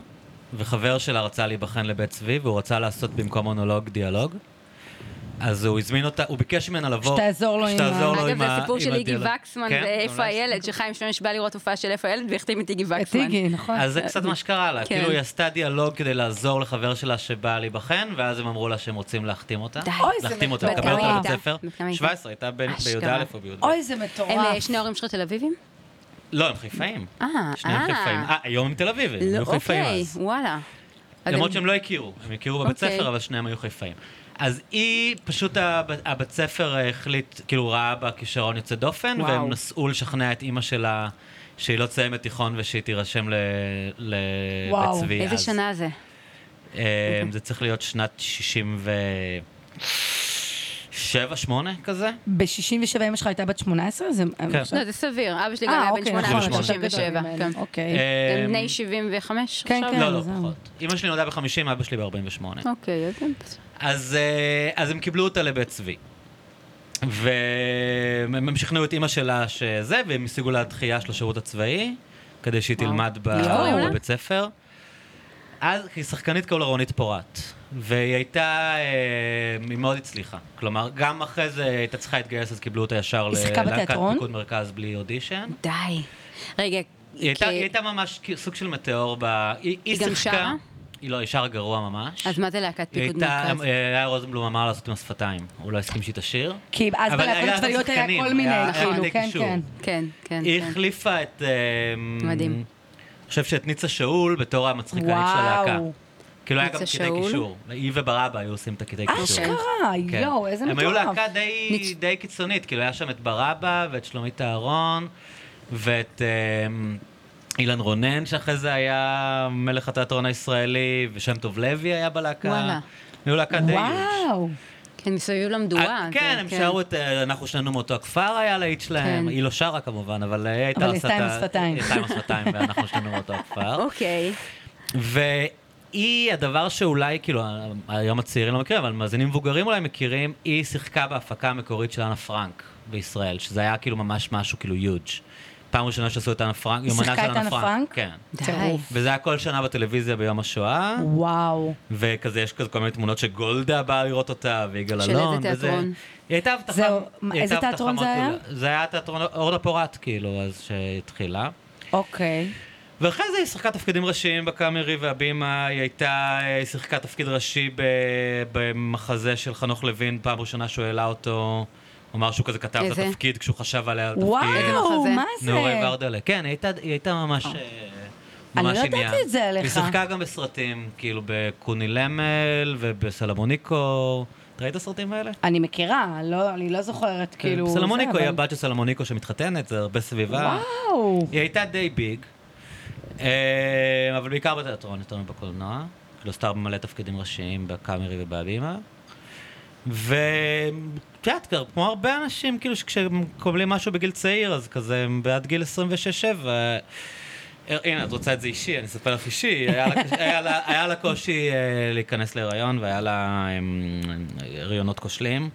Speaker 3: וחבר שלה רצה להיבחן לבית צבי, והוא רצה לעשות במקום מונולוג דיאלוג. אז הוא הזמין אותה, הוא ביקש ממנה לבוא...
Speaker 4: שתעזור לו עם ה-
Speaker 3: שתעזור לו
Speaker 1: אגב,
Speaker 3: לא, עם
Speaker 1: זה
Speaker 3: ה-
Speaker 1: הסיפור
Speaker 3: עם
Speaker 1: של איגי
Speaker 3: הדיאלוג.
Speaker 1: וקסמן
Speaker 3: כן,
Speaker 1: ואיפה
Speaker 3: ממש.
Speaker 1: הילד, שחיים שמש בא לראות הופעה של איפה הילד והחתים את איגי
Speaker 4: את
Speaker 1: וקסמן.
Speaker 4: איגי, נכון.
Speaker 3: אז זה קצת מה שקרה לה,
Speaker 1: כן.
Speaker 3: כאילו היא עשתה דיאלוג כדי לעזור לחבר שלה שבא להיבחן, ואז הם אמרו לה שהם רוצים להחתים אותה.
Speaker 1: די.
Speaker 4: אוי, זה
Speaker 3: להחתים אותה,
Speaker 1: מטורף.
Speaker 3: לקבל אותה
Speaker 1: בת
Speaker 3: לבית
Speaker 1: כמה הייתה? בת
Speaker 3: ספר.
Speaker 1: כמה הייתה?
Speaker 3: 17, הייתה ב- בי"א
Speaker 1: אשכרה.
Speaker 3: או בי"ב.
Speaker 4: אוי, זה מטורף.
Speaker 1: הם אה, שני ההורים שלך תל אביבים?
Speaker 3: לא, הם חיפאים.
Speaker 1: אה,
Speaker 3: שניהם
Speaker 1: אה.
Speaker 3: חיפאים. אה, היום הם תל אביב, הם
Speaker 1: לא,
Speaker 3: היו חיפאים
Speaker 1: אוקיי,
Speaker 3: אז.
Speaker 1: וואלה.
Speaker 3: למרות
Speaker 1: אגב,
Speaker 3: שהם לא הכירו, הם הכירו בבית
Speaker 1: אוקיי.
Speaker 3: ספר, אבל שניהם היו חיפאים. אז היא, פשוט הב- הבית ספר אה, החליט, כאילו ראה בה כישרון יוצא דופן,
Speaker 1: וואו.
Speaker 3: והם נסעו לשכנע את אימא שלה שהיא לא תסיימת תיכון ושהיא תירשם ל- לבית
Speaker 4: וואו,
Speaker 3: צבי.
Speaker 1: איזה
Speaker 3: אז.
Speaker 1: שנה זה?
Speaker 4: אוקיי.
Speaker 3: אה, זה צריך להיות שנת 67-8 כזה.
Speaker 4: ב-67 אמא שלך הייתה בת 18? זה...
Speaker 3: כן.
Speaker 1: לא, זה סביר. אבא שלי גם
Speaker 4: אה,
Speaker 1: היה בן
Speaker 4: אוקיי,
Speaker 1: 18
Speaker 3: נכון,
Speaker 4: יותר גדול
Speaker 1: 37.
Speaker 4: ממני.
Speaker 1: כן.
Speaker 4: אוקיי.
Speaker 3: אה,
Speaker 1: הם בני 75
Speaker 4: כן,
Speaker 1: עכשיו?
Speaker 4: כן.
Speaker 3: לא, לא,
Speaker 4: זהו.
Speaker 3: פחות. אימא שלי נולדה ב-50, אבא שלי ב-48.
Speaker 1: אוקיי, אז הם-
Speaker 3: אז, אה, אז הם קיבלו אותה לבית צבי. והם הם שכנעו את אימא שלה שזה, והם השיגו לה דחייה של השירות הצבאי, כדי שהיא
Speaker 1: וואו. לא.
Speaker 3: תלמד ב-
Speaker 1: איך קוראים לה?
Speaker 3: בבית ספר. אז היא שחקנית קול רונית פורת, והיא הייתה, אה, היא מאוד הצליחה. כלומר, גם אחרי זה הייתה צריכה להתגייס, אז קיבלו אותה ישר
Speaker 4: היא שיחקה בתיאטרון?
Speaker 3: פיקוד מרכז בלי אודישן.
Speaker 1: די. רגע,
Speaker 3: היא הייתה-
Speaker 1: כי-
Speaker 3: היא הייתה ממש כ- סוג של מטאור ב... היא היא
Speaker 1: גם
Speaker 3: שיחקה...
Speaker 1: שרה?
Speaker 3: היא לא, היא שרה גרוע ממש.
Speaker 1: אז מה זה להקת
Speaker 3: היא
Speaker 1: פיקוד
Speaker 3: הייתה-
Speaker 1: מרכז?
Speaker 3: אה, היה רוזנבלום אמר לעשות עם השפתיים, הוא לא הסכים שהיא תשיר.
Speaker 4: כי אז
Speaker 3: אבל
Speaker 4: בלהקות
Speaker 3: היה
Speaker 4: הצבאיות היה
Speaker 3: שחקנים,
Speaker 4: כל מיני,
Speaker 3: היה- היה
Speaker 4: כאילו,
Speaker 3: די
Speaker 4: כן,
Speaker 3: קישור.
Speaker 4: כן.
Speaker 1: כן, כן,
Speaker 3: היא
Speaker 1: כן.
Speaker 3: החליפה את... אה,
Speaker 1: מדהים.
Speaker 3: אני חושב שאת ניצה שאול בתור המצחיקנית של הלהקה.
Speaker 4: וואו.
Speaker 3: כאילו היה גם
Speaker 1: ניצה
Speaker 3: קטעי
Speaker 1: שאול?
Speaker 3: קישור. היא וברבא היו עושים את הקטעי קישור.
Speaker 4: אה, אשכרה,
Speaker 3: כן.
Speaker 4: יואו, איזה
Speaker 3: הם היו
Speaker 4: מטורף.
Speaker 3: להקה די,
Speaker 1: ניצ-
Speaker 3: די קיצונית, כאילו היה שם את ברבא ואת שלומית אהרון ואת אמ, אילן רונן, שאחרי זה היה מלך התיאטרון הישראלי, ושם טוב לוי היה בלהקה.
Speaker 1: וואלה.
Speaker 3: הם היו להקה די...
Speaker 4: וואו.
Speaker 1: כן, מסביב למדורה.
Speaker 3: אה, כן,
Speaker 1: זה-
Speaker 3: הם שרו את אה, אנחנו שנינו מאותו הכפר היה להיט שלהם,
Speaker 1: כן.
Speaker 3: היא לא שרה כמובן, אבל אה, היא הייתה...
Speaker 4: אבל
Speaker 3: עושה
Speaker 4: היא עשתה
Speaker 3: את
Speaker 4: עם השפתיים.
Speaker 3: ה- היא עשתה עם השפתיים ואנחנו שנינו מאותו הכפר.
Speaker 1: אוקיי.
Speaker 3: כן. והיא, הדבר שאולי, כאילו, היום הצעירים לא מכירים, אבל מאזינים מבוגרים אולי מכירים, היא שיחקה בהפקה המקורית של אנה פרנק בישראל, שזה היה כאילו ממש משהו כאילו יוג'. פעם ראשונה שעשו את אנה פרנק,
Speaker 4: היא
Speaker 3: יומנה של
Speaker 4: שיחקה את אנה פרנק?
Speaker 3: כן.
Speaker 1: די.
Speaker 4: טירוף.
Speaker 3: וזה היה כל שנה בטלוויזיה ביום השואה,
Speaker 4: וואו.
Speaker 3: וכזה יש כזה כל מיני תמונות שגולדה באה לראות אותה, ויגאל
Speaker 1: של
Speaker 3: אלון,
Speaker 1: איזה
Speaker 3: וזה.
Speaker 1: תיאטרון?
Speaker 3: היא הייתה הבטחה...
Speaker 4: זהו,
Speaker 3: היא
Speaker 4: איזה
Speaker 3: הייתה
Speaker 4: תיאטרון
Speaker 3: הבטחה
Speaker 4: זה היה?
Speaker 3: מאוד גדולה. זה היה תיאטרון אורנה פורת, כאילו, אז שהתחילה.
Speaker 4: אוקיי.
Speaker 3: ואחרי זה היא שיחקה תפקידים ראשיים בקאמרי והבימה, היא הייתה, היא שיחקה תפקיד ראשי ב- במחזה של חנוך לוין, פעם ראשונה שהוא העלה אותו, הוא אמר שהוא כזה כתב את
Speaker 1: איזה?
Speaker 3: התפקיד כשהוא חשב עליה על תפקיד.
Speaker 4: וואו,
Speaker 1: מחזה?
Speaker 4: מה זה?
Speaker 3: נעורי ורדלה, כן, היא הייתה, היא הייתה ממש... אה,
Speaker 4: אני לא
Speaker 3: ממש
Speaker 4: ידעתי
Speaker 3: עניין.
Speaker 4: את זה עליך.
Speaker 3: היא שיחקה גם בסרטים, כאילו בקוני למל ובסלמוניקו. אתה ראית את הסרטים האלה?
Speaker 4: אני מכירה, לא- אני לא זוכרת, כאילו... זה,
Speaker 3: סלמוניקו כן, היא
Speaker 4: אבל-
Speaker 3: הבת של סלמוניקו שמתחתנת, זה הרבה סביבה.
Speaker 4: וואו.
Speaker 3: היא הייתה די ביג, אה, אבל בעיקר בתיאטרון, יותר מבקולנוע. כאילו סתם מלא תפקידים ראשיים בקאמרי ובהבימה. ואת יודעת, כבר כמו הרבה אנשים, כאילו שכשקובלים משהו בגיל צעיר, אז כזה הם בעד גיל 26-7. אה, הנה, את רוצה את זה אישי, אני אספר לך אישי. היה לה קש- היה לה- היה לה קושי אה, להיכנס להיריון, והיה לה אה, הריונות אמ, כושלים.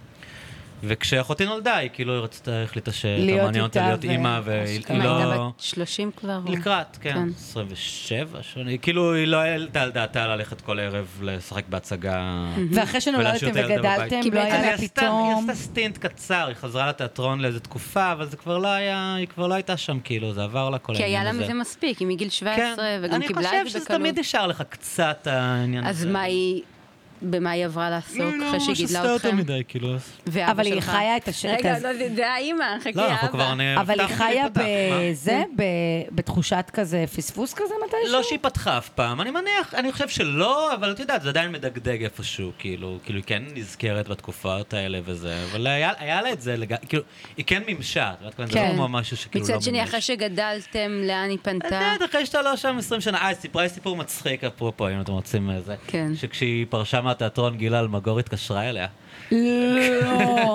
Speaker 3: וכשאחותי נולדה, היא כאילו רצתה, החליטה
Speaker 2: להיות
Speaker 3: שמעניין אותה
Speaker 2: איתה
Speaker 3: להיות
Speaker 2: ו-
Speaker 3: אימא, והיא
Speaker 2: אשכרה.
Speaker 3: היא
Speaker 1: מה, הייתה
Speaker 3: לא...
Speaker 1: בת 30 כבר?
Speaker 3: לקראת, כן,
Speaker 1: כן.
Speaker 3: 27 שנה, היא כאילו היא לא העלתה על דעתה ללכת כל ערב לשחק בהצגה.
Speaker 2: ואחרי שנולדתם
Speaker 3: ולהשאיר את הילדה
Speaker 2: וגדלתם,
Speaker 3: בבית.
Speaker 2: לא
Speaker 3: אז היא
Speaker 2: היה
Speaker 3: עשתה- היא
Speaker 2: פתאום...
Speaker 3: עשתה סטינט קצר, היא חזרה לתיאטרון לאיזו תקופה, אבל זה כבר לא היה, היא כבר לא הייתה שם, כאילו, זה עבר לה כל
Speaker 1: כי היה
Speaker 3: העניין
Speaker 1: לה
Speaker 3: הזה.
Speaker 1: מזה מספיק, היא מגיל 17,
Speaker 3: כן.
Speaker 1: וגם קיבלה את זה בקלות.
Speaker 3: אני חושב שזה תמיד נשאר לך קצת העניין הזה. לא,
Speaker 1: אז מה היא, במה היא עברה לעסוק אחרי שהיא גידלה אתכם?
Speaker 3: כאילו.
Speaker 1: ואבא
Speaker 2: אבל היא
Speaker 1: שלך?
Speaker 2: חיה את השקט.
Speaker 1: רגע, לא, זה- זה האימא, חכי,
Speaker 3: לא, אנחנו כבר...
Speaker 1: האבא.
Speaker 3: אני-
Speaker 2: אבל היא
Speaker 3: הבטחנו
Speaker 2: חיה
Speaker 3: להיפתח, מה?
Speaker 2: בזה, ב- בתחושת כזה פספוס כזה מתישהו?
Speaker 3: לא שהיא פתחה אף פעם, אני מניח, אני חושב שלא, אבל את יודעת, זה עדיין מדגדג איפשהו, כאילו, כאילו, היא כן נזכרת בתקופות האלה וזה, אבל היה, היה לה את זה, לג... כאילו, היא כן מימשה, את יודעת, זה לא
Speaker 1: כן.
Speaker 3: כמו משהו שכאילו לא
Speaker 1: מצד שני, אחרי שגדלתם, לאן היא
Speaker 3: את
Speaker 1: פנתה?
Speaker 3: יודעת, אחרי שאתה לא שם 20 שנה, אה, היא סיפרה לי סיפור מצחיק, אפרופו, אם אתם רוצים אה, זה,
Speaker 1: כן.
Speaker 3: שכשהיא פרשה מהתיאטרון, גילה אלמגור התקשרה אליה.
Speaker 2: לא.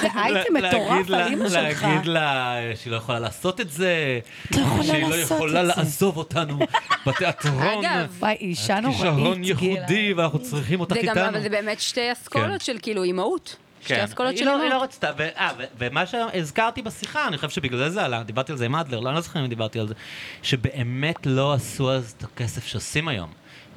Speaker 2: זה אייטם
Speaker 3: לה-
Speaker 2: מטורף
Speaker 3: להגיד
Speaker 2: על
Speaker 3: לה-
Speaker 2: אימא שלך.
Speaker 3: להגיד לה אה, שהיא לא יכולה לעשות את זה.
Speaker 2: לא יכולה
Speaker 3: שהיא לא
Speaker 2: לעשות את
Speaker 3: יכולה
Speaker 2: זה.
Speaker 3: לעזוב אותנו בתיאטרון.
Speaker 1: אגב,
Speaker 2: וואי, היא אישה נוראית,
Speaker 3: כישרון
Speaker 2: גילה.
Speaker 3: ייחודי ואנחנו צריכים אותך
Speaker 1: זה גם, לא,
Speaker 3: איתנו.
Speaker 1: אבל זה באמת שתי
Speaker 3: כן.
Speaker 1: אסכולות של כאילו אימהות. שתי אסכולות
Speaker 3: היא
Speaker 1: של
Speaker 3: לא- היא לא
Speaker 1: אימהות.
Speaker 3: רצתה, ו- אה, ו- ומה שהזכרתי בשיחה, אני חושב שבגלל זה זה עלה, דיברתי על זה עם אדלר, לא, אני לא זוכר אם דיברתי על זה, שבאמת לא עשו אז את הכסף שעושים היום.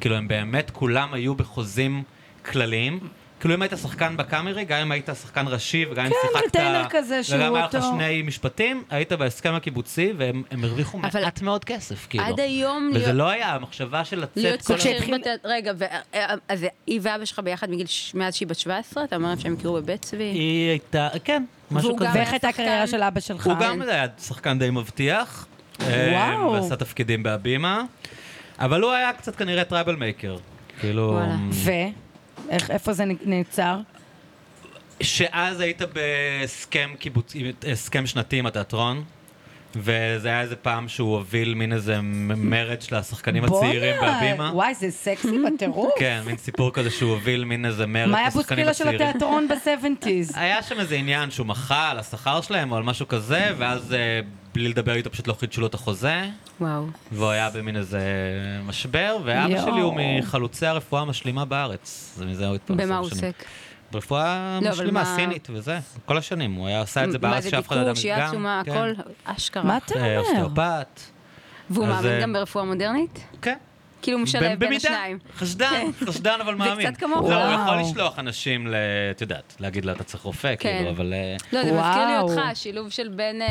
Speaker 3: כאילו, הם באמת כולם היו בחוזים כלליים. כאילו, אם היית שחקן בקאמרי, גם אם היית שחקן ראשי, וגם אם
Speaker 2: כן,
Speaker 3: שיחקת...
Speaker 2: קטנר כזה שהוא
Speaker 3: וגם היה לך
Speaker 2: אותו-
Speaker 3: שני משפטים, היית בהסכם הקיבוצי, והם הם הרוויחו
Speaker 1: אבל-
Speaker 3: מעט מאוד כסף, כאילו.
Speaker 1: עד היום
Speaker 3: וזה
Speaker 1: להיות-
Speaker 3: לא היה המחשהבה של
Speaker 1: להיות
Speaker 3: לצאת כל...
Speaker 1: שכיר
Speaker 2: כשהתחיל-
Speaker 1: בתיאט- רגע, ו- אה, אז היא ואבא שלך ביחד מגיל ש- מאז שהיא בת 17? אתה אומר להם שהם הכירו בבית צבי?
Speaker 3: היא הייתה, כן, משהו
Speaker 1: והוא גם
Speaker 3: כזה.
Speaker 2: ואיך הייתה
Speaker 1: שחקן.
Speaker 2: הקריירה של אבא שלך?
Speaker 3: הוא גם היה שחקן די מבטיח.
Speaker 2: וואו.
Speaker 3: וואו. ועשה תפקידים בהבימה. אבל הוא היה קצת כנראה טראבל מייקר. כאילו...
Speaker 1: וואלה.
Speaker 2: ו? איך- איפה זה נעצר?
Speaker 3: שאז היית בהסכם קיבוץ... הסכם שנתי עם התיאטרון. וזה היה איזה פעם שהוא הוביל מין איזה מרד של השחקנים הצעירים בהבימה.
Speaker 2: וואי, זה סקסי בטירוף.
Speaker 3: כן, מין סיפור כזה שהוא הוביל מין איזה מרד
Speaker 2: מה היה
Speaker 3: לשחקנים
Speaker 2: בוסקילה של
Speaker 3: הצעירים.
Speaker 2: התיאטרון ב-70's?
Speaker 3: היה שם איזה עניין שהוא מחה על השכר שלהם או על משהו כזה, ואז אה, בלי לדבר איתו פשוט לא חידשו לו את החוזה.
Speaker 1: וואו.
Speaker 3: והוא היה במין איזה משבר, ואבא
Speaker 2: יואו.
Speaker 3: שלי הוא מחלוצי הרפואה המשלימה בארץ. זה לא מזה הוא התפרסם.
Speaker 1: במה הוא עוסק?
Speaker 3: ברפואה
Speaker 1: לא, אבל
Speaker 3: משלימה,
Speaker 1: מה-
Speaker 3: סינית וזה. כל השנים, הוא היה עשה את זה
Speaker 1: מה
Speaker 3: בארץ
Speaker 1: זה
Speaker 3: שאף אחד לא ידע
Speaker 1: דיקור, שהייה
Speaker 3: גם,
Speaker 1: עצומה,
Speaker 3: כן.
Speaker 1: הכל? אשכרה.
Speaker 2: מה אתה
Speaker 3: אה,
Speaker 2: אומר?
Speaker 3: אוסטאופת.
Speaker 1: והוא
Speaker 3: אז,
Speaker 1: מאמין
Speaker 3: אה,
Speaker 1: גם ברפואה מודרנית?
Speaker 3: כן.
Speaker 1: כאילו הוא משלב בין
Speaker 3: במידה.
Speaker 1: השניים. כן.
Speaker 3: חשדן, חשדן אבל מאמין.
Speaker 1: קצת כמוך.
Speaker 3: לא, הוא
Speaker 2: וואו.
Speaker 3: יכול לשלוח אנשים ל... את יודעת, להגיד לה, אתה צריך רופא,
Speaker 1: כן.
Speaker 3: כאילו, אבל... אה,
Speaker 1: לא, זה מזכיר לי
Speaker 2: וואו.
Speaker 1: אותך, השילוב של בין, אה,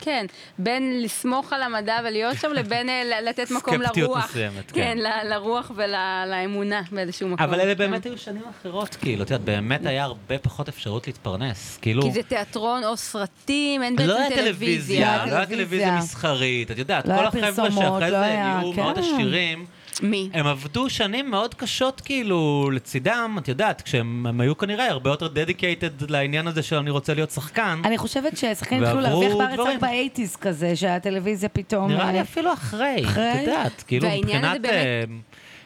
Speaker 1: כן, בין לסמוך על המדע ולהיות שם, לבין אה, ל- לתת מקום
Speaker 3: סקפטיות
Speaker 1: לרוח.
Speaker 3: מסוימת, כן.
Speaker 1: כן, ל- לרוח ולאמונה באיזשהו מקום.
Speaker 3: אבל אלה
Speaker 1: כן.
Speaker 3: באמת היו שנים אחרות, כאילו, את יודעת, באמת היה הרבה פחות אפשרות להתפרנס. כאילו...
Speaker 1: כי זה תיאטרון או סרטים, אין בעצם
Speaker 3: לא היה
Speaker 1: טלוויזיה.
Speaker 3: טלוויזיה, לא היה טלוויזיה
Speaker 2: טלוויזיה.
Speaker 3: מסחרית, את יודעת,
Speaker 2: לא
Speaker 3: כל
Speaker 2: היה
Speaker 3: החבר'ה
Speaker 2: פרסומות,
Speaker 3: שאחרי
Speaker 2: לא
Speaker 3: זה
Speaker 2: היה,
Speaker 3: נהיו
Speaker 2: כן.
Speaker 3: מאוד עשירים,
Speaker 1: מי?
Speaker 3: הם עבדו שנים מאוד קשות כאילו לצידם, את יודעת, כשהם הם היו כנראה הרבה יותר דדיקייטד לעניין הזה של אני רוצה להיות שחקן.
Speaker 2: אני חושבת ששחקנים התחילו
Speaker 3: ועברו
Speaker 2: להרוויח בארץ
Speaker 3: דברים.
Speaker 2: רק באייטיז כזה, שהטלוויזיה פתאום...
Speaker 3: נראה לי
Speaker 2: אה,
Speaker 3: אפילו אחרי, את
Speaker 2: אחרי?
Speaker 3: יודעת, כאילו
Speaker 1: והעניין הזה
Speaker 3: מבחינת...
Speaker 1: באמת-
Speaker 3: אה,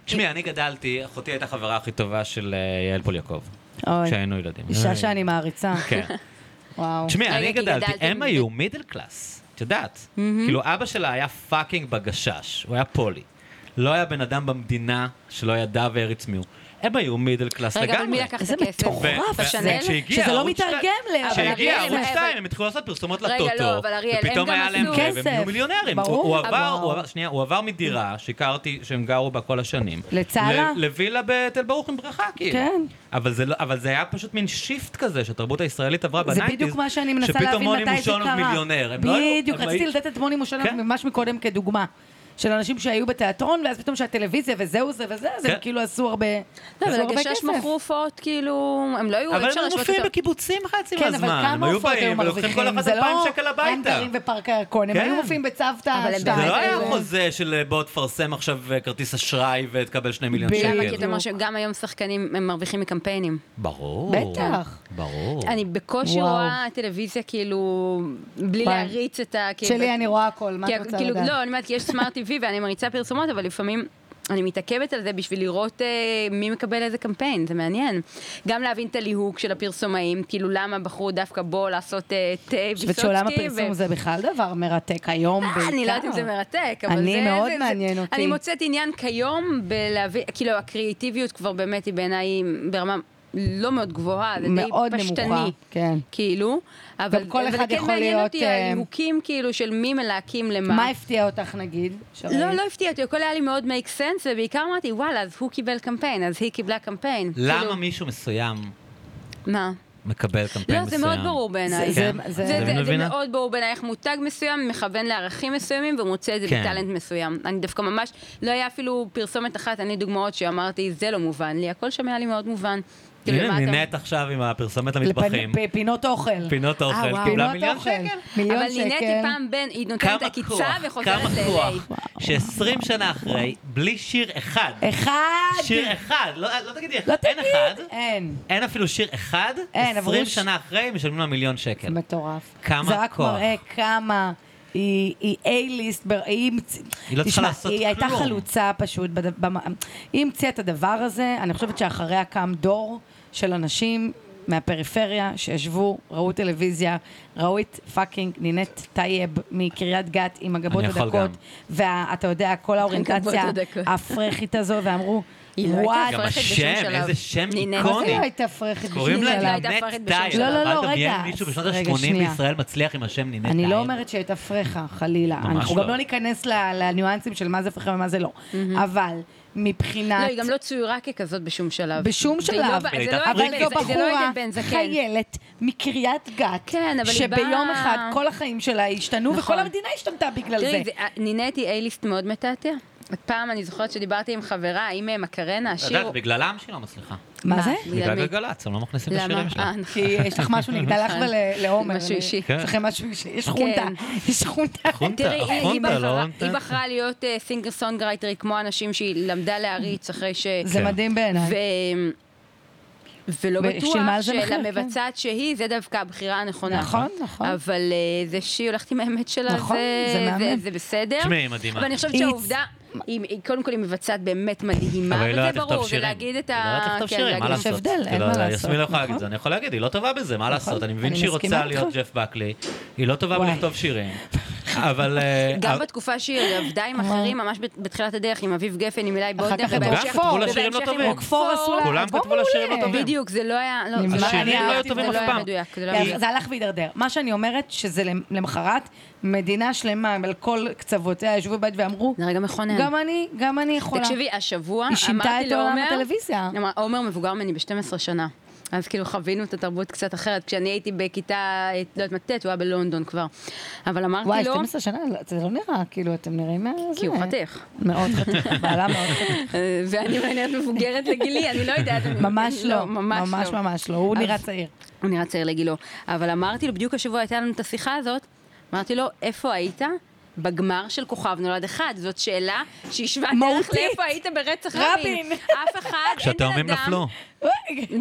Speaker 3: תשמעי, אני גדלתי, אחותי הייתה חברה הכי טובה של אה, יעל פוליאקוב,
Speaker 2: אוי,
Speaker 3: כשהיינו ילדים.
Speaker 2: אישה שאני מעריצה.
Speaker 3: אה. כן.
Speaker 2: וואו.
Speaker 3: תשמעי,
Speaker 1: רגע,
Speaker 3: אני
Speaker 1: כי
Speaker 3: גדלתי,
Speaker 1: גדלתם
Speaker 3: הם
Speaker 1: ב-
Speaker 3: היו מידל קלאס, את יודעת. כאילו, אבא שלה היה פאקינג בגשש, הוא היה פולי. לא היה בן אדם במדינה שלא ידע והריץ מיהו. הם היו מידל קלאס
Speaker 1: רגע, אבל מי
Speaker 3: לגמרי.
Speaker 1: לקח את
Speaker 2: איזה
Speaker 1: הכסף?
Speaker 2: מטורף
Speaker 3: ו- ו-
Speaker 1: בשנאל?
Speaker 3: כשהגיע
Speaker 2: שזה לא
Speaker 3: ערוץ שתיים-
Speaker 2: מתרגם ל- אבל
Speaker 3: כשהגיע
Speaker 1: אריאל,
Speaker 3: ערוץ
Speaker 1: אבל-
Speaker 3: 2, הם התחילו לעשות פרסומות
Speaker 1: רגע,
Speaker 3: לטוטו.
Speaker 1: לא, אבל אריאל, הם
Speaker 3: ופתאום
Speaker 1: גם
Speaker 3: היה להם
Speaker 1: עשו-
Speaker 3: כסף. הם נהיו
Speaker 2: כסף.
Speaker 3: מיליונרים.
Speaker 2: ברור.
Speaker 3: הוא עבר,
Speaker 2: וואו.
Speaker 3: הוא עבר- שנייה, הוא עבר מדירה שהכרתי, שהם גרו בה כל השנים.
Speaker 2: לצהלה?
Speaker 3: ל- לווילה בתל ברוך עם בריכה, כאילו.
Speaker 2: כן.
Speaker 3: אבל זה לא- אבל זה היה פשוט מין שיפט כזה שהתרבות הישראלית עברה
Speaker 2: זה
Speaker 3: בניינטיז.
Speaker 2: בדיוק מה שאני מנסה להבין מתי זה
Speaker 3: שפתאום מוני מושונוב
Speaker 2: קרה.
Speaker 3: מיליונר. הם לא היו-
Speaker 2: בדיוק,
Speaker 3: הם
Speaker 2: רציתי
Speaker 3: היו-
Speaker 2: לתת את מוני מושלם
Speaker 3: כן.
Speaker 2: ממש מקודם כדוגמה. של אנשים שהיו בתיאטרון, ואז פתאום שהטלוויזיה וזהו זה וזה, אז
Speaker 3: כן.
Speaker 2: הם כאילו עשו הרבה
Speaker 1: לא, אבל
Speaker 2: עשו הרבה
Speaker 1: הגשש מכרו הופעות, כאילו, הם לא היו, אי
Speaker 3: אבל
Speaker 1: אפשר
Speaker 3: הם
Speaker 1: להשוות
Speaker 3: מופיעים
Speaker 1: אותם.
Speaker 3: בקיבוצים חצי
Speaker 2: כן, אבל
Speaker 3: מהזמן. הם
Speaker 2: כמה
Speaker 3: היו
Speaker 2: הופעות היו
Speaker 3: באים ולוקחים כל
Speaker 2: מרוויחים?
Speaker 3: אחד
Speaker 2: זה
Speaker 3: 2,000
Speaker 2: לא
Speaker 3: שקל
Speaker 2: הם
Speaker 3: הביתה.
Speaker 2: גרים בפארק הירקון, הם
Speaker 3: כן.
Speaker 2: היו מופיעים בצוותא
Speaker 1: אבל הם
Speaker 2: שתיים.
Speaker 3: זה לא היה
Speaker 1: זה-
Speaker 3: חוזה של בוא תפרסם עכשיו אה, כרטיס אשראי ותקבל שני מיליון
Speaker 2: בדיוק.
Speaker 1: למה? כי אתה
Speaker 3: שקל.
Speaker 1: אומר שגם היום שחקנים הם מרוויחים מקמפיינים.
Speaker 3: ברור.
Speaker 2: בטח.
Speaker 3: ברור.
Speaker 1: אני בקושי
Speaker 2: וואו.
Speaker 1: רואה טלוויזיה כאילו, בלי
Speaker 2: וואי.
Speaker 1: להריץ את ה... כאילו,
Speaker 2: שלי אני רואה הכל, מה
Speaker 1: כי
Speaker 2: את רוצה
Speaker 1: כאילו,
Speaker 2: לדעת?
Speaker 1: לא, אני אומרת, כי יש סמארט TV ואני מריצה פרסומות, אבל לפעמים אני מתעכבת על זה בשביל לראות אה, מי מקבל איזה קמפיין, זה מעניין. גם להבין את הליהוק של הפרסומאים, כאילו למה בחרו דווקא בו לעשות אה, תה
Speaker 2: אני חושבת
Speaker 1: ויסוצקי.
Speaker 2: שעולם
Speaker 1: ו-
Speaker 2: הפרסום זה בכלל דבר מרתק היום בעיקר.
Speaker 1: אה, אני לא יודעת אם זה מרתק, אבל
Speaker 2: אני
Speaker 1: זה...
Speaker 2: מאוד
Speaker 1: זה-
Speaker 2: מעניין
Speaker 1: זה,
Speaker 2: אותי.
Speaker 1: אני מוצאת עניין כיום בלהביא, כאילו הקריאיטיביות כבר באמת היא בעיניי ברמה לא מאוד גבוהה, זה
Speaker 2: מאוד
Speaker 1: די פשטני.
Speaker 2: נמוכה, כן.
Speaker 1: כאילו, אבל
Speaker 2: כל
Speaker 1: אבל
Speaker 2: אחד
Speaker 1: זה כן
Speaker 2: יכול
Speaker 1: מעניין
Speaker 2: להיות,
Speaker 1: אותי
Speaker 2: אה,
Speaker 1: הליהוקים כאילו של מי מלהקים למה.
Speaker 2: מה הפתיע אותך נגיד? שרן?
Speaker 1: לא, לא הפתיע אותי, הכל היה לי מאוד מייק סנס, ובעיקר אמרתי, וואלה, אז הוא קיבל קמפיין, אז היא קיבלה קמפיין.
Speaker 3: למה
Speaker 1: כאילו,
Speaker 3: מישהו מסוים
Speaker 1: מה?
Speaker 3: מקבל קמפיין
Speaker 1: לא,
Speaker 3: מסוים?
Speaker 1: זה מאוד ברור בעיניי.
Speaker 2: זה-
Speaker 3: כן?
Speaker 2: זה-
Speaker 1: זה, זה,
Speaker 3: אני
Speaker 1: זה, זה
Speaker 3: מבינה.
Speaker 1: מאוד ברור בעיניי איך מותג מסוים מכוון לערכים מסוימים ומוצא את זה
Speaker 3: כן.
Speaker 1: כן. בטאלנט מסוים. אני דווקא ממש, לא היה אפילו פרסומת אחת, אני דוגמאות שאמרתי, זה לא מובן לי, הכל שם היה לי מאוד מובן. כאילו,
Speaker 3: הנה,
Speaker 1: מה אתה-
Speaker 3: נינט עכשיו עם הפרסומת למטבחים,
Speaker 2: לפ- פינות אוכל.
Speaker 3: פינות אוכל,
Speaker 1: אה, וואו.
Speaker 3: קיבלה
Speaker 2: פינות
Speaker 3: מיליון
Speaker 2: אוכל.
Speaker 3: שקל.
Speaker 2: מיליון
Speaker 1: אבל נהניתי
Speaker 2: שקל.
Speaker 1: פעם בין, היא נותנת
Speaker 3: כמה
Speaker 1: עקיצה
Speaker 3: כוח,
Speaker 1: וחוזרת
Speaker 3: כמה כוח,
Speaker 1: ל-LA.
Speaker 3: ש-20 שנה אחרי, בלי שיר אחד,
Speaker 2: אחד.
Speaker 3: שיר אחד, לא לא תגידי
Speaker 2: לא
Speaker 3: אחד, אין
Speaker 2: תגיד.
Speaker 3: אחד,
Speaker 2: אין.
Speaker 3: אין אפילו שיר אחד,
Speaker 2: אין, עברו
Speaker 3: 20
Speaker 2: ש-
Speaker 3: שנה אחרי משלמים לה מיליון שקל.
Speaker 2: זה מטורף.
Speaker 3: כן. כמה
Speaker 2: זה רק
Speaker 3: כוח.
Speaker 2: מראה כמה היא היא A-ליסט, בר- היא המצ-
Speaker 3: היא לא צריכה
Speaker 2: תשמע,
Speaker 3: לעשות
Speaker 2: היא הייתה
Speaker 3: כלום.
Speaker 2: חלוצה פשוט, בד- במ- היא המציאה את הדבר הזה, אני חושבת שאחריה קם דור של אנשים מהפריפריה שישבו, ראו טלוויזיה, ראו את פאקינג נינת טייב מקריית גת עם הגבות
Speaker 3: אני יכול
Speaker 2: הדקות,
Speaker 3: גם.
Speaker 2: ואתה יודע, כל האוריינטציה
Speaker 1: הגבות הדקות.
Speaker 2: הפרחית הזו, ואמרו,
Speaker 1: היא לא הייתה
Speaker 2: וואי,
Speaker 3: גם
Speaker 1: פרחת בשום
Speaker 3: השם,
Speaker 1: שלב.
Speaker 3: איזה שם
Speaker 1: נינט.
Speaker 2: מה
Speaker 3: איקוני.
Speaker 2: זה לא הייתה פרחת
Speaker 3: קוראים
Speaker 2: בשום
Speaker 1: היא לא
Speaker 3: לה
Speaker 2: שלב?
Speaker 1: הייתה
Speaker 3: נינט
Speaker 1: פרחת בשום
Speaker 3: טייל.
Speaker 1: שלב.
Speaker 2: לא, לא,
Speaker 3: אבל
Speaker 2: לא,
Speaker 3: תדמיין
Speaker 2: רגע.
Speaker 3: מישהו בשנות
Speaker 2: רגע,
Speaker 3: ה-80
Speaker 2: שנייה.
Speaker 3: בישראל מצליח עם השם נינט טייל.
Speaker 2: אני לא אומרת שהיא הייתה פרחה, חלילה.
Speaker 3: ממש
Speaker 2: אנחנו
Speaker 3: לא.
Speaker 2: גם לא ניכנס ל- לניואנסים של מה זה פרחה ומה זה לא. אבל מבחינת...
Speaker 1: לא, היא גם לא צוירה ככזאת בשום שלב.
Speaker 2: בשום
Speaker 1: והיא
Speaker 2: שלב.
Speaker 1: לא- זה לא
Speaker 3: הייתה
Speaker 1: עדן-
Speaker 2: אבל
Speaker 3: פריקית.
Speaker 2: זו
Speaker 1: זה- זה לא
Speaker 2: בחורה,
Speaker 1: עדן בן זקן.
Speaker 2: חיילת מקריית גת,
Speaker 1: כן, אבל היא
Speaker 2: שביום
Speaker 1: באה-
Speaker 2: אחד כל החיים שלה השתנו,
Speaker 1: נכון.
Speaker 2: וכל המדינה השתנתה בגלל זה.
Speaker 1: תראי, זה- נינת היא אייליסט מאוד מתעתע. פעם אני זוכרת שדיברתי עם חברה, עם אה, מקרנה,
Speaker 3: את
Speaker 1: השיר...
Speaker 3: יודעת, בגללם שהיא לא מצליחה.
Speaker 2: מה זה?
Speaker 1: בגלל
Speaker 3: בגלל
Speaker 1: מי?
Speaker 3: גלגלצ, הם לא מכניסים את
Speaker 1: למה?
Speaker 3: השירים שלה.
Speaker 1: אה, נכון.
Speaker 2: כי יש לך משהו נגד לך ולעומר.
Speaker 1: משהו אישי. כן.
Speaker 2: יש לכם משהו אישי, יש חונטה, יש חונטה.
Speaker 3: כן. חונטה,
Speaker 1: תראי, היא- היא
Speaker 3: חונטה, לא
Speaker 1: בחרה-
Speaker 3: נותנת.
Speaker 1: היא בחרה להיות סינגר סונגרייטר כמו אנשים שהיא למדה להריץ אחרי ש...
Speaker 2: זה
Speaker 3: כן.
Speaker 2: מדהים בעיניי.
Speaker 1: ו- ולא
Speaker 2: ושילמה
Speaker 1: בטוח
Speaker 2: על זה מחיר,
Speaker 1: שלמבצעת שהיא, זה דווקא הבחירה הנכונה.
Speaker 2: נכון, נכון.
Speaker 1: אבל אה, זה שהיא הולכת עם האמת שלה,
Speaker 2: נכון,
Speaker 1: זה-
Speaker 2: זה מהמם.
Speaker 1: זה- זה בסדר.
Speaker 3: תשמעי, היא מדהימה.
Speaker 1: אבל אני חושבת
Speaker 2: היא-
Speaker 1: שהעובדה, היא- היא- קודם כל היא מבצעת באמת מדהימה,
Speaker 2: אוקיי,
Speaker 3: אבל היא
Speaker 1: וזה
Speaker 3: לא יודעת לכתוב
Speaker 1: ברור, זה
Speaker 3: שירים.
Speaker 1: להגיד את ה...
Speaker 3: היא לא יודעת לכתוב
Speaker 1: כן,
Speaker 3: שירים, מה
Speaker 1: להגיד-
Speaker 3: לעשות?
Speaker 2: יש הבדל, אין
Speaker 3: כאילו,
Speaker 2: מה לעשות,
Speaker 3: יסמין לא יכולה להגיד את
Speaker 2: נכון.
Speaker 3: זה, אני יכול להגיד, היא לא טובה בזה, מה לעשות? אני מבין
Speaker 2: אני
Speaker 3: שהיא
Speaker 2: מסכימה
Speaker 3: רוצה
Speaker 2: איתך.
Speaker 3: להיות ג'ף בקלי, היא לא טובה
Speaker 2: וואי.
Speaker 3: בלכתוב שירים, אבל... אה,
Speaker 1: גם
Speaker 3: אבל-
Speaker 1: בתקופה שהיא עבדה עם אחרים, ממש בת- בתחילת הדרך, עם אביב גפן, עם אילי
Speaker 2: אחר
Speaker 1: בודם,
Speaker 2: כך עם
Speaker 1: ובהמשך-
Speaker 2: רוקפור.
Speaker 3: כתבו לה שירים לא
Speaker 1: ובהמשך עם
Speaker 3: טובים.
Speaker 1: רוקפור עשו לה...
Speaker 3: כולם
Speaker 2: אלבום
Speaker 3: כתבו לה שירים לא
Speaker 2: מעולה.
Speaker 3: טובים.
Speaker 1: בדיוק, זה לא היה... לא,
Speaker 2: נגמר.
Speaker 1: זה לא היה-
Speaker 2: השירים לא היו
Speaker 1: אהבתי,
Speaker 3: טובים
Speaker 1: זה
Speaker 3: אף
Speaker 1: לא היה
Speaker 3: פעם.
Speaker 1: מדויק, זה לא היה
Speaker 2: זה
Speaker 1: מדויק.
Speaker 2: זה הלך והידרדר. מה שאני אומרת, שזה למחרת, מדינה שלמה על כל קצוותיה ישבו בבית ואמרו,
Speaker 1: זה לא, רגע מכונן.
Speaker 2: גם אני, גם אני יכולה.
Speaker 1: תקשיבי, השבוע
Speaker 2: היא שינתה
Speaker 1: אמרתי
Speaker 2: את עולם
Speaker 1: לעומר-
Speaker 2: הטלוויזיה.
Speaker 1: אמר, עומר מבוגר ממני ב-12 שנה. אז כאילו חווינו את התרבות קצת אחרת. כשאני הייתי בכיתה, אה, לא יודעת מה, ט', הוא היה בלונדון כבר. אבל אמרתי לו...
Speaker 2: וואי, 12 שנה, זה לא נראה, כאילו, אתם נראים... זה.
Speaker 1: כי הוא חתיך.
Speaker 2: מאוד חתיך, בעלה מאוד חתיך.
Speaker 1: אה, ואני אולי נראית מבוגרת לגילי, אני לא יודעת. אני-
Speaker 2: ממש לא, ממש ממש לא, הוא
Speaker 1: אז-
Speaker 2: נראה צעיר.
Speaker 1: הוא נראה צעיר לגילו. אבל אמרתי לו, בדיוק השבוע הייתה לנו את השיחה הזאת, אמרתי לו, איפה היית? בגמר של כוכב נולד אחד, זאת שאלה שהיא שוות ערך
Speaker 2: מהותית.
Speaker 1: לאיפה היית ברצח
Speaker 2: רבין.
Speaker 1: רבין. אף אחד, אין בן
Speaker 3: כשהתאומים
Speaker 1: אדם...
Speaker 3: נפלו.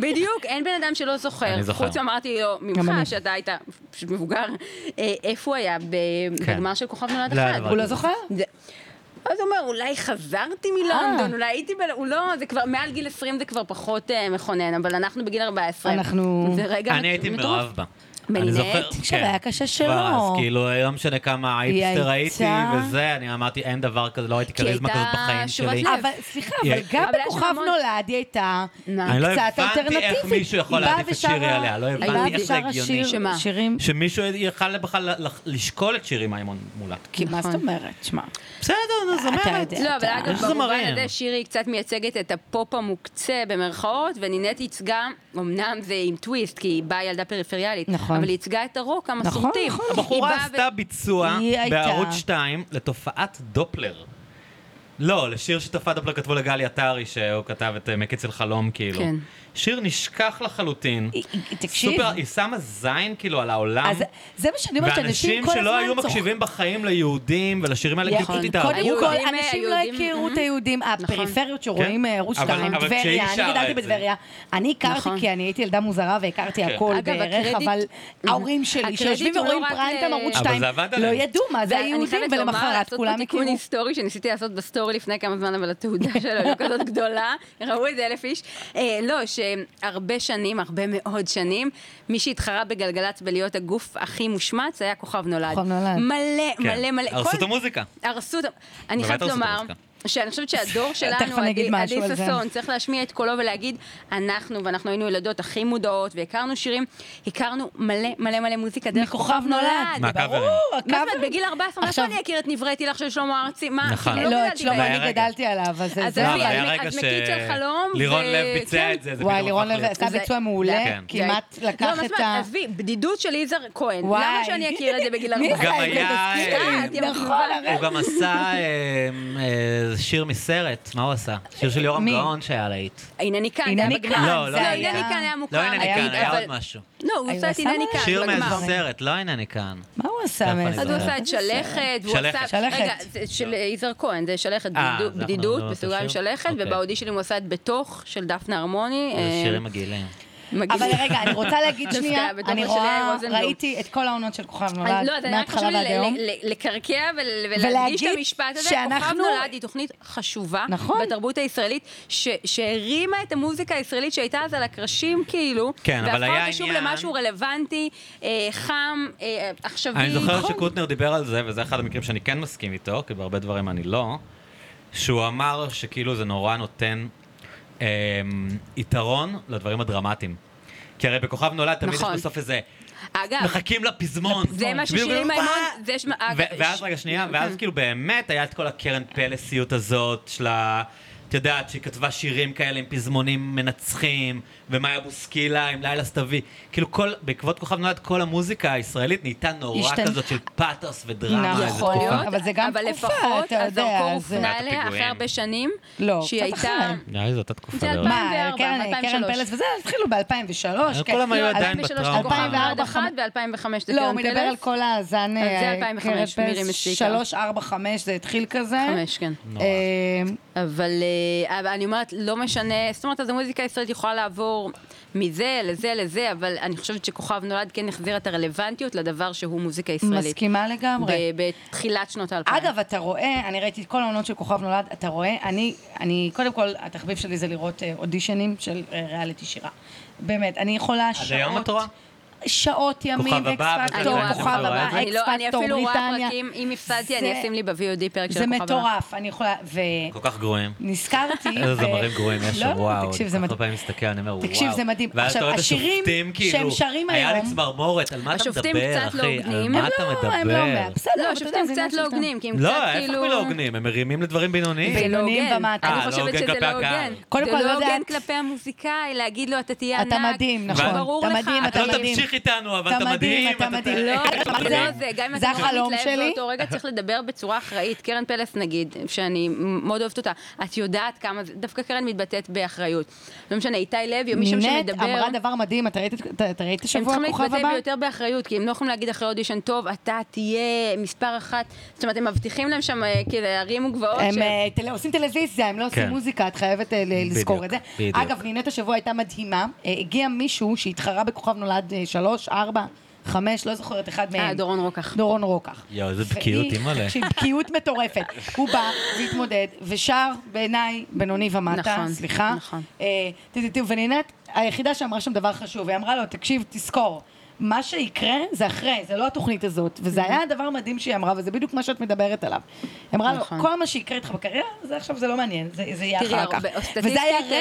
Speaker 1: בדיוק, אין בן אדם שלא זוכר.
Speaker 3: אני זוכר.
Speaker 1: חוץ מאמרתי לו, ממך,
Speaker 2: גם אני.
Speaker 1: שאתה היית פשוט מבוגר, אה, איפה הוא היה ב-
Speaker 3: כן.
Speaker 1: בגמר של כוכב נולד
Speaker 3: לא,
Speaker 1: אחד.
Speaker 3: לא,
Speaker 2: הוא לא זוכר?
Speaker 1: זה- אז הוא אומר, אולי חזרתי
Speaker 2: אה.
Speaker 1: מלונדון, אולי הייתי ב... הוא לא, זה כבר, מעל גיל 20 זה כבר פחות אה, מכונן, אבל אנחנו בגיל 14.
Speaker 2: אנחנו-
Speaker 1: זה רגע
Speaker 3: אני הייתי
Speaker 1: מטורף.
Speaker 3: מאוהב בה.
Speaker 1: בנינט?
Speaker 3: אני זוכר,
Speaker 2: עכשיו,
Speaker 3: כן.
Speaker 2: היה קשה שלא.
Speaker 3: כבר, אז כאילו, לא משנה כמה
Speaker 2: היא
Speaker 3: אייפסטר הייתי
Speaker 2: הייתה-
Speaker 3: וזה, אני אמרתי, אין דבר כזה, לא הייתי
Speaker 1: כי היא
Speaker 3: כריזמה
Speaker 1: הייתה
Speaker 3: כזאת בחיים
Speaker 1: שובת
Speaker 3: שלי.
Speaker 1: לב.
Speaker 2: אבל סליחה,
Speaker 3: היא-
Speaker 2: אבל גם
Speaker 1: אבל יש
Speaker 2: בכוכב
Speaker 1: שם המון-
Speaker 2: נולד היא הייתה
Speaker 1: אני
Speaker 3: לא
Speaker 2: קצת
Speaker 3: הבנתי איך
Speaker 2: אלטרנטיבית.
Speaker 3: מישהו יכול
Speaker 2: היא באה
Speaker 3: להעדיף את שירי
Speaker 2: ושרה-
Speaker 3: עליה, לא
Speaker 2: היא
Speaker 3: הבנתי
Speaker 2: באה
Speaker 3: איך זה
Speaker 2: ושרה
Speaker 3: הגיוני.
Speaker 2: שיר-
Speaker 1: שמה?
Speaker 2: שירים...
Speaker 3: שמישהו יכל בכלל לח- לשקול את שירי מימון מולה.
Speaker 2: כי מה
Speaker 1: נכון.
Speaker 2: זאת אומרת? שמע,
Speaker 3: בסדר, נו,
Speaker 2: אתה
Speaker 3: זמרת.
Speaker 2: יודע.
Speaker 1: לא, אבל
Speaker 2: אתה-
Speaker 1: אגב,
Speaker 3: יש
Speaker 1: במובן
Speaker 3: זמרים.
Speaker 1: הזה שירי קצת מייצגת את הפופ המוקצה במרכאות, ונינת ייצגה, אמנם זה עם טוויסט, כי היא באה ילדה פריפריאלית,
Speaker 2: נכון.
Speaker 1: אבל היא ייצגה את הרוק המסורתי.
Speaker 2: נכון.
Speaker 1: היא
Speaker 3: הבחורה
Speaker 1: באה ו-
Speaker 3: עשתה ביצוע
Speaker 2: היא הייתה-
Speaker 3: בערוץ 2 לתופעת דופלר. לא, לשיר שתופעת דופלר כתבו לגלי עטרי, שהוא כתב את אה, מקיץ אל חלום, כאילו.
Speaker 1: כן.
Speaker 3: שיר נשכח לחלוטין.
Speaker 2: היא- היא- תקשיב.
Speaker 3: סופר, היא שמה זין כאילו על העולם.
Speaker 2: אז זה מה שאני אומרת, שאנשים
Speaker 3: ואנשים
Speaker 2: כל הזמן
Speaker 3: שלא היו
Speaker 2: צוחקים.
Speaker 3: מקשיבים בחיים ליהודים ולשירים האלה, כאילו כי
Speaker 2: נכון.
Speaker 3: פשוט
Speaker 2: קודם
Speaker 3: התאהבו
Speaker 2: כל,
Speaker 3: בה.
Speaker 1: היהודים,
Speaker 2: אנשים לא
Speaker 1: היהודים,
Speaker 2: הכירו את
Speaker 1: mhm.
Speaker 2: היהודים, הפריפריות שרואים
Speaker 3: כן.
Speaker 2: אה, ערוץ
Speaker 3: אבל-
Speaker 2: 2,
Speaker 3: אבל כשהיא
Speaker 2: טבריה,
Speaker 3: שרה
Speaker 2: אני גדלתי
Speaker 3: את זה.
Speaker 2: בטבריה. אני הכרתי
Speaker 1: נכון.
Speaker 2: כי אני הייתי ילדה מוזרה והכרתי
Speaker 3: כן.
Speaker 2: הכל
Speaker 1: אגב,
Speaker 2: בערך,
Speaker 1: הקרדיט-
Speaker 2: אבל ההורים שלי
Speaker 1: הקרדיט
Speaker 2: שיושבים
Speaker 1: הוא לא
Speaker 2: ורואים
Speaker 1: רק
Speaker 2: פריים
Speaker 1: ל-
Speaker 2: ערוץ
Speaker 1: אבל
Speaker 2: 2,
Speaker 3: זה עבד
Speaker 2: לא
Speaker 3: עליהם.
Speaker 2: ידעו מה זה
Speaker 1: ואני
Speaker 2: היהודים,
Speaker 1: חייבת לומר,
Speaker 2: ולמחרת כולם
Speaker 1: לעשות פה תיקון
Speaker 2: הכירו.
Speaker 1: היסטורי שניסיתי לעשות בסטורי לפני כמה זמן, אבל התעודה שלו לא כזאת גדולה, ראו איזה אלף איש. אה, לא, שהרבה שנים, הרבה מאוד שנים, מי שהתחרה בגלגלצ בלהיות הגוף הכי מושמץ היה כוכב נולד.
Speaker 2: כוכב נולד.
Speaker 1: מלא,
Speaker 3: כן.
Speaker 1: מלא, מלא.
Speaker 3: הרסו
Speaker 1: כל-
Speaker 3: את המוזיקה.
Speaker 1: הרסו את... אני
Speaker 3: באמת
Speaker 1: חייבת
Speaker 3: הרסו את
Speaker 1: לומר,
Speaker 3: המוזיקה.
Speaker 1: שאני חושבת שהדור שלנו,
Speaker 2: תכף אני אגיד
Speaker 1: עדי-
Speaker 2: משהו
Speaker 1: עדי
Speaker 2: על זה.
Speaker 1: ששון, צריך להשמיע את קולו ולהגיד, אנחנו, ואנחנו היינו ילדות הכי מודעות, והכרנו שירים, הכרנו מלא מלא מלא מוזיקה דרך
Speaker 2: מכוכב נולד.
Speaker 3: מה, קאברים?
Speaker 2: ברור,
Speaker 1: מה זאת
Speaker 2: הקאבר-
Speaker 1: אומרת, בגיל 14, מאיפה
Speaker 2: עכשיו-
Speaker 1: אני אכיר את נבראתי לך של שלמה ארצי? מה,
Speaker 3: נכון.
Speaker 1: כאילו,
Speaker 2: לא, את
Speaker 1: גדלתי
Speaker 2: שלמה
Speaker 1: בהם.
Speaker 3: היה
Speaker 2: אני
Speaker 3: רגע.
Speaker 2: גדלתי עליו, אז זה...
Speaker 1: אז
Speaker 2: זה-
Speaker 3: לא,
Speaker 1: יופי,
Speaker 3: אבל
Speaker 1: אז
Speaker 3: היה
Speaker 1: מ-
Speaker 3: רגע
Speaker 1: אז
Speaker 3: ש...
Speaker 1: מקית של חלום,
Speaker 3: לירון
Speaker 1: ו-
Speaker 3: לב ביצע
Speaker 1: כן.
Speaker 3: את זה, זה
Speaker 2: וואי,
Speaker 3: פתאום
Speaker 2: לירון
Speaker 3: הפך
Speaker 2: לב
Speaker 3: להיות-
Speaker 2: עשה
Speaker 1: זה-
Speaker 2: ביצוע
Speaker 1: זה-
Speaker 2: מעולה,
Speaker 3: כן.
Speaker 2: כמעט
Speaker 1: לא,
Speaker 2: לקח
Speaker 1: מה זאת
Speaker 2: את ה...
Speaker 1: אומרת, עזבי, בדידות של יזהר כהן.
Speaker 2: וואי.
Speaker 1: למה שאני אכיר את זה בגיל 14?
Speaker 3: גם היה,
Speaker 1: תזכירי,
Speaker 3: אה,
Speaker 1: את, יא
Speaker 2: נכון,
Speaker 1: מגניבה.
Speaker 3: הוא גם עשה אה, אה, שיר מסרט, מה הוא עשה? שיר של יורם
Speaker 2: מי?
Speaker 3: גאון שהיה להיט.
Speaker 1: הנני כאן,
Speaker 2: הנה
Speaker 1: זה היה
Speaker 2: אני
Speaker 1: בגמר.
Speaker 2: כאן,
Speaker 3: לא, לא
Speaker 1: זה
Speaker 3: היה.
Speaker 1: הנני כאן היה מוכר.
Speaker 3: לא הנה אני
Speaker 2: היה
Speaker 3: כאן,
Speaker 2: לי-
Speaker 3: היה
Speaker 1: אבל-
Speaker 3: עוד משהו.
Speaker 1: לא, הוא
Speaker 2: הוא
Speaker 1: עושה את
Speaker 2: עשה
Speaker 1: הנה אני
Speaker 2: משהו?
Speaker 1: כאן
Speaker 3: שיר
Speaker 1: בגמר.
Speaker 3: מאיזה סרט, לא הנה אני כאן.
Speaker 2: מה הוא עשה
Speaker 3: איפה אני
Speaker 1: אז הוא עשה את
Speaker 3: איזה
Speaker 1: שלכת, והוא
Speaker 3: שלכת. לא.
Speaker 1: עשה...
Speaker 2: שלכת.
Speaker 1: רגע, זה של יזהר כהן, זה שלכת
Speaker 3: אה,
Speaker 1: בדידות-
Speaker 3: אז אנחנו
Speaker 1: בדידות,
Speaker 3: מדברים על אותו
Speaker 1: בסוגריים
Speaker 3: שיר?
Speaker 1: שלכת,
Speaker 3: אוקיי.
Speaker 1: ובאודישנים הוא עשה את בתוך של דפנה הרמוני.
Speaker 3: איזה
Speaker 1: אה,
Speaker 3: שירים מגעילים.
Speaker 1: מגעיל.
Speaker 2: אבל רגע, אני רוצה להגיד
Speaker 1: דווקא
Speaker 2: שנייה,
Speaker 1: בתור
Speaker 2: אני
Speaker 1: של
Speaker 2: רואה,
Speaker 1: רוזנבלום.
Speaker 2: ראיתי את כל העונות של כוכב
Speaker 1: אני-
Speaker 2: נולד,
Speaker 1: לא, אז אני רק חשוב
Speaker 2: מההתחלה
Speaker 1: לי
Speaker 2: ועד
Speaker 1: ל-
Speaker 2: היום.
Speaker 1: ל- ל- לקרקע ול- ולהדגיש את
Speaker 2: ולהגיד
Speaker 1: המשפט הזה. כוכב
Speaker 2: שאנחנו-
Speaker 1: נולד היא תוכנית חשובה
Speaker 2: נכון.
Speaker 1: בתרבות הישראלית, ש- שהרימה את המוזיקה הישראלית שהייתה אז על הקרשים כאילו,
Speaker 3: כן, אבל
Speaker 1: והפכה
Speaker 3: היה
Speaker 1: אותה שוב
Speaker 3: עניין-
Speaker 1: למשהו רלוונטי, אה, חם, אה, עכשווי.
Speaker 3: אני זוכר
Speaker 1: נכון.
Speaker 3: שקוטנר דיבר על זה, וזה אחד המקרים שאני כן מסכים איתו, כי בהרבה דברים אני לא, שהוא אמר שכאילו זה נורא נותן אמ, יתרון לדברים הדרמטיים. כי הרי בכוכב נולד תמיד יש
Speaker 1: נכון.
Speaker 3: בסוף איזה,
Speaker 1: אגב,
Speaker 3: מחכים לפזמון.
Speaker 1: אה, זה מה
Speaker 3: בדיוק,
Speaker 1: ששירי
Speaker 3: בדיוק,
Speaker 1: מימון,
Speaker 3: "אה,
Speaker 1: זה יש... אגב, אה,
Speaker 3: ו- ואז
Speaker 1: ש-
Speaker 3: רגע שנייה, ואז כאילו באמת היה את כל הקרן פלסיות הזאת של ה... את יודעת, שהיא כתבה שירים כאלה עם פזמונים מנצחים, ומאיה בוסקילה עם לילה סתווי. כאילו כל, בעקבות כוכב נולד, כל המוזיקה הישראלית נהייתה נורא
Speaker 2: השתנתה.
Speaker 3: כזאת של פאתוס ודרמה.
Speaker 1: נכון.
Speaker 3: איזה
Speaker 2: יכול
Speaker 3: תקופה.
Speaker 2: להיות. אבל זה גם
Speaker 1: אבל
Speaker 2: תקופה,
Speaker 1: לפחות
Speaker 2: אתה יודע,
Speaker 1: הזרקור
Speaker 2: זה-
Speaker 1: הופנה
Speaker 3: את
Speaker 1: אליה אחרי
Speaker 3: הפיגועים.
Speaker 1: הרבה שנים,
Speaker 2: לא,
Speaker 1: שהיא
Speaker 2: קצת אחרי.
Speaker 1: הייתה...
Speaker 3: נראה לי זאת אותה תקופה. לא-
Speaker 1: זה
Speaker 3: בערך.
Speaker 1: אלפיים.
Speaker 2: מה,
Speaker 1: 2004,
Speaker 2: קרן- קרן
Speaker 1: 2003.
Speaker 2: פלס וזה, התחילו ב-2003.
Speaker 3: אבל כולם היו לא, עדיין בטראומה.
Speaker 1: 2004
Speaker 2: 2004,
Speaker 1: אחת ב-2005 זה
Speaker 2: לא, הוא
Speaker 1: קרן
Speaker 2: מדבר על
Speaker 1: פלס.
Speaker 2: כל אה, הזן...
Speaker 1: אז זה 2005, מירי מסיקה.
Speaker 2: 3, 4, 5, זה התחיל כזה.
Speaker 1: חמש, כן.
Speaker 3: נורא.
Speaker 2: אה,
Speaker 1: אבל אה, אבל אני אומרת, לא משנה, זאת אומרת, אז המוזיקה הישראלית יכולה לעבור מזה לזה לזה, אבל אני חושבת שכוכב נולד כן החזיר את הרלוונטיות לדבר שהוא מוזיקה ישראלית.
Speaker 2: מסכימה לגמרי.
Speaker 1: ב- בתחילת שנות האלפיים.
Speaker 2: אגב, אתה רואה, אני ראיתי את כל העונות של כוכב נולד, אתה רואה, אני, אני, קודם כל, התחביב שלי זה לראות אה, אודישנים של אה, ריאליטי שירה. באמת, אני יכולה שעות...
Speaker 3: היום את רואה?
Speaker 2: שעות ימים,
Speaker 3: כוכב הבא,
Speaker 2: אקס
Speaker 1: אני
Speaker 2: פקטור,
Speaker 3: טוב,
Speaker 1: רואה
Speaker 2: כוכב
Speaker 1: כוכב הבא.
Speaker 2: הבא,
Speaker 1: אני
Speaker 2: אקס
Speaker 1: לא- אני
Speaker 2: פקטור,
Speaker 1: אפילו רואה
Speaker 2: בריטניה.
Speaker 1: פרקים, אם הפסדתי, אני
Speaker 2: זה-
Speaker 1: אשים לי ב-VOD פרק של
Speaker 2: זה
Speaker 1: כוכב הבא.
Speaker 2: מטורף, אני יכולה, ו...
Speaker 3: כל כך גרועים.
Speaker 2: נזכרתי...
Speaker 3: איזה
Speaker 2: ו-
Speaker 3: זמרים גרועים יש שם,
Speaker 2: לא, לא,
Speaker 3: וואו.
Speaker 2: תקשיב, זה
Speaker 3: אני כל
Speaker 2: מדהים.
Speaker 3: פעמים מסתכל, אני אומר, וואו.
Speaker 2: תקשיב, זה מדהים.
Speaker 3: ואז
Speaker 2: עכשיו,
Speaker 3: אתה רואה את
Speaker 2: השירים
Speaker 3: השופטים, כאילו,
Speaker 2: שהם שרים
Speaker 3: היה
Speaker 2: היום-
Speaker 3: לי צמרמורת, על מה אתה
Speaker 1: השופטים
Speaker 3: מדבר,
Speaker 1: קצת לא
Speaker 3: אחי? על
Speaker 1: הוגנים.
Speaker 3: מה
Speaker 1: הם
Speaker 3: אתה מדבר?
Speaker 2: לא, הם לא מאה. בסדר,
Speaker 1: לא,
Speaker 2: אבל אתה יודע,
Speaker 1: השופטים
Speaker 2: זה עניין
Speaker 1: קצת
Speaker 2: של
Speaker 1: לא
Speaker 2: שופטים.
Speaker 1: הוגנים, כי הם
Speaker 3: לא,
Speaker 1: קצת
Speaker 3: ההפך
Speaker 1: כאילו...
Speaker 3: מלא הוגנים, הם מרימים לדברים בינוניים.
Speaker 1: זה לא
Speaker 2: בינוניים
Speaker 1: הוגן.
Speaker 2: ומטה.
Speaker 1: אני
Speaker 3: אה, לא
Speaker 1: חושבת
Speaker 3: הוגן
Speaker 1: שזה
Speaker 3: כלפי
Speaker 1: לא
Speaker 3: הקהל.
Speaker 1: הוגן.
Speaker 2: קודם
Speaker 1: זה
Speaker 2: כל,
Speaker 1: לא
Speaker 2: לא
Speaker 1: הוגן
Speaker 2: יודעת-
Speaker 1: כלפי המוזיקאי להגיד לו אתה תהיה ענק.
Speaker 2: אתה מדהים, נכון.
Speaker 1: ברור
Speaker 2: אתה
Speaker 1: לך.
Speaker 2: מדהים,
Speaker 3: את
Speaker 2: אתה
Speaker 3: לא
Speaker 2: מדהים.
Speaker 3: תמשיך איתנו, אבל אתה מדהים.
Speaker 2: אתה מדהים. אה,
Speaker 1: לא, זה לא זה, גם אם
Speaker 2: זה
Speaker 1: אתה נורא
Speaker 2: החלום
Speaker 1: מתלהב
Speaker 2: שלי.
Speaker 1: באותו רגע צריך לדבר בצורה אחראית. קרן פלס נגיד, שאני מאוד אוהבת אותה, את יודעת כמה, זה- דווקא קרן מתבטאת באחריות. לא משנה, איתי לוי או מישהו
Speaker 2: נינט
Speaker 1: שמדבר...
Speaker 2: אמרה דבר מדהים, אתה ראית את- אתה- אתה ראית
Speaker 1: הם
Speaker 2: השבוע
Speaker 1: צריכים
Speaker 2: כוכב
Speaker 1: להתבטא
Speaker 2: הבא?
Speaker 1: ביותר באחריות, כי הם לא יכולים להגיד אחרי אודישן, טוב, אתה תהיה מספר אחת, זאת אומרת, הם מבטיחים להם שם אה, כאילו הרים וגבעות.
Speaker 2: הם
Speaker 1: ש-
Speaker 2: אה, טל- עושים טלוויזיה, הם לא עושים
Speaker 3: כן.
Speaker 2: מוזיקה, את חייבת אה, ל-
Speaker 3: בדיוק,
Speaker 2: לזכור את זה.
Speaker 3: בדיוק.
Speaker 2: אגב, נינט השבוע הייתה מדהימה. אה, הגיע מישהו שהתחרה בכוכב נולד אה, שלוש, ארבע, חמש, לא זוכרת אחד מהם.
Speaker 1: אה, דורון רוקח.
Speaker 2: דורון רוקח.
Speaker 3: יואו, איזה
Speaker 2: והיא-
Speaker 3: בקיאות, אימא'לה.
Speaker 2: תקשיב, בקיאות מטורפת. הוא בא והתמודד, ושר בעיניי בינוני ומטה,
Speaker 1: נכון,
Speaker 2: סליחה.
Speaker 1: נכון.
Speaker 2: אה, תראו, תראו, ונינת, היחידה שאמרה שם דבר חשוב, היא אמרה לו, תקשיב, תזכור. מה שיקרה זה אחרי, זה לא התוכנית הזאת,
Speaker 1: Mm-hmm.
Speaker 2: וזה היה דבר מדהים שהיא אמרה, וזה בדיוק מה שאת מדברת עליו. היא אמרה לו,
Speaker 1: נכון.
Speaker 2: כל מה שיקרה איתך בקריירה, זה עכשיו, זה לא מעניין, זה זה יהיה
Speaker 1: תראי,
Speaker 2: אחר כך.
Speaker 1: הרבה- סטטיסטית,
Speaker 2: וזה היה
Speaker 1: אה,
Speaker 2: רמז,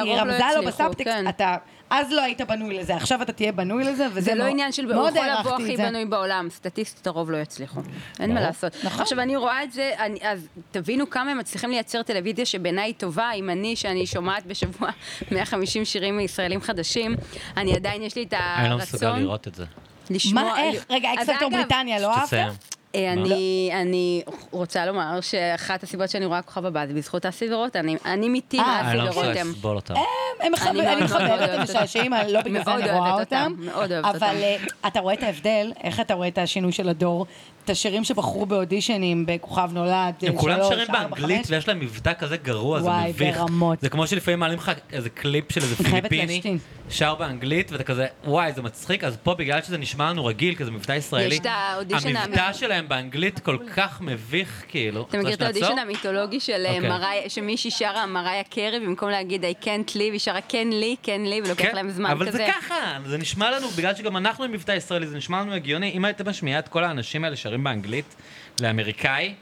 Speaker 1: הרוב
Speaker 2: היא
Speaker 1: לא
Speaker 2: רמזה
Speaker 1: יצליחו,
Speaker 2: לו בסאבטקסט,
Speaker 1: כן.
Speaker 2: אתה, אז לא היית בנוי לזה, עכשיו אתה תהיה בנוי לזה, וזה
Speaker 1: זה לא
Speaker 2: מאוד-
Speaker 1: עניין של הוא
Speaker 2: מאוד
Speaker 1: יכול לבוא
Speaker 2: הערכתי
Speaker 1: הכי
Speaker 2: את זה.
Speaker 1: בנוי בעולם, סטטיסטית הרוב לא יצליחו. אין מה
Speaker 3: ברור.
Speaker 1: לעשות.
Speaker 2: נכון.
Speaker 1: עכשיו אני רואה את זה, אני- אז תבינו כמה הם מצליחים לייצר טלוויזיה שבעיניי היא טובה, אם אני, שאני שומעת בשבוע 150 שירים מישראלים חדשים, אני עדיין יש לי את הרצון.
Speaker 3: אני לא מסוגל לראות את זה.
Speaker 1: לשמוע...
Speaker 2: מה, איך? רגע,
Speaker 1: אז
Speaker 2: אקספקטור
Speaker 1: אגב,
Speaker 2: בריטניה, לא אהבת?
Speaker 3: תסיים.
Speaker 1: אה,
Speaker 3: מה?
Speaker 1: אני, אני רוצה לומר שאחת הסיבות שאני רואה כוכב הבא זה בזכות אסי ורותם. אני- אני מתי
Speaker 2: אה,
Speaker 1: מאסי
Speaker 3: אני לא
Speaker 1: ורותם.
Speaker 3: מסוגל לסבול אותה.
Speaker 2: הם מחבבים,
Speaker 1: מאוד
Speaker 2: אני
Speaker 1: מאוד
Speaker 2: מחבבת
Speaker 1: אוהבת
Speaker 2: את המשעשעים, האלה, לא בגלל זה
Speaker 1: מאוד
Speaker 2: אני רואה
Speaker 1: אוהבת אותם,
Speaker 2: אותם.
Speaker 1: מאוד אוהבת
Speaker 2: אבל
Speaker 1: אותם.
Speaker 2: אה, אתה רואה את ההבדל, איך אתה רואה את השינוי של הדור, את השירים שבחרו באודישנים בכוכב נולד,
Speaker 3: הם
Speaker 2: אה,
Speaker 3: כולם
Speaker 2: שלוש,
Speaker 3: שרים
Speaker 2: ארבע,
Speaker 3: באנגלית
Speaker 2: חמש.
Speaker 3: ויש להם מבטא כזה גרוע, זה
Speaker 2: וואי,
Speaker 3: מביך.
Speaker 2: ברמות.
Speaker 3: זה כמו שלפעמים מעלים לך איזה קליפ של איזה
Speaker 2: חייבת
Speaker 3: פיליפיני,
Speaker 2: להשתין.
Speaker 3: שר באנגלית, ואתה כזה, וואי, זה מצחיק, אז פה בגלל שזה נשמע לנו רגיל, כזה מבטא ישראלי,
Speaker 1: את האודישן
Speaker 3: המבטא
Speaker 1: האמריקאי.
Speaker 3: שלהם באנגלית כל כך מביך, כאילו.
Speaker 1: אתה
Speaker 3: רוצה
Speaker 1: מכיר את
Speaker 3: שנעצור?
Speaker 1: האודישן המיתולוגי של אה,
Speaker 3: אוקיי.
Speaker 1: מריה, שמישהי שרה מריה קרי, במקום להגיד I can't live, היא שרה כן לי, כן לי, ולוקח
Speaker 3: כן,
Speaker 1: להם זמן כזה.
Speaker 3: אבל זה ככה, זה נשמע לנו, בגלל שגם אנחנו עם מבטא ישראלי, זה נשמע לנו הגיוני. אם הייתם משמיעה את כל האנשים האלה שרים שירים באנגלית לאמריקאי,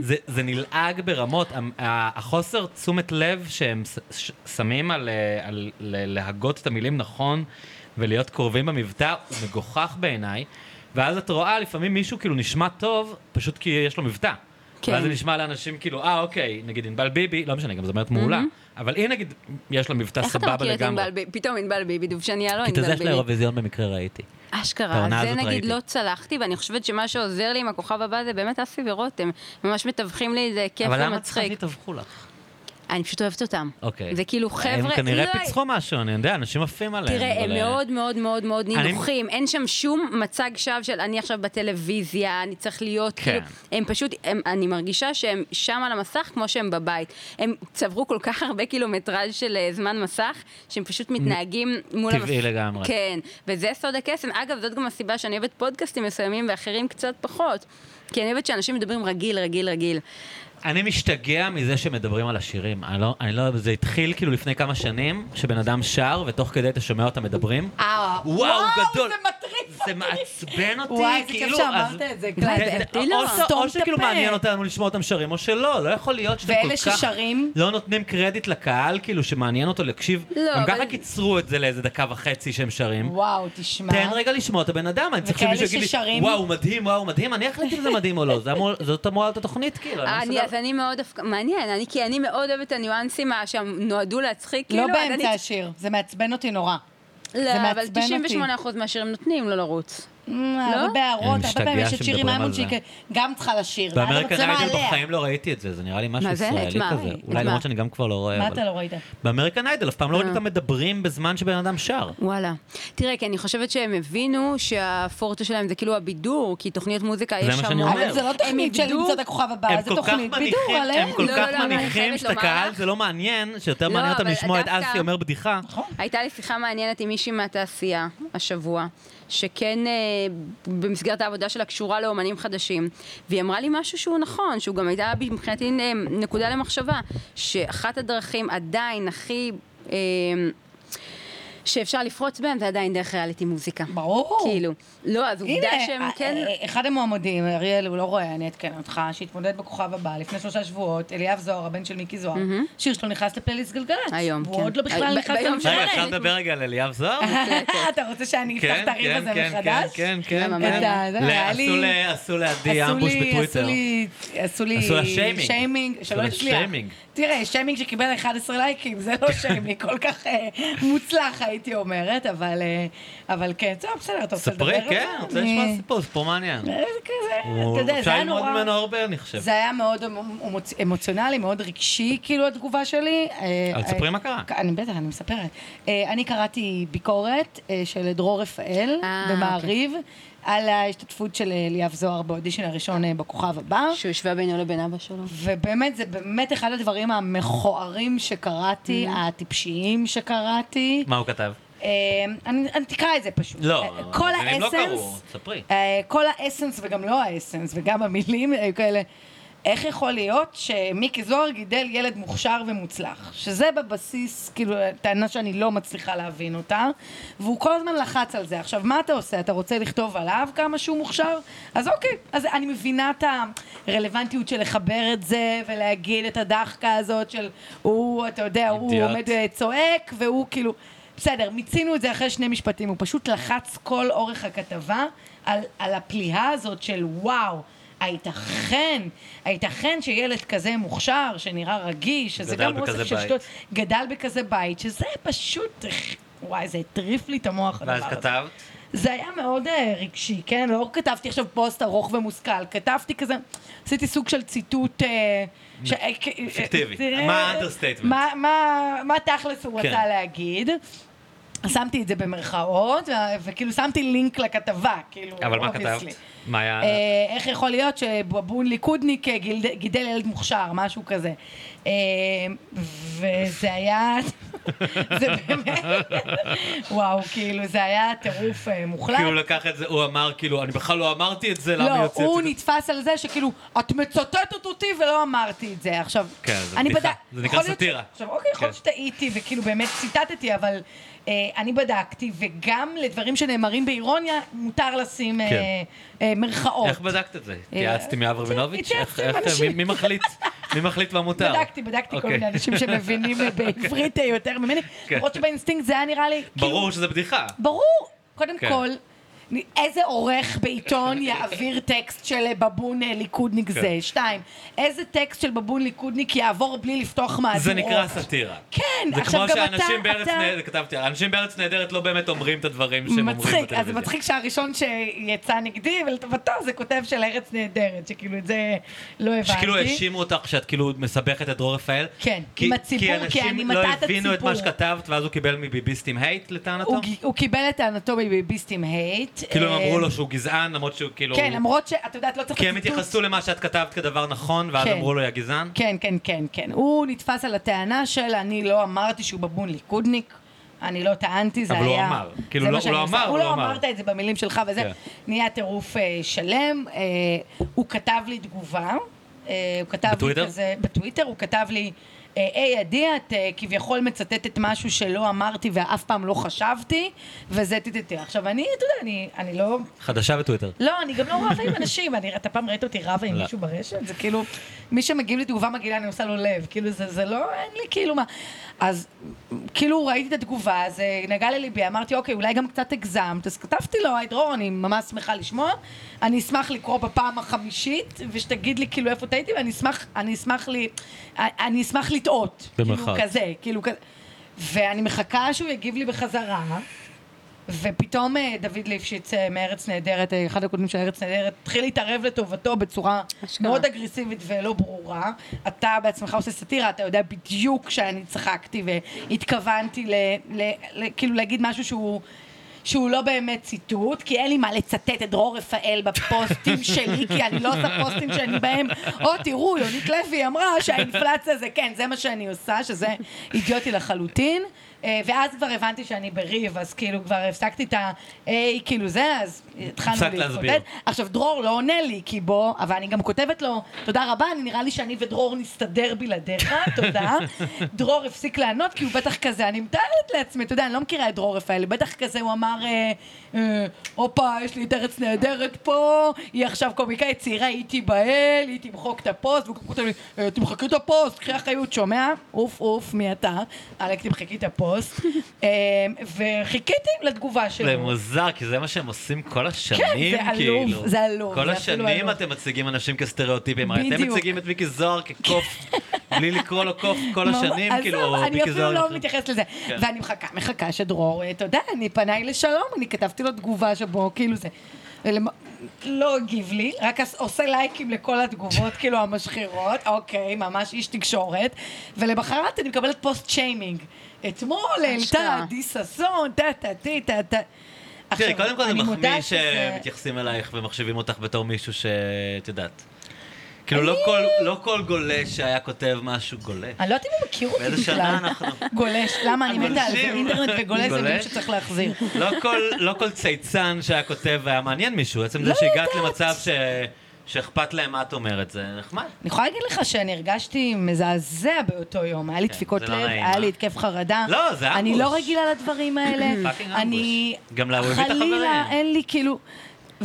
Speaker 3: זה- זה נלעג ברמות. המ- ה- החוסר תשומת לב שהם ש- ש- שמים על אה, על ל- להגות את המילים נכון ולהיות קרובים במבטא הוא מגוחך בעיניי, ואז את רואה לפעמים מישהו כאילו נשמע טוב, פשוט כי יש לו מבטא.
Speaker 1: כן.
Speaker 3: ואז זה נשמע לאנשים כאילו, אה, אוקיי, נגיד ענבל ביבי, לא משנה, היא גם זמרת מעולה, אבל היא נגיד, יש לה מבטא
Speaker 1: איך
Speaker 3: סבבה
Speaker 1: אתה
Speaker 3: לגמרי.
Speaker 1: מכיר את ענבל ביבי? פתאום ענבל ביבי, דובשניה לא
Speaker 3: כי את
Speaker 1: ענבל
Speaker 3: הזה של
Speaker 1: ביבי.
Speaker 3: האירוויזיון במקרה ראיתי. את
Speaker 1: אשכרה,
Speaker 3: העונה
Speaker 1: זה
Speaker 3: הזאת
Speaker 1: נגיד
Speaker 3: ראיתי.
Speaker 1: לא צלחתי, ואני חושבת שמה שעוזר לי עם הכוכב הבא זה באמת אסי ורותם. ממש מתווכים לי איזה כיף
Speaker 3: אבל למה את צריכה
Speaker 1: ומצחיק.
Speaker 3: שיתווכו לך?
Speaker 1: אני פשוט אוהבת אותם.
Speaker 3: אוקיי.
Speaker 1: זה כאילו חבר'ה...
Speaker 3: הם כנראה
Speaker 1: לא,
Speaker 3: פיצחו משהו, אני יודע, אנשים עפים עליהם.
Speaker 1: תראה, הם
Speaker 3: אבל, אה,
Speaker 1: מאוד מאוד מאוד מאוד
Speaker 3: אני-
Speaker 1: נינוחים, אין שם שום מצג שווא של אני עכשיו בטלוויזיה, אני צריך להיות,
Speaker 3: כן.
Speaker 1: כאילו, הם פשוט, הם- אני מרגישה שהם שם על המסך כמו שהם בבית. הם צברו כל כך הרבה קילומטראז' של אה, זמן מסך, שהם פשוט מתנהגים מול...
Speaker 3: טבעי
Speaker 1: המס-
Speaker 3: לגמרי.
Speaker 1: כן, וזה סוד הקסם. אגב, זאת גם הסיבה שאני אוהבת פודקאסטים מסוימים ואחרים קצת פחות. כי אני אוהבת שאנשים מדברים רגיל, רגיל, רגיל.
Speaker 3: אני משתגע מזה שמדברים על השירים. אני לא, אני לא, זה התחיל כאילו לפני כמה שנים, שבן אדם שר, ותוך כדי אתה שומע אותם מדברים. וואו, גדול.
Speaker 2: אה, זה מטריף
Speaker 3: זה מעצבן אותי,
Speaker 2: וואי, איזה כיף
Speaker 3: כאילו,
Speaker 2: שאמרת
Speaker 3: אז-
Speaker 2: את זה,
Speaker 3: כן,
Speaker 2: קלאי,
Speaker 1: זה לא,
Speaker 3: או-
Speaker 1: מטריף.
Speaker 3: או ש-
Speaker 2: סתום
Speaker 3: או
Speaker 2: את
Speaker 3: שכאילו
Speaker 2: הפה.
Speaker 3: מעניין אותנו לשמוע אותם שרים, או שלא, לא יכול להיות שאתם כל כך...
Speaker 2: ואלה ששרים?
Speaker 3: לא נותנים קרדיט לקהל, כאילו, שמעניין אותו להקשיב.
Speaker 1: לא,
Speaker 3: הם
Speaker 1: אבל-
Speaker 3: ככה קיצרו את זה לאיזה דקה וחצי שהם שרים.
Speaker 2: וואו, תשמע. לא
Speaker 3: תן רגע לשמוע את הבן אדם, אני צריך
Speaker 2: וכאלה
Speaker 3: שמישהו יגיד לי,
Speaker 2: ששרים-
Speaker 3: וואו, מדהים, וואו, מדהים, אני אחליט אם זה מדהים או לא, זה אמור- זאת אמורה להיות התוכנית, כאילו, אני לא
Speaker 1: אני,
Speaker 3: מסוגל-
Speaker 1: אז אני מאוד, דווקא- מעניין, אני, כי אני מאוד אוהבת את הניואנסים ה- שהם נועדו להצחיק,
Speaker 2: לא
Speaker 1: כאילו, אז אני
Speaker 2: באמצע השיר, זה מעצבן אותי נורא. זה
Speaker 1: לא, אבל
Speaker 2: מעצבן אותי.
Speaker 1: 98% מהשירים נותנים לו לרוץ.
Speaker 2: אה, הרבה בהערות, הרבה
Speaker 3: משתגע
Speaker 2: פעמים יש את שירי
Speaker 3: שמדברים על
Speaker 2: מימון
Speaker 3: זה.
Speaker 2: שהיא גם צריכה לשיר, ואז
Speaker 3: באמריקה
Speaker 2: המצלמה
Speaker 3: ניידל
Speaker 2: עליה.
Speaker 3: בחיים לא ראיתי את זה, זה נראה לי משהו
Speaker 1: מה זה? את
Speaker 3: ישראלי
Speaker 1: מה?
Speaker 3: כזה.
Speaker 1: את
Speaker 3: אולי
Speaker 1: מה?
Speaker 3: למרות שאני גם כבר לא רואה,
Speaker 2: מה אתה
Speaker 3: אבל...
Speaker 2: לא אה. ראית?
Speaker 3: באמריקן איידל אף פעם לא ראיתי אותם מדברים בזמן שבן אדם שר.
Speaker 1: וואלה. תראה, כי אני חושבת שהם הבינו שהפורטו שלהם זה כאילו הבידור, כי תוכניות מוזיקה יש
Speaker 3: זה
Speaker 1: שם...
Speaker 3: מה שאני אומר.
Speaker 2: אבל זה לא
Speaker 1: הם
Speaker 2: תוכנית של
Speaker 1: איבדו-
Speaker 2: למצוא את הכוכב הבא,
Speaker 3: הם
Speaker 2: אה, זה
Speaker 3: כל כך
Speaker 2: תוכנית
Speaker 3: מניחים-
Speaker 2: בידור עליהם.
Speaker 3: הם כל
Speaker 1: לא, לא,
Speaker 3: כך
Speaker 1: לא, אני
Speaker 3: מניחים
Speaker 1: חייבת
Speaker 3: שאת
Speaker 1: לומר
Speaker 3: הקהל
Speaker 1: לך.
Speaker 3: זה לא מעניין, שיותר
Speaker 1: לא,
Speaker 3: מעניין אותם
Speaker 1: אבל
Speaker 3: לשמוע את
Speaker 1: דווקא-
Speaker 3: אסי אומר בדיחה.
Speaker 2: נכון,
Speaker 1: הייתה לי שיחה מעניינת עם מישהי מהתעשייה השבוע, שכן אה, במסגרת העבודה שלה קשורה לאומנים חדשים, והיא אמרה לי משהו שהוא נכון, שהוא גם הייתה מבחינתי אה, נקודה למחשבה, שאחת הדרכים עדיין הכי... אה, שאפשר לפרוץ בהם זה עדיין דרך ריאליטי מוזיקה.
Speaker 2: ברור.
Speaker 1: כאילו. לא, אז עובדה
Speaker 2: הנה,
Speaker 1: שהם
Speaker 2: אה,
Speaker 1: כן...
Speaker 2: אה, אחד המועמדים, אריאל, הוא לא רואה, אני אעדכן אותך, שהתמודד בכוכב הבא לפני שלושה שבועות, אליאב זוהר, הבן של מיקי זוהר, שיר שלו נכנס לפלייליסט גלגלצ.
Speaker 1: היום,
Speaker 2: הוא
Speaker 1: כן.
Speaker 2: עוד לא
Speaker 1: ב-
Speaker 2: בכלל נכנס
Speaker 1: ביום
Speaker 2: לממשלה.
Speaker 1: שלנו.
Speaker 3: רגע, אפשר לדבר רגע על אליאב זוהר?
Speaker 2: אתה רוצה שאני אפתח
Speaker 3: כן,
Speaker 2: את הריב
Speaker 3: כן,
Speaker 2: הזה
Speaker 3: כן,
Speaker 2: מחדש?
Speaker 3: כן, כן,
Speaker 1: למה,
Speaker 3: כן.
Speaker 2: מה? אתה- זה
Speaker 3: ל-
Speaker 2: היה
Speaker 3: עשו
Speaker 2: לי-
Speaker 3: ל- עשו לעדי
Speaker 2: עשו
Speaker 3: אמבוש
Speaker 2: לי, עשו
Speaker 3: בטוויטר.
Speaker 2: לי, עשו לי,
Speaker 3: עשו לה שיימינג.
Speaker 2: שיימינג,
Speaker 3: עשו
Speaker 2: שלא
Speaker 3: לה
Speaker 2: הצליח.
Speaker 3: שיימינג.
Speaker 2: תראה, שיימינג שקיבל 11 לייקים, זה לא שיימינג כל כך אה, מוצלח, הייתי אומרת, אבל, אה, אבל כן, טוב, בסדר, אתה רוצה לדבר?
Speaker 3: ספרי,
Speaker 2: על
Speaker 3: כן,
Speaker 2: זה?
Speaker 3: אני רוצה
Speaker 2: אני-
Speaker 3: לשמוע סיפור, סיפור מעניין.
Speaker 2: אה, זה כזה,
Speaker 3: הוא-
Speaker 2: אתה יודע, זה
Speaker 3: אפשר
Speaker 2: היה
Speaker 3: ללמוד
Speaker 2: נורא...
Speaker 3: ממנו הרבה, אני חושב.
Speaker 2: זה היה מאוד אמ- אמוצ- אמוציונלי, מאוד רגשי, כאילו, התגובה שלי. אה,
Speaker 3: אז תספרי
Speaker 2: אה,
Speaker 3: מה קרה.
Speaker 2: אני בטח, אני מספרת. אה, אני קראתי ביקורת אה, של דרור רפאל
Speaker 1: אה,
Speaker 2: במעריב, על ההשתתפות של אליאב זוהר באודישן הראשון אה, בכוכב הבא.
Speaker 1: שהוא השווה בינו לבין אבא שלו.
Speaker 2: ובאמת, זה באמת אחד הדברים המכוערים שקראתי, הטיפשיים שקראתי.
Speaker 3: מה הוא כתב?
Speaker 2: אה, אני אני תקרא את זה פשוט.
Speaker 3: לא,
Speaker 2: אה, כל
Speaker 3: אבל הם לא קראו,
Speaker 2: האסנס,
Speaker 3: ספרי.
Speaker 2: אה, כל האסנס וגם לא האסנס, וגם המילים היו כאלה. איך יכול להיות שמיקי זוהר גידל ילד מוכשר ומוצלח? שזה בבסיס, כאילו, טענה שאני לא מצליחה להבין אותה, והוא כל הזמן לחץ על זה. עכשיו, מה אתה עושה? אתה רוצה לכתוב עליו כמה שהוא מוכשר? אז אוקיי, אז אני מבינה את הרלוונטיות של לחבר את זה, ולהגיד את הדחקה הזאת של הוא, אתה יודע, הוא
Speaker 3: אידיוט.
Speaker 2: עומד אה, צועק, והוא כאילו... בסדר, מיצינו את זה אחרי שני משפטים, הוא פשוט לחץ כל אורך הכתבה על, על הפליאה הזאת של וואו, הייתכן, הייתכן שילד כזה מוכשר, שנראה רגיש, שזה
Speaker 3: גדל
Speaker 2: גם
Speaker 3: בכזה
Speaker 2: אוסף של
Speaker 3: בית.
Speaker 2: שטויות, גדל בכזה בית, שזה פשוט, וואי, זה הטריף לי את המוח הדבר
Speaker 3: ואז
Speaker 2: הזה.
Speaker 3: כתבת?
Speaker 2: זה היה מאוד אה, רגשי, כן? לא כתבתי עכשיו פוסט ארוך ומושכל, כתבתי כזה, עשיתי סוג של ציטוט... אה, ש- אה, כ- אה,
Speaker 3: פיקטיבי.
Speaker 2: אה,
Speaker 3: מה האנדרסטייטמנט?
Speaker 2: מה- מה- מה תכלס הוא
Speaker 3: כן.
Speaker 2: רצה להגיד. שמתי את זה במרכאות, ו- וכאילו שמתי לינק לכתבה, כאילו,
Speaker 3: אבל מה
Speaker 2: obviously.
Speaker 3: כתבת? מה היה?
Speaker 2: אה, איך יכול להיות שבבון ליכודניק אה, גילד- גידל ילד מוכשר, משהו כזה. אה, וזה היה... זה באמת... וואו, כאילו, זה היה טירוף אה, מוחלט.
Speaker 3: כי הוא כאילו לקח את זה, הוא אמר כאילו, אני בכלל לא אמרתי את זה, למה
Speaker 2: לא,
Speaker 3: יוצאתי
Speaker 2: הוא
Speaker 3: את זה?
Speaker 2: נתפס על זה שכאילו, את מצטטת אותי ולא אמרתי את זה. עכשיו,
Speaker 3: כן, זה
Speaker 2: אני
Speaker 3: בדיחה.
Speaker 2: בדק-
Speaker 3: זה נקרא
Speaker 2: יכול להיות ש-
Speaker 3: סאטירה.
Speaker 2: עכשיו, אוקיי, יכול להיות
Speaker 3: כן.
Speaker 2: שטעיתי וכאילו באמת ציטטתי, אבל אה, אני בדקתי, וגם לדברים שנאמרים באירוניה, מותר לשים אה,
Speaker 3: כן.
Speaker 2: אה, במרכאות.
Speaker 3: איך בדקת את זה? התייעצת עם יואב רבינוביץ'?
Speaker 2: אה, התייעצתי עם
Speaker 3: איך- איך-
Speaker 2: אנשים.
Speaker 3: מי- מי מחליט? מי מחליט מה מותר?
Speaker 2: בדקתי, בדקתי כל
Speaker 3: אוקיי.
Speaker 2: מיני אנשים שמבינים בעברית יותר ממני,
Speaker 3: כן.
Speaker 2: למרות שבאינסטינקט זה היה נראה לי... כאילו-
Speaker 3: ברור שזה בדיחה.
Speaker 2: ברור. קודם
Speaker 3: כן.
Speaker 2: כל, איזה עורך בעיתון יעביר טקסט של בבון אה, ליכודניק זה?
Speaker 3: כן.
Speaker 2: שתיים, איזה טקסט של בבון ליכודניק יעבור בלי לפתוח מהדורות?
Speaker 3: זה נקרא סאטירה.
Speaker 2: כן,
Speaker 3: זה
Speaker 2: עכשיו
Speaker 3: כמו
Speaker 2: גם אתה-
Speaker 3: שאנשים בארץ
Speaker 2: אתה-
Speaker 3: נהדרת, כתבתי, אנשים בארץ נהדרת לא באמת אומרים את הדברים שהם אומרים
Speaker 2: מצחיק,
Speaker 3: בטלוויזיה.
Speaker 2: אז זה מצחיק שהראשון שיצא נגדי ולטובתו זה כותב של ארץ נהדרת, שכאילו את זה לא הבנתי.
Speaker 3: שכאילו האשימו אותך שאת כאילו מסבכת את דרור רפאל.
Speaker 2: כן, עם הציבור, כי אני מטעה את
Speaker 3: כי אנשים לא הבינו את מה
Speaker 2: הציבור.
Speaker 3: שכתבת, ואז הוא קיבל מביביסטים הייט לטענתו?
Speaker 2: הוא גי- הוא קיבל את טענתו בביביסטים הייט.
Speaker 3: כאילו הם
Speaker 2: אה,
Speaker 3: אמרו לו שהוא גזען, למרות שהוא כאילו...
Speaker 2: כן, למרות שאת יודעת, לא צריך
Speaker 3: כי הם
Speaker 2: לציטוט.
Speaker 3: התייחסו למה שאת כתבת כדבר נכון, ואז
Speaker 2: כן.
Speaker 3: אמרו לו, יא גזען?
Speaker 2: כן, כן, כן, כן. הוא נתפס על הטענה של אני לא אמרתי שהוא בבון ליכודניק. אני לא טענתי, זה
Speaker 3: אבל
Speaker 2: היה...
Speaker 3: הוא אמר. כאילו,
Speaker 2: זה
Speaker 3: לא-
Speaker 2: מה שאני
Speaker 3: הוא לא
Speaker 2: עושה.
Speaker 3: אמר,
Speaker 2: הוא
Speaker 3: הוא
Speaker 2: לא
Speaker 3: לא אמר.
Speaker 2: אמרת את זה במילים שלך וזה.
Speaker 3: כן.
Speaker 2: נהיה טירוף אה, שלם. אה, הוא כתב לי תגובה. אה, הוא כתב
Speaker 3: בטוויטר?
Speaker 2: לי כזה... בטוויטר? הוא כתב לי, אה, היי עדי, את אה, כביכול מצטטת משהו שלא אמרתי ואף פעם לא חשבתי, וזה טטטה. עכשיו, אני, אתה יודע, אני- אני לא
Speaker 3: חדשה בטוויטר.
Speaker 2: לא, אני גם לא רבה עם אנשים, אני, אתה פעם ראית אותי רבה עם
Speaker 3: לא.
Speaker 2: מישהו ברשת? זה כאילו, מי שמגיב לי תגובה מגעילה, אני עושה לו לב, כאילו זה, זה לא, אין לי כאילו מה. אז כאילו ראיתי את התגובה, זה נגע לליבי, אמרתי, אוקיי, אולי גם קצת הגזמת, אז כתבתי לו, היי דרור, אני ממש שמחה לשמוע, אני אשמח לקרוא בפעם החמישית, ושתגיד לי כאילו איפה טעיתי, ואני אשמח, אני אשמח לי, אה, אני אשמח לטעות.
Speaker 3: במרכאות.
Speaker 2: כאילו כזה, כאילו כזה. ואני מחכה שהוא יגיב לי בחזרה. ופתאום אה, דוד ליפשיץ אה, מארץ נהדרת, אה, אחד הקודמים של ארץ נהדרת, התחיל להתערב לטובתו בצורה
Speaker 1: אשכרה.
Speaker 2: מאוד אגרסיבית ולא ברורה. אתה בעצמך עושה סאטירה, אתה יודע בדיוק שאני צחקתי והתכוונתי ל, ל, ל, כאילו להגיד משהו שהוא... שהוא לא באמת ציטוט, כי אין לי מה לצטט את דרור רפאל בפוסטים שלי, כי אני לא עושה פוסטים שאני בהם, או תראו, יונית לוי אמרה שהאינפלציה זה כן, זה מה שאני עושה, שזה אידיוטי לחלוטין. אה, ואז כבר הבנתי שאני בריב, אז כאילו כבר הפסקתי את ה... היי, כאילו זה, אז התחלנו
Speaker 3: הפסקת להסביר.
Speaker 2: להתמודד. עכשיו, דרור לא עונה לי, כי בוא, אבל אני גם כותבת לו, תודה רבה, אני נראה לי שאני ודרור נסתדר בלעדיך, תודה. דרור הפסיק לענות, כי הוא בטח כזה, אני מתארת לעצמי, אתה יודע, אני לא מכירה את דרור רפאלי, בטח כזה, הוא אמר, אה, אה, הופה, יש לי את ארץ נהדרת פה, היא עכשיו קומיקאית צעירה, היא תיבהל, היא תמחוק את הפוסט, והוא כותב לי, "אה, תמחקי את הפוסט, קחי אחריות, שומע? אוף, אוף, מי אתה? עלק תמחקי את הפוסט. אה, וחיכיתי לתגובה
Speaker 3: זה
Speaker 2: שלו.
Speaker 3: מוזר, כי זה מה שהם עושים כל
Speaker 2: לא, כן,
Speaker 3: השנים,
Speaker 2: זה
Speaker 3: כאילו.
Speaker 2: עלוב, זה עלוב.
Speaker 3: כל
Speaker 2: זה אפילו
Speaker 3: השנים
Speaker 2: עלוב.
Speaker 3: אתם מציגים אנשים כסטריאוטיפים, הרי אתם
Speaker 2: בדיוק.
Speaker 3: מציגים את מיקי זוהר כקוף, בלי לקרוא לו קוף כל השנים,
Speaker 2: ממש-
Speaker 3: כאילו,
Speaker 2: עזוב,
Speaker 3: או
Speaker 2: אני
Speaker 3: מיקי
Speaker 2: אפילו
Speaker 3: זוהר.
Speaker 2: לא
Speaker 3: אנחנו-
Speaker 2: מתייחסת לזה.
Speaker 3: כן.
Speaker 2: ואני מחכה, מחכה שדרור, אה, אתה יודע, אני פניי לשלום, אני כתבתי לו תגובה שבו, כאילו זה. ולמ- לא הגיב לי, רק עש- עושה לייקים לכל התגובות, כאילו, המשחירות, אוקיי, ממש איש תקשורת. ולמחרת אני מקבלת פוסט שיימינג. אתמול העלתה
Speaker 1: אשכרה.
Speaker 2: עדי ששון, טה טה טה טה טה.
Speaker 3: תראי,
Speaker 2: עכשיו,
Speaker 3: קודם כל זה
Speaker 2: אני
Speaker 3: מחמיא
Speaker 2: מודה שזה-
Speaker 3: שמתייחסים אלייך ומחשיבים אותך בתור מישהו שאת יודעת. כאילו, לא כל- לא כל גולש שהיה כותב משהו גולש.
Speaker 2: אני לא יודעת אם הוא מכיר אותי
Speaker 3: באיזה שנה
Speaker 2: בכלל.
Speaker 3: אנחנו?
Speaker 2: גולש, למה אני מתה על זה?
Speaker 3: הגולשים.
Speaker 2: אינטרנט וגולש זה מילים
Speaker 3: גולש?
Speaker 2: שצריך להחזיר.
Speaker 3: לא כל, לא כל צייצן שהיה כותב היה מעניין מישהו, עצם זה
Speaker 2: לא
Speaker 3: שהגעת למצב ש... שאכפת להם מה את אומרת, זה נחמד.
Speaker 2: אני יכולה להגיד לך שאני הרגשתי מזעזע באותו יום, היה לי דפיקות
Speaker 3: זה לא
Speaker 2: לב,
Speaker 3: נעים,
Speaker 2: היה
Speaker 3: אה?
Speaker 2: לי התקף חרדה.
Speaker 3: לא, זה
Speaker 2: אני
Speaker 3: אמבוש.
Speaker 2: לא רגילה לדברים האלה.
Speaker 3: פאקינג אמבוש.
Speaker 2: אני...
Speaker 3: גם לה הוא הביא את
Speaker 2: חלילה,
Speaker 3: החברים.
Speaker 2: אין לי כאילו...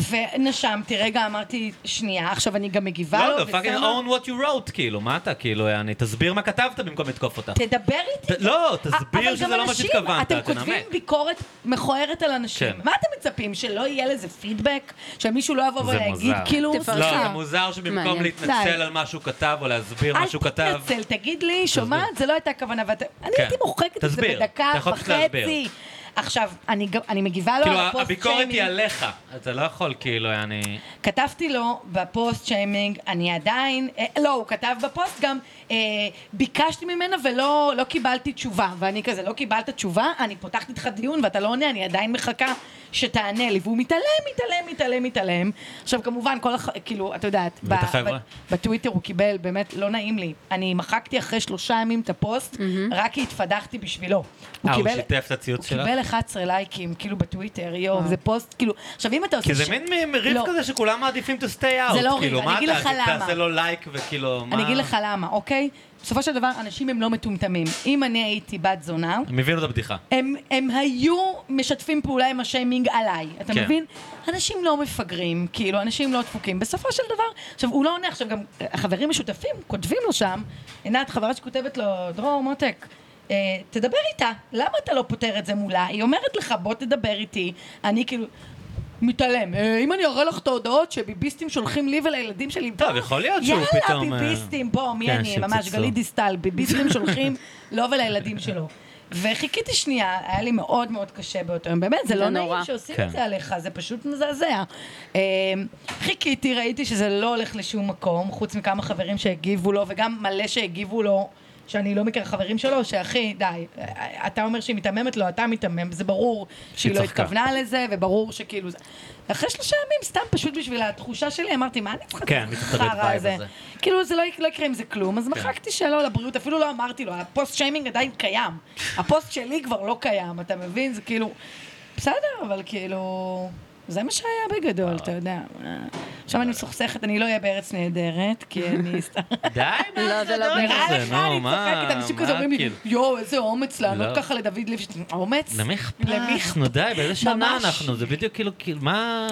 Speaker 2: ונשמתי, רגע, אמרתי, שנייה, עכשיו אני גם מגיבה לו,
Speaker 3: לא, גם פאקינג own what you wrote, כאילו, מה אתה, כאילו, יעני, תסביר מה כתבת במקום לתקוף אותך.
Speaker 2: תדבר איתי.
Speaker 3: ת- לא,
Speaker 2: אבל
Speaker 3: תסביר
Speaker 2: גם
Speaker 3: שזה לא מה
Speaker 2: אנשים,
Speaker 3: שהתכוונת,
Speaker 2: אתם כותבים
Speaker 3: תנמק.
Speaker 2: ביקורת מכוערת על אנשים.
Speaker 3: כן.
Speaker 2: מה אתם מצפים, שלא יהיה לזה פידבק? שמישהו לא יבוא
Speaker 3: זה
Speaker 2: ויגיד,
Speaker 3: מוזר.
Speaker 2: כאילו...
Speaker 1: תפרסם.
Speaker 3: לא,
Speaker 1: פרשה.
Speaker 3: זה מוזר שבמקום
Speaker 1: מעניין.
Speaker 3: להתנצל
Speaker 2: די.
Speaker 3: על מה שהוא כתב או להסביר מה
Speaker 2: אל
Speaker 3: שהוא כתב,
Speaker 2: תתנצל, תגיד לי, שומעת? זה לא הייתה הכוונה, ואתה... אני
Speaker 3: כן.
Speaker 2: הייתי מוחקת את זה
Speaker 3: תסביר.
Speaker 2: בדקה
Speaker 3: אתה יכול פשוט להסביר.
Speaker 2: וחצי. עכשיו, אני גם- אני מגיבה לו
Speaker 3: כאילו,
Speaker 2: על הפוסט
Speaker 3: הביקורת היא
Speaker 2: שיימינג.
Speaker 3: עליך. אתה לא יכול, כאילו, יעני...
Speaker 2: כתבתי לו בפוסט שיימינג, אני עדיין... אה, לא, הוא כתב בפוסט גם, אה, ביקשתי ממנה ולא לא קיבלתי תשובה. ואני כזה, לא קיבלת תשובה? אני פותחת איתך דיון ואתה לא עונה, אני עדיין מחכה שתענה לי. והוא מתעלם, מתעלם, מתעלם, מתעלם. עכשיו, כמובן, כל הח... כאילו, את יודעת,
Speaker 3: ואת החבר'ה?
Speaker 2: בטוויטר הוא קיבל, באמת, לא נעים לי. אני מחקתי אחרי שלושה ימים את הפוסט, רק כי התפדחתי בשבילו.
Speaker 3: אה, הוא שיתף את הציוץ
Speaker 2: הוא
Speaker 3: שלך?
Speaker 2: קיבל 11 לייקים, כאילו בטוויטר, יואו, זה פוסט, כאילו... עכשיו, אם אתה עושה...
Speaker 3: כי זה
Speaker 2: ש-
Speaker 3: מין מ- ריב
Speaker 2: לא.
Speaker 3: כזה שכולם מעדיפים to stay out.
Speaker 2: זה לא ריב,
Speaker 3: כאילו,
Speaker 2: אני
Speaker 3: מה
Speaker 2: אגיד
Speaker 3: אתה-
Speaker 2: לך למה.
Speaker 3: תעשה לו לייק וכאילו, מה...
Speaker 2: אני אגיד לך למה, אוקיי? בסופו של דבר, אנשים הם לא מטומטמים. אם אני הייתי בת זונה,
Speaker 3: אני מבין את הבדיחה.
Speaker 2: הם, הם היו משתפים פעולה עם השיימינג עליי, אתה
Speaker 3: כן.
Speaker 2: כן. מבין? אנשים לא מפגרים, כאילו, אנשים לא דפוקים. בסופו של דבר, עכשיו, הוא לא עונה, עכשיו גם אה, החברים משותפים, כותבים לו שם, עינת, חברה שכותבת לו, דרור, מותק, אה, תדבר איתה, למה אתה לא פותר את זה מולה? היא אומרת לך, בוא תדבר איתי. אני כאילו... מתעלם. אה, אם אני אראה לך את ההודעות שביביסטים שולחים לי ולילדים שלי...
Speaker 3: טוב, יכול להיות שהוא פתאום, אה,
Speaker 2: יאללה, ביביסטים, בוא, מי
Speaker 3: כן,
Speaker 2: אני? ממש,
Speaker 3: שיפצצו.
Speaker 2: גלית דיסטל, ביביסטים שולחים לו ולילדים שלו. וחיכיתי שנייה, היה לי מאוד מאוד קשה באותו יום, באמת, זה
Speaker 1: זה
Speaker 2: לא
Speaker 1: נורא.
Speaker 2: נעים שעושים
Speaker 3: כן.
Speaker 2: את זה עליך, זה פשוט מזעזע. אמ, חיכיתי, ראיתי שזה לא הולך לשום מקום, חוץ מכמה חברים שהגיבו לו, וגם מלא שהגיבו לו, שאני לא מכיר חברים שלו, שאחי, די, אתה אומר שהיא מיתממת לו, אתה מיתמם, זה ברור שהיא לא
Speaker 3: צחקה.
Speaker 2: התכוונה לזה, וברור שכאילו זה... אחרי שלושה ימים, סתם פשוט בשביל התחושה שלי, אמרתי, מה אני צריכה
Speaker 3: כן,
Speaker 2: את
Speaker 3: אני צריך לדבר את
Speaker 2: החרא
Speaker 3: הווייב הזה. כן.
Speaker 2: כאילו זה לא, יק- לא יקרה עם זה כלום, אז מחקתי שאלה לבריאות, אפילו לא אמרתי לו, הפוסט שיימינג עדיין קיים. הפוסט שלי כבר לא קיים, אתה מבין? זה כאילו, בסדר, אבל כאילו, זה מה שהיה בגדול, אתה יודע. עכשיו אני מסוכסכת, אני לא אהיה בארץ נהדרת, כי אני סתם...
Speaker 3: די, מה
Speaker 1: לא, זה לא
Speaker 3: הדבר
Speaker 1: בערך.
Speaker 2: נראה
Speaker 3: הזה?
Speaker 2: לך,
Speaker 3: נו,
Speaker 2: אני
Speaker 3: מה?
Speaker 2: צוחקת, אנשים
Speaker 3: מה,
Speaker 2: כזה אומרים לי,
Speaker 3: כאילו?
Speaker 2: יואו, איזה אומץ
Speaker 3: לא.
Speaker 2: לענות ככה לדוד ליפשטיין. אומץ?
Speaker 3: למי אכפת?
Speaker 2: למי
Speaker 3: נו די, באיזה שנה
Speaker 2: ממש.
Speaker 3: אנחנו? זה בדיוק כאילו, כאילו, מה...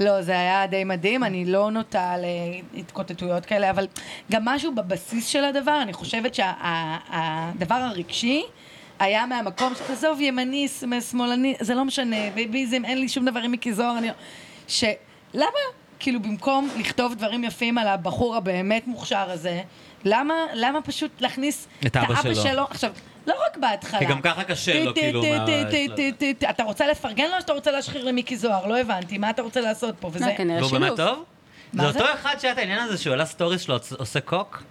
Speaker 2: לא, זה היה די מדהים, אני לא נוטה להתקוטטויות כאלה, אבל גם משהו בבסיס של הדבר, אני חושבת שהדבר שה- ה- הדבר הרגשי היה מהמקום, של- עזוב, ימני, ש- שמאלני, זה לא משנה, ביביזם, אין לי שום דבר עם מיקי זוהר, אני... לא- ש... למה, כאילו, במקום לכתוב דברים יפים על הבחור הבאמת מוכשר הזה, למה, למה פשוט להכניס
Speaker 3: את אבא שלו.
Speaker 2: עכשיו, לא רק בהתחלה.
Speaker 3: כי גם ככה קשה
Speaker 2: טי,
Speaker 3: לו,
Speaker 2: טי,
Speaker 3: כאילו,
Speaker 2: טי,
Speaker 3: מה-
Speaker 2: טי, טי, טי, טי, טי. אתה רוצה לפרגן לו או שאתה רוצה להשחיר למיקי זוהר? לא הבנתי, מה אתה רוצה לעשות פה? וזה...
Speaker 1: לא, כנראה
Speaker 3: והוא באמת
Speaker 1: שילוב.
Speaker 3: טוב?
Speaker 2: מה
Speaker 3: זה
Speaker 2: זה?
Speaker 3: אותו אחד שהיה את העניין הזה שהוא העלה סטוריס שלו עושה קוק?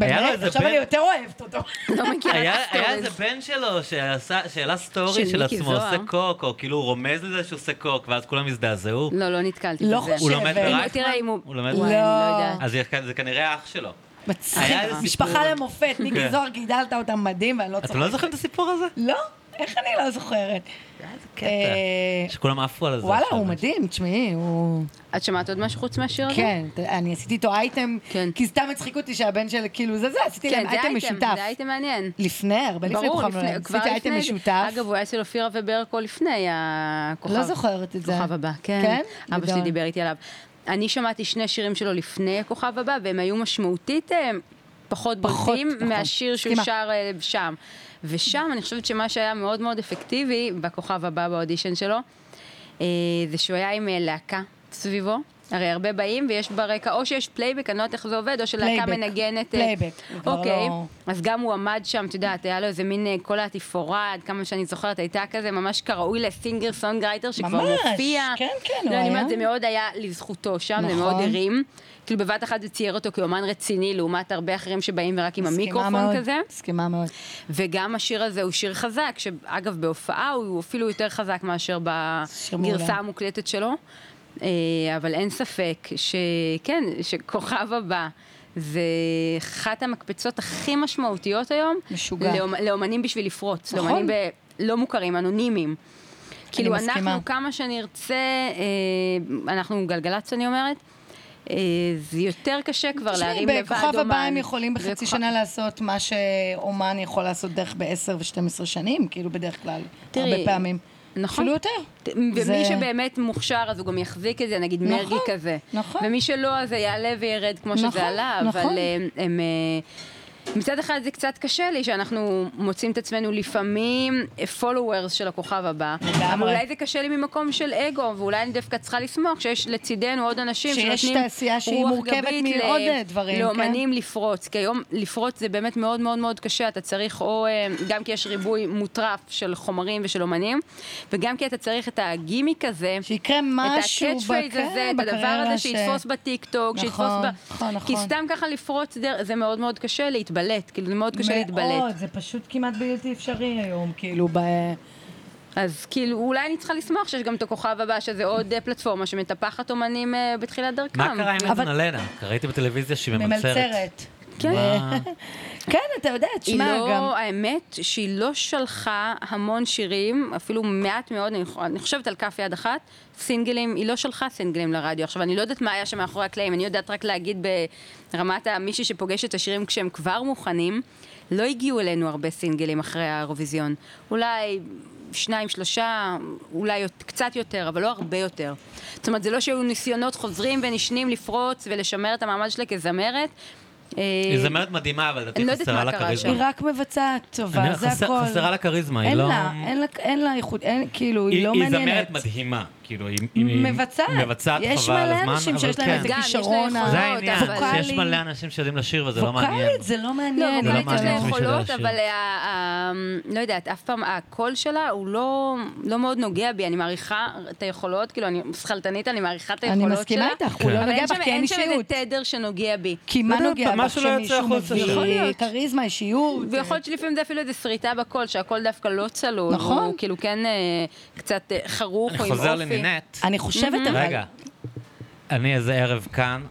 Speaker 3: היה לו
Speaker 2: באמת,
Speaker 3: איזה
Speaker 2: עכשיו
Speaker 3: בן-
Speaker 2: אני יותר אוהבת אותו.
Speaker 1: לא
Speaker 2: כן,
Speaker 1: מכירה את
Speaker 3: היה היה איזה
Speaker 1: הסטוריז.
Speaker 3: בן שלו שעשה- שהעלה סטורי
Speaker 1: של
Speaker 3: של
Speaker 1: מיקי
Speaker 3: עצמו
Speaker 1: זוהר.
Speaker 3: עושה קוק, או כאילו הוא רומז לזה שהוא עושה קוק, ואז כולם הזדעזעו.
Speaker 1: לא, לא נתקלתי
Speaker 2: לא
Speaker 1: בזה.
Speaker 2: חושבת.
Speaker 3: הוא לומד
Speaker 2: אם הוא-
Speaker 1: אם הוא-
Speaker 3: ברייפמן?
Speaker 1: תראה אם הוא...
Speaker 3: הוא לומד
Speaker 1: וואי,
Speaker 3: ברייפמן?
Speaker 1: אני
Speaker 2: לא.
Speaker 1: לא יודעת.
Speaker 3: אז זה כנ- זה כנראה אח שלו.
Speaker 2: מצחיק,
Speaker 3: היה איזה סיפור.
Speaker 2: כן, משפחה למופת, מיקי
Speaker 3: כן.
Speaker 2: זוהר גידלת אותם מדהים, ואני לא
Speaker 3: אתם
Speaker 2: צוחקת.
Speaker 3: לא זוכרים את הסיפור הזה?
Speaker 2: לא, איך אני לא זוכרת? אה,
Speaker 3: שכולם עפו על זה.
Speaker 2: וואלה,
Speaker 3: עכשיו.
Speaker 2: הוא מדהים, תשמעי, הוא...
Speaker 1: את שמעת עוד משהו חוץ מהשיר הזה?
Speaker 2: כן, ת- אני עשיתי איתו אייטם,
Speaker 1: אוקיי. כן.
Speaker 2: כי סתם הצחיק אותי שהבן של, כאילו, זה זה, עשיתי
Speaker 1: כן,
Speaker 2: להם
Speaker 1: זה אייטם,
Speaker 2: אייטם משותף.
Speaker 1: זה אייטם מעניין.
Speaker 2: לפני, הרבה לפני
Speaker 1: ברור,
Speaker 2: כוכב
Speaker 1: לפני,
Speaker 2: נולד.
Speaker 1: כבר
Speaker 2: עשיתי אייטם
Speaker 1: לפני
Speaker 2: משותף.
Speaker 1: זה. אגב, הוא היה אצל אופירה וברקו לפני הכוכב.
Speaker 2: לא זוכרת את זה.
Speaker 1: כוכב הבא, כן.
Speaker 2: כן?
Speaker 1: אבא שלי
Speaker 2: גדול.
Speaker 1: דיבר איתי עליו. אני שמעתי שני שירים שלו לפני הכוכב הבא, והם היו משמעותית אה, פחות
Speaker 2: פחות,
Speaker 1: בולטים
Speaker 2: נכון.
Speaker 1: מהשיר שהוא
Speaker 2: מסכימה.
Speaker 1: שר אה, שם. ושם אני חושבת שמה שהיה מאוד מאוד אפקטיבי בכוכב הבא באודישן שלו, אה, זה שהוא היה עם אה, להקה סביבו. הרי הרבה באים ויש ברקע, או שיש פלייבק, אני לא יודעת איך זה עובד, או שלהקה
Speaker 2: פלייבק.
Speaker 1: מנגנת. אה,
Speaker 2: פלייבק, זה כבר
Speaker 1: אוקיי.
Speaker 2: לא-
Speaker 1: אז גם הוא עמד שם, את יודעת, היה לו איזה מין אה, כל התפאורה, עד כמה שאני זוכרת, הייתה כזה ממש כראוי לסינגר סונגרייטר שכבר
Speaker 2: ממש,
Speaker 1: מופיע.
Speaker 2: כן, כן,
Speaker 1: לא,
Speaker 2: הוא
Speaker 1: אני אומרת,
Speaker 2: היה.
Speaker 1: זה מאוד היה לזכותו שם, זה
Speaker 2: נכון.
Speaker 1: מאוד הרים. כאילו בבת אחת זה צייר אותו כאומן רציני, לעומת הרבה אחרים שבאים ורק עם
Speaker 2: מסכימה
Speaker 1: המיקרופון
Speaker 2: מאוד,
Speaker 1: כזה.
Speaker 2: מסכימה מאוד.
Speaker 1: וגם השיר הזה הוא שיר חזק, שאגב, בהופעה הוא אפילו יותר חזק מאשר
Speaker 2: שיר מעולה.
Speaker 1: בגרסה המוקלטת שלו. אה, אבל אין ספק שכן, שכוכב הבא זה אחת המקפצות הכי משמעותיות היום.
Speaker 2: משוגע.
Speaker 1: לאומ- לאומנים בשביל לפרוץ.
Speaker 2: נכון.
Speaker 1: לאומנים ב- לא מוכרים, אנונימיים. כאילו,
Speaker 2: מסכימה.
Speaker 1: אנחנו כמה שנרצה, אה, אנחנו גלגלצ, אני אומרת, אה, זה יותר קשה כבר להרים לבד אומן.
Speaker 2: בכוכב הבא הם יכולים בחצי
Speaker 1: בכוכב-
Speaker 2: שנה לעשות מה שאומן יכול לעשות דרך ב-10 ו-12 שנים, כאילו בדרך כלל,
Speaker 1: תראי,
Speaker 2: הרבה פעמים.
Speaker 1: נכון.
Speaker 2: אפילו יותר.
Speaker 1: ת- ומי
Speaker 2: זה-
Speaker 1: שבאמת מוכשר, אז הוא גם יחזיק את זה, נגיד
Speaker 2: נכון,
Speaker 1: מרגי כזה.
Speaker 2: נכון.
Speaker 1: ומי שלא, אז זה יעלה וירד כמו
Speaker 2: נכון,
Speaker 1: שזה עלה,
Speaker 2: נכון.
Speaker 1: אבל הם... הם אה, מצד אחד זה קצת קשה לי שאנחנו מוצאים את עצמנו לפעמים אה, followers של הכוכב הבא.
Speaker 2: לגמרי.
Speaker 1: אבל אולי זה קשה לי ממקום של אגו, ואולי אני דווקא צריכה לשמוח שיש לצידנו עוד אנשים
Speaker 2: שיש
Speaker 1: שנותנים
Speaker 2: תעשייה שהיא
Speaker 1: רוח
Speaker 2: מורכבת
Speaker 1: גבית
Speaker 2: מעוד,
Speaker 1: ל-
Speaker 2: אה, דברים, כן?
Speaker 1: לאומנים לפרוץ. כי היום לפרוץ זה באמת מאוד מאוד מאוד קשה, אתה צריך או, אה, גם כי יש ריבוי מוטרף של חומרים ושל אומנים, וגם כי אתה צריך את הגימיק הזה.
Speaker 2: שיקרה משהו
Speaker 1: את ה-catchphrase
Speaker 2: בקריירה
Speaker 1: הזה, את הדבר הזה
Speaker 2: ש-
Speaker 1: שיתפוס בטיקטוק, שיתפוס
Speaker 2: נכון,
Speaker 1: ב...
Speaker 2: נכון,
Speaker 1: כי
Speaker 2: נכון.
Speaker 1: סתם ככה לפרוץ דרך, זה מאוד מאוד קשה להתבלט, כאילו זה מאוד קשה להתבלט.
Speaker 2: מאוד, זה פשוט כמעט בלתי אפשרי היום, כאילו, ב...
Speaker 1: אז כאילו, אולי אני צריכה לשמוח שיש גם את הכוכב הבא, שזה עוד אה, פלטפורמה שמטפחת אומנים אה, בתחילת דרכם.
Speaker 3: מה קרה עם
Speaker 2: אבל-
Speaker 3: עדן אלנה? ראיתי בטלוויזיה שהיא ממלצרת.
Speaker 2: ממלצרת.
Speaker 1: כן.
Speaker 3: מה?
Speaker 2: כן, אתה יודע,
Speaker 1: היא
Speaker 2: תשמע
Speaker 1: לא,
Speaker 2: גם...
Speaker 1: האמת שהיא לא שלחה המון שירים, אפילו מעט מאוד, אני, אני חושבת על כף יד אחת, סינגלים, היא לא שלחה סינגלים לרדיו. עכשיו, אני לא יודעת מה היה שם מאחורי הקלעים, אני יודעת רק להגיד ברמת המישהי שפוגשת את השירים כשהם כבר מוכנים, לא הגיעו אלינו הרבה סינגלים אחרי האירוויזיון. אולי שניים, שלושה, אולי יות- קצת יותר, אבל לא הרבה יותר. זאת אומרת, זה לא שהיו ניסיונות חוזרים ונשנים לפרוץ ולשמר את המעמד שלה כזמרת. אה,
Speaker 3: היא זמרת מדהימה, אבל לדעתי
Speaker 1: אני לא יודעת
Speaker 3: חסרה
Speaker 1: מה
Speaker 3: לה
Speaker 1: קרה
Speaker 3: כריזמה.
Speaker 5: היא רק מבצעת
Speaker 3: אני-
Speaker 5: טובה, זה
Speaker 3: חסר-
Speaker 5: הכל.
Speaker 3: חסרה לה כריזמה, היא
Speaker 5: אין
Speaker 3: לא...
Speaker 5: לה, אין לה, אין לה איכות, אין, כאילו, היא לא מעניינת.
Speaker 3: היא זמרת מדהימה, כאילו, היא... היא-
Speaker 5: מבצעת.
Speaker 3: היא מבצעת חבל על
Speaker 5: יש
Speaker 3: הזמן,
Speaker 5: מלא אנשים
Speaker 3: אבל
Speaker 5: שיש להם את
Speaker 3: כן.
Speaker 1: גם, יש לה
Speaker 5: הכישרון ה-
Speaker 1: יכולות,
Speaker 3: זה העניין,
Speaker 1: אבל-
Speaker 3: שיש מלא אנשים שיודעים לשיר וזה לא מעניין.
Speaker 5: ווקאלית, זה לא
Speaker 1: לא,
Speaker 2: כן,
Speaker 5: מעניין.
Speaker 1: ווקאלית
Speaker 3: לא
Speaker 1: יש לה
Speaker 3: מעניין.
Speaker 1: יכולות,
Speaker 3: מישהו
Speaker 1: אבל ה- ה- לא יודעת, אף פעם הקול שלה הוא לא לא מאוד נוגע בי, אני מעריכה את היכולות, כאילו, אני שכלתנית, אני מעריכה את
Speaker 2: אני
Speaker 1: היכולות שלה.
Speaker 2: מסכימה איתך, הוא
Speaker 3: כן.
Speaker 2: לא
Speaker 1: אבל
Speaker 2: נוגע
Speaker 1: אין
Speaker 2: בך
Speaker 1: שם-
Speaker 2: כי אין
Speaker 1: אין שם איזה
Speaker 2: אישיות.
Speaker 1: תדר שנוגע בי.
Speaker 2: כי מה
Speaker 3: לא יודעת,
Speaker 2: נוגע בך
Speaker 3: משהו לא יוצא
Speaker 2: שמישהו
Speaker 3: החוצה
Speaker 2: מביא?
Speaker 3: שם.
Speaker 1: יכול להיות.
Speaker 2: כריזמה, אישיות.
Speaker 1: ויכול להיות שלפעמים זה אפילו איזה שריטה בקול, שהקול דווקא לא צלול.
Speaker 2: נכון.
Speaker 1: הוא כאילו כן אה, קצת אה, חרוך,
Speaker 3: אני
Speaker 1: או עם
Speaker 3: חוזר
Speaker 1: אופי.
Speaker 3: לנינט.
Speaker 2: אני חושבת אבל...
Speaker 3: רגע, אני איזה ערב כאן,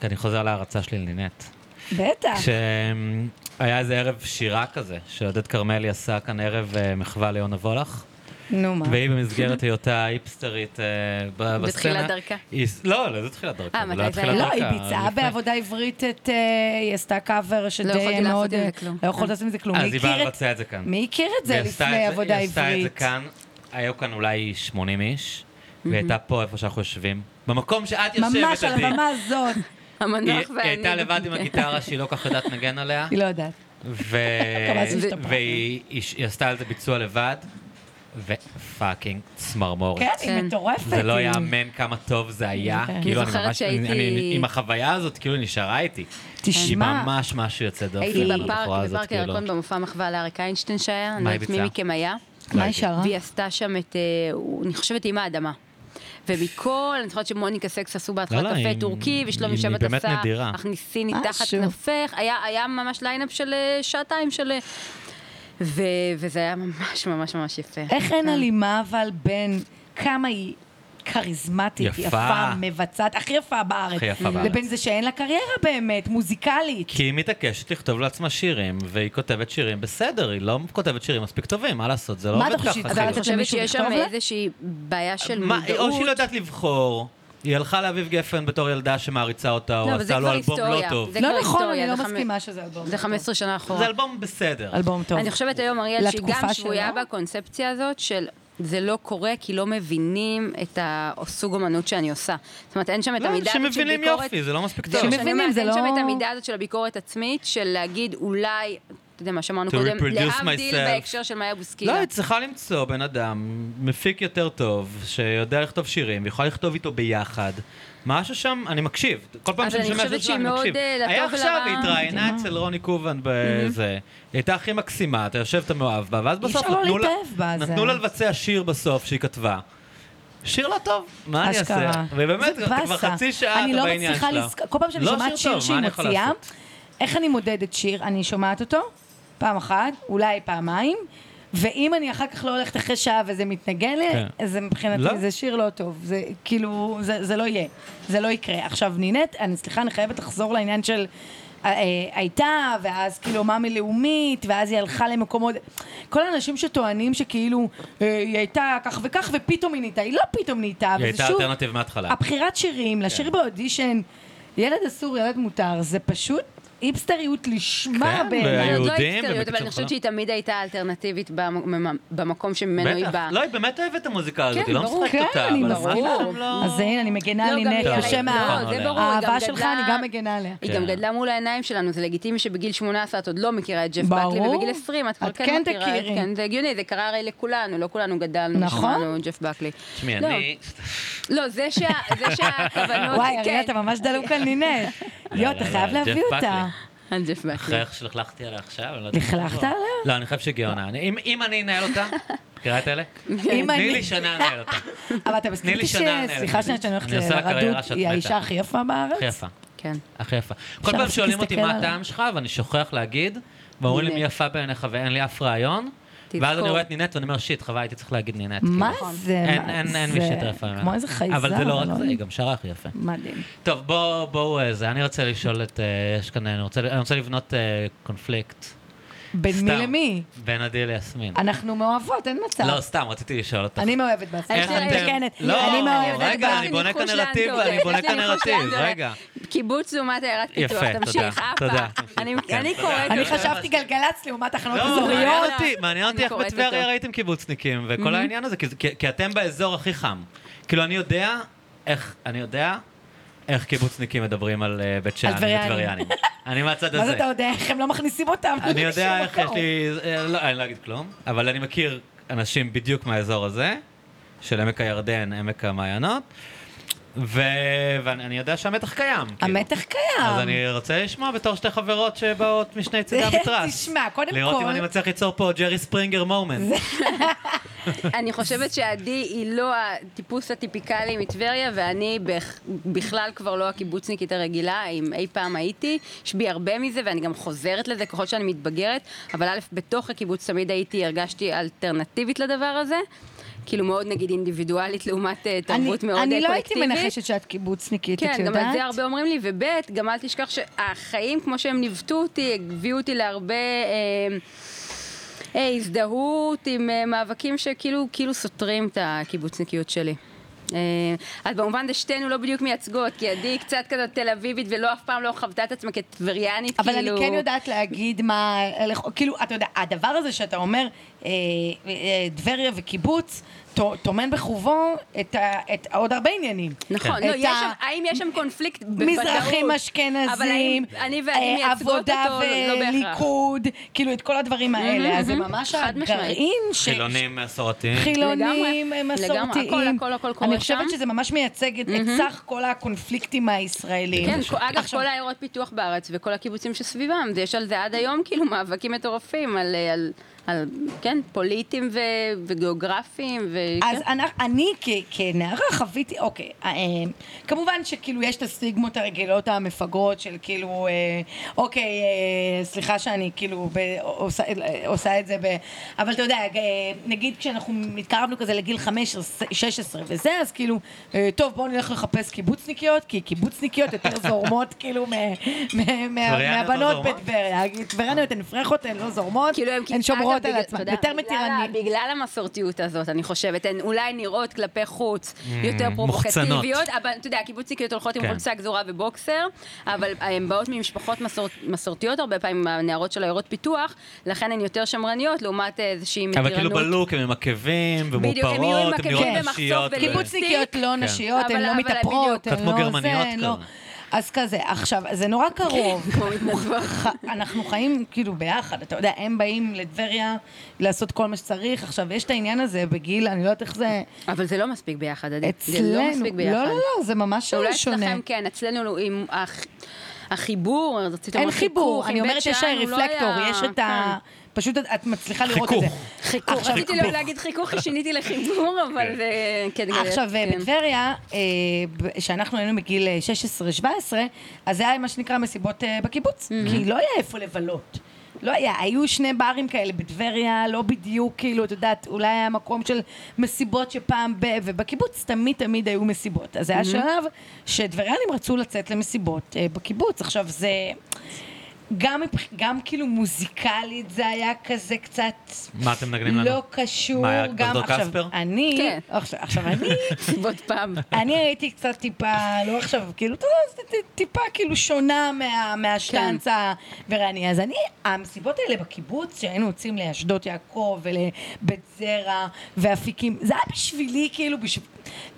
Speaker 3: כי אני חוזר להערצה שלי לנינט.
Speaker 5: אה.
Speaker 2: בטח.
Speaker 3: כשהיה איזה ערב שירה כזה, שעודד כרמלי עשה כאן ערב אה, מחווה ליונה וולך.
Speaker 5: נו מה.
Speaker 3: והיא במסגרת היותה היפסטרית אה, ב- בסצנה.
Speaker 1: בתחילת דרכה.
Speaker 3: היא- לא, לא, זה תחילת דרכה.
Speaker 1: אה,
Speaker 3: זה לא
Speaker 1: מתי
Speaker 3: היה
Speaker 1: זה
Speaker 3: תחילת
Speaker 1: היה?
Speaker 5: לא,
Speaker 3: דרכה,
Speaker 5: היא ביצעה
Speaker 3: לפני.
Speaker 5: בעבודה עברית את... אה, היא עשתה קאבר שדי
Speaker 1: יכולתי לעשות
Speaker 5: מאוד...
Speaker 1: עם זה
Speaker 5: אה,
Speaker 1: כלום.
Speaker 5: לא יכולת לעשות עם זה כלום.
Speaker 3: אז היא
Speaker 5: הכיר
Speaker 3: באה
Speaker 5: את-
Speaker 3: לבצע את זה כאן.
Speaker 5: מי הכיר את זה
Speaker 3: והיא עשתה את
Speaker 5: לפני עבודה
Speaker 3: היא עשתה את זה
Speaker 5: עברית?
Speaker 3: כאן, היו כאן אולי 80 איש, והיא הייתה פה איפה שאנחנו יושבים. במקום שאת יושבת,
Speaker 5: ממש על
Speaker 3: עדי.
Speaker 5: הבמה הזאת.
Speaker 3: היא
Speaker 1: המנוח
Speaker 3: היא
Speaker 1: לא, ואני.
Speaker 3: הייתה לבד עם הגיטרה שהיא לא כל כך יודעת לנגן עליה,
Speaker 5: היא לא יודעת.
Speaker 3: ו-
Speaker 5: אבל זה
Speaker 1: השתפרה.
Speaker 3: והיא היא- היא עשתה על זה ביצוע לבד, ופאקינג צמרמורת.
Speaker 2: כן, היא
Speaker 1: כן.
Speaker 2: מטורפת.
Speaker 3: זה לא
Speaker 2: היא-
Speaker 3: יאמן כמה טוב זה היה,
Speaker 5: כן.
Speaker 3: כאילו
Speaker 1: אני
Speaker 3: אני
Speaker 1: זוכרת
Speaker 3: ממש,
Speaker 1: שהייתי-
Speaker 3: אני- עם החוויה הזאת, כאילו היא נשארה איתי. היא
Speaker 5: תשמע,
Speaker 3: ממש משהו יוצא דופן,
Speaker 1: הייתי
Speaker 3: הבחורה
Speaker 1: בפארק,
Speaker 3: הזאת,
Speaker 1: בפארק
Speaker 3: כאילו.
Speaker 1: הירקון במופע מחווה לאריק איינשטיין שהיה, אני
Speaker 3: מה
Speaker 1: לא
Speaker 3: היא
Speaker 1: יודעת מי
Speaker 3: ביצעה?
Speaker 1: מכם היה.
Speaker 3: לא
Speaker 2: מה היא
Speaker 3: הייתי.
Speaker 2: שרה?
Speaker 1: והיא עשתה שם את, אה, הוא- אני חושבת, עם האדמה. ומכל, אני זוכרת שמוניקה סקס עשו בהתחלה
Speaker 3: לא, לא,
Speaker 1: קפה
Speaker 3: היא-
Speaker 1: טורקי, ושלומי
Speaker 3: היא
Speaker 1: שבט עשה,
Speaker 3: באמת נדירה.
Speaker 1: הכניסיני תחת
Speaker 2: משהו.
Speaker 1: כנפך, היה, היה ממש ליינאפ של אה, שעתיים של... אה, ו, וזה היה ממש ממש ממש יפה.
Speaker 2: איך
Speaker 3: כן.
Speaker 2: אין הלימה אבל בין כמה היא כריזמטית,
Speaker 3: יפה.
Speaker 2: יפה, מבצעת, הכי יפה בארץ,
Speaker 3: הכי יפה בארץ.
Speaker 2: לבין זה שאין לה קריירה באמת, מוזיקלית.
Speaker 3: כי היא מתעקשת לכתוב לעצמה שירים, והיא כותבת שירים בסדר, היא לא כותבת שירים מספיק טובים, מה לעשות, זה לא
Speaker 2: מה
Speaker 3: עובד
Speaker 2: אתה חושב,
Speaker 3: ככה.
Speaker 2: שהיא
Speaker 3: כאילו.
Speaker 1: אני
Speaker 2: לתת
Speaker 1: חושבת
Speaker 2: למישהו
Speaker 1: שיש שם
Speaker 2: לכתוב לה?
Speaker 1: איזושהי בעיה של
Speaker 3: מה,
Speaker 1: מודעות.
Speaker 3: או שהיא לא יודעת לבחור, היא הלכה לאביב גפן בתור ילדה שמעריצה אותה, או
Speaker 1: לא, אבל זה
Speaker 3: עשה לו
Speaker 1: כבר
Speaker 3: אלבום לא
Speaker 1: היסטוריה.
Speaker 3: טוב.
Speaker 1: זה
Speaker 2: לא
Speaker 1: כבר
Speaker 2: נכון,
Speaker 1: היסטוריה,
Speaker 2: אני לא
Speaker 1: זה חמ-
Speaker 2: מסכימה שזה אלבום.
Speaker 1: זה 15 שנה אחורה.
Speaker 3: זה אלבום בסדר.
Speaker 2: אלבום טוב.
Speaker 1: אני חושבת היום, אריאל, שהיא
Speaker 2: לתקופה
Speaker 1: גם שבויה
Speaker 2: שלו.
Speaker 1: בקונספציה הזאת של... זה לא קורה כי לא מבינים את הסוג אומנות שאני עושה. זאת אומרת, אין שם את
Speaker 3: לא,
Speaker 1: המידה הזאת של
Speaker 3: שמבינים
Speaker 1: ביקורת...
Speaker 3: יופי, זה לא מספיק
Speaker 1: לא,
Speaker 3: טוב.
Speaker 1: שאני
Speaker 2: שמבינים,
Speaker 1: אומרת,
Speaker 2: זה
Speaker 1: אין
Speaker 2: לא-
Speaker 1: שם את המידה הזאת של הביקורת עצמית, של להגיד אולי, אתה יודע מה שאמרנו
Speaker 3: To
Speaker 1: קודם,
Speaker 3: reproduce
Speaker 1: להבדיל
Speaker 3: myself.
Speaker 1: בהקשר של מאיה בוסקילה.
Speaker 3: לא, היא צריכה למצוא בן אדם, מפיק יותר טוב, שיודע לכתוב שירים, ויכול לכתוב איתו ביחד. משהו שם, אני מקשיב. כל פעם
Speaker 1: אבל
Speaker 3: שאני
Speaker 1: אני
Speaker 3: שומע
Speaker 1: חושבת
Speaker 3: שזה
Speaker 1: שהיא
Speaker 3: אני
Speaker 1: מאוד,
Speaker 3: מקשיב.
Speaker 1: אה, לטוב
Speaker 3: היה עכשיו,
Speaker 1: ולרע. Mhm.
Speaker 3: היא
Speaker 2: כן.
Speaker 3: התראיינה אצל רוני קובן בזה. היא הייתה הכי מקסימה, אתה יושב, אתה מאוהב בה, ואז בסוף
Speaker 2: אפשר לא
Speaker 3: נתנו לה-
Speaker 2: להתאהב בה, זה-
Speaker 3: נתנו לה לבצע שיר בסוף שהיא כתבה. שיר לא טוב, מה אני אעשה?
Speaker 2: אשכרה.
Speaker 3: ובאמת,
Speaker 2: זה
Speaker 3: אתה כבר
Speaker 2: באסה.
Speaker 3: חצי שעה
Speaker 2: אני
Speaker 3: אתה
Speaker 2: לא
Speaker 3: בעניין
Speaker 2: מצליחה
Speaker 3: שלה.
Speaker 2: לזכ- כל פעם שאני
Speaker 3: לא
Speaker 2: שומעת
Speaker 3: טוב,
Speaker 2: שיר
Speaker 3: מה
Speaker 2: שהיא
Speaker 3: אני יכול
Speaker 2: מוציאה,
Speaker 3: לעשות?
Speaker 2: איך אני מודדת שיר? אני שומעת אותו, פעם אחת, אולי פעמיים, ואם אני אחר כך לא הולכת אחרי שעה וזה מתנגן לי,
Speaker 3: כן.
Speaker 2: אז זה
Speaker 3: לא.
Speaker 2: מבחינתי זה שיר לא טוב. זה כאילו, זה זה לא יהיה. זה לא יקרה. עכשיו, נינט, אני סליחה, אני חייבת לחזור לעניין של... אה, אה, הייתה, ואז כאילו מאמי לאומית, ואז היא הלכה למקומות... כל האנשים שטוענים שכאילו אה, היא הייתה כך וכך, ופתאום היא נהייתה. היא לא פתאום נהייתה,
Speaker 3: היא
Speaker 2: וזה
Speaker 3: הייתה
Speaker 2: שוב...
Speaker 3: אלטרנטיב מההתחלה. כן.
Speaker 2: הבחירת שירים, לשיר באודישן, ילד אסור, ילד מותר, זה פשוט היפסטריות לשמה
Speaker 3: כן,
Speaker 2: בעיניי.
Speaker 1: אני עוד לא
Speaker 3: היהודים
Speaker 1: היסטריות, אבל
Speaker 3: במקצועה.
Speaker 1: אני חושבת שהיא תמיד הייתה אלטרנטיבית במ- במקום שממנו היא
Speaker 3: בטח,
Speaker 1: באה.
Speaker 3: לא, היא באמת אוהבת את המוזיקה הזאת,
Speaker 1: כן,
Speaker 3: היא לא
Speaker 1: ברור.
Speaker 3: משחקת
Speaker 2: כן,
Speaker 3: אותה,
Speaker 2: אני
Speaker 3: אבל
Speaker 2: ברור.
Speaker 3: הסגנון שם לא...
Speaker 2: אז הנה, אני מגנה על
Speaker 1: לא, גם
Speaker 2: נינט,
Speaker 1: היא-
Speaker 2: בשם
Speaker 3: לא,
Speaker 2: ה-
Speaker 1: זה ברור, היא גם
Speaker 2: האהבה שלך,
Speaker 1: גדלה-
Speaker 2: אני גם מגנה עליה.
Speaker 1: היא
Speaker 3: כן.
Speaker 1: גם גדלה מול העיניים שלנו, זה לגיטימי שבגיל 18 את עוד לא מכירה את ג'ף
Speaker 2: ברור.
Speaker 1: בקלי, ובגיל 20 את כבר
Speaker 2: את
Speaker 1: כן
Speaker 2: כן
Speaker 1: מכירה.
Speaker 2: תכירי.
Speaker 1: כן, זה הגיוני, זה קרה הרי לכולנו, לא כולנו גדלנו,
Speaker 2: נכון.
Speaker 1: שמענו ג'ף בקלי.
Speaker 3: תשמעי,
Speaker 1: לא,
Speaker 3: אני...
Speaker 1: לא, זה שה- זה שהכוונות,
Speaker 2: וואי,
Speaker 1: כן,
Speaker 2: אריאל, אתה ממש דלוק על נינט. יו,
Speaker 3: לא,
Speaker 2: אתה
Speaker 3: לא,
Speaker 2: חייב
Speaker 3: לא,
Speaker 2: להביא
Speaker 3: ג'ף
Speaker 2: אותה.
Speaker 1: על ג'ף בקלי.
Speaker 3: אחרי איך שלכלכתי עליה עכשיו, אני לא יודע.
Speaker 2: לכלכת עליה?
Speaker 3: לא, אני חושב שגאונה. אני- אם- אם אני אנהל אותה, מכירה את אלה?
Speaker 2: אם
Speaker 3: תני לי
Speaker 2: אני...
Speaker 3: שנה לנהל אותה.
Speaker 2: אבל אתה מסכים
Speaker 3: לי
Speaker 2: איתי ש...
Speaker 3: שנה לנהל.
Speaker 2: סליחה שנייה שאני הולכת
Speaker 3: אני עושה לה קריירה
Speaker 2: לרדות,
Speaker 3: שאת
Speaker 2: היא
Speaker 3: מתה.
Speaker 2: האישה הכי יפה בארץ?
Speaker 3: הכי יפה,
Speaker 1: כן.
Speaker 3: הכי יפה. כל פעם
Speaker 2: להפסיק
Speaker 3: שואלים אותי
Speaker 2: להסתכל
Speaker 3: מה
Speaker 2: עליה.
Speaker 3: הטעם שלך, ואני שוכח להגיד, ואומרים לי
Speaker 1: הנה.
Speaker 3: מי יפה בעיניך ואין לי אף רעיון,
Speaker 1: תזכור.
Speaker 3: ואז אני רואה את נינט ואני אומר, שיט, חבל, הייתי צריך להגיד נינט.
Speaker 2: מה
Speaker 3: כאילו.
Speaker 1: נכון.
Speaker 2: זה?
Speaker 3: אין-
Speaker 2: מה
Speaker 3: אין אין
Speaker 2: זה?
Speaker 3: מי שיטרפה ממנה.
Speaker 2: כמו איזה חייזר.
Speaker 3: אבל זה לא רק
Speaker 2: אלוהים.
Speaker 3: זה, היא גם שרה הכי יפה.
Speaker 2: מדהים.
Speaker 3: טוב, בואו, בואו, אה, זה, אני רוצה לשאול את, אה, יש כאן, אני רוצה- אני רוצה לבנות אה, קונפליקט.
Speaker 6: בין מי
Speaker 3: סתם.
Speaker 6: למי?
Speaker 3: בין עדי ליסמין.
Speaker 2: אנחנו מאוהבות, אין מצב.
Speaker 3: לא, סתם, רציתי לשאול אותך.
Speaker 2: אני מאוהבת בעצמי.
Speaker 3: איך
Speaker 2: אני
Speaker 3: אתם-
Speaker 2: מתקנת.
Speaker 3: לא,
Speaker 2: אני מאוהבת
Speaker 3: רגע,
Speaker 2: בה.
Speaker 3: אני בונה
Speaker 1: יש לי
Speaker 3: כאן
Speaker 1: ניחוש
Speaker 3: נרטיב,
Speaker 1: לאן זה
Speaker 3: אני
Speaker 1: הולך,
Speaker 3: בונה
Speaker 1: יש לי
Speaker 3: כאן
Speaker 1: ניחוש לאן
Speaker 3: נרטיב,
Speaker 1: זה הולך.
Speaker 3: רגע.
Speaker 1: קיבוץ לעומת עיירת פיתוח,
Speaker 3: יפה,
Speaker 1: תמשיך,
Speaker 3: תודה,
Speaker 1: אהפה.
Speaker 3: תודה.
Speaker 1: אני-
Speaker 3: כן,
Speaker 1: אני
Speaker 3: תודה.
Speaker 1: קוראת
Speaker 2: אני
Speaker 1: אותו.
Speaker 2: חשבתי גלגלצ לעומת תחנות
Speaker 3: לא,
Speaker 2: אזוריות.
Speaker 3: מעניין אותי, מעניין אותי
Speaker 1: אני
Speaker 3: איך
Speaker 1: קוראת
Speaker 3: בטבריה
Speaker 1: אותו.
Speaker 3: ראיתם קיבוצניקים, וכל העניין הזה, כי זה- כי- כי אתם באזור הכי חם. כאילו, אני יודע איך, אני יודע איך קיבוצניקים מדברים על אה, בית שאן
Speaker 6: טבריאנים.
Speaker 3: וטבריאנים. אני מהצד
Speaker 2: מה זה
Speaker 3: הזה.
Speaker 2: אתה יודע איך הם לא מכניסים אותם?
Speaker 3: אני יודע
Speaker 2: לשום
Speaker 3: איך יש
Speaker 2: מקום.
Speaker 3: לי... אה, לא, אני לא אגיד כלום, אבל אני מכיר אנשים בדיוק מהאזור הזה, של עמק הירדן, עמק המעיינות, ו- ואני אני יודע שהמתח קיים. כאילו.
Speaker 2: המתח קיים.
Speaker 1: אה,
Speaker 3: אז אני רוצה לשמוע בתור שתי חברות שבאות משני צידי המתרס.
Speaker 2: תשמע, קודם
Speaker 3: לראות אם
Speaker 2: כל-
Speaker 3: אני מצליח ליצור פה ג'רי ספרינגר מומנט.
Speaker 1: אני חושבת שעדי היא לא הטיפוס הטיפיקלי מטבריה, ואני בכ- בכלל כבר לא הקיבוצניקית הרגילה, אם אי פעם הייתי. יש בי הרבה מזה, ואני גם חוזרת לזה ככל שאני מתבגרת, אבל א', בתוך הקיבוץ תמיד הייתי, הרגשתי אלטרנטיבית לדבר הזה. כאילו מאוד נגיד אינדיבידואלית לעומת אה, תרבות
Speaker 2: אני-
Speaker 1: מאוד אה,
Speaker 2: אני
Speaker 1: קולקטיבית.
Speaker 2: לא הייתי מנחשת שאת קיבוצניקית, את
Speaker 1: כן, גם את
Speaker 2: יודעת?
Speaker 1: זה הרבה אומרים לי, וב' גם אל תשכח שהחיים, כמו שהם ניווטו אותי, הביאו אותי להרבה אה, אה, הזדהות עם אה, מאבקים שכאילו כאילו סותרים את הקיבוצניקיות שלי. אה, אז במובן זה שתינו לא בדיוק מייצגות, כי עדי היא קצת כזאת תל אביבית ולא אף פעם לא חוותה את עצמה כטבריאנית,
Speaker 2: אבל אני
Speaker 1: כאילו...
Speaker 2: כן יודעת להגיד מה, איך- כאילו, אתה יודע, הדבר הזה שאתה אומר, אה, אה, טבריה וקיבוץ, טו- טומן בחובו את ה- את עוד הרבה עניינים.
Speaker 1: נכון,
Speaker 2: כן. את
Speaker 1: לא, יש
Speaker 2: ה-
Speaker 1: שם, האם יש שם קונפליקט? בוודאות.
Speaker 2: מזרחים
Speaker 1: אבל האם
Speaker 2: אשכנזים,
Speaker 1: אני
Speaker 2: אה,
Speaker 1: ועדי מייצגות אותו?
Speaker 2: עבודה
Speaker 1: לא בהכרח.
Speaker 2: וליכוד, כאילו את כל הדברים האלה, אז זה ממש
Speaker 1: חד משמעית.
Speaker 2: הגרעין ש...
Speaker 3: חילונים מסורתיים.
Speaker 2: חילונים,
Speaker 1: לגמרי,
Speaker 2: מסורתיים.
Speaker 1: לגמרי, הכל, הכל, הכל קורה
Speaker 2: אני חושבת
Speaker 1: שם.
Speaker 2: שזה ממש מייצג את את סך כל הקונפליקטים הישראלים.
Speaker 1: כן, כל- אגב,
Speaker 2: עכשיו-
Speaker 1: כל העיירות פיתוח בארץ וכל הקיבוצים שסביבם, זה- יש על זה עד היום כאילו מאבקים מטורפים על, אה, על, על כן, פוליטיים ו, וגיאוגרפיים, ו...
Speaker 2: אז
Speaker 1: כן.
Speaker 2: אנ- אני כ- כנערה חוויתי, אוקיי, אה, אה, כמובן שכאילו יש את הסטיגמות הרגילות המפגרות של כאילו, אה, אוקיי, אה, סליחה שאני כאילו ב- עושה- אה, עושה את זה, ב- אבל אתה יודע, אה, נגיד כשאנחנו התקרבנו כזה לגיל 15, 16 וזה, אז כאילו, אה, טוב, בואו נלך לחפש קיבוצניקיות, כי קיבוצניקיות יותר זורמות כאילו מ- מ- מה-
Speaker 3: טבריאניות לא
Speaker 2: מהבנות
Speaker 3: זורמות?
Speaker 2: בטבריה, טברניות הן פרחות, הן לא זורמות,
Speaker 1: כאילו הם-
Speaker 2: הן שומרות
Speaker 1: אגב,
Speaker 2: על
Speaker 1: בגלל-
Speaker 2: עצמן,
Speaker 1: תודה.
Speaker 2: יותר
Speaker 1: בגלל
Speaker 2: מתירניות.
Speaker 1: ה- בגלל המסורתיות הזאת, אני חושבת, הן אולי נראות כלפי חוץ יותר
Speaker 3: Mm, מוחצנות.
Speaker 1: פרובוקטיביות, אבל אתה יודע, הקיבוצניקיות הולכות עם
Speaker 3: כן.
Speaker 1: חולצה גזורה ובוקסר, אבל הן באות ממשפחות מסור- מסורתיות הרבה פעמים, הנערות של עיירות פיתוח, לכן הן יותר שמרניות לעומת אה, איזושהי מתירנות.
Speaker 3: אבל כאילו בלוק הם ממקבים
Speaker 1: בדיוק, הם יהיו
Speaker 3: ומופרות, הם כאילו.
Speaker 1: ממקבים
Speaker 3: נראות
Speaker 1: במחסוף
Speaker 3: נשיות. ו-
Speaker 1: בקיבוץ
Speaker 2: קיבוצניקיות לא נשיות,
Speaker 1: אבל-
Speaker 2: הן לא
Speaker 1: אבל
Speaker 2: מתאפרות,
Speaker 1: בדיוק.
Speaker 2: הן
Speaker 3: כן. קצת כמו
Speaker 2: לא זה,
Speaker 3: גרמניות
Speaker 2: הן
Speaker 3: כזה.
Speaker 2: לא... אז כזה, עכשיו, זה נורא קרוב.
Speaker 1: כמו מתנדבות.
Speaker 2: ח- אנחנו חיים כאילו ביחד, אתה יודע, הם באים לטבריה לעשות כל מה שצריך. עכשיו, יש את העניין הזה בגיל, אני לא יודעת איך זה
Speaker 1: אבל זה לא מספיק ביחד, עדי.
Speaker 2: אצלנו.
Speaker 1: זה לא מספיק ביחד.
Speaker 2: לא, לא, לא, זה ממש
Speaker 1: אולי
Speaker 2: שונה.
Speaker 1: אצלכם כן, אצלנו עם הח- החיבור, אז רציתי
Speaker 2: אין
Speaker 1: לומר
Speaker 2: חיבור,
Speaker 1: כאילו, חיכוך,
Speaker 2: אני
Speaker 1: עם
Speaker 2: אומרת
Speaker 1: בית
Speaker 2: שיש
Speaker 1: שאן, הוא לא
Speaker 2: רפלקטור,
Speaker 1: היה-
Speaker 2: יש את ה... פשוט את- את מצליחה לראות את זה.
Speaker 3: חיכוך.
Speaker 1: כן. חיכוך,
Speaker 2: עכשיו-
Speaker 1: רציתי לא להגיד חיכוך, כי שיניתי לחיבור, אבל זה... כן, כן,
Speaker 2: עכשיו,
Speaker 1: כן.
Speaker 2: בטבריה, אה, ב- שאנחנו היינו בגיל אה, 16-17, אז זה היה מה שנקרא מסיבות אה, בקיבוץ, כי לא היה איפה לבלות. לא היה, היו שני ברים כאלה בטבריה, לא בדיוק, כאילו, את יודעת, אולי היה מקום של מסיבות שפעם ב... ובקיבוץ תמיד תמיד היו מסיבות. אז היה שלב שטבריאנים רצו לצאת למסיבות אה, בקיבוץ. עכשיו, זה... גם, מבח- גם כאילו מוזיקלית זה היה כזה קצת...
Speaker 3: מה אתם מנגנים לנו?
Speaker 2: לא קשור,
Speaker 3: מה, היה
Speaker 2: גם
Speaker 3: דוקטור
Speaker 2: עכשיו,
Speaker 3: קספר?
Speaker 2: אני,
Speaker 1: כן.
Speaker 2: עכשיו, עכשיו אני,
Speaker 1: סיבות פעם.
Speaker 2: אני הייתי קצת טיפה, לא עכשיו, כאילו, אתה יודע, זה ט- טיפה כאילו שונה מה, מהשטנץ
Speaker 1: כן.
Speaker 2: הוורני. אז אני, המסיבות האלה בקיבוץ, שהיינו יוצאים לאשדות יעקב ולבית זרע ואפיקים, זה היה בשבילי כאילו, בשב...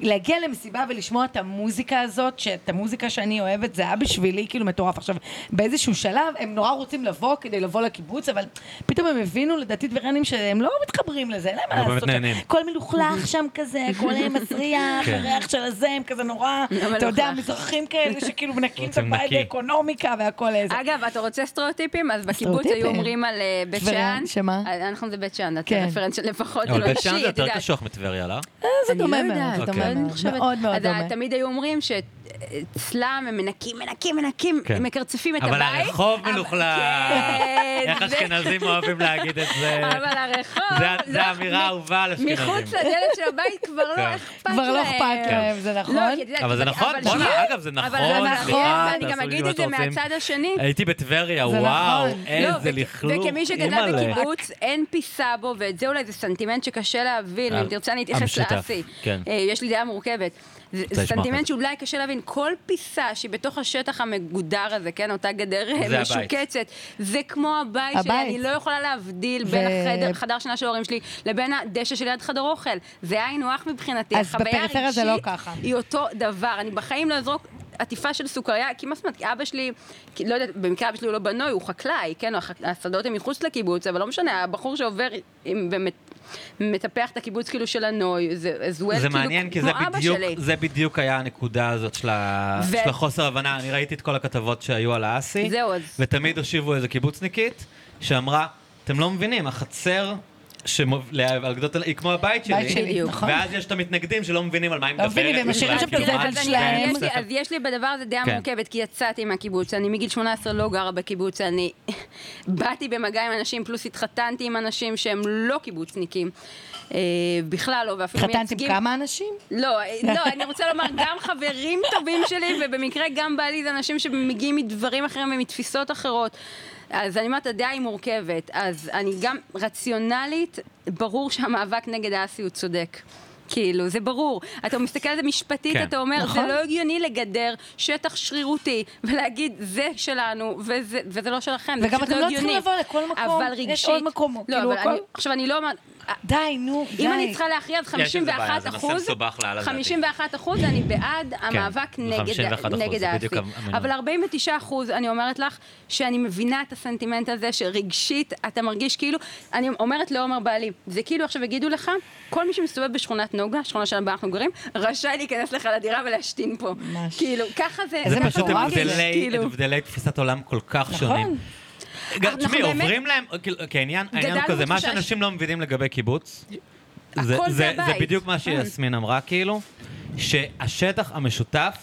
Speaker 2: להגיע למסיבה ולשמוע את המוזיקה הזאת, שאת המוזיקה שאני אוהבת, זה היה בשבילי כאילו מטורף. עכשיו, באיזשהו שלב, הם נורא רוצים לבוא כדי לבוא לקיבוץ, אבל פתאום הם הבינו, לדעתי טברנים, שהם לא מתחברים לזה, אין להם מה
Speaker 3: לא באמת
Speaker 2: לעשות. שם.
Speaker 3: נהנים.
Speaker 2: הכל מלוכלך שם כזה, הכל מסריח,
Speaker 3: כן.
Speaker 2: הריח של הזה, הם כזה נורא,
Speaker 1: מלוכלך.
Speaker 2: אתה יודע, מזרחים כאלה שכאילו מנקים את
Speaker 3: רוצים
Speaker 2: הבית
Speaker 3: נקי.
Speaker 2: האקונומיקה והכל איזה.
Speaker 1: אגב, אתה רוצה סטריאוטיפים? אז בקיבוץ
Speaker 2: סטריאוטיפים.
Speaker 1: היו אומרים על אה, בית
Speaker 2: טבריה,
Speaker 1: שאן.
Speaker 2: שמה?
Speaker 1: אה, אנחנו זה בית שאן, אתה
Speaker 2: כן.
Speaker 1: רפרנס של לפחות, זה
Speaker 3: אבל
Speaker 1: לא
Speaker 3: בית
Speaker 1: אישי,
Speaker 3: שאן זה
Speaker 1: אתה
Speaker 3: יותר
Speaker 1: יודע.
Speaker 3: קשוח מטבריה, לא?
Speaker 2: זה
Speaker 1: אני
Speaker 2: דומה
Speaker 1: לא יודעת,
Speaker 2: מאוד, זה
Speaker 1: אבל
Speaker 3: אוקיי.
Speaker 2: דומה
Speaker 1: אני
Speaker 2: מאוד,
Speaker 1: חושבת-
Speaker 2: מאוד מאוד
Speaker 1: אז
Speaker 2: דומה.
Speaker 1: תמיד היו אומרים ש... אצלם הם מנקים, מנקים, מנקים,
Speaker 3: כן.
Speaker 1: הם מקרצפים את
Speaker 3: אבל
Speaker 1: הבית.
Speaker 3: הרחוב
Speaker 1: אבל-
Speaker 3: מלוכלך.
Speaker 1: כן,
Speaker 3: איך
Speaker 1: זה-
Speaker 3: אשכנזים אוהבים להגיד את זה.
Speaker 1: אבל הרחוב...
Speaker 3: זה-
Speaker 1: לא-
Speaker 3: זה אמירה האהובה על
Speaker 1: מחוץ
Speaker 3: אשכנזים.
Speaker 1: לדלת של הבית כבר
Speaker 3: כן.
Speaker 1: לא אכפת להם.
Speaker 2: כבר לא אכפת להם, זה
Speaker 1: לא,
Speaker 2: נכון?
Speaker 1: כי את יודעת,
Speaker 3: אבל זה נכון,
Speaker 1: אבל
Speaker 3: בואנה,
Speaker 1: שנייה,
Speaker 3: אגב, זה
Speaker 1: אבל
Speaker 3: נכון,
Speaker 1: אבל
Speaker 3: סליחה,
Speaker 1: אני גם
Speaker 3: תעשו לי
Speaker 1: אגיד
Speaker 3: מה
Speaker 1: את זה
Speaker 3: שאתם רוצים.
Speaker 1: מהצד השני.
Speaker 3: הייתי בטבריה,
Speaker 2: זה
Speaker 3: וואו,
Speaker 2: נכון.
Speaker 1: לא,
Speaker 3: איזה
Speaker 1: וכ-
Speaker 3: לכלוך.
Speaker 1: וכמי שגדל
Speaker 3: אימא'לה.
Speaker 1: בקיבוץ, אין פיסה בו, ואת זה אולי זה סנטימנט שקשה להבין,
Speaker 3: אה,
Speaker 1: אם תרצה אני אתייחס
Speaker 3: המשותף,
Speaker 1: לאסי.
Speaker 3: כן.
Speaker 1: אה, יש לי דעה מורכבת. זה זה
Speaker 3: לשמוע אחר
Speaker 1: סנטימנט
Speaker 3: כך.
Speaker 1: שאולי קשה להבין, כל פיסה שהיא בתוך השטח המגודר הזה, כן, אותה גדר אה,
Speaker 3: זה הבית.
Speaker 1: משוקצת, זה כמו הבית שלי,
Speaker 2: הבית.
Speaker 1: אני לא יכולה להבדיל
Speaker 2: ו-
Speaker 1: בין החדר- חדר שינה של ההורים שלי לבין הדשא שליד חדר אוכל. זה היינו הך מבחינתי,
Speaker 2: אז
Speaker 1: החוויה
Speaker 2: בפריפריה זה לא
Speaker 1: הרגשית
Speaker 2: ככה.
Speaker 1: היא אותו דבר, אני בחיים לא אזרוק עטיפה של סוכריה, כי מה זאת אומרת, כי אבא שלי, כי, לא יודעת, במקרה אבא שלי הוא לא בנוי, הוא חקלאי, כן, הח- השדות הם מחוץ לקיבוץ, אבל לא משנה, הבחור שעובר עם, ומטפח את הקיבוץ כאילו של הנוי, זה אז הוא
Speaker 3: זה
Speaker 1: כאילו
Speaker 3: מעניין, כי
Speaker 1: כמו
Speaker 3: זה
Speaker 1: אבא
Speaker 3: בדיוק,
Speaker 1: שלי.
Speaker 3: זה בדיוק היה הנקודה הזאת של, ה...
Speaker 1: ו-
Speaker 3: של החוסר הבנה. אני ראיתי את כל הכתבות שהיו על האסי,
Speaker 1: זהו, אז-
Speaker 3: ותמיד הושיבו איזה קיבוצניקית, שאמרה, אתם לא מבינים, החצר שמוב... לה- על גדות הל- היא כמו הבית שלי.
Speaker 2: בית שלי,
Speaker 1: בדיוק.
Speaker 2: נכון.
Speaker 3: ואז יש את המתנגדים שלא מבינים על מה היא
Speaker 2: לא
Speaker 3: מדברת.
Speaker 2: מבינים, והם
Speaker 3: בכלל,
Speaker 2: משאירים שם את
Speaker 3: כאילו,
Speaker 2: הזבל
Speaker 3: מה
Speaker 1: אז אני-
Speaker 2: שלהם.
Speaker 1: יש לי- אז יש לי בדבר הזה דעה
Speaker 3: כן.
Speaker 1: מורכבת, כי יצאתי מהקיבוץ, אני מגיל 18 לא גרה בקיבוץ, אני באתי במגע עם אנשים, פלוס התחתנתי עם אנשים שהם לא קיבוצניקים, אה, בכלל לא, ואפילו
Speaker 2: התחתנת עם
Speaker 1: מייצגים-
Speaker 2: כמה אנשים?
Speaker 1: לא, לא, אני רוצה לומר, גם חברים טובים שלי, ובמקרה גם בעלי זה אנשים שמגיעים מדברים אחרים ומתפיסות אחרות. אז אני אומרת, הדעה היא מורכבת. אז אני גם רציונלית, ברור שהמאבק נגד האסי הוא צודק. כאילו, זה ברור. אתה מסתכל על זה משפטית,
Speaker 3: כן.
Speaker 1: אתה אומר,
Speaker 2: נכון.
Speaker 1: זה לא הגיוני לגדר שטח שרירותי, ולהגיד, זה שלנו, וזה, וזה לא שלכם, זה
Speaker 2: וגם
Speaker 1: פשוט
Speaker 2: אתם
Speaker 1: לא
Speaker 2: לא
Speaker 1: הגיוני.
Speaker 2: צריכים לבוא לכל מקום,
Speaker 1: אבל
Speaker 2: יש
Speaker 1: רגשית...
Speaker 2: עוד מקום,
Speaker 1: לא,
Speaker 2: כאילו,
Speaker 1: אבל
Speaker 2: הכל-
Speaker 1: אני, עכשיו, אני לא אומרת...
Speaker 2: די, נו, די.
Speaker 1: אם אני צריכה להכריע, אז
Speaker 3: יש איזה
Speaker 1: 51
Speaker 3: בעיה, זה נושא
Speaker 1: אחוז,
Speaker 3: מסובך לאללה, לדעתי. כן.
Speaker 1: 51 אחוז, אני בעד המאבק נגד
Speaker 3: 51%
Speaker 1: נגד
Speaker 3: זה
Speaker 1: האסי.
Speaker 3: בדיוק המינון.
Speaker 1: אבל 49 אחוז, אני אומרת לך, שאני מבינה את הסנטימנט הזה, שרגשית אתה מרגיש כאילו, אני אומרת לעומר בעלי, זה כאילו עכשיו יגידו לך, כל מי שמסתובב בשכונת נוגה, שכונה שבה אנחנו גרים, רשאי להיכנס לך לדירה ולהשתין פה.
Speaker 2: ממש.
Speaker 1: כאילו, ככה זה...
Speaker 3: זה
Speaker 2: איזה
Speaker 3: פשוט
Speaker 2: מטורף זה,
Speaker 3: הבדלי,
Speaker 1: כאילו. אה,
Speaker 3: הבדלי תפיסת עולם כל כך
Speaker 2: נכון.
Speaker 3: שונים. גם,
Speaker 1: אנחנו
Speaker 3: תשמעי,
Speaker 1: באמת-
Speaker 3: עוברים להם, כאילו, כי העניין העניין הוא
Speaker 1: גדלנו
Speaker 3: כזה, מה
Speaker 1: בתחושה ש-
Speaker 3: שאנשים לא מבינים לגבי קיבוץ,
Speaker 1: הכל
Speaker 3: זה-
Speaker 1: זה
Speaker 3: זה זה
Speaker 1: הבית.
Speaker 3: בדיוק מה
Speaker 1: כן.
Speaker 3: שיסמין אמרה, כאילו, שהשטח המשותף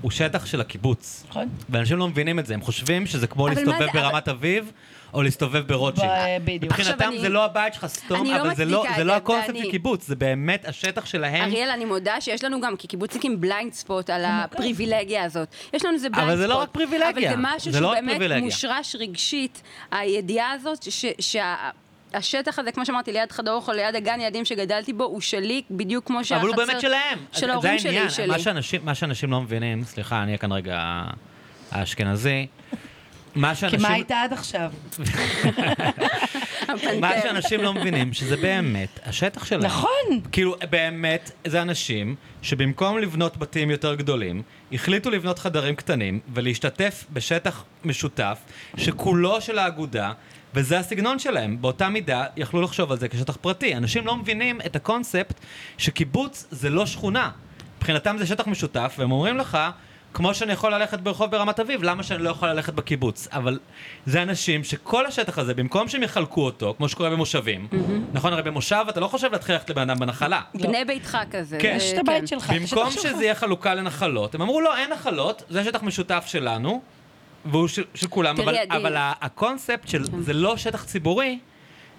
Speaker 3: הוא שטח של הקיבוץ.
Speaker 2: נכון.
Speaker 3: ואנשים לא מבינים את זה, הם חושבים שזה כמו
Speaker 1: אבל מה
Speaker 3: להסתובב
Speaker 1: זה-
Speaker 3: ברמת אביב, או להסתובב ברוטשילד.
Speaker 2: ב- בדיוק.
Speaker 3: מבחינתם
Speaker 1: עכשיו אני-
Speaker 3: זה לא הבית שלך, סתום,
Speaker 1: אני לא
Speaker 3: אבל זה לא-
Speaker 1: מצדיקה
Speaker 3: זה
Speaker 1: את
Speaker 3: לא
Speaker 1: זה,
Speaker 3: הקונספט
Speaker 1: ואני-
Speaker 3: של קיבוץ, זה באמת השטח שלהם.
Speaker 1: אריאל, אני מודה שיש לנו גם כקיבוצניקים בליינד ספוט על הפריבילגיה הזאת. יש לנו איזה
Speaker 3: לא אבל
Speaker 1: בליינד ספוט.
Speaker 3: זה לא רק פריבילגיה.
Speaker 1: אבל זה משהו
Speaker 3: זה לא
Speaker 1: שהוא
Speaker 3: רק
Speaker 1: באמת
Speaker 3: פריבילגיה.
Speaker 1: מושרש רגשית, הידיעה הזאת ש- שה... השטח הזה, כמו שאמרתי, ליד חדר אוכל, ליד הגן ילדים שגדלתי בו, הוא שלי בדיוק כמו שהחצר...
Speaker 3: אבל הוא באמת שלהם. אז-
Speaker 1: של
Speaker 3: אז
Speaker 1: ההורים שלי,
Speaker 3: זה העניין.
Speaker 1: שלי.
Speaker 3: מה שאנשים- מה שאנשים לא מבינים, סליחה, אני אהיה כאן רגע האשכנזי. מה
Speaker 2: כי מה
Speaker 3: שאנשים,
Speaker 2: הייתה עד עכשיו?
Speaker 1: אה, הפנתר.
Speaker 3: מה שאנשים לא מבינים, שזה באמת השטח שלהם.
Speaker 2: נכון.
Speaker 3: כאילו, באמת, זה אנשים שבמקום לבנות בתים יותר גדולים, החליטו לבנות חדרים קטנים ולהשתתף בשטח משותף שכולו של האגודה, וזה הסגנון שלהם. באותה מידה יכלו לחשוב על זה כשטח פרטי. אנשים לא מבינים את הקונספט שקיבוץ זה לא שכונה. מבחינתם זה שטח משותף, והם אומרים לך... כמו שאני יכול ללכת ברחוב ברמת אביב, למה שאני לא יכול ללכת בקיבוץ? אבל זה אנשים שכל השטח הזה, במקום שהם יחלקו אותו, כמו שקורה במושבים, נכון? הרי במושב אתה לא חושב להתחיל ללכת לבן אדם בנחלה.
Speaker 1: בני ביתך כזה.
Speaker 3: כן.
Speaker 1: זה-
Speaker 2: יש את הבית שלך, את
Speaker 3: במקום
Speaker 2: השטח שלך.
Speaker 3: שזה יהיה חלוקה לנחלות, הם אמרו לא, אין נחלות, זה שטח משותף שלנו, והוא של, של כולם,
Speaker 1: תראי,
Speaker 3: אבל,
Speaker 1: עדי.
Speaker 3: אבל ה- הקונספט של
Speaker 2: כן.
Speaker 3: זה לא שטח ציבורי,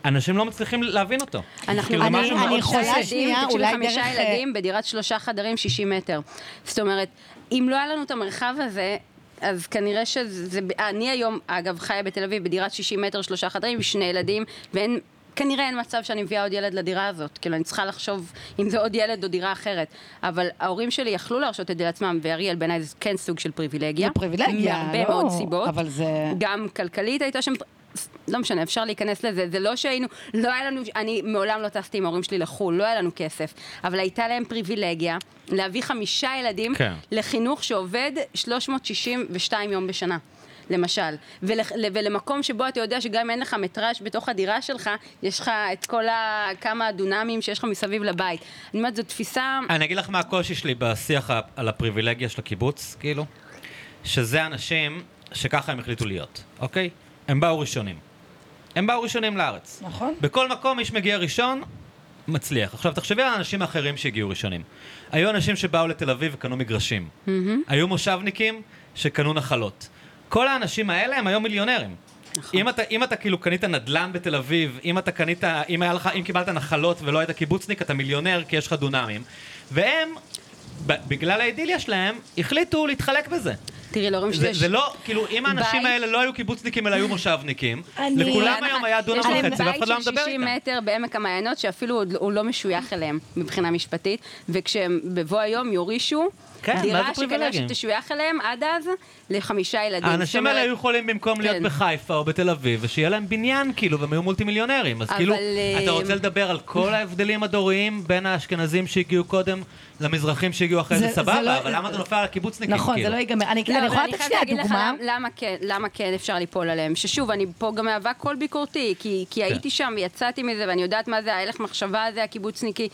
Speaker 3: אנשים לא מצליחים להבין אותו.
Speaker 1: אנחנו-
Speaker 3: כאילו, זה
Speaker 2: אני-
Speaker 3: משהו
Speaker 2: אני
Speaker 3: מאוד-
Speaker 2: יכולה
Speaker 1: חמישה
Speaker 2: שנייה,
Speaker 1: ילדים, תקשיבי,
Speaker 2: אולי
Speaker 1: חמישה
Speaker 2: דרך,
Speaker 1: ילדים בדירת שלושה חדרים, 60 מטר. זאת אומרת, אם לא היה לנו את המרחב הזה... אז כנראה שזה, זה- אני היום, אגב, חיה בתל אביב בדירת 60 מטר, שלושה חדרים, עם שני ילדים, ואין, כנראה אין מצב שאני מביאה עוד ילד לדירה הזאת. כאילו, אני צריכה לחשוב אם זה עוד ילד או דירה אחרת. אבל ההורים שלי יכלו להרשות את זה לעצמם, ואריאל בעיניי זה כן סוג של פריבילגיה.
Speaker 2: זה פריבילגיה,
Speaker 1: מהרבה
Speaker 2: לא,
Speaker 1: מאוד סיבות.
Speaker 2: אבל זה-
Speaker 1: גם כלכלית הייתה שם... לא משנה, אפשר להיכנס לזה. זה לא שהיינו, לא היה לנו, אני מעולם לא טסתי עם ההורים שלי לחו"ל, לא היה לנו כסף, אבל הייתה להם פריבילגיה להביא חמישה ילדים
Speaker 3: כן.
Speaker 1: לחינוך שעובד 362 יום בשנה. למשל, ול, ל- ולמקום שבו אתה יודע שגם אם אין לך מטראז' בתוך הדירה שלך, יש לך את כל ה... כמה הדונמים שיש לך מסביב לבית. אני אומרת, זו תפיסה...
Speaker 3: אני אגיד לך מה הקושי שלי בשיח ה- על הפריבילגיה של הקיבוץ, כאילו, שזה אנשים שככה הם החליטו להיות, אוקיי? הם באו ראשונים. הם באו ראשונים לארץ.
Speaker 2: נכון.
Speaker 3: בכל מקום איש מגיע ראשון, מצליח. עכשיו, תחשבי על האנשים האחרים שהגיעו ראשונים. היו אנשים שבאו לתל אביב וקנו מגרשים. היו מושבניקים שקנו נחלות. כל האנשים האלה הם היום מיליונרים. אם אתה, אם אתה כאילו קנית נדל"ן בתל אביב, אם אתה קנית, אם, היה לך, אם קיבלת נחלות ולא היית קיבוצניק, אתה מיליונר כי יש לך דונמים. והם, ב- בגלל האידיליה שלהם, החליטו להתחלק בזה.
Speaker 1: תראי, להורים שלי
Speaker 3: זה,
Speaker 1: יש...
Speaker 3: זה לא, כאילו, אם האנשים
Speaker 1: בית.
Speaker 3: האלה לא היו קיבוצניקים אלא היו מושבניקים,
Speaker 2: אני-
Speaker 3: לכולם היום היה דונם
Speaker 1: יש להם
Speaker 3: וחצי ואף אחד לא היה מדבר
Speaker 1: בית של 60
Speaker 3: איתם.
Speaker 1: מטר בעמק המעיינות, שאפילו עוד הוא לא משוייך אליהם מבחינה משפטית, וכשהם בבוא היום יורישו,
Speaker 3: כן, מה זה
Speaker 1: דירה שכנראה
Speaker 3: פריבילגים?
Speaker 1: שתשוייך אליהם עד אז לחמישה ילדים.
Speaker 3: האנשים
Speaker 1: זאת
Speaker 3: האלה
Speaker 1: אומרת,
Speaker 3: היו יכולים במקום להיות
Speaker 1: כן.
Speaker 3: בחיפה או בתל אביב, ושיהיה להם בניין, כאילו, והם היו מולטי מיליונרים. אז
Speaker 1: אבל,
Speaker 3: כאילו,
Speaker 1: אה,
Speaker 3: אתה רוצה לדבר על כל ההבדלים הדוריים בין האשכנזים שהגיעו קודם למזרחים שהגיעו אחרי
Speaker 2: זה-
Speaker 3: זה,
Speaker 2: זה לא-
Speaker 3: סבבה, אבל למה אתה נופל על הקיבוצניקים?
Speaker 2: נכון, זה
Speaker 3: כאילו?
Speaker 2: לא ייגמר. אני
Speaker 1: לא,
Speaker 2: אני
Speaker 1: אבל
Speaker 2: יכולה לתת
Speaker 1: חייבת
Speaker 2: שנייה
Speaker 1: להגיד לך
Speaker 2: דוגמה.
Speaker 1: למ- למה כן, למה כן אפשר ליפול עליהם? ששוב, אני פה גם מהווה קול ביקורתי, כי, כי הייתי שם ויצאתי מזה, ואני יודעת מה זה ההלך מחשבה הזה, הקיבוצניקי.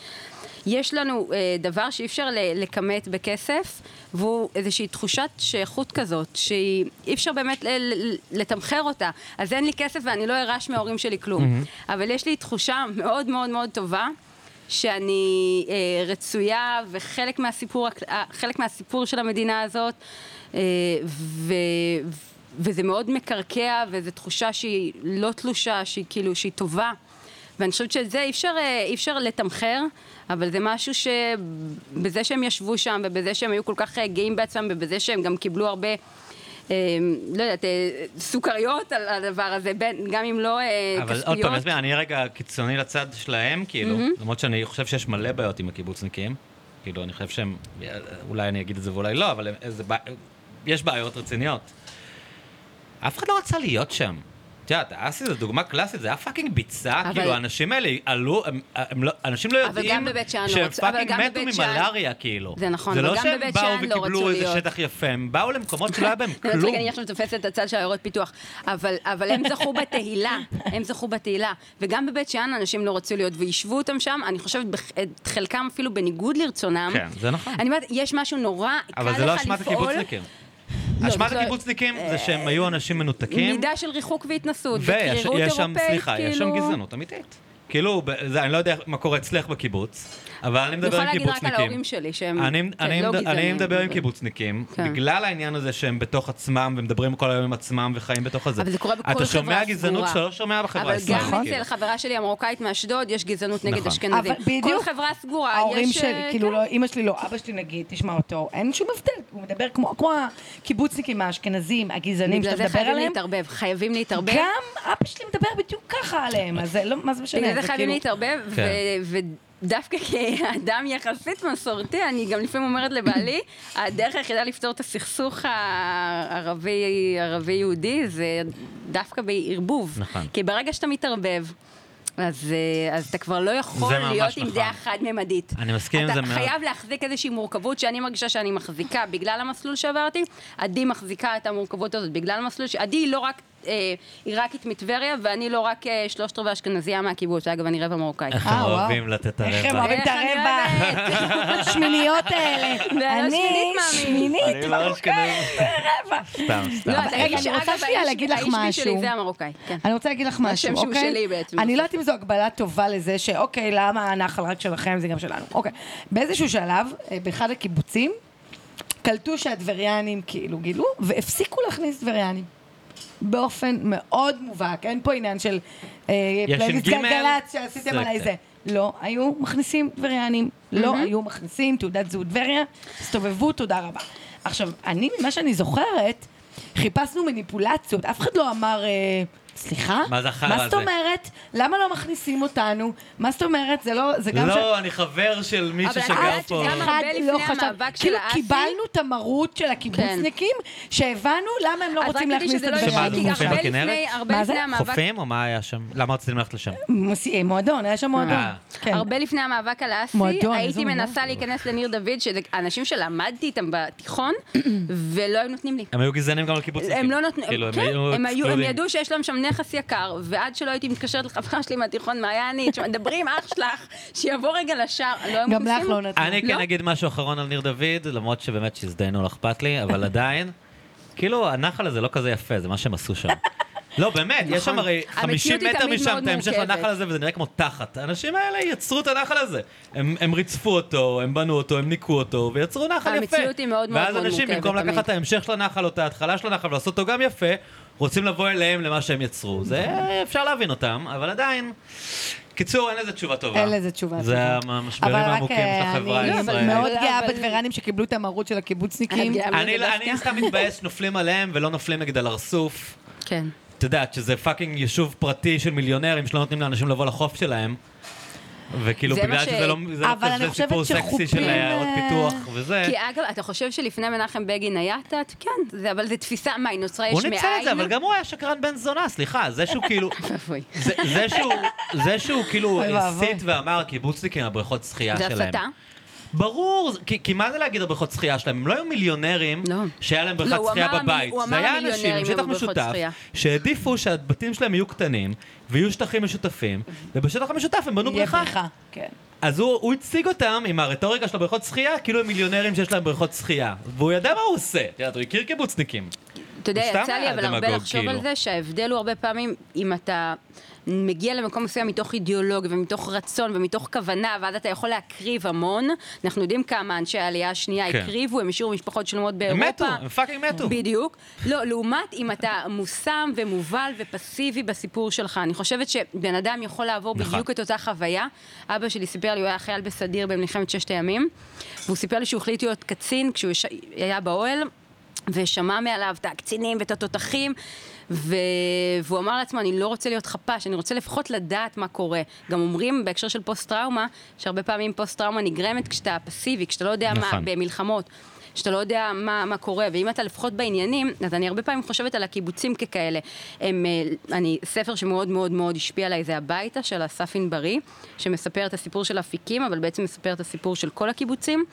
Speaker 1: יש לנו אה, דבר שאי אפשר ל- לכמת בכסף, והוא איזושהי תחושת שייכות כזאת, שהיא אי אפשר באמת ל- ל- לתמחר אותה. אז אין לי כסף ואני לא ארש מההורים שלי כלום. אבל יש לי תחושה מאוד מאוד מאוד טובה. שאני אה, רצויה וחלק מהסיפור, הכ- אה, חלק מהסיפור של המדינה הזאת, אה, ו, וזה מאוד מקרקע, וזו תחושה שהיא לא תלושה, שהיא כאילו, שהיא טובה. ואני חושבת שאת זה אי אפשר, אה, אי אפשר לתמחר, אבל זה משהו שבזה שהם ישבו שם, ובזה שהם היו כל כך אה, גאים בעצמם, ובזה שהם גם קיבלו הרבה... אה, לא יודעת, אה, סוכריות על הדבר הזה, בין, גם אם לא אה,
Speaker 3: אבל
Speaker 1: כספיות.
Speaker 3: עוד פעם, אז אני רגע קיצוני לצד שלהם, כאילו, למרות שאני חושב שיש מלא בעיות עם הקיבוצניקים, כאילו, אני חושב שהם, אולי אני אגיד את זה ואולי לא, אבל הם- זה בע- יש בעיות רציניות. אף אחד לא רצה להיות שם. את יודעת, אסי זו דוגמה קלאסית, זה היה פאקינג ביצה,
Speaker 1: אבל-
Speaker 3: כאילו, האנשים האלה עלו, הם- הם לא- אנשים לא
Speaker 1: אבל
Speaker 3: יודעים
Speaker 1: גם בבית שאן לא
Speaker 3: שהם
Speaker 1: רצו- אבל
Speaker 3: פאקינג
Speaker 1: גם
Speaker 3: מתו
Speaker 1: בבית שאן-
Speaker 3: ממלאריה, כאילו.
Speaker 1: זה נכון,
Speaker 3: זה
Speaker 1: אבל
Speaker 3: לא
Speaker 1: גם
Speaker 3: שהם
Speaker 1: בבית
Speaker 3: באו
Speaker 1: שאן לא
Speaker 3: וקיבלו
Speaker 1: רצו
Speaker 3: איזה
Speaker 1: להיות.
Speaker 3: שטח יפה, הם באו למקומות שלא היה בהם
Speaker 1: אני יודעת,
Speaker 3: כלום.
Speaker 1: רגע, אני עכשיו תופסת את הצד של עיירות פיתוח, אבל, אבל הם זכו בתהילה, הם זכו בתהילה. וגם בבית שאן אנשים לא רצו להיות, ויישבו אותם שם, אני חושבת, בח- את חלקם אפילו בניגוד לרצונם.
Speaker 3: כן, זה נכון.
Speaker 1: אני אומרת, יש משהו נורא, קל לך לפעול.
Speaker 3: אבל זה לא אשמת הקיבוצניקים.
Speaker 1: לא,
Speaker 3: אשמת
Speaker 1: זה-
Speaker 3: הקיבוצניקים זה שהם היו אנשים מנותקים,
Speaker 1: מידה של ריחוק והתנסות,
Speaker 3: ויש
Speaker 1: וקרירות אירופאית,
Speaker 3: יש שם,
Speaker 1: כאילו...
Speaker 3: סליחה, יש שם גזענות אמיתית. כאילו, ב- זה- אני לא יודע מה קורה אצלך בקיבוץ, אבל אני
Speaker 1: אני
Speaker 3: מדבר
Speaker 1: יכולה
Speaker 3: עם
Speaker 1: להגיד רק על
Speaker 3: קיבוצניקים.
Speaker 1: ההורים שלי, שהם
Speaker 3: אני,
Speaker 1: כן,
Speaker 3: אני,
Speaker 1: לא
Speaker 3: מד- אני
Speaker 1: גזענים.
Speaker 3: מדבר עם קיבוצניקים,
Speaker 1: כן.
Speaker 3: בגלל העניין הזה שהם בתוך עצמם ומדברים כל היום עם עצמם וחיים בתוך הזה.
Speaker 1: אבל זה קורה בכל
Speaker 3: אתה
Speaker 1: חברה
Speaker 3: שומע
Speaker 1: סגורה.
Speaker 3: גזענות שאתה לא שומע בחברה
Speaker 1: אבל
Speaker 3: הישראלית.
Speaker 1: גם
Speaker 3: כאילו.
Speaker 1: אצל חברה שלי המרוקאית מאשדוד, יש גזענות נגד
Speaker 3: נכון.
Speaker 1: אשכנזים.
Speaker 7: אבל בדיוק.
Speaker 1: כל חברה סגורה, יש...
Speaker 2: ההורים שלי,
Speaker 1: אה,
Speaker 2: כאילו,
Speaker 1: כן.
Speaker 2: לא, אימא שלי לא, אבא שלי נגיד, תשמע אותו, אין שום הבדל, הוא מדבר כמו, כמו הקיבוצניקים האשכנזים, הגזענים
Speaker 1: בגלל
Speaker 2: שאתה
Speaker 1: זה
Speaker 2: מדבר
Speaker 1: חייבים
Speaker 2: עליהם,
Speaker 1: להתערבב, חייבים להתערבב.
Speaker 2: גם אבא שלי מדבר בדיוק ככה עליהם, אז זה לא, מה זה כאילו- משנה,
Speaker 1: בגלל זה חייבים להתערבב, ו-
Speaker 3: כן.
Speaker 1: ודווקא כאדם יחסית מסורתי, אני גם לפעמים אומרת לבעלי, הדרך היחידה לפתור את הסכסוך הערבי- הערבי-יהודי זה דווקא בערבוב.
Speaker 3: נכון.
Speaker 1: כי ברגע שאתה מתערבב... אז, אה, אז אתה כבר לא יכול
Speaker 3: זה ממש
Speaker 1: להיות עם
Speaker 3: נכון.
Speaker 1: דעה חד-ממדית.
Speaker 3: אני מסכים עם זה מאוד.
Speaker 1: אתה חייב להחזיק איזושהי מורכבות שאני מרגישה שאני מחזיקה בגלל המסלול שעברתי. עדי מחזיקה את המורכבות הזאת בגלל המסלול ש... עדי היא לא רק אה, עיראקית מטבריה, ואני לא רק אה, שלושת רבעי אשכנזייה מהקיבוץ. אגב, אני רבע מרוקאית.
Speaker 3: איך
Speaker 2: אה,
Speaker 3: הם
Speaker 2: וואו.
Speaker 3: אוהבים לתת
Speaker 2: איך הם
Speaker 3: הרבע.
Speaker 2: אוהבים את
Speaker 1: איך אני
Speaker 2: הרבע,
Speaker 1: אוהבת.
Speaker 2: השמיניות האלה,
Speaker 1: לא
Speaker 2: אני
Speaker 1: שמינית, מאמי.
Speaker 2: שמינית, אוקיי?
Speaker 3: אני לא אשכנזי. סתם, סתם.
Speaker 1: לא, אתה
Speaker 2: רגע,
Speaker 1: איש-
Speaker 2: אני רוצה
Speaker 1: אגב,
Speaker 2: שנייה
Speaker 1: האיש-
Speaker 2: להגיד לך
Speaker 1: האיש שלי
Speaker 2: משהו.
Speaker 1: זה המרוקאי, כן.
Speaker 2: אני רוצה להגיד לך
Speaker 1: השם
Speaker 2: משהו,
Speaker 1: שהוא
Speaker 2: אוקיי?
Speaker 1: שלי בעצם,
Speaker 2: אני
Speaker 1: בסוף.
Speaker 2: לא יודעת אם זו הגבלה טובה לזה שאוקיי, למה הנחל רק שלכם, זה גם שלנו. אוקיי. באיזשהו שלב, אה, באחד הקיבוצים, קלטו שהטבריאנים כאילו גילו, והפסיקו להכניס טבריאנים. באופן מאוד מובהק. אין פה עניין של אה,
Speaker 3: יש
Speaker 2: פלייליסט
Speaker 3: עם גימל?
Speaker 2: גלגלצ שעשיתם
Speaker 3: זה
Speaker 2: עליי
Speaker 3: כן.
Speaker 2: זה. לא היו מכניסים טבריאנים, לא היו מכניסים תעודת זהות טבריה, הסתובבו, תודה רבה. עכשיו, אני, ממה שאני זוכרת, חיפשנו מניפולציות, אף אחד לא אמר, אה, סליחה?
Speaker 3: מה זה החרא
Speaker 2: מה זאת
Speaker 3: הזה?"
Speaker 2: אומרת? למה לא מכניסים אותנו? מה זאת אומרת? זה לא, זה גם ש...
Speaker 3: לא, אני חבר של מישהו
Speaker 1: אבל את
Speaker 3: שגר
Speaker 1: יודעת
Speaker 3: פה.
Speaker 1: שגם הרבה
Speaker 2: אחד
Speaker 1: לפני
Speaker 2: לא חשב,
Speaker 1: המאבק של
Speaker 2: כאילו
Speaker 1: האסי-
Speaker 2: קיבלנו את המרות של הקיבוצניקים, שהבנו למה הם לא
Speaker 1: אז רק
Speaker 2: רוצים
Speaker 1: כדי
Speaker 2: להכניס את
Speaker 1: שזה לא
Speaker 2: זה.
Speaker 1: יהיה,
Speaker 3: שמה,
Speaker 1: כי
Speaker 3: אתם
Speaker 1: גם
Speaker 3: חופים
Speaker 1: הרבה
Speaker 3: בכנרת?
Speaker 1: לפני, הרבה
Speaker 2: מה זה?
Speaker 1: לפני המאבק
Speaker 3: חופים או מה היה שם? למה רציתם ללכת לשם?
Speaker 2: מוסי- מועדון, היה שם מועדון.
Speaker 3: אה.
Speaker 2: כן.
Speaker 1: הרבה לפני המאבק על האסי,
Speaker 2: מועדון, איזה
Speaker 1: הייתי
Speaker 2: מועדון.
Speaker 1: מנסה להיכנס לניר דוד, שזה אנשים שלמדתי איתם בתיכון, ולא היו נותנים לי.
Speaker 3: הם היו גזענים גם לקיבוצניקים.
Speaker 1: הם לא נתנו,
Speaker 3: כאילו,
Speaker 1: כן, הם, היו, הם
Speaker 3: excluding.
Speaker 1: ידעו שיש להם שם נכס יקר, ועד שלא הייתי מתקשרת לחברה שלי מהתיכון, מעיינית, שמדברים אח שלך, שיבוא רגע לשער, לא הם
Speaker 2: גם לך
Speaker 1: מכניסים?
Speaker 2: לא נתנו.
Speaker 3: אני כן
Speaker 1: לא?
Speaker 3: אגיד משהו אחרון על ניר דוד, למרות שבאמת שהזדיינו, לא אכפת לי, אבל עדיין, כאילו, הנחל הזה לא כזה יפה, זה מה שהם עשו שם. לא, באמת, יש שם
Speaker 1: נכון.
Speaker 3: הרי 50
Speaker 1: המציאות היא
Speaker 3: מטר
Speaker 1: תמיד
Speaker 3: משם
Speaker 1: מאוד
Speaker 3: את ההמשך
Speaker 1: מורכבת.
Speaker 3: לנחל הזה, וזה נראה כמו תחת. האנשים האלה יצרו את הנחל הזה. הם הם ריצפו אותו, הם בנו אותו, הם ניקו אותו, ויצרו נחל יפה.
Speaker 1: המציאות היא מאוד מאוד מאוד
Speaker 3: ואז אנשים,
Speaker 1: מורכבת,
Speaker 3: במקום לקחת
Speaker 1: תמיד.
Speaker 3: את ההמשך של הנחל או את ההתחלה של הנחל ולעשות אותו גם יפה, רוצים לבוא אליהם למה שהם יצרו. זה, אפשר להבין אותם, אבל עדיין... קיצור, אין לזה תשובה טובה.
Speaker 2: אין לזה תשובה
Speaker 3: זה
Speaker 2: טובה.
Speaker 3: המשברים
Speaker 2: אבל רק,
Speaker 3: העמוקים של
Speaker 2: אה,
Speaker 3: החברה
Speaker 2: אני
Speaker 1: הישראלית.
Speaker 2: מאוד גאה
Speaker 1: לא, אבל-
Speaker 2: בטברנים שקיבלו את המרות של הקיבוצניקים.
Speaker 1: את גאה אבל
Speaker 3: אני לא-
Speaker 1: זה דווקא-
Speaker 3: אני סתם מתבאס שנופלים עליהם ולא נופלים נגד על הרסוף.
Speaker 1: כן.
Speaker 3: את יודעת, שזה פאקינג יישוב פרטי של מיליונרים שלא נותנים לאנשים לבוא לחוף שלהם. וכאילו,
Speaker 1: זה מה
Speaker 3: בגלל
Speaker 1: ש-
Speaker 3: שזה לא... זה לא-
Speaker 2: אבל אני
Speaker 3: זה
Speaker 2: חושבת
Speaker 3: סיפור סקסי
Speaker 2: שחופים,
Speaker 3: של עיירות
Speaker 2: אה,
Speaker 3: פיתוח וזה.
Speaker 1: כי אגב, אתה חושב שלפני מנחם בגין היה תת? כן, זה- אבל זו תפיסה, מה, היא נוצרה יש
Speaker 3: הוא
Speaker 1: מאין?
Speaker 3: ניצל את זה, אבל גם הוא היה שקרן בן זונה, סליחה. זה שהוא כאילו...
Speaker 1: אבוי.
Speaker 3: זה- זה שהוא, זה שהוא כאילו
Speaker 2: אוי ואבוי.
Speaker 3: הסית ואמר קיבוצניקים הבריכות שחייה
Speaker 1: זה
Speaker 3: שלהם.
Speaker 1: הסתה?
Speaker 3: ברור, זה- כי, כי מה זה להגיד הבריכות שחייה שלהם? הם לא היו מיליונרים
Speaker 1: לא.
Speaker 3: שהיה להם
Speaker 1: לא,
Speaker 3: בריכת
Speaker 1: הוא
Speaker 3: שחייה
Speaker 1: אמר המי-
Speaker 3: בבית.
Speaker 1: הוא
Speaker 3: זה
Speaker 1: אמר
Speaker 3: היה
Speaker 1: המיליונרים
Speaker 3: אנשים עם שטח
Speaker 1: היו בבריכות
Speaker 3: משותף,
Speaker 1: שחייה.
Speaker 3: שהעדיפו שהבתים שלהם יהיו קטנים, ויהיו שטחים משותפים, ובשטח המשותף הם בנו
Speaker 2: יהיה
Speaker 3: בריכה.
Speaker 2: בריכה. כן.
Speaker 3: אז הוא, הוא הציג אותם עם הרטוריקה של הבריכות שחייה, כאילו הם מיליונרים שיש להם בריכות שחייה. והוא ידע מה הוא עושה. את יודעת, הוא הכיר קיבוצניקים.
Speaker 1: אתה יודע,
Speaker 3: הוא סתם
Speaker 1: יצא לי
Speaker 3: היה
Speaker 1: אבל הרבה
Speaker 3: דמגוג,
Speaker 1: לחשוב
Speaker 3: כאילו.
Speaker 1: על זה שההבדל הוא הרבה פעמים אם אתה מגיע למקום מסוים מתוך אידיאולוגיה ומתוך רצון ומתוך כוונה, ואז אתה יכול להקריב המון. אנחנו יודעים כמה אנשי העלייה השנייה
Speaker 3: כן.
Speaker 1: הקריבו, הם השאירו משפחות שלמות
Speaker 3: הם
Speaker 1: באירופה.
Speaker 3: מתו, הם פאקינג מתו.
Speaker 1: בדיוק. לא, לעומת אם אתה מושם ומובל ופסיבי בסיפור שלך. אני חושבת שבן אדם יכול לעבור
Speaker 3: נכון.
Speaker 1: בדיוק את אותה חוויה. אבא שלי סיפר לי, הוא היה חייל בסדיר במלחמת ששת הימים, והוא סיפר לי שהוא החליט להיות קצין כשהוא יש- היה באוהל, ושמע מעליו את הקצינים ואת התותחים. ו... והוא אמר לעצמו, אני לא רוצה להיות חפ"ש, אני רוצה לפחות לדעת מה קורה. גם אומרים בהקשר של פוסט-טראומה, שהרבה פעמים פוסט-טראומה נגרמת כשאתה פסיבי, כשאתה לא יודע מה,
Speaker 3: נכון.
Speaker 1: במלחמות, שאתה לא יודע מה, מה קורה, ואם אתה לפחות בעניינים, אז אני הרבה פעמים חושבת על הקיבוצים ככאלה. הם, אה, אני, ספר שמאוד מאוד מאוד השפיע עליי זה הביתה של אסף ענברי, שמספר את הסיפור של אפיקים, אבל בעצם מספר את הסיפור של כל הקיבוצים,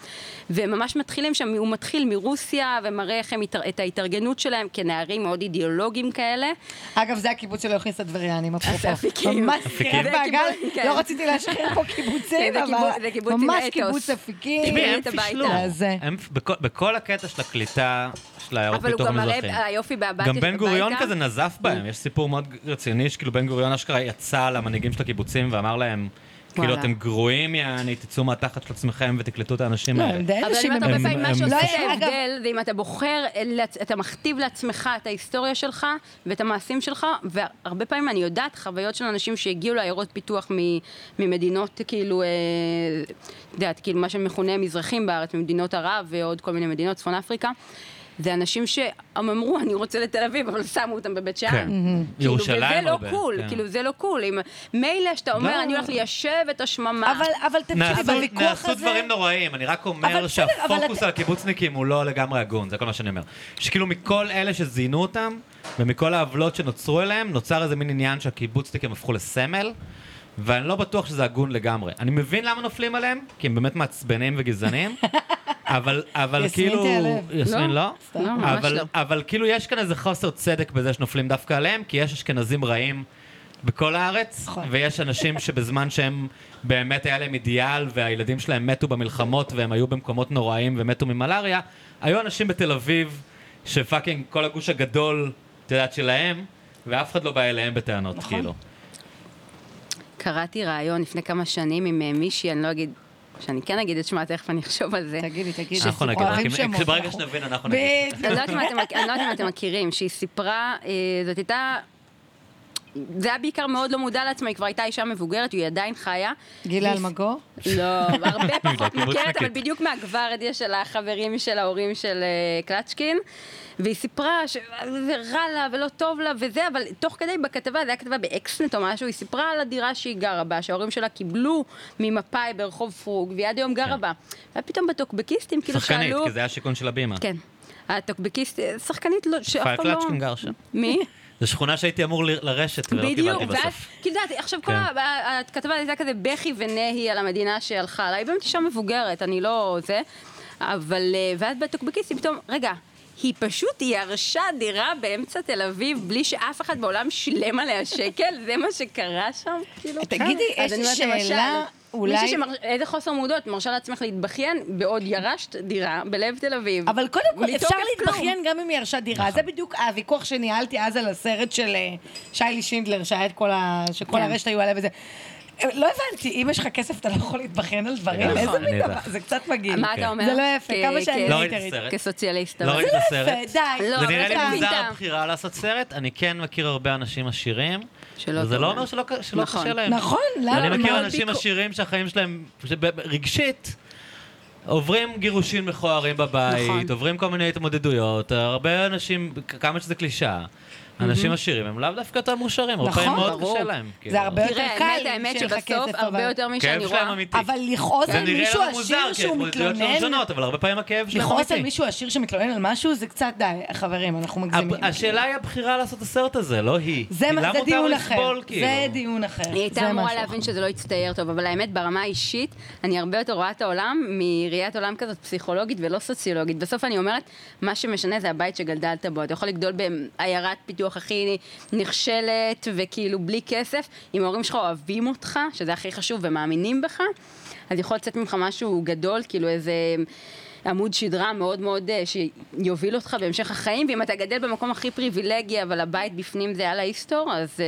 Speaker 1: והם ממש מתחילים שם, הוא מתחיל מרוסיה, ומראה איך הם, התאר- את ההתארגנות שלהם כנערים מאוד אידיאולוגיים כאלה.
Speaker 2: אגב, זה הקיבוץ שלא הכניס את הטבריאנים, אפרופו.
Speaker 1: אפיקים.
Speaker 2: ממש
Speaker 1: אפיקים.
Speaker 2: כן,
Speaker 1: זה
Speaker 2: מעגל.
Speaker 1: הקיבוץ, כן.
Speaker 2: לא רציתי להשחיר פה קיבוצים,
Speaker 1: זה קיבוץ-
Speaker 2: אבל
Speaker 1: זה קיבוץ עם
Speaker 2: ממש
Speaker 1: אתוס.
Speaker 2: קיבוץ אפיקים.
Speaker 3: תשמעי,
Speaker 1: אה,
Speaker 3: הם
Speaker 1: את הביתה.
Speaker 3: פישלו.
Speaker 2: אז, אה,
Speaker 3: הם, בכ- בכל הקטע של הקליטה של העיירות
Speaker 1: אבל הוא
Speaker 3: פיתוח
Speaker 1: גם
Speaker 3: המזרחים.
Speaker 1: מראה, היופי באמבטיה
Speaker 3: גם בן
Speaker 1: שבביתה-
Speaker 3: גוריון כזה נזף בהם, יש סיפור מאוד רציני, שכאילו בן גוריון אשכרה יצא למנהיגים של הקיבוצים ואמר להם, כאילו
Speaker 1: וואלה.
Speaker 3: אתם גרועים יעני, תצאו מהתחת של עצמכם ותקלטו את האנשים
Speaker 2: לא, הם
Speaker 3: האלה.
Speaker 2: די
Speaker 1: אבל אני
Speaker 2: אנשים.
Speaker 1: אומרת
Speaker 2: הם-
Speaker 1: הרבה
Speaker 3: הם-
Speaker 1: פעמים, מה
Speaker 3: הם-
Speaker 1: שעושה
Speaker 2: לא,
Speaker 1: את
Speaker 2: יש- אגב-
Speaker 1: ההבדל, זה אם אתה בוחר, לעצ- אתה מכתיב לעצמך את ההיסטוריה שלך ואת המעשים שלך, והרבה פעמים אני יודעת חוויות של אנשים שהגיעו לעיירות פיתוח מ- ממדינות, כאילו, אה, את יודעת, כאילו, מה שמכונה מזרחים בארץ, ממדינות ערב ועוד כל מיני מדינות, צפון אפריקה. זה אנשים שהם אמרו, אני רוצה לתל אביב, אבל שמו אותם בבית שאן.
Speaker 3: כן.
Speaker 1: כאילו,
Speaker 3: ירושלים
Speaker 1: וזה לא
Speaker 3: הרבה,
Speaker 1: קול,
Speaker 3: כן.
Speaker 1: כאילו, זה לא קול. אם- מילא שאתה
Speaker 3: לא.
Speaker 1: אומר, אני הולך ליישב את השממה.
Speaker 2: אבל- אבל תקשיבי,
Speaker 3: נעשו-
Speaker 2: בוויכוח
Speaker 3: נעשו
Speaker 2: הזה...
Speaker 3: דברים נוראים, אני רק
Speaker 2: אבל
Speaker 3: אומר
Speaker 2: בסדר, אבל
Speaker 3: שהפוקוס
Speaker 2: את-
Speaker 3: על הקיבוצניקים הוא לא לגמרי הגון, זה כל מה שאני אומר. שכאילו מכל אלה שזינו אותם, ומכל העוולות שנוצרו אליהם, נוצר איזה מין עניין שהקיבוצניקים הפכו לסמל, ואני לא בטוח שזה הגון לגמרי. אני מבין למה נופלים עליהם, כי הם באמת מעצבנים וגזענים, אבל, אבל
Speaker 2: יסמין
Speaker 3: כאילו...
Speaker 2: תיעלב.
Speaker 3: יסמין
Speaker 1: לא,
Speaker 3: לא?
Speaker 1: סתם. לא, ממש
Speaker 3: אבל,
Speaker 1: לא.
Speaker 3: אבל כאילו יש כאן איזה חוסר צדק בזה שנופלים דווקא עליהם, כי יש אשכנזים רעים בכל הארץ,
Speaker 2: נכון.
Speaker 3: ויש אנשים שבזמן שהם באמת היה להם אידיאל, והילדים שלהם מתו במלחמות, והם היו במקומות נוראים ומתו ממלאריה, היו אנשים בתל אביב, שפאקינג כל הגוש הגדול, את יודעת, שלהם, ואף אחד לא בא אליהם בטענות, נכון. כאילו.
Speaker 1: קראתי ראיון לפני כמה שנים עם אה, מישהי, אני לא אגיד, שאני כן אגיד את שמה, תכף אני אחשוב על זה.
Speaker 2: תגידי, תגידי.
Speaker 3: אנחנו נגיד,
Speaker 2: אוהבים
Speaker 3: כי-
Speaker 2: שמות,
Speaker 3: כי ברגע
Speaker 2: אנחנו-
Speaker 3: שנבין אנחנו נגיד.
Speaker 2: בדיוק.
Speaker 1: אני לא יודעת אם אתם- אני לא יודעת אם אתם מכירים, שהיא סיפרה, אה, זאת הייתה... זה היה בעיקר מאוד לא מודע לעצמה, היא כבר הייתה אישה מבוגרת, היא עדיין חיה.
Speaker 2: גילה
Speaker 1: והיא-
Speaker 2: אלמגור?
Speaker 1: לא, הרבה פחות
Speaker 3: קיבוצניקית.
Speaker 1: מוכרת, אבל בדיוק מהגווארדיה של החברים של ההורים של אה, קלצ'קין. והיא סיפרה שזה רע לה ולא טוב לה וזה, אבל תוך כדי בכתבה, זה היה כתבה באקסנט או משהו, היא סיפרה על הדירה שהיא גרה בה, שההורים שלה קיבלו ממפאי ברחוב פרוג, והיא עד היום גרה בה. ופתאום בטוקבקיסטים כאילו
Speaker 3: כן. שחקנית,
Speaker 1: שאלו...
Speaker 3: כי זה היה שיכון של הבימה.
Speaker 1: כן. הטוקבקיסט, שחקנית לא, שאף
Speaker 3: פאי
Speaker 1: פעם לא...
Speaker 3: קלצ'קין גר שם.
Speaker 1: מי?
Speaker 3: זו שכונה שהייתי אמור ל- לרשת, ולא
Speaker 1: בדיוק,
Speaker 3: לא קיבלתי
Speaker 1: ואז,
Speaker 3: בסוף.
Speaker 1: כאילו, את יודעת, עכשיו כל
Speaker 3: כן.
Speaker 1: ה- ה- הכתבה הייתה כזה בכי ונהי על המדינה שהלכה עליי, באמת אישה מבוגרת, אני לא זה, אבל, אה, ואז בטוקבקיסט היא פתאום, רגע, היא פשוט ירשה דירה באמצע תל אביב בלי שאף אחד בעולם שילם עליה שקל, זה מה שקרה שם, כאילו. כן.
Speaker 2: תגידי,
Speaker 1: אז
Speaker 2: יש
Speaker 1: אני
Speaker 2: לי
Speaker 1: אומרת, למשל,
Speaker 2: שאלה אולי...
Speaker 1: מישהי שמר... איזה חוסר מודעות, מרשה לעצמך להתבכיין בעוד ירשת דירה בלב תל אביב.
Speaker 2: אבל קודם כל,
Speaker 1: בלי
Speaker 2: אפשר
Speaker 1: תוקף
Speaker 2: להתבכיין גם אם היא ירשה דירה.
Speaker 1: נכון.
Speaker 2: זה בדיוק הוויכוח שניהלתי אז על הסרט של אה, שיילי שינדלר, שהיה את כל ה... שכל
Speaker 1: כן.
Speaker 2: הרשת היו עליה וזה. אה, לא הבנתי, אם יש לך כסף אתה לא יכול להתבכיין על דברים?
Speaker 3: נכון,
Speaker 2: איזה
Speaker 3: אני
Speaker 2: מין דבר?
Speaker 3: יודע.
Speaker 2: זה קצת מגעיל.
Speaker 1: מה אתה אומר?
Speaker 2: זה לא יפה,
Speaker 1: כ-
Speaker 2: כמה
Speaker 1: כ-
Speaker 2: שאני
Speaker 3: לא ראיתי את
Speaker 2: ראיתי.
Speaker 3: הסרט.
Speaker 1: כסוציאליסט.
Speaker 3: לא
Speaker 1: אבל-
Speaker 3: ראיתי את הסרט.
Speaker 2: יפה, די.
Speaker 1: לא,
Speaker 3: זה
Speaker 1: אבל
Speaker 3: נראה
Speaker 1: אתה
Speaker 3: לי מוזר
Speaker 1: מבין.
Speaker 3: הבחירה לעשות סרט, אני כן מכיר הרבה אנשים עשירים,
Speaker 1: שלא טוב
Speaker 3: וזה לא
Speaker 1: להם.
Speaker 3: אומר שלא ק- שלא
Speaker 1: נכון.
Speaker 3: קשה להם.
Speaker 2: נכון, למה?
Speaker 3: אני מכיר
Speaker 2: מאוד
Speaker 3: אנשים
Speaker 2: ביקור-
Speaker 3: עשירים שהחיים שלהם, שב- רגשית, עוברים גירושים מכוערים
Speaker 1: נכון.
Speaker 3: בבית, עוברים כל מיני התמודדויות, הרבה אנשים, כ- כמה שזה קלישאה, אנשים עשירים הם לאו דווקא יותר מאושרים, הרבה
Speaker 2: נכון,
Speaker 3: פעמים מאוד
Speaker 1: ברור.
Speaker 3: קשה להם. כאילו.
Speaker 2: זה הרבה יותר
Speaker 1: תראה,
Speaker 2: קל
Speaker 1: האמת, האמת
Speaker 2: שיהיה לך
Speaker 1: שבסוף
Speaker 2: כסף,
Speaker 1: הרבה
Speaker 2: אבל-
Speaker 1: יותר משאני
Speaker 3: כאב שלהם
Speaker 1: רואה.
Speaker 3: אמיתי.
Speaker 2: אבל לכעוס
Speaker 3: זה
Speaker 2: על
Speaker 3: נראה
Speaker 2: מישהו
Speaker 3: לנו מוזר,
Speaker 2: עשיר
Speaker 3: כי
Speaker 2: שהוא
Speaker 3: ההתמודדויות שלהם
Speaker 2: מתלונן,
Speaker 3: שונות, אבל הרבה פעמים הכאב שלהם אמיתי.
Speaker 2: לכעוס על מישהו עשיר שמתלונן על משהו, זה קצת די, חברים, אנחנו מגזימים.
Speaker 3: הב- השאלה היא הבחירה לעשות את הסרט הזה, לא היא.
Speaker 2: זה
Speaker 3: כי
Speaker 2: מה-
Speaker 3: למה
Speaker 2: זה
Speaker 3: מותר
Speaker 2: דיון אחר.
Speaker 3: לסבול, כאילו?
Speaker 2: זה דיון אחר.
Speaker 1: היא הייתה
Speaker 2: זה
Speaker 1: אמורה
Speaker 2: משהו אחר.
Speaker 1: להבין שזה לא יצטייר טוב, אבל האמת, ברמה האישית, אני הרבה יותר רואה את העולם מראיית עולם כזאת פסיכולוגית ולא סוציולוגית. בסוף אני אומרת, מה שמשנה זה הבית שגדלת בו. אתה יכול לגדול בעיירת פיתוח הכי נכשלת, וכאילו בלי כסף, אם ההורים שלך אוהבים אותך, שזה הכי חשוב, ומאמינים בך, אז יכול לצאת ממך משהו גדול, כאילו איזה... עמוד שדרה מאוד מאוד אה, שיוביל אותך בהמשך החיים, ואם אתה גדל במקום הכי פריבילגי, אבל הבית בפנים זה על ההיסטור, אז אה,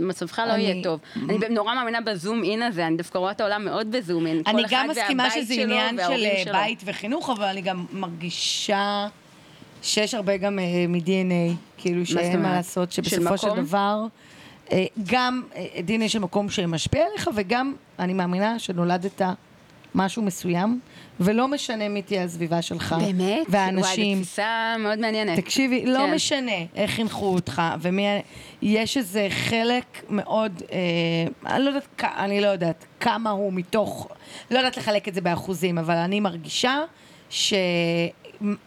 Speaker 1: מצבך לא
Speaker 2: אני-
Speaker 1: יהיה טוב.
Speaker 2: Mm-hmm.
Speaker 1: אני נורא מאמינה בזום אין הזה, אני דווקא רואה את העולם מאוד בזום אין. כל
Speaker 2: אני
Speaker 1: אחד
Speaker 2: גם
Speaker 1: והבית
Speaker 2: מסכימה שזה
Speaker 1: שלו
Speaker 2: עניין של
Speaker 1: וההורים
Speaker 2: אה,
Speaker 1: שלו.
Speaker 2: בית וחינוך, אבל אני גם מרגישה שיש הרבה גם אה, מ-DNA, כאילו
Speaker 1: זאת
Speaker 2: שאין מה
Speaker 1: אומרת?
Speaker 2: לעשות,
Speaker 1: של
Speaker 2: שבסופו של
Speaker 1: מקום?
Speaker 2: דבר, אה, גם אה, DNA של מקום שמשפיע עליך, וגם, אני מאמינה שנולדת משהו מסוים, ולא משנה מי תהיה הסביבה שלך.
Speaker 1: באמת? וואי, זו
Speaker 2: והאנשים.
Speaker 1: תפיסה מאוד מעניינת.
Speaker 2: תקשיבי, לא
Speaker 1: כן.
Speaker 2: משנה איך חינכו אותך, ומי... יש איזה חלק מאוד, אה, אני לא יודעת, כ- אני לא יודעת כמה הוא מתוך, לא יודעת לחלק את זה באחוזים, אבל אני מרגישה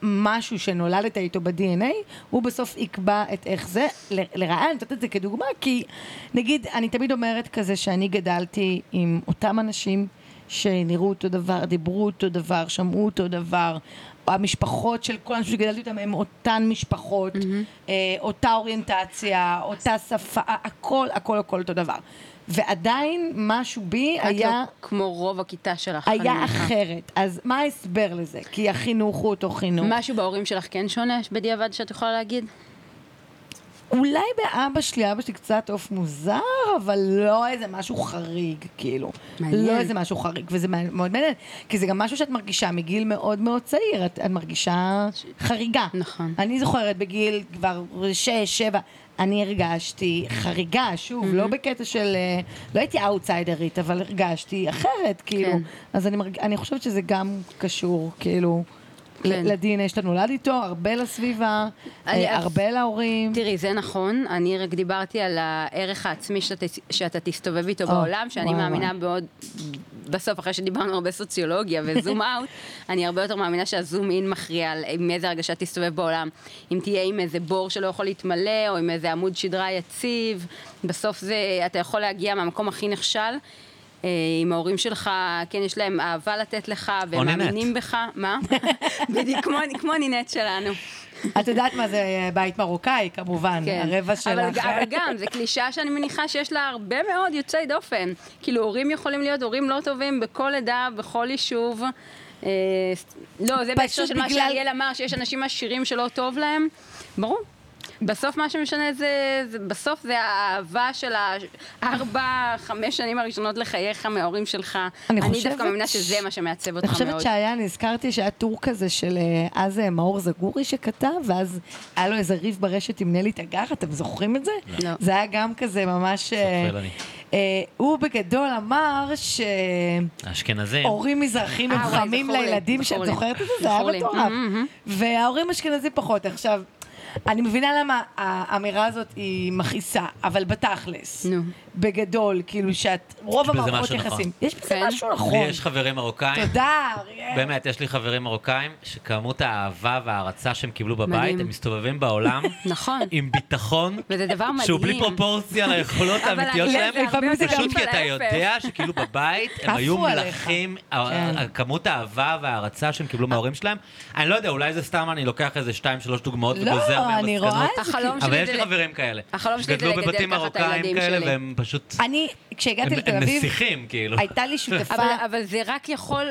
Speaker 2: שמשהו שנולדת איתו ב-DNA, הוא בסוף יקבע את איך זה. ל- לרעה, אני נותנת את זה כדוגמה, כי נגיד, אני תמיד אומרת כזה שאני גדלתי עם אותם אנשים שנראו אותו דבר, דיברו אותו דבר, שמעו אותו דבר. המשפחות של כל האנשים שגדלתי אותם הם אותן משפחות, mm-hmm. אה, אותה אוריינטציה, אותה שפה, הכל, הכל, הכל אותו דבר. ועדיין משהו בי
Speaker 1: את
Speaker 2: היה,
Speaker 1: לא כמו רוב הכיתה שלך. אני
Speaker 2: היה
Speaker 1: מניחה.
Speaker 2: אחרת. אז מה ההסבר לזה? כי החינוך הוא אותו חינוך.
Speaker 1: משהו בהורים שלך כן שונה, בדיעבד שאת יכולה להגיד?
Speaker 2: אולי באבא שלי, אבא שלי קצת עוף מוזר, אבל לא איזה משהו חריג, כאילו.
Speaker 1: מעניין.
Speaker 2: לא איזה משהו חריג, וזה מע- מאוד מעניין, כי זה גם משהו שאת מרגישה מגיל מאוד מאוד צעיר, את, את מרגישה חריגה.
Speaker 1: נכון.
Speaker 2: אני זוכרת בגיל כבר שש, שבע, אני הרגשתי חריגה, שוב, לא בקטע של... אה, לא הייתי אאוטסיידרית, אבל הרגשתי אחרת, כאילו.
Speaker 1: כן.
Speaker 2: אז אני, מרג... אני חושבת שזה גם קשור, כאילו...
Speaker 1: כן.
Speaker 2: לדנ"א שאתה נולד איתו, הרבה לסביבה,
Speaker 1: אני-
Speaker 2: אה, הרבה להורים.
Speaker 1: תראי, זה נכון, אני רק דיברתי על הערך העצמי שאתה, שאתה תסתובב איתו בעולם, שאני
Speaker 2: וואי,
Speaker 1: מאמינה מאוד, בסוף, אחרי שדיברנו הרבה סוציולוגיה וזום אאוט, אני הרבה יותר מאמינה שהזום אין מכריע על עם איזה הרגשה תסתובב בעולם. אם תהיה עם איזה בור שלא יכול להתמלא, או עם איזה עמוד שדרה יציב, בסוף זה, אתה יכול להגיע מהמקום הכי נכשל. אה, אם ההורים שלך, כן, יש להם אהבה לתת לך,
Speaker 3: או
Speaker 1: והם
Speaker 3: נינת.
Speaker 1: מאמינים בך, מה? בדיוק כמו, כמו נינט שלנו.
Speaker 2: את יודעת מה זה אה, בית מרוקאי, כמובן,
Speaker 1: כן.
Speaker 2: הרבע שלך.
Speaker 1: אבל, ג- אבל גם, זו קלישאה שאני מניחה שיש לה הרבה מאוד יוצאי דופן. כאילו, הורים יכולים להיות הורים לא טובים בכל עדה, בכל יישוב. אה, לא, זה בהקשר של מה
Speaker 2: בגלל-
Speaker 1: שאריאל אמר, שיש אנשים עשירים שלא טוב להם. ברור. בסוף מה שמשנה זה, זה בסוף זה האהבה של הארבע, חמש שנים הראשונות לחייך מההורים שלך.
Speaker 2: אני
Speaker 1: אני
Speaker 2: חושבת
Speaker 1: דווקא מאמינה
Speaker 2: ש-
Speaker 1: שזה מה שמעצב אותך
Speaker 2: אני
Speaker 1: מאוד.
Speaker 2: חושבת שהיה, נזכרתי שהיה טור כזה של אה, אז אה, מאור זגורי שכתב, ואז היה לו איזה ריב ברשת עם נלי תגר, אתם זוכרים את זה?
Speaker 1: לא.
Speaker 2: זה היה גם כזה ממש... אה,
Speaker 3: זוכר, אני.
Speaker 2: אה, הוא בגדול אמר ש...
Speaker 3: האשכנזים.
Speaker 2: הורים מזרחים הם
Speaker 1: כן. אה, וואי,
Speaker 2: חמים
Speaker 1: זכור לי,
Speaker 2: לילדים,
Speaker 1: זכור
Speaker 2: שאת
Speaker 1: לי.
Speaker 2: זוכרת את זה? זה היה
Speaker 1: זכור לי. Mm-hmm,
Speaker 2: מטורף.
Speaker 1: מהמם.
Speaker 2: וההורים אשכנזים פחות. עכשיו, אני מבינה למה האמירה הזאת היא מכעיסה, אבל בתכלס,
Speaker 1: נו.
Speaker 2: בגדול, כאילו שאת, רוב
Speaker 3: בזה
Speaker 2: המערכות
Speaker 3: משהו נכון.
Speaker 2: יחסים. יש בזה
Speaker 1: כן.
Speaker 2: משהו
Speaker 3: לי
Speaker 2: נכון.
Speaker 3: יש חברים מרוקאים.
Speaker 2: תודה, אריאל.
Speaker 3: באמת, יש לי חברים מרוקאים שכמות האהבה וההערצה שהם קיבלו בבית,
Speaker 1: מדהים.
Speaker 3: הם מסתובבים בעולם
Speaker 1: נכון.
Speaker 3: עם ביטחון,
Speaker 1: וזה דבר
Speaker 3: שהוא בלי
Speaker 1: מדהים.
Speaker 3: פרופורציה ליכולות
Speaker 1: אבל
Speaker 3: האמיתיות
Speaker 1: אני- לא
Speaker 3: שלהם,
Speaker 1: זה הרבה
Speaker 2: יותר
Speaker 3: פשוט
Speaker 1: עדיף
Speaker 3: כי
Speaker 1: על
Speaker 3: אתה
Speaker 1: ההפך.
Speaker 3: יודע שכאילו בבית הם
Speaker 2: עפו
Speaker 3: היו
Speaker 2: עליך.
Speaker 3: מלכים, ה-
Speaker 2: כן.
Speaker 3: ה- כמות
Speaker 1: אה.
Speaker 3: האהבה וההערצה שהם קיבלו מההורים שלהם, אני לא יודע, אולי זה סתם אני לוקח איזה שתיים, שלוש דוגמאות
Speaker 2: לא,
Speaker 3: וגוזר הרבה
Speaker 2: אני
Speaker 3: מסקנות.
Speaker 2: רואה את זה,
Speaker 1: החלום
Speaker 3: אבל
Speaker 1: שלי
Speaker 3: יש
Speaker 1: זה...
Speaker 3: לי
Speaker 1: ל-
Speaker 3: חברים כאלה.
Speaker 1: החלום שלי זה
Speaker 3: שגדלו
Speaker 1: לגדל
Speaker 3: בבתים
Speaker 1: ככה את
Speaker 3: מרוקאים
Speaker 1: הילדים
Speaker 3: כאלה,
Speaker 1: שלי.
Speaker 3: והם פשוט...
Speaker 2: אני, כשהגעתי
Speaker 3: הם-
Speaker 2: לתל
Speaker 3: הם
Speaker 2: אביב,
Speaker 3: נסיכים, כאילו.
Speaker 2: הייתה לי שותפה...
Speaker 1: אבל, אבל זה רק יכול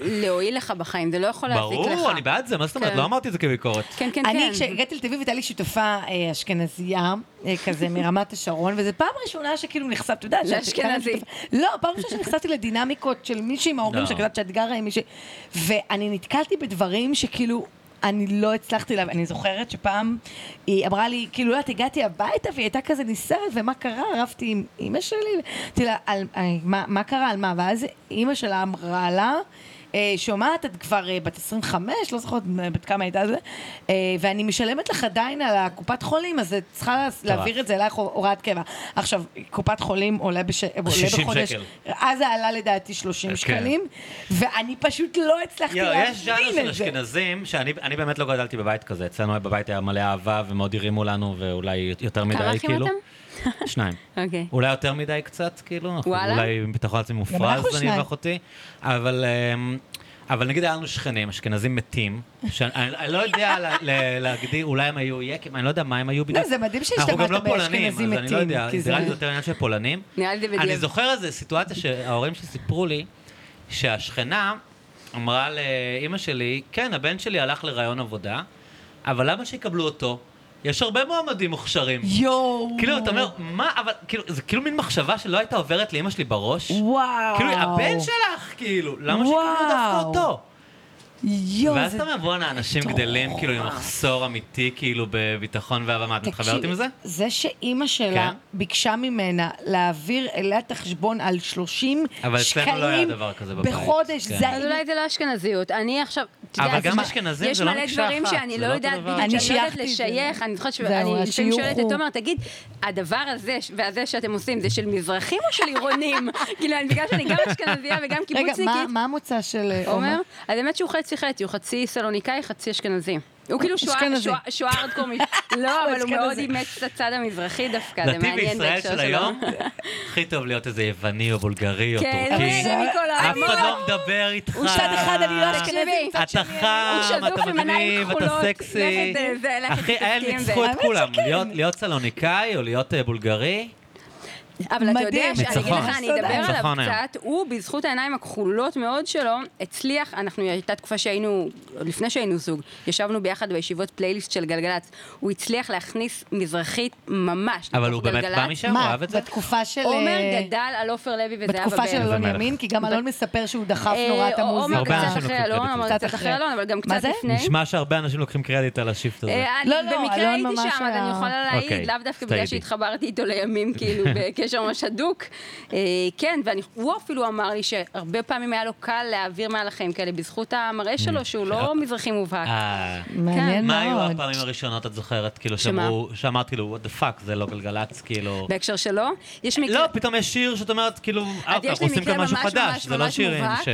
Speaker 1: להועיל לך בחיים, זה לא יכול להזיק לך.
Speaker 3: ברור, אני בעד זה, מה זאת אומרת?
Speaker 1: כן.
Speaker 3: לא אמרתי את זה כביקורת.
Speaker 1: כן, כן,
Speaker 2: אני,
Speaker 1: כן.
Speaker 2: כשהגעתי לתל אביב, הייתה לי שותפה אה, אשכנזייה, אה, כזה מרמת השרון, וזו פעם ראשונה שכאילו נחשפת, אתה יודעת, שאת-
Speaker 1: לאשכנזי.
Speaker 2: לא, פעם ראשונה שנחשפתי לדינמיקות של מישהי עם ההורים
Speaker 3: לא.
Speaker 2: שלך, את יודעת שאת גרה עם מישהי, ואני נתקלתי בדברים שכאילו... אני לא הצלחתי לה, אני זוכרת שפעם היא אמרה לי, כאילו, את הגעתי הביתה והיא הייתה כזה נסערת, ומה קרה? רבתי עם אימא שלי, אמרתי לה, על, על, מה, מה קרה, על מה? ואז אימא שלה אמרה לה, אה, שומעת, את כבר אה, בת 25, לא זוכרת אה, בת כמה הייתה זה, אה, ואני משלמת לך עדיין על הקופת חולים, אז את צריכה לה- להעביר את זה אלייך הוראת קבע. עכשיו, קופת חולים עולה, בש... עולה
Speaker 3: 60
Speaker 2: בחודש,
Speaker 3: שקל.
Speaker 2: אז זה עלה לדעתי 30
Speaker 3: כן.
Speaker 2: שקלים, ואני פשוט לא הצלחתי
Speaker 3: יואו, יש ז'אנר
Speaker 2: להבין
Speaker 3: של
Speaker 2: את זה.
Speaker 3: אשכנזים, שאני אני באמת לא גדלתי בבית כזה. אצלנו בבית היה מלא אהבה ומאוד הרימו לנו, ואולי יותר מדי,
Speaker 1: אחים
Speaker 3: כאילו. שניים.
Speaker 1: אוקיי.
Speaker 3: אולי יותר מדי קצת, כאילו. אנחנו
Speaker 1: וואלה?
Speaker 3: אולי ביטחון עצמי
Speaker 2: אנחנו
Speaker 3: מופרז,
Speaker 2: שניים.
Speaker 3: אני ואחותי. אבל... אמ, אבל נגיד היה לנו שכנים, אשכנזים מתים, שאני אני- אני לא יודע לה- ל- להגדיר, אולי הם היו יקים, אני לא יודע מה הם היו בדיוק.
Speaker 2: זה מדהים
Speaker 3: אנחנו גם
Speaker 2: שהשתמשת
Speaker 3: לא פולנים,
Speaker 2: באשכנזים
Speaker 3: אז אני לא
Speaker 2: מתים,
Speaker 3: יודע,
Speaker 2: כי
Speaker 3: זה נראה לי
Speaker 2: זה-
Speaker 3: יותר עניין של פולנים.
Speaker 1: נראה לי זה בדיוק.
Speaker 3: אני זוכר איזה סיטואציה שההורים שלי סיפרו לי, שהשכנה אמרה לאימא שלי, כן, הבן שלי הלך לראיון עבודה, אבל למה שיקבלו אותו? יש הרבה מועמדים מוכשרים.
Speaker 2: יואו.
Speaker 3: כאילו, אתה אומר, מה, אבל, כאילו, זה כאילו מין מחשבה שלא הייתה עוברת לאימא שלי בראש.
Speaker 2: וואו.
Speaker 3: כאילו, הבן שלך, כאילו, למה שיקבלו דווקא
Speaker 2: וואו.
Speaker 3: אותו?
Speaker 2: יואו,
Speaker 3: ואז
Speaker 2: זה
Speaker 3: אתה אומר, בואנה, אנשים גדלים, כאילו, עם מחסור אמיתי, כאילו, בביטחון ואהבה. מה, את מתחברת עם זה?
Speaker 2: זה שאימא שלה
Speaker 3: כן.
Speaker 2: ביקשה ממנה להעביר אליה את החשבון על 30
Speaker 3: אבל אצלנו
Speaker 2: שקלים
Speaker 3: לא היה דבר כזה בבית,
Speaker 2: בחודש,
Speaker 3: כן.
Speaker 2: זה
Speaker 1: אז אולי זה לא אשכנזיות. אני עכשיו, אתה יודע,
Speaker 3: אבל גם
Speaker 1: יש-
Speaker 3: אשכנזים זה לא
Speaker 1: יש
Speaker 3: מקשה
Speaker 1: מלא דברים
Speaker 3: אחת,
Speaker 1: שאני
Speaker 3: זה
Speaker 1: לא
Speaker 3: לא
Speaker 1: יודעת
Speaker 3: אותו דבר.
Speaker 1: בדיוק,
Speaker 2: אני
Speaker 1: שאני לא יודעת
Speaker 2: שייכתי את זה.
Speaker 1: לשייך. אני זוכרת
Speaker 2: זהו,
Speaker 1: שאני לפעמים
Speaker 2: השיוך
Speaker 1: שואלת את
Speaker 2: הוא-
Speaker 1: תומר, תגיד, הדבר הזה ש- והזה שאתם עושים, זה של מזרחים או של עירונים? כאילו, אני- בגלל שאני גם אשכנזייה וגם
Speaker 2: רגע,
Speaker 1: קיבוצניקית.
Speaker 2: מה- מה המוצא של אה,
Speaker 1: עומר?
Speaker 2: עומר?
Speaker 1: אז האמת שהוא חצי חצי, הוא חצי סלוניקאי, חצי אשכנזי. הוא כאילו שוער-
Speaker 2: אשכנזי.
Speaker 1: שוער- שוער ארדקור, מ- לא, אבל הוא
Speaker 2: אשכנזי.
Speaker 1: מאוד אימץ את הצד המזרחי דווקא, כן, זה
Speaker 3: דתי
Speaker 1: מעניין
Speaker 3: בישראל
Speaker 1: בהקשר
Speaker 3: של
Speaker 1: שלו.
Speaker 3: היום, הכי טוב להיות איזה יווני או בולגרי או
Speaker 1: כן,
Speaker 3: טורקי.
Speaker 1: זה מכל
Speaker 3: אף
Speaker 1: העולם.
Speaker 3: אחד לא מדבר איתך.
Speaker 1: הוא שד אחד, אני לא אשכנזית.
Speaker 3: אתה
Speaker 1: הוא
Speaker 3: חם,
Speaker 1: שזוף
Speaker 3: אתה
Speaker 1: עם עיניים
Speaker 3: מגניב, אתה
Speaker 1: כחולות.
Speaker 3: סקסי.
Speaker 1: לכת, אה, זה, לכת
Speaker 3: אחי,
Speaker 1: תתעסקי
Speaker 3: הם
Speaker 1: עם זה. כן.
Speaker 3: ניצחו את כולם. להיות- להיות סלוניקאי או להיות אה, בולגרי.
Speaker 1: אבל אתה יודע,
Speaker 2: מדהים.
Speaker 1: שאני אגיד
Speaker 3: ניצחון.
Speaker 1: לך, אני אדבר עליו
Speaker 3: ניצחון היום.
Speaker 1: קצת, הוא בזכות העיניים הכחולות מאוד שלו, הצליח, אנחנו, הייתה תקופה שהיינו, עוד לפני שהיינו זוג, ישבנו ביחד בישיבות פלייליסט של גלגלצ, הוא הצליח להכניס מזרחית ממש
Speaker 3: אבל
Speaker 1: לתוך
Speaker 3: הוא באמת בא
Speaker 1: גלגלצ.
Speaker 3: משם, הוא
Speaker 2: מה,
Speaker 3: אוהב את זה?
Speaker 2: בתקופה של...
Speaker 1: עומר
Speaker 2: אה,
Speaker 1: גדל על עופר לוי וזהבה
Speaker 2: בתקופה של
Speaker 1: בן.
Speaker 2: אלון
Speaker 3: מלך.
Speaker 2: ימין, כי גם אלון מספר שהוא דחף נורא את
Speaker 1: אה, עומר
Speaker 2: המוזיקה.
Speaker 3: הרבה
Speaker 1: קצת
Speaker 3: אנשים
Speaker 1: אחרי
Speaker 3: לוקחים
Speaker 1: אלון,
Speaker 3: קרדיט.
Speaker 1: עומר קצת
Speaker 2: קצת
Speaker 1: אחרי
Speaker 2: אחרי.
Speaker 1: אלון, אבל גם
Speaker 2: מה
Speaker 1: קצת
Speaker 2: זה?
Speaker 1: לפני.
Speaker 3: נשמע שהרבה אנשים לוקחים קרדיט על השיפט הזה.
Speaker 1: אה,
Speaker 2: לא,
Speaker 1: אני
Speaker 2: לא,
Speaker 1: במקרה
Speaker 2: אלון
Speaker 1: הייתי
Speaker 2: ממש
Speaker 1: שם, אז
Speaker 2: היה-
Speaker 1: אני יכולה
Speaker 3: אוקיי,
Speaker 1: להעיד, לאו דווקא בגלל
Speaker 3: טעיתי.
Speaker 1: שהתחברתי איתו לימים, כאילו, בקשר ממש הדוק. אה, כן, והוא אפילו אמר לי שהרבה פעמים היה לו קל להעביר מהלכים כאלה, בזכות המראה שלו, שהוא לא מזרחי מובהק.
Speaker 3: Mm, אה,
Speaker 2: מעניין
Speaker 3: מה היו
Speaker 2: מאוד.
Speaker 3: הפעמים הראשונות, את זוכרת? כאילו,
Speaker 1: שמה?
Speaker 3: שאמרו- שאמרתי לו, what the fuck, זה לא גלגלצ, כאילו...
Speaker 1: בהקשר שלו, יש מקרה...
Speaker 3: לא, פתאום יש שיר שאת אומרת, כאילו, אה,
Speaker 1: אז יש
Speaker 3: אנחנו
Speaker 1: לי
Speaker 3: עושים
Speaker 1: מקרה
Speaker 3: כאן
Speaker 1: ממש
Speaker 3: משהו חדש,
Speaker 1: ממש
Speaker 3: זה לא
Speaker 1: ממש
Speaker 3: שירים
Speaker 1: מובהק,
Speaker 3: ש...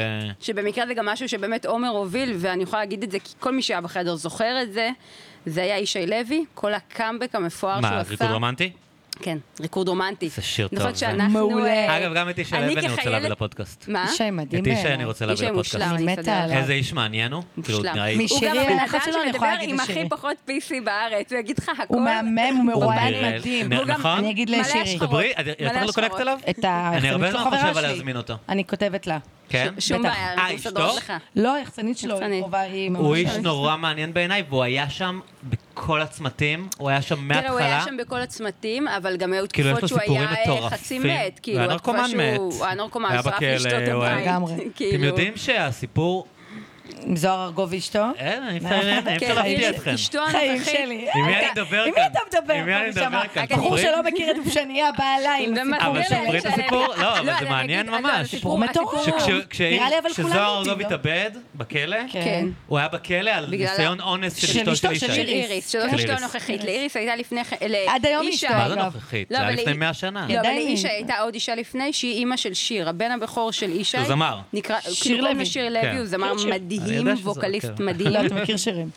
Speaker 1: שבמקרה זה גם משהו שבאמת עומר הוביל, ואני יכולה להגיד את זה, כי כל מי שהיה בחדר זוכר את זה. זה היה ישי לוי, כל הקאמבק המפואר שהוא
Speaker 3: מה,
Speaker 1: עשה.
Speaker 3: ריקוד רומנטי?
Speaker 1: כן, ריקוד רומנטי.
Speaker 3: זה שיר
Speaker 1: אני
Speaker 3: טוב,
Speaker 1: זוכרת
Speaker 3: זה.
Speaker 1: שאנחנו,
Speaker 2: מעולה.
Speaker 1: אה,
Speaker 3: אגב, גם את ישי
Speaker 1: אני
Speaker 3: לוי אני רוצה
Speaker 1: כחיילת-
Speaker 3: להביא לפודקאסט.
Speaker 1: מה?
Speaker 2: ישי מדהים
Speaker 3: את
Speaker 2: בעיניי.
Speaker 3: אישה אני רוצה להביא
Speaker 1: איש
Speaker 3: לפודקאסט.
Speaker 1: מושלם,
Speaker 2: אני
Speaker 1: אני
Speaker 2: מתה
Speaker 1: אסדר.
Speaker 2: עליו.
Speaker 3: איזה איש מעניין הוא? כאילו,
Speaker 1: לא. מושלם.
Speaker 3: נראה לי...
Speaker 2: מי ש-
Speaker 1: הוא גם
Speaker 2: שירי,
Speaker 1: הבן
Speaker 2: אחד
Speaker 1: אדם
Speaker 2: שלו, אני
Speaker 1: שמדבר
Speaker 2: יכולה להגיד
Speaker 1: עם
Speaker 2: את
Speaker 1: הכי
Speaker 2: שירי.
Speaker 1: פחות פיסי בארץ, הוא יגיד לך הכל.
Speaker 2: הוא מהמם, הוא
Speaker 3: הוא
Speaker 2: מרואיין
Speaker 3: נראה-
Speaker 2: מדהים.
Speaker 3: נראה-
Speaker 1: הוא גם-
Speaker 3: נכון?
Speaker 2: אני אגיד
Speaker 1: מלא
Speaker 2: לשירי.
Speaker 1: השחרות.
Speaker 3: דברי, את-
Speaker 1: מלא
Speaker 3: יותר לא
Speaker 1: השחרות.
Speaker 3: קולקט עליו?
Speaker 2: את ה...
Speaker 3: אני הרבה
Speaker 2: יחצנית
Speaker 3: זמן
Speaker 2: שלו, חברה
Speaker 3: חושב על
Speaker 2: שלי.
Speaker 3: להזמין אותו.
Speaker 2: אני כותבת לה.
Speaker 3: כן?
Speaker 1: שום
Speaker 2: בטח.
Speaker 1: בעיה,
Speaker 3: אה,
Speaker 1: אנחנו
Speaker 3: אשתו?
Speaker 1: מסדרות לך.
Speaker 2: לא, היחצנית שלו, היא
Speaker 1: יחצנית.
Speaker 2: קרובה, היא ממש...
Speaker 3: הוא איש נורא מעניין בעיניי, והוא היה שם בכל הצמתים, הוא היה שם
Speaker 1: תראה, כאילו, הוא היה
Speaker 3: מההתחלה.
Speaker 1: שם בכל הצמתים, אבל גם היו
Speaker 3: כאילו, יש
Speaker 1: תקופות
Speaker 3: לו
Speaker 1: שהוא
Speaker 3: סיפורים
Speaker 1: היה אה,
Speaker 3: מטורפים.
Speaker 1: חצי מת. כאילו,
Speaker 3: והנרקומן
Speaker 1: התקופה שהוא-
Speaker 3: מת.
Speaker 1: הוא היה נרקומן,
Speaker 3: היה
Speaker 1: הוא שרף
Speaker 3: בכלא,
Speaker 1: לאשתו את
Speaker 3: הוא היה-
Speaker 1: הבית.
Speaker 2: לגמרי.
Speaker 1: כאילו.
Speaker 3: אתם יודעים שהסיפור...
Speaker 2: עם זוהר ארגוב ואשתו?
Speaker 3: אין, אי אפשר אי
Speaker 1: כן,
Speaker 3: אפשר להפתיע
Speaker 1: הנה,
Speaker 3: אתכם.
Speaker 1: אשתו
Speaker 2: חיים
Speaker 1: הנוכחית,
Speaker 2: שלי.
Speaker 3: אה?
Speaker 2: אה,
Speaker 3: עם מי
Speaker 2: אתה-
Speaker 3: אני מדבר
Speaker 2: עם מי
Speaker 3: כאן?
Speaker 2: אתה מדבר?
Speaker 3: עם מי אני
Speaker 2: פה ושמה?
Speaker 3: מדבר כאן?
Speaker 2: בחור
Speaker 3: ספרי.
Speaker 2: שלא מכיר את אופשניה בא אליי עם הסיפור
Speaker 1: ומסביר
Speaker 3: אבל
Speaker 1: לה
Speaker 2: שלו.
Speaker 3: ספרי את
Speaker 1: לשלם.
Speaker 3: הסיפור, לא, אבל
Speaker 1: אני
Speaker 3: זה
Speaker 1: אגיד,
Speaker 3: מעניין
Speaker 1: לא, זה
Speaker 3: ממש.
Speaker 1: הסיפור-
Speaker 2: סיפור מטורף.
Speaker 1: הסיפור-
Speaker 3: שכש- כש-
Speaker 2: נראה לי אבל כולם
Speaker 3: כשזוהר
Speaker 2: מתים,
Speaker 3: ארגוב
Speaker 2: לא?
Speaker 3: התאבד בכלא,
Speaker 1: כן.
Speaker 3: הוא היה בכלא על
Speaker 1: בגלל
Speaker 3: ניסיון אונס
Speaker 2: של
Speaker 3: של אשתו
Speaker 2: אשתו,
Speaker 3: של
Speaker 2: של כן.
Speaker 3: ישי.
Speaker 1: של איריס, שזאת
Speaker 3: של
Speaker 1: אשתו
Speaker 3: איריס.
Speaker 1: הנוכחית. לאיריס הייתה לפני כן,
Speaker 2: עד היום
Speaker 1: לאישה.
Speaker 2: אשתו,
Speaker 3: מה זה
Speaker 2: אגב.
Speaker 3: נוכחית?
Speaker 1: לא,
Speaker 3: זה היה
Speaker 1: אבל
Speaker 3: לפני
Speaker 1: היא-
Speaker 3: 100 שנה.
Speaker 1: לא, אבל
Speaker 2: עדיין
Speaker 1: לאישה
Speaker 2: היא.
Speaker 1: הייתה עוד אישה לפני, שהיא אימא של שיר, הבן הבכור של ישי.
Speaker 3: הוא זמר.
Speaker 1: נקרא,
Speaker 2: שיר
Speaker 1: כאילו קוראים לו
Speaker 2: לוי.
Speaker 1: שיר לוי,
Speaker 3: כן.
Speaker 1: הוא זמר
Speaker 3: כן, שיר. אני
Speaker 1: מדהים,
Speaker 3: יודע שזה-
Speaker 1: ווקליסט
Speaker 3: כן.
Speaker 1: מדהים.
Speaker 2: לא, אתה מכיר שירים.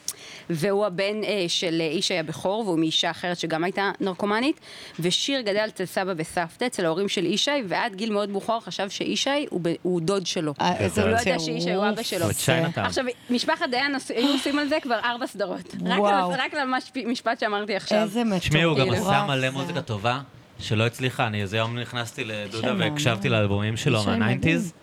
Speaker 1: והוא הבן אה, של אה, איש היה בכור, והוא מאישה אחרת שגם הייתה נרקומנית, ושיר גדל אצל סבא וסבתא, אצל ההורים של ישי, ועד גיל מאוד מאוחר חשב שישי הוא, ב- הוא דוד שלו.
Speaker 3: כן,
Speaker 2: אה, איזה
Speaker 1: הוא לא ידע
Speaker 2: טירוף.
Speaker 1: שישי הוא אבא שלו.
Speaker 3: הוא צ'יינאטאון.
Speaker 1: עכשיו, משפחת דיין עשו- היו עושים על זה כבר ארבע סדרות. רק
Speaker 2: וואו.
Speaker 1: על- רק על המשפט שאמרתי עכשיו.
Speaker 2: איזה מטורף.
Speaker 3: תשמעי, הוא גם עשה
Speaker 2: זה.
Speaker 3: מלא מוזיקה טובה, שלא הצליחה. אני איזה יום נכנסתי לדודה והקשבתי לאלבומים שלו מהניינטיז.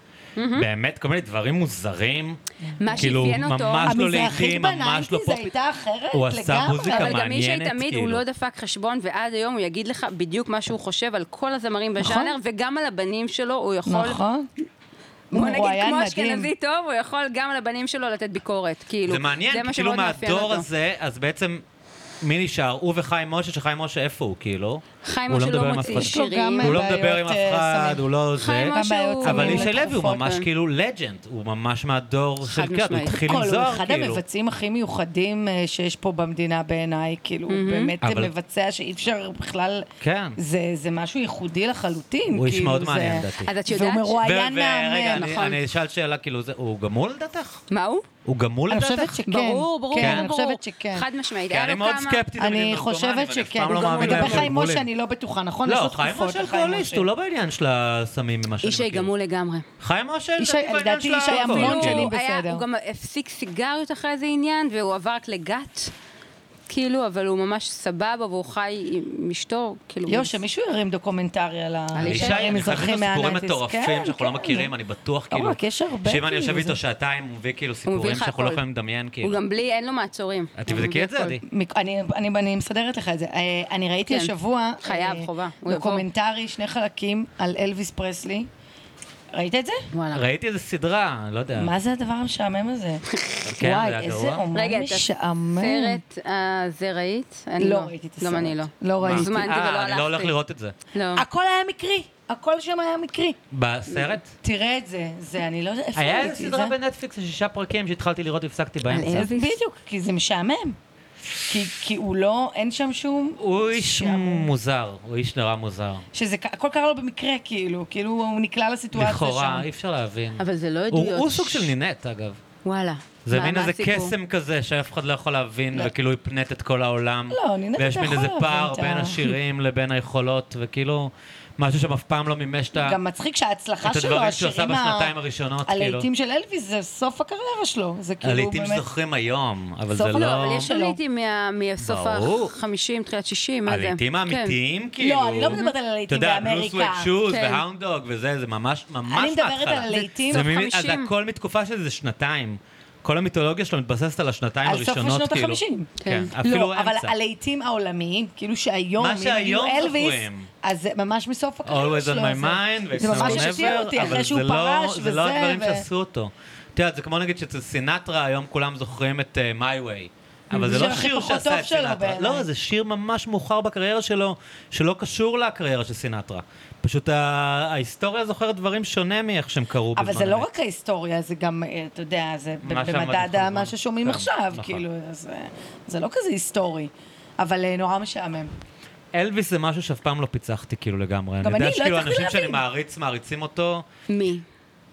Speaker 3: באמת, כל מיני דברים מוזרים.
Speaker 1: מה
Speaker 3: כאילו,
Speaker 1: שאפיין אותו-
Speaker 3: ממש לא
Speaker 2: המזרחית
Speaker 3: לעיתים, ממש לא
Speaker 2: בניינטיז
Speaker 3: פופ.
Speaker 2: הייתה אחרת
Speaker 3: הוא עשה
Speaker 2: לגמרי.
Speaker 3: מוזיקה
Speaker 1: אבל גם ישי
Speaker 3: מעניינת,
Speaker 1: תמיד, הוא
Speaker 3: כאילו.
Speaker 1: לא דפק חשבון, ועד היום הוא יגיד לך בדיוק מה שהוא חושב על כל הזמרים
Speaker 3: נכון.
Speaker 1: בז'אנר, וגם על הבנים שלו הוא יכול...
Speaker 2: נכון.
Speaker 1: בוא
Speaker 2: הוא
Speaker 1: נגיד,
Speaker 2: היה
Speaker 1: כמו
Speaker 2: מדהים.
Speaker 1: אשכנזי טוב, הוא יכול גם על הבנים שלו לתת ביקורת. כאילו,
Speaker 3: זה מעניין,
Speaker 1: מה
Speaker 3: כי כאילו
Speaker 1: שמאוד מאפיין
Speaker 3: מהדור
Speaker 1: אותו.
Speaker 3: הזה, אז בעצם... מי נשאר? הוא וחיים משה, שחיים משה איפה הוא, כאילו?
Speaker 1: חיים
Speaker 3: הוא
Speaker 1: משה לא
Speaker 3: מדבר עם אף
Speaker 1: מוציא
Speaker 3: אחד.
Speaker 1: שירים.
Speaker 3: הוא לא
Speaker 2: בעיות,
Speaker 3: מדבר עם אף
Speaker 2: אה,
Speaker 3: אחד,
Speaker 2: סמים.
Speaker 3: הוא לא
Speaker 1: חיים
Speaker 3: זה.
Speaker 1: משה
Speaker 2: הבעיות
Speaker 1: הוא-
Speaker 2: סמים
Speaker 3: אבל
Speaker 2: סמים
Speaker 3: איש לוי הוא
Speaker 2: לתרופות,
Speaker 3: ממש
Speaker 1: כן.
Speaker 3: כאילו לג'נד, הוא ממש מהדור של
Speaker 1: חד
Speaker 3: כאילו, הוא
Speaker 1: משמעית.
Speaker 3: התחיל עם
Speaker 2: כל, הוא
Speaker 3: זוהר,
Speaker 2: אחד
Speaker 3: כאילו.
Speaker 2: המבצעים הכי מיוחדים אה, שיש פה במדינה בעיניי, כאילו, הוא באמת
Speaker 3: אבל-
Speaker 2: מבצע שאי אפשר בכלל...
Speaker 3: כן.
Speaker 2: זה זה משהו ייחודי לחלוטין.
Speaker 3: הוא איש
Speaker 2: כאילו,
Speaker 3: מאוד
Speaker 2: זה-
Speaker 3: מעניין, לדעתי.
Speaker 1: אז את
Speaker 2: והוא
Speaker 1: יודעת... ש-
Speaker 2: מרואיין. היה
Speaker 3: ו-
Speaker 2: נעמם,
Speaker 3: ורגע, אני-
Speaker 1: נכון.
Speaker 3: אני אשאל שאלה, כאילו, זה- הוא גמול לדעתך?
Speaker 1: מה הוא?
Speaker 3: הוא גמול
Speaker 2: אני
Speaker 3: לדעתך?
Speaker 2: חושבת שכן.
Speaker 1: ברור, ברור,
Speaker 2: כן, אני
Speaker 1: ברור.
Speaker 2: חושבת שכן.
Speaker 1: חד משמעית.
Speaker 3: כי
Speaker 1: היה
Speaker 3: אני
Speaker 1: לו
Speaker 3: מאוד
Speaker 1: כמה-
Speaker 3: סקפטי תמיד
Speaker 2: אני
Speaker 3: עם נרקומנים,
Speaker 2: חושבת
Speaker 3: ואני אף
Speaker 2: שכן.
Speaker 3: פעם לא מאמין
Speaker 2: לגבי
Speaker 3: להם שהם
Speaker 2: חיים משה
Speaker 3: גמולים.
Speaker 2: אני לא בטוחה, נכון? יש לו
Speaker 3: לא, חיים
Speaker 2: תקופות
Speaker 3: משה
Speaker 2: לחיים
Speaker 3: אלכוהוליסט,
Speaker 2: משה.
Speaker 3: הוא לא בעניין של הסמים, ממה שאני
Speaker 1: איש
Speaker 3: מכיר.
Speaker 1: היה גמול לגמרי.
Speaker 3: חיים משה,
Speaker 2: איש-
Speaker 3: לדעתי, בעניין
Speaker 2: לדעתי
Speaker 3: של
Speaker 2: איש היה
Speaker 3: האלכוהול,
Speaker 1: אפילו
Speaker 2: המון
Speaker 3: כאילו.
Speaker 2: שנים
Speaker 1: הוא היה-
Speaker 2: בסדר.
Speaker 1: הוא גם הפסיק סיגריות אחרי איזה עניין, והוא עבר רק לגת, כאילו, אבל הוא ממש סבבה, והוא חי עם אשתו, כאילו...
Speaker 2: יו, שמישהו ירים דוקומנטרי על ה-
Speaker 1: על
Speaker 3: האישה היא,
Speaker 2: המזרחים
Speaker 3: אני חייב להם סיפורים
Speaker 2: מהניינטיז.
Speaker 3: מטורפים
Speaker 2: כן,
Speaker 3: שאנחנו לא
Speaker 2: כן.
Speaker 3: מכירים, אני בטוח, כאילו.
Speaker 2: רק, יש הרבה,
Speaker 3: שאם אני יושב
Speaker 2: כאילו,
Speaker 3: איתו
Speaker 2: זה-
Speaker 3: שעתיים, הוא מביא כאילו
Speaker 1: הוא מביא
Speaker 3: סיפורים
Speaker 1: לך
Speaker 3: שאנחנו לא
Speaker 1: הכל.
Speaker 3: יכולים לדמיין,
Speaker 1: הוא
Speaker 3: כאילו.
Speaker 1: גם בלי, אין לו מעצורים.
Speaker 3: את
Speaker 1: הוא מביא
Speaker 3: תבדקי את זה,
Speaker 1: הכל.
Speaker 3: עדי.
Speaker 2: מק- אני, אני, אני מסדרת לך את זה. אה, אני ראיתי
Speaker 1: כן.
Speaker 2: השבוע...
Speaker 1: חייב,
Speaker 2: אה,
Speaker 1: חובה. הוא יבוא.
Speaker 2: דוקומנטרי, שני חלקים, על אלוויס פרסלי. ראית את זה?
Speaker 1: וואלה.
Speaker 3: ראיתי איזה סדרה, לא יודע.
Speaker 2: מה זה הדבר המשעמם הזה?
Speaker 3: כן, זה
Speaker 2: וואי,
Speaker 3: היה
Speaker 2: איזה
Speaker 3: גרוע.
Speaker 2: אומן
Speaker 1: רגע, את
Speaker 2: משעמם.
Speaker 1: הסרט אה, זה ראית? אני
Speaker 2: לא ראיתי את הסרט. אה.
Speaker 1: גם אני לא.
Speaker 2: לא ראיתי.
Speaker 1: הוזמנתי ולא
Speaker 3: אה,
Speaker 1: הלכתי.
Speaker 3: אני לא הולך לראות את זה.
Speaker 1: לא.
Speaker 2: הכל היה מקרי, הכל שם היה מקרי.
Speaker 3: בסרט?
Speaker 2: תראה את זה, זה, אני לא יודעת איפה
Speaker 3: היה איזה
Speaker 2: ראיתי את זה.
Speaker 3: כן, סדרה בנטפליקס של שישה פרקים שהתחלתי לראות והפסקתי
Speaker 1: על
Speaker 3: באמצע.
Speaker 1: אלוויס?
Speaker 2: בדיוק, כי זה משעמם. כי, כי הוא לא, אין שם שום...
Speaker 3: הוא איש
Speaker 2: שעמום.
Speaker 3: מוזר, הוא איש נורא מוזר.
Speaker 2: שזה, ק- הכל קרה לו במקרה, כאילו, כאילו הוא נקלע לסיטואציה שם.
Speaker 3: לכאורה, אי אפשר להבין.
Speaker 1: אבל זה לא
Speaker 3: הוא-
Speaker 1: עדויות.
Speaker 3: הוא סוג של נינט, אגב.
Speaker 1: וואלה.
Speaker 3: זה
Speaker 1: מה-
Speaker 3: מין
Speaker 1: מה
Speaker 3: איזה
Speaker 1: הסיפור?
Speaker 3: קסם כזה שאף אחד לא יכול להבין, וכאילו הפנט את כל העולם.
Speaker 2: לא, נינט
Speaker 3: ויש
Speaker 2: אתה
Speaker 3: מין
Speaker 2: יכול
Speaker 3: איזה
Speaker 2: להבין
Speaker 3: פער
Speaker 2: את ה-
Speaker 3: בין השירים לבין היכולות, וכאילו, משהו שם אף פעם לא מימש את ה-
Speaker 2: גם מצחיק שההצלחה
Speaker 3: את
Speaker 2: שלו,
Speaker 3: הדברים שהוא עשה
Speaker 2: השירים ה-
Speaker 3: בשנתיים הראשונות, כאילו.
Speaker 2: הלהיטים של אלוויס זה סוף הקריירה שלו. זה כאילו
Speaker 3: הלעיתים
Speaker 2: באמת...
Speaker 3: שזוכרים היום, אבל
Speaker 2: סוף
Speaker 3: זה
Speaker 2: לא,
Speaker 3: לא...
Speaker 1: אבל יש
Speaker 2: לא.
Speaker 1: עליתים מה- מסוף
Speaker 3: ברור.
Speaker 1: ה-50, תחילת 60, מה זה?
Speaker 3: הלעיתים
Speaker 1: כן.
Speaker 3: האמיתיים, כאילו.
Speaker 2: לא, אני לא מדברת על הלהיטים
Speaker 3: אתה יודע,
Speaker 2: באמריקה.
Speaker 3: בלו סוויט שוז
Speaker 1: כן.
Speaker 3: והאונדוג וזה, זה ממש, ממש מההתחלה.
Speaker 2: אני מדברת על הלהיטים.
Speaker 3: זה
Speaker 1: סוף
Speaker 3: ממין- אז
Speaker 1: חמישים.
Speaker 3: הכל מתקופה של זה שנתיים. כל המיתולוגיה שלו מתבססת על השנתיים
Speaker 2: על סוף
Speaker 3: הראשונות,
Speaker 2: שנות
Speaker 3: כאילו.
Speaker 2: החמישים.
Speaker 3: כן,
Speaker 1: כן.
Speaker 3: אפילו
Speaker 2: לא, אבל
Speaker 3: האמצע.
Speaker 2: הלהיטים העולמיים, כאילו שהיום,
Speaker 3: מה
Speaker 2: אם
Speaker 3: שהיום
Speaker 2: יגידו אלוויס,
Speaker 3: זוכרים.
Speaker 2: אז זה ממש מסוף הקריירה
Speaker 3: Always
Speaker 2: שלו.
Speaker 3: on
Speaker 2: זה-
Speaker 3: my mind,
Speaker 2: זה
Speaker 3: ו-It's
Speaker 2: ממש
Speaker 3: now or
Speaker 2: הפתיע
Speaker 3: never,
Speaker 2: אותי
Speaker 3: אבל
Speaker 2: אחרי שהוא
Speaker 3: זה לא-
Speaker 2: פרש
Speaker 3: זה לא
Speaker 2: וזה,
Speaker 3: הדברים
Speaker 2: ו-
Speaker 3: שעשו אותו. את יודעת, זה כמו נגיד שאצל סינטרה היום כולם זוכרים את אה, My Way. אבל זה
Speaker 2: זה
Speaker 3: לא
Speaker 2: הכי
Speaker 3: שיר
Speaker 2: פחות
Speaker 3: שעשה
Speaker 2: טוב
Speaker 3: את
Speaker 2: שלו
Speaker 3: סינטרה.
Speaker 2: בעיניי.
Speaker 3: לא, זה שיר ממש מאוחר בקריירה שלו, שלא קשור לקריירה של סינטרה. פשוט ה- ההיסטוריה זוכרת דברים שונה מאיך שהם קרו בזמן
Speaker 2: אבל זה לא
Speaker 3: אמת.
Speaker 2: רק ההיסטוריה, זה גם, אה, אתה יודע, זה ב-
Speaker 3: מה שעמד
Speaker 2: במדד
Speaker 3: לך
Speaker 2: ה-
Speaker 3: בזמן.
Speaker 2: מה ששומעים
Speaker 3: כן,
Speaker 2: עכשיו,
Speaker 3: נכון.
Speaker 2: כאילו, אז, אה, זה לא כזה היסטורי. אבל אה, נורא משעמם.
Speaker 3: אלוויס זה משהו שאף פעם לא פיצחתי כאילו לגמרי.
Speaker 2: גם
Speaker 3: אני
Speaker 2: אני,
Speaker 3: יודע
Speaker 2: לא
Speaker 3: שכאילו
Speaker 2: הצלחתי
Speaker 3: אנשים שאני
Speaker 2: להבין.
Speaker 3: מעריץ, מעריצים אותו.
Speaker 1: מי?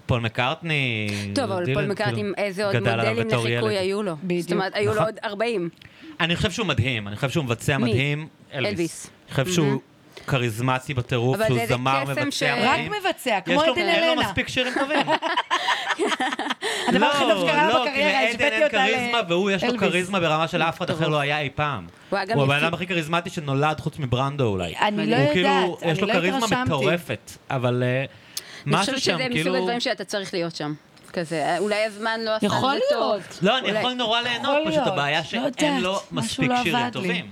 Speaker 3: פול מקארטני.
Speaker 1: טוב, אבל
Speaker 3: דילן,
Speaker 1: פול מקארטני,
Speaker 3: כאילו,
Speaker 1: איזה עוד
Speaker 3: גדל עליו
Speaker 1: מודלים
Speaker 3: בתור
Speaker 1: לחיקוי
Speaker 3: ילד.
Speaker 1: היו לו.
Speaker 2: בדיוק.
Speaker 1: זאת אומרת, היו לו
Speaker 3: נכון.
Speaker 1: עוד 40.
Speaker 3: אני חושב שהוא מדהים, אני חושב שהוא מבצע
Speaker 1: מי?
Speaker 3: מדהים.
Speaker 1: אלוויס.
Speaker 3: אני חושב שהוא כריזמטי בטירוף,
Speaker 1: אבל
Speaker 3: שהוא
Speaker 1: זה איזה
Speaker 3: זמר
Speaker 1: קסם ש-
Speaker 3: מבצע
Speaker 2: רק
Speaker 3: מדהים.
Speaker 2: מבצע,
Speaker 3: אה, יש
Speaker 2: כמו
Speaker 3: לו-
Speaker 2: עדן
Speaker 3: אין לו
Speaker 2: אלנה.
Speaker 3: מספיק שירים טובים.
Speaker 2: הדבר הכי טוב שקרה בקריירה,
Speaker 3: לא, כי
Speaker 2: השוויתי
Speaker 3: לעדן אין
Speaker 2: אותה
Speaker 3: כריזמה,
Speaker 2: ל-
Speaker 3: והוא יש לו
Speaker 2: אלוויס.
Speaker 3: כריזמה ברמה של אף אחד אחר לא היה אי פעם.
Speaker 1: הוא היה גם
Speaker 3: הוא הבן
Speaker 1: יציב.
Speaker 3: אדם הכי כריזמטי שנולד חוץ מברנדו אולי.
Speaker 2: אני לא
Speaker 3: הוא כאילו,
Speaker 2: יודעת,
Speaker 3: יש
Speaker 2: אני
Speaker 3: לו
Speaker 2: לא
Speaker 3: כריזמה
Speaker 2: התרשמתי.
Speaker 3: מטורפת, אבל אה,
Speaker 1: אני
Speaker 3: משהו
Speaker 1: חושבת
Speaker 3: שם,
Speaker 1: שזה מסוג
Speaker 3: כאילו...
Speaker 1: הדברים שאתה צריך להיות שם. כזה, אה, אולי הזמן לא עשה
Speaker 2: יכול
Speaker 1: לזה טוב.
Speaker 2: להיות.
Speaker 3: לא, אני
Speaker 1: אולי-
Speaker 3: יכול נורא ליהנות,
Speaker 2: יכול
Speaker 3: פשוט
Speaker 2: להיות,
Speaker 3: הבעיה
Speaker 2: לא
Speaker 3: שאין
Speaker 2: יודעת,
Speaker 3: לו
Speaker 2: משהו
Speaker 3: מספיק
Speaker 2: לא
Speaker 3: שירים
Speaker 2: עבד לי.
Speaker 3: טובים.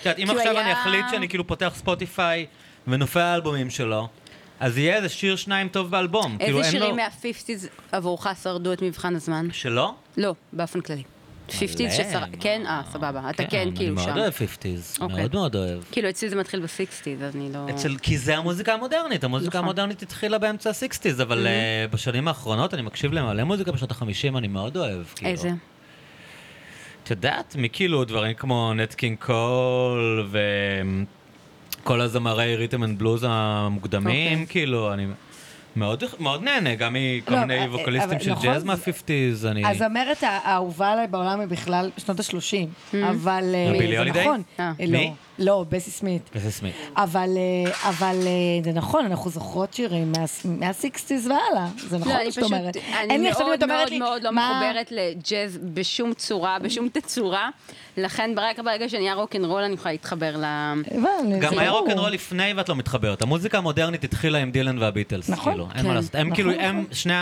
Speaker 3: את יודעת, אם
Speaker 1: כי הוא
Speaker 3: עכשיו אני
Speaker 1: היה-
Speaker 3: אחליט שאני כאילו פותח ספוטיפיי ונופל האלבומים שלו, אז יהיה איזה שיר שניים טוב באלבום. כאילו,
Speaker 1: איזה
Speaker 3: אין
Speaker 1: שירים
Speaker 3: לו-
Speaker 1: מה-50's עבורך שרדו את מבחן הזמן?
Speaker 3: שלא?
Speaker 1: לא, באופן כללי. 50's ששרד...
Speaker 3: מלא,
Speaker 1: כן?
Speaker 3: מה?
Speaker 1: אה, סבבה. אתה כן, כאילו
Speaker 3: אני
Speaker 1: שם.
Speaker 3: מאוד אוהב 50's,
Speaker 1: אוקיי.
Speaker 3: מאוד מאוד אוהב.
Speaker 1: כאילו, אצלי זה מתחיל ב-60's, אז אני לא...
Speaker 3: אצל, כי זה המוזיקה המודרנית, המוזיקה
Speaker 1: נכון. Mhm.
Speaker 3: המודרנית התחילה באמצע ה-60's, אבל אה, בשנים האחרונות אני מקשיב למלא מוזיקה בשנות ה-50, אני מאוד אוהב. כאילו.
Speaker 1: איזה?
Speaker 2: נכון.
Speaker 3: את יודעת, מכאילו דברים כמו נטקין קול וכל הזמרי ריתם אנד בלוז המוקדמים,
Speaker 1: אוקיי.
Speaker 3: כאילו, אני מאוד, מאוד נהנה, גם מכל
Speaker 2: לא,
Speaker 3: מיני
Speaker 2: אבל-
Speaker 3: ווקליסטים
Speaker 2: אבל
Speaker 3: של
Speaker 2: נכון,
Speaker 3: ג'אז
Speaker 2: זה-
Speaker 3: מהפיפטיז, אני...
Speaker 2: הזמרת הא- האהובה עליי בעולם היא בכלל שנות ה-30, אבל... אה,
Speaker 3: הבילי
Speaker 2: זה
Speaker 3: הולידיי?
Speaker 2: נכון.
Speaker 1: Mm. אה.
Speaker 2: אה, לא,
Speaker 3: מי?
Speaker 2: לא, בסי סמית.
Speaker 3: וזה סמית.
Speaker 2: אבל, אה, אבל אה, זה נכון, אנחנו זוכרות שירים מה- מהסיקסטיז והלאה. זה נכון
Speaker 1: לא,
Speaker 2: מה
Speaker 1: אני
Speaker 2: שאת
Speaker 1: פשוט,
Speaker 2: אומרת. אין לי
Speaker 1: אני
Speaker 2: עכשיו אם את
Speaker 1: מאוד
Speaker 2: אומרת
Speaker 1: מאוד
Speaker 2: לי,
Speaker 1: מאוד לא
Speaker 2: מה-
Speaker 1: מחוברת לג'אז בשום צורה, בשום תצורה, לכן רק ברגע שנהיה רוקנרול אני יכולה להתחבר ל...
Speaker 2: הבנתי,
Speaker 3: גם
Speaker 2: זה לא-
Speaker 3: היה
Speaker 2: ברור.
Speaker 3: רוקנרול לפני ואת לא מתחברת. המוזיקה המודרנית התחילה עם דילן והביטלס,
Speaker 2: נכון,
Speaker 3: כאילו, אין
Speaker 1: כן,
Speaker 3: מה לעשות. הם כאילו,
Speaker 2: נכון,
Speaker 3: הם, שני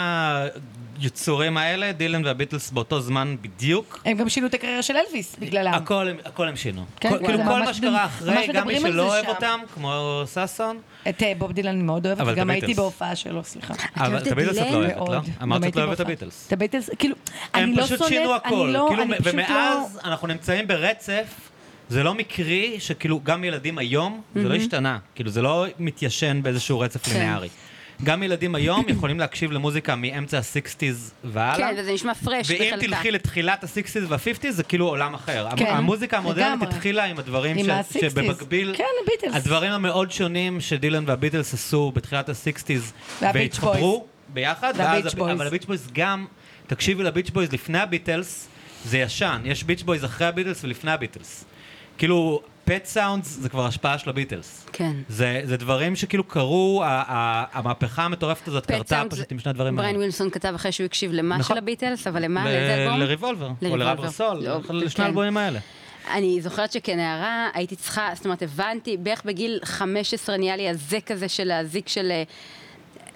Speaker 3: היצורים האלה, דילן והביטלס באותו זמן בדיוק.
Speaker 2: הם גם שינו את הקריירה של אלוויס בגללם.
Speaker 3: הכל הם- הכל הם שינו.
Speaker 2: כן,
Speaker 3: כל-
Speaker 2: כן,
Speaker 3: כאילו
Speaker 2: זה
Speaker 3: כל
Speaker 2: ממש
Speaker 3: מה
Speaker 2: דם-
Speaker 3: שקרה
Speaker 2: ממש
Speaker 3: אחרי, גם מי
Speaker 2: מדברים על
Speaker 3: שלא
Speaker 2: זה
Speaker 3: אוהב
Speaker 2: שם.
Speaker 3: אותם, כמו ששון,
Speaker 2: את אה, בוב דילן אני מאוד אוהבת,
Speaker 3: אבל את
Speaker 2: גם
Speaker 3: הביטלס.
Speaker 2: הייתי בהופעה שלו, סליחה.
Speaker 3: אבל
Speaker 1: אוהבת
Speaker 3: את הביטלס את
Speaker 1: את
Speaker 3: לא
Speaker 1: דילן?
Speaker 3: אוהבת, לא?
Speaker 2: מאוד. גם
Speaker 3: אמרת שאת
Speaker 2: הייתי
Speaker 3: לא אוהבת
Speaker 2: בהופעה.
Speaker 3: את הביטלס.
Speaker 2: את הביטלס, כאילו, אני
Speaker 3: הם
Speaker 2: לא
Speaker 3: פשוט
Speaker 2: שונאת,
Speaker 3: שינו
Speaker 2: אני
Speaker 3: הכל,
Speaker 2: לא,
Speaker 3: כאילו,
Speaker 2: אני
Speaker 3: מ-
Speaker 2: פשוט לא...
Speaker 3: ומאז אנחנו נמצאים ברצף, זה לא מקרי שכאילו גם ילדים היום, זה לא השתנה, כאילו זה לא מתיישן באיזשהו רצף
Speaker 2: כן.
Speaker 3: לינארי. גם ילדים היום יכולים להקשיב למוזיקה מאמצע הסיקסטיז והלאה.
Speaker 1: כן, וזה נשמע פרש
Speaker 3: ואם
Speaker 1: בחלקה.
Speaker 3: תלכי לתחילת ה-60's וה-50's זה כאילו עולם אחר. המ-
Speaker 2: כן,
Speaker 3: המוזיקה המודרנית
Speaker 2: לגמרי.
Speaker 3: התחילה עם הדברים
Speaker 2: עם
Speaker 3: ש-
Speaker 2: ה- 60s.
Speaker 3: שבמקביל,
Speaker 2: כן, הביטלס.
Speaker 3: הדברים המאוד שונים שדילן והביטלס עשו בתחילת ה-60's
Speaker 2: והביץ'
Speaker 3: והתחברו ביחד, ואז
Speaker 2: והביץ'
Speaker 3: הב-
Speaker 2: בויז.
Speaker 3: אבל הביץ' בויז גם, תקשיבי לביץ' בויז לפני הביטלס, זה ישן, יש ביץ' בויז אחרי הביטלס ולפני הביטלס. כאילו, פט סאונדס זה כבר השפעה של הביטלס.
Speaker 1: כן.
Speaker 3: זה, זה דברים שכאילו קרו, ה- ה- המהפכה המטורפת הזאת קרתה פשוט עם שני הדברים
Speaker 1: בריין
Speaker 3: האלה.
Speaker 1: ווילסון כתב אחרי שהוא הקשיב למה
Speaker 3: נכון.
Speaker 1: של הביטלס, אבל למה? לאיזה
Speaker 3: ל-
Speaker 1: אלבום?
Speaker 3: לריבולבר, או
Speaker 1: לריבולבר.
Speaker 3: לרבר סול,
Speaker 1: לא, כן.
Speaker 3: לשני האלבומים האלה.
Speaker 1: אני זוכרת שכנערה הייתי צריכה, זאת אומרת, הבנתי, בערך בגיל 15 נהיה לי הזק הזה של האזיק של... אה,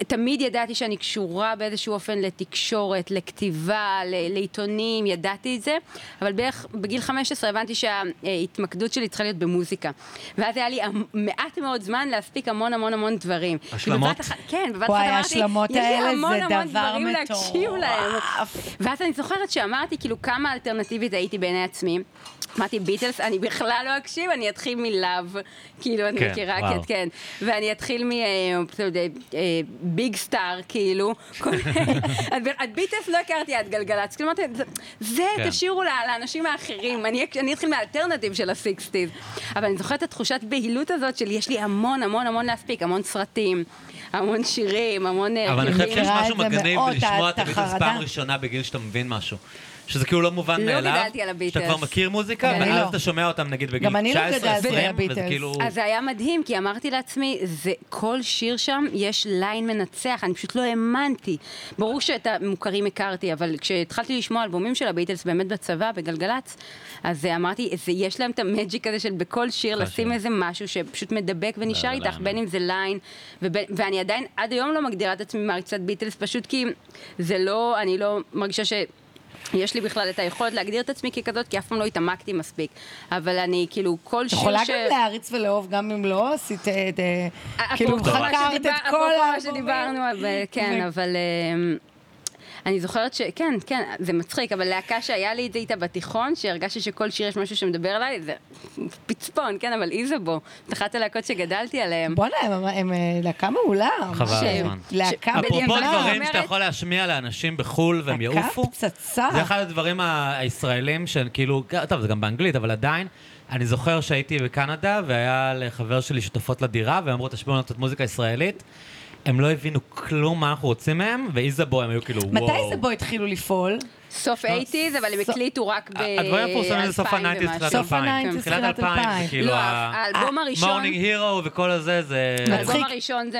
Speaker 1: תמיד ידעתי שאני קשורה באיזשהו אופן לתקשורת, לכתיבה, ל- לעיתונים, ידעתי את זה, אבל בערך בגיל 15 הבנתי שההתמקדות שלי צריכה להיות במוזיקה. ואז היה לי המ- מעט מאוד זמן להספיק המון המון המון דברים.
Speaker 3: השלמות?
Speaker 1: בבת אחת- כן, בבת אחת
Speaker 2: וואי,
Speaker 1: אמרתי,
Speaker 2: ההשלמות
Speaker 1: "יש לי
Speaker 2: האלה
Speaker 1: המון
Speaker 2: זה
Speaker 1: המון
Speaker 2: דבר
Speaker 1: דברים להקשיב להם."
Speaker 2: מטורף.
Speaker 1: ואז אני זוכרת שאמרתי, כאילו, כמה אלטרנטיבית הייתי בעיני עצמי. אמרתי, ביטלס, אני בכלל לא אקשיב, אני אתחיל מלאב. כאילו, אני
Speaker 3: כן,
Speaker 1: מכירה,
Speaker 3: וואו.
Speaker 1: כן, כן. ואני אתחיל אה, מביג אה, סטאר, כאילו. כל- את ב- את ביטלס לא הכרתי עד גלגלצ. כאילו, אמרתי, "זה- זה
Speaker 3: כן.
Speaker 1: תשאירו לה- לאנשים האחרים. אני אק- אני אתחיל מהאלטרנטיב של הסיקסטיז. אבל אני זוכרת את התחושת בהילות הזאת של יש לי המון המון המון להספיק, המון סרטים, המון שירים, המון... אה,
Speaker 3: אבל אני חושב
Speaker 1: הרכבים.
Speaker 3: שיש
Speaker 2: מכירה
Speaker 3: משהו
Speaker 2: את זה
Speaker 3: מגניב
Speaker 2: מאוד,
Speaker 3: בלשמוע
Speaker 2: את
Speaker 3: את הביטלס
Speaker 2: החרדה.
Speaker 3: פעם ראשונה בגיל שאתה מבין משהו. שזה כאילו לא מובן
Speaker 1: לא
Speaker 3: מאליו.
Speaker 1: גדלתי על הביטלס.
Speaker 3: שאתה כבר מכיר מוזיקה,
Speaker 2: גם אני
Speaker 3: ואז
Speaker 2: לא.
Speaker 3: אתה שומע אותם נגיד בגיל 19-20,
Speaker 2: גם אני לא גדלתי על
Speaker 3: וזה
Speaker 2: הביטלס. אה,
Speaker 3: כאילו...
Speaker 1: אז זה היה מדהים, כי אמרתי לעצמי, זה, כל שיר שם יש ליין מנצח, אני פשוט לא האמנתי. ברור שאת המוכרים הכרתי, אבל כשהתחלתי לשמוע אלבומים של הביטלס באמת בצבא, בגלגלצ, אז אה, אמרתי, זה, יש להם את המג'יק הזה של בכל שיר
Speaker 3: כל
Speaker 1: לשים
Speaker 3: שיר.
Speaker 1: איזה משהו שפשוט מדבק ונשאר
Speaker 3: לא, לא
Speaker 1: איתך,
Speaker 3: יאמן.
Speaker 1: בין אם זה ליין, ובין, ואני עדיין עד היום לא מגדירה את עצמי מעריצת ביטלס, פשוט כי זה לא, אני לא מרגישה ש... יש לי בכלל את היכולת להגדיר את עצמי ככזאת, כי אף פעם לא התעמקתי מספיק. אבל אני, כאילו, כל
Speaker 2: את
Speaker 1: שיר ש...
Speaker 2: יכולה גם להעריץ ולאהוב גם אם לא עשית את... אה, כאילו
Speaker 1: אפרופו מה
Speaker 2: חקרת
Speaker 1: שדיבר-
Speaker 2: את כל
Speaker 1: אפרופו מה
Speaker 2: האלבומים.
Speaker 1: שדיברנו, אבל- כן,
Speaker 2: ו-
Speaker 1: אבל... אמ, אני זוכרת ש... כן, כן, זה מצחיק, אבל להקה שהיה לי את זה איתה בתיכון, שהרגשתי שכל שיר יש משהו שמדבר עליי, זה פצפון, כן, אבל איזבו, את אחת הלהקות שגדלתי עליהן.
Speaker 2: בואנה, הם- הם אה, להקה מעולה.
Speaker 3: חבל
Speaker 1: ש-
Speaker 3: הזמן.
Speaker 2: להקה
Speaker 1: ש-
Speaker 3: אפרופו
Speaker 1: בדיעבד,
Speaker 3: דברים
Speaker 1: אומרת-
Speaker 3: שאתה יכול להשמיע לאנשים בחו"ל והם
Speaker 2: להקה
Speaker 3: יעופו,
Speaker 2: פצצה.
Speaker 3: זה אחד הדברים ה- הישראלים שהם כאילו, טוב זה גם באנגלית אבל עדיין, אני זוכר שהייתי בקנדה והיה לחבר שלי שותפות לדירה והם אמרו תשמעו לנו קצת מוזיקה ישראלית, הם לא הבינו כלום מה אנחנו רוצים מהם ואיזבו הם היו כאילו וואו.
Speaker 2: מתי זה בו התחילו לפעול?
Speaker 1: סוף 80's, אבל הם
Speaker 2: סוף-
Speaker 1: הקליטו רק ב...
Speaker 3: הדברים המפורסמים זה סוף
Speaker 1: אלפיים
Speaker 3: ה-90's,
Speaker 1: ומשהו.
Speaker 3: תחילת
Speaker 2: סוף
Speaker 3: 2000.
Speaker 2: ה-90s,
Speaker 3: תחילת
Speaker 2: תחילת
Speaker 3: 2000 זה
Speaker 2: 2000.
Speaker 3: כאילו
Speaker 1: לא,
Speaker 3: ה...
Speaker 1: האלבום הראשון...
Speaker 3: מורנינג הירו וכל הזה זה...
Speaker 1: האלבום
Speaker 2: מצחיק.
Speaker 1: הראשון זה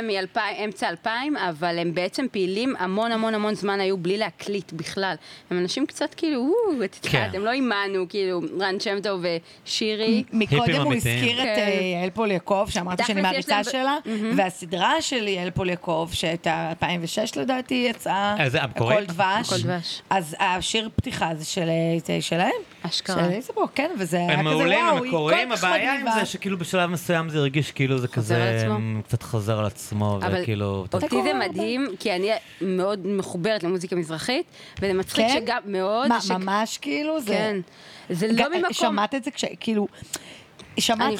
Speaker 1: מאמצע 2000, אבל הם בעצם פעילים המון המון המון זמן היו בלי להקליט בכלל. הם אנשים קצת כאילו, וואו, את
Speaker 3: כן.
Speaker 1: יודעת, הם לא עימנו, כאילו, רן שם טוב ושירי.
Speaker 2: מקודם הוא
Speaker 3: אמיתיים.
Speaker 2: הזכיר את
Speaker 1: כן.
Speaker 2: אה, יעל פוליאקוב, שאמרתי
Speaker 1: תכלס
Speaker 2: שאני
Speaker 1: יש
Speaker 2: מעריצה
Speaker 1: להם-
Speaker 2: שלה, והסדרה של יעל פוליאקוב, שהייתה 2006 לדעתי, יצאה,
Speaker 3: איזה, המקורית?
Speaker 2: הכל דבש.
Speaker 1: הכל דבש.
Speaker 2: אז השיר פתיחה זה של, אה, שלהם.
Speaker 1: אשכרה.
Speaker 2: של איזבו, כן, וזה היה
Speaker 3: הם
Speaker 2: כזה,
Speaker 3: מעולים,
Speaker 2: וואו,
Speaker 3: הם
Speaker 2: היא
Speaker 3: מקוריים,
Speaker 2: כל כך
Speaker 3: הבעיה עם
Speaker 2: מגניבה.
Speaker 3: זה שכאילו בשלב מסוים זה הרגיש כאילו זה
Speaker 1: חוזר על
Speaker 3: כזה,
Speaker 1: עצמו?
Speaker 3: אמ, קצת חוזר על עצמו,
Speaker 1: אבל
Speaker 3: וכאילו... כאילו, אתה-
Speaker 1: אותי זה מדהים, כי אני מאוד מחוברת למוזיקה מזרחית, וזה מצחיק
Speaker 2: כן?
Speaker 1: שגם מאוד...
Speaker 2: מה,
Speaker 1: ש-
Speaker 2: ממש כאילו, זה...
Speaker 1: כן. זה לא
Speaker 2: גם-
Speaker 1: ממקום...
Speaker 2: שמעת את זה כש... כאילו...
Speaker 1: אני-
Speaker 2: שמעת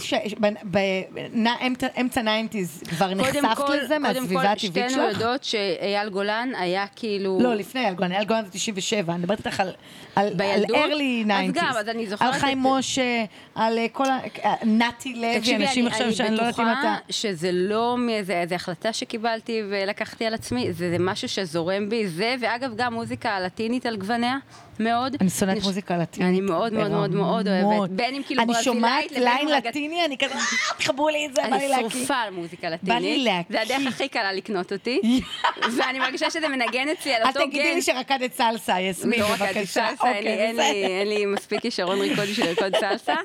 Speaker 2: שבאמצע ניינטיז כבר נחשפת לזה מהסביבה הטבעית
Speaker 1: שתינו
Speaker 2: שלך?
Speaker 1: יודעות שאייל גולן היה כאילו...
Speaker 2: לא, לפני אייל גולן, אייל גולן זה 97, אני מדברת איתך על, על, על
Speaker 1: בילדות?
Speaker 2: early
Speaker 1: אז
Speaker 2: 90's.
Speaker 1: גם, אז אני זוכרת
Speaker 2: על חיים
Speaker 1: את-
Speaker 2: משה, על אה, כל ה... אה, נתי לוי,
Speaker 1: תקשיבי,
Speaker 2: אנשים
Speaker 1: אני,
Speaker 2: עכשיו
Speaker 1: אני
Speaker 2: שאני לא יודעת
Speaker 1: בטוחה
Speaker 2: אם אתה...
Speaker 1: שזה לא מאיזה איזה החלטה שקיבלתי ולקחתי על עצמי, זה, זה משהו שזורם בי, זה, ואגב, גם מוזיקה לטינית על גווניה, מאוד.
Speaker 2: אני שונאת
Speaker 1: חוש-
Speaker 2: מוזיקה לטינית.
Speaker 1: אני מאוד מאוד מאוד מאוד
Speaker 2: ברמות.
Speaker 1: אוהבת, בין אם כאילו ברזילאית
Speaker 2: אני שומעת
Speaker 1: לבין אם
Speaker 2: ליין
Speaker 1: רגע-
Speaker 2: לטיני, אני כזה, "אה, תחברו לי את זה, בא לי
Speaker 1: אני
Speaker 2: להקיא.
Speaker 1: שרופה על מוזיקה לטינית.
Speaker 2: בא לי להקיא.
Speaker 1: זה הדרך הכי קלה לקנות אותי, ואני מרגישה שזה מנגן אצלי על
Speaker 2: אל
Speaker 1: אותו גן.
Speaker 2: תגידי לי שרקדת סלסה, יסמין,
Speaker 1: לא רק
Speaker 2: בבקשה.
Speaker 1: הסלסה, אין לי-
Speaker 2: אוקיי,
Speaker 1: אין לי-
Speaker 2: בסדר.
Speaker 1: אין לי מספיק כישרון ריקוד בשביל לרקוד סלסה,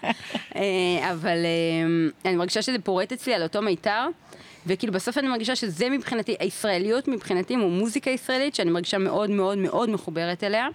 Speaker 1: אה, אבל אה, אני מרגישה שזה פורט אצלי על אותו מיתר. וכאילו בסוף אני מרגישה שזה מבחינתי, הישראליות מבחינתי, הוא מוזיקה ישראלית שאני מרגישה מאוד מאוד מאוד מחוברת אליה.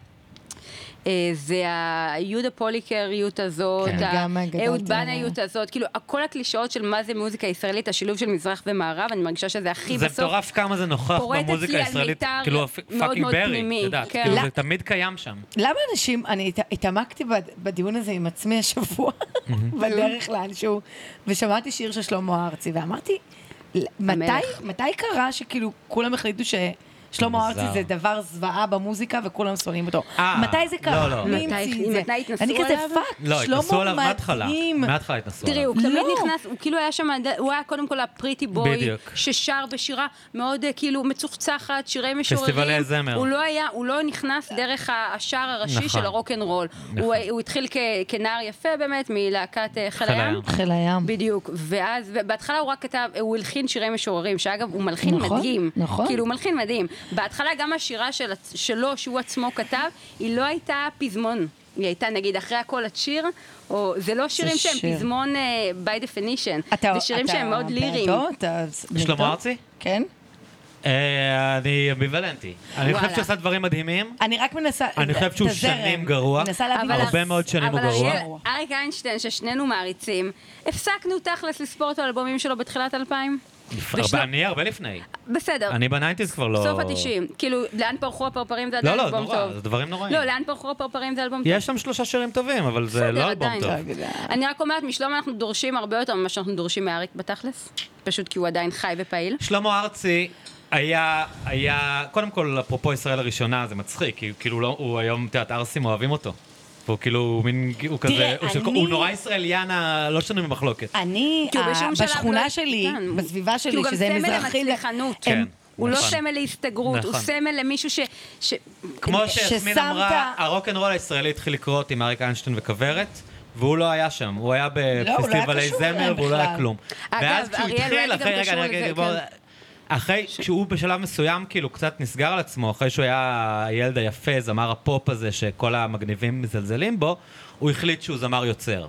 Speaker 1: אה, זה היהודה פוליקריות הזאת,
Speaker 2: כן, גם גדלתי
Speaker 1: האהוד
Speaker 2: עליה.
Speaker 1: בנאיות הזאת, כאילו כל הקלישאות של מה זה מוזיקה ישראלית, השילוב של מזרח ומערב, אני מרגישה שזה הכי
Speaker 3: זה
Speaker 1: בסוף.
Speaker 3: מטורף כמה זה נוכח
Speaker 1: פורט אצלי
Speaker 3: במוזיקה
Speaker 1: על
Speaker 3: הישראלית,
Speaker 1: מיתר
Speaker 3: כאילו
Speaker 1: מאוד
Speaker 3: פאקינג
Speaker 1: מאוד
Speaker 3: ברי,
Speaker 1: פנימי,
Speaker 3: את יודעת,
Speaker 1: כן.
Speaker 3: כאילו
Speaker 1: לא.
Speaker 3: זה תמיד קיים שם.
Speaker 2: למה אנשים, אני הת- התעמקתי בד- בדיון הזה עם עצמי השבוע, בדרך לאנשהו, ושמעתי שיר של שלמה ארצי, ואמרתי, "ל- מתי,
Speaker 1: המלך.
Speaker 2: מתי קרה שכאילו כולם החליטו ששלמה
Speaker 3: מוזר.
Speaker 2: ארצי זה דבר זוועה במוזיקה וכולם שונאים אותו?
Speaker 3: אה,
Speaker 2: מתי זה קרה?
Speaker 3: לא, לא.
Speaker 2: מי
Speaker 1: מתי-
Speaker 2: המציא את זה?
Speaker 1: מתי התנסו
Speaker 2: אני כזה,
Speaker 1: עליו?
Speaker 2: פאק,
Speaker 3: לא, התנסו עליו
Speaker 2: שלמה
Speaker 3: מההתחלה.
Speaker 2: מדהים.
Speaker 3: מההתחלה התנסו
Speaker 1: תראי,
Speaker 3: עליו.
Speaker 1: הוא תמיד
Speaker 2: לא.
Speaker 1: נכנס, הוא כאילו היה שם, הוא היה קודם כל הפריטי בוי,
Speaker 3: בדיוק.
Speaker 1: ששר בשירה מאוד אה, כאילו מצוחצחת, שירי משוררים.
Speaker 3: פסטיבלי זמר.
Speaker 1: הוא לא היה, הוא לא נכנס דרך ה- השער
Speaker 3: נכון.
Speaker 1: הראשי של הרוקנרול.
Speaker 3: נכון.
Speaker 1: הוא הוא התחיל כ- כנער יפה באמת, מלהקת אה, חיל
Speaker 3: חיל
Speaker 1: הים.
Speaker 3: הים.
Speaker 2: חיל הים.
Speaker 1: בדיוק, ואז, ובהתחלה הוא רק כתב, הוא הלחין שירי משוררים, שאגב, הוא מלחין
Speaker 2: נכון,
Speaker 1: מדהים.
Speaker 2: נכון.
Speaker 1: כאילו, הוא מלחין מדהים. בהתחלה גם השירה של, עצ- שלו, שהוא עצמו כתב, היא לא הייתה פזמון. היא הייתה, נגיד, אחרי הכל את שיר, או זה לא שירים שהם
Speaker 2: שיר.
Speaker 1: פזמון אה, by definition.
Speaker 2: אתה-
Speaker 1: זה שירים
Speaker 2: אתה
Speaker 1: שהם מאוד ליריים.
Speaker 2: בעדו? אתה נגדו?
Speaker 3: שלמה ארצי?
Speaker 2: כן.
Speaker 3: אה, אני אמביוולנטי. אני
Speaker 1: וואלה.
Speaker 3: חושב שהוא עשה דברים מדהימים.
Speaker 2: אני רק מנסה...
Speaker 3: אני חושב שהוא
Speaker 2: את הזרם.
Speaker 3: שנים גרוע.
Speaker 2: מנסה להבין
Speaker 1: אבל
Speaker 2: את
Speaker 3: הרבה
Speaker 1: הס-
Speaker 3: מאוד שנים הוא
Speaker 1: אבל
Speaker 3: גרוע.
Speaker 1: אריאל- אריק איינשטיין, ששנינו מעריצים, הפסקנו תכלס לספור את האלבומים שלו בתחילת 2000.
Speaker 3: הרבה- אני הרבה לפני.
Speaker 1: בסדר.
Speaker 3: אני בניינטיז כבר לא...
Speaker 1: סוף התשעים, כאילו, לאן פרחו הפרפרים זה
Speaker 3: לא,
Speaker 1: עדיין
Speaker 3: לא,
Speaker 1: אלבום טוב.
Speaker 3: נורא, זה דברים נוראים.
Speaker 1: לא, לאן פרחו הפרפרים זה אלבום טוב.
Speaker 3: יש שם שלושה שירים טובים, אבל זה
Speaker 1: בסדר,
Speaker 3: לא אלבום
Speaker 1: עדיין.
Speaker 3: טוב.
Speaker 1: אני רק אומרת, משלום אנחנו דורשים הרבה יותר ממה שאנחנו דורשים מאריק בתכלס. פשוט כי הוא עדיין חי ופעיל.
Speaker 3: שלמה ארצי היה, היה, קודם כל, אפרופו ישראל הראשונה, זה מצחיק, כי כאילו לא, הוא היום, את יודעת, ערסים אוהבים אותו. והוא כאילו, הוא מין, הוא כזה,
Speaker 2: תראה,
Speaker 3: הוא, של-
Speaker 2: אני-
Speaker 3: הוא נורא ישראליאנה, לא שנוי במחלוקת.
Speaker 2: אני,
Speaker 1: כי הוא
Speaker 2: ה-
Speaker 1: בשום שלב לא-
Speaker 2: בשכונה שלי,
Speaker 1: כן, הוא-
Speaker 2: בסביבה
Speaker 1: כי
Speaker 2: שלי,
Speaker 1: הוא גם
Speaker 2: שזה
Speaker 1: סמל
Speaker 2: מזרחים,
Speaker 1: למצליחנות.
Speaker 3: כן,
Speaker 1: הוא לא
Speaker 3: נכון.
Speaker 1: סמל להסתגרות, הוא
Speaker 3: נכון.
Speaker 1: סמל למישהו ש... ש-
Speaker 3: כמו שיסמין
Speaker 2: ששמת-
Speaker 3: אמרה, הרוקנרול הישראלי התחיל לקרות עם אריק איינשטיין וכוורת. והוא לא היה שם, הוא היה
Speaker 2: היה
Speaker 3: בפסטיבלי
Speaker 2: קשור
Speaker 3: זמר
Speaker 2: אליהם
Speaker 3: והוא לא היה
Speaker 2: בכלל.
Speaker 3: כלום.
Speaker 1: אגב,
Speaker 3: ואז כשהוא
Speaker 1: אריאל
Speaker 3: התחיל,
Speaker 1: אולי גם
Speaker 3: אחרי, רגע,
Speaker 1: קשור
Speaker 3: אני רק
Speaker 1: לזה,
Speaker 3: אגיד, בוא-
Speaker 1: כן.
Speaker 3: אחרי, כשהוא בשלב מסוים כאילו קצת נסגר על עצמו, אחרי שהוא היה הילד היפה, זמר הפופ הזה שכל המגניבים מזלזלים בו, הוא החליט שהוא זמר יוצר.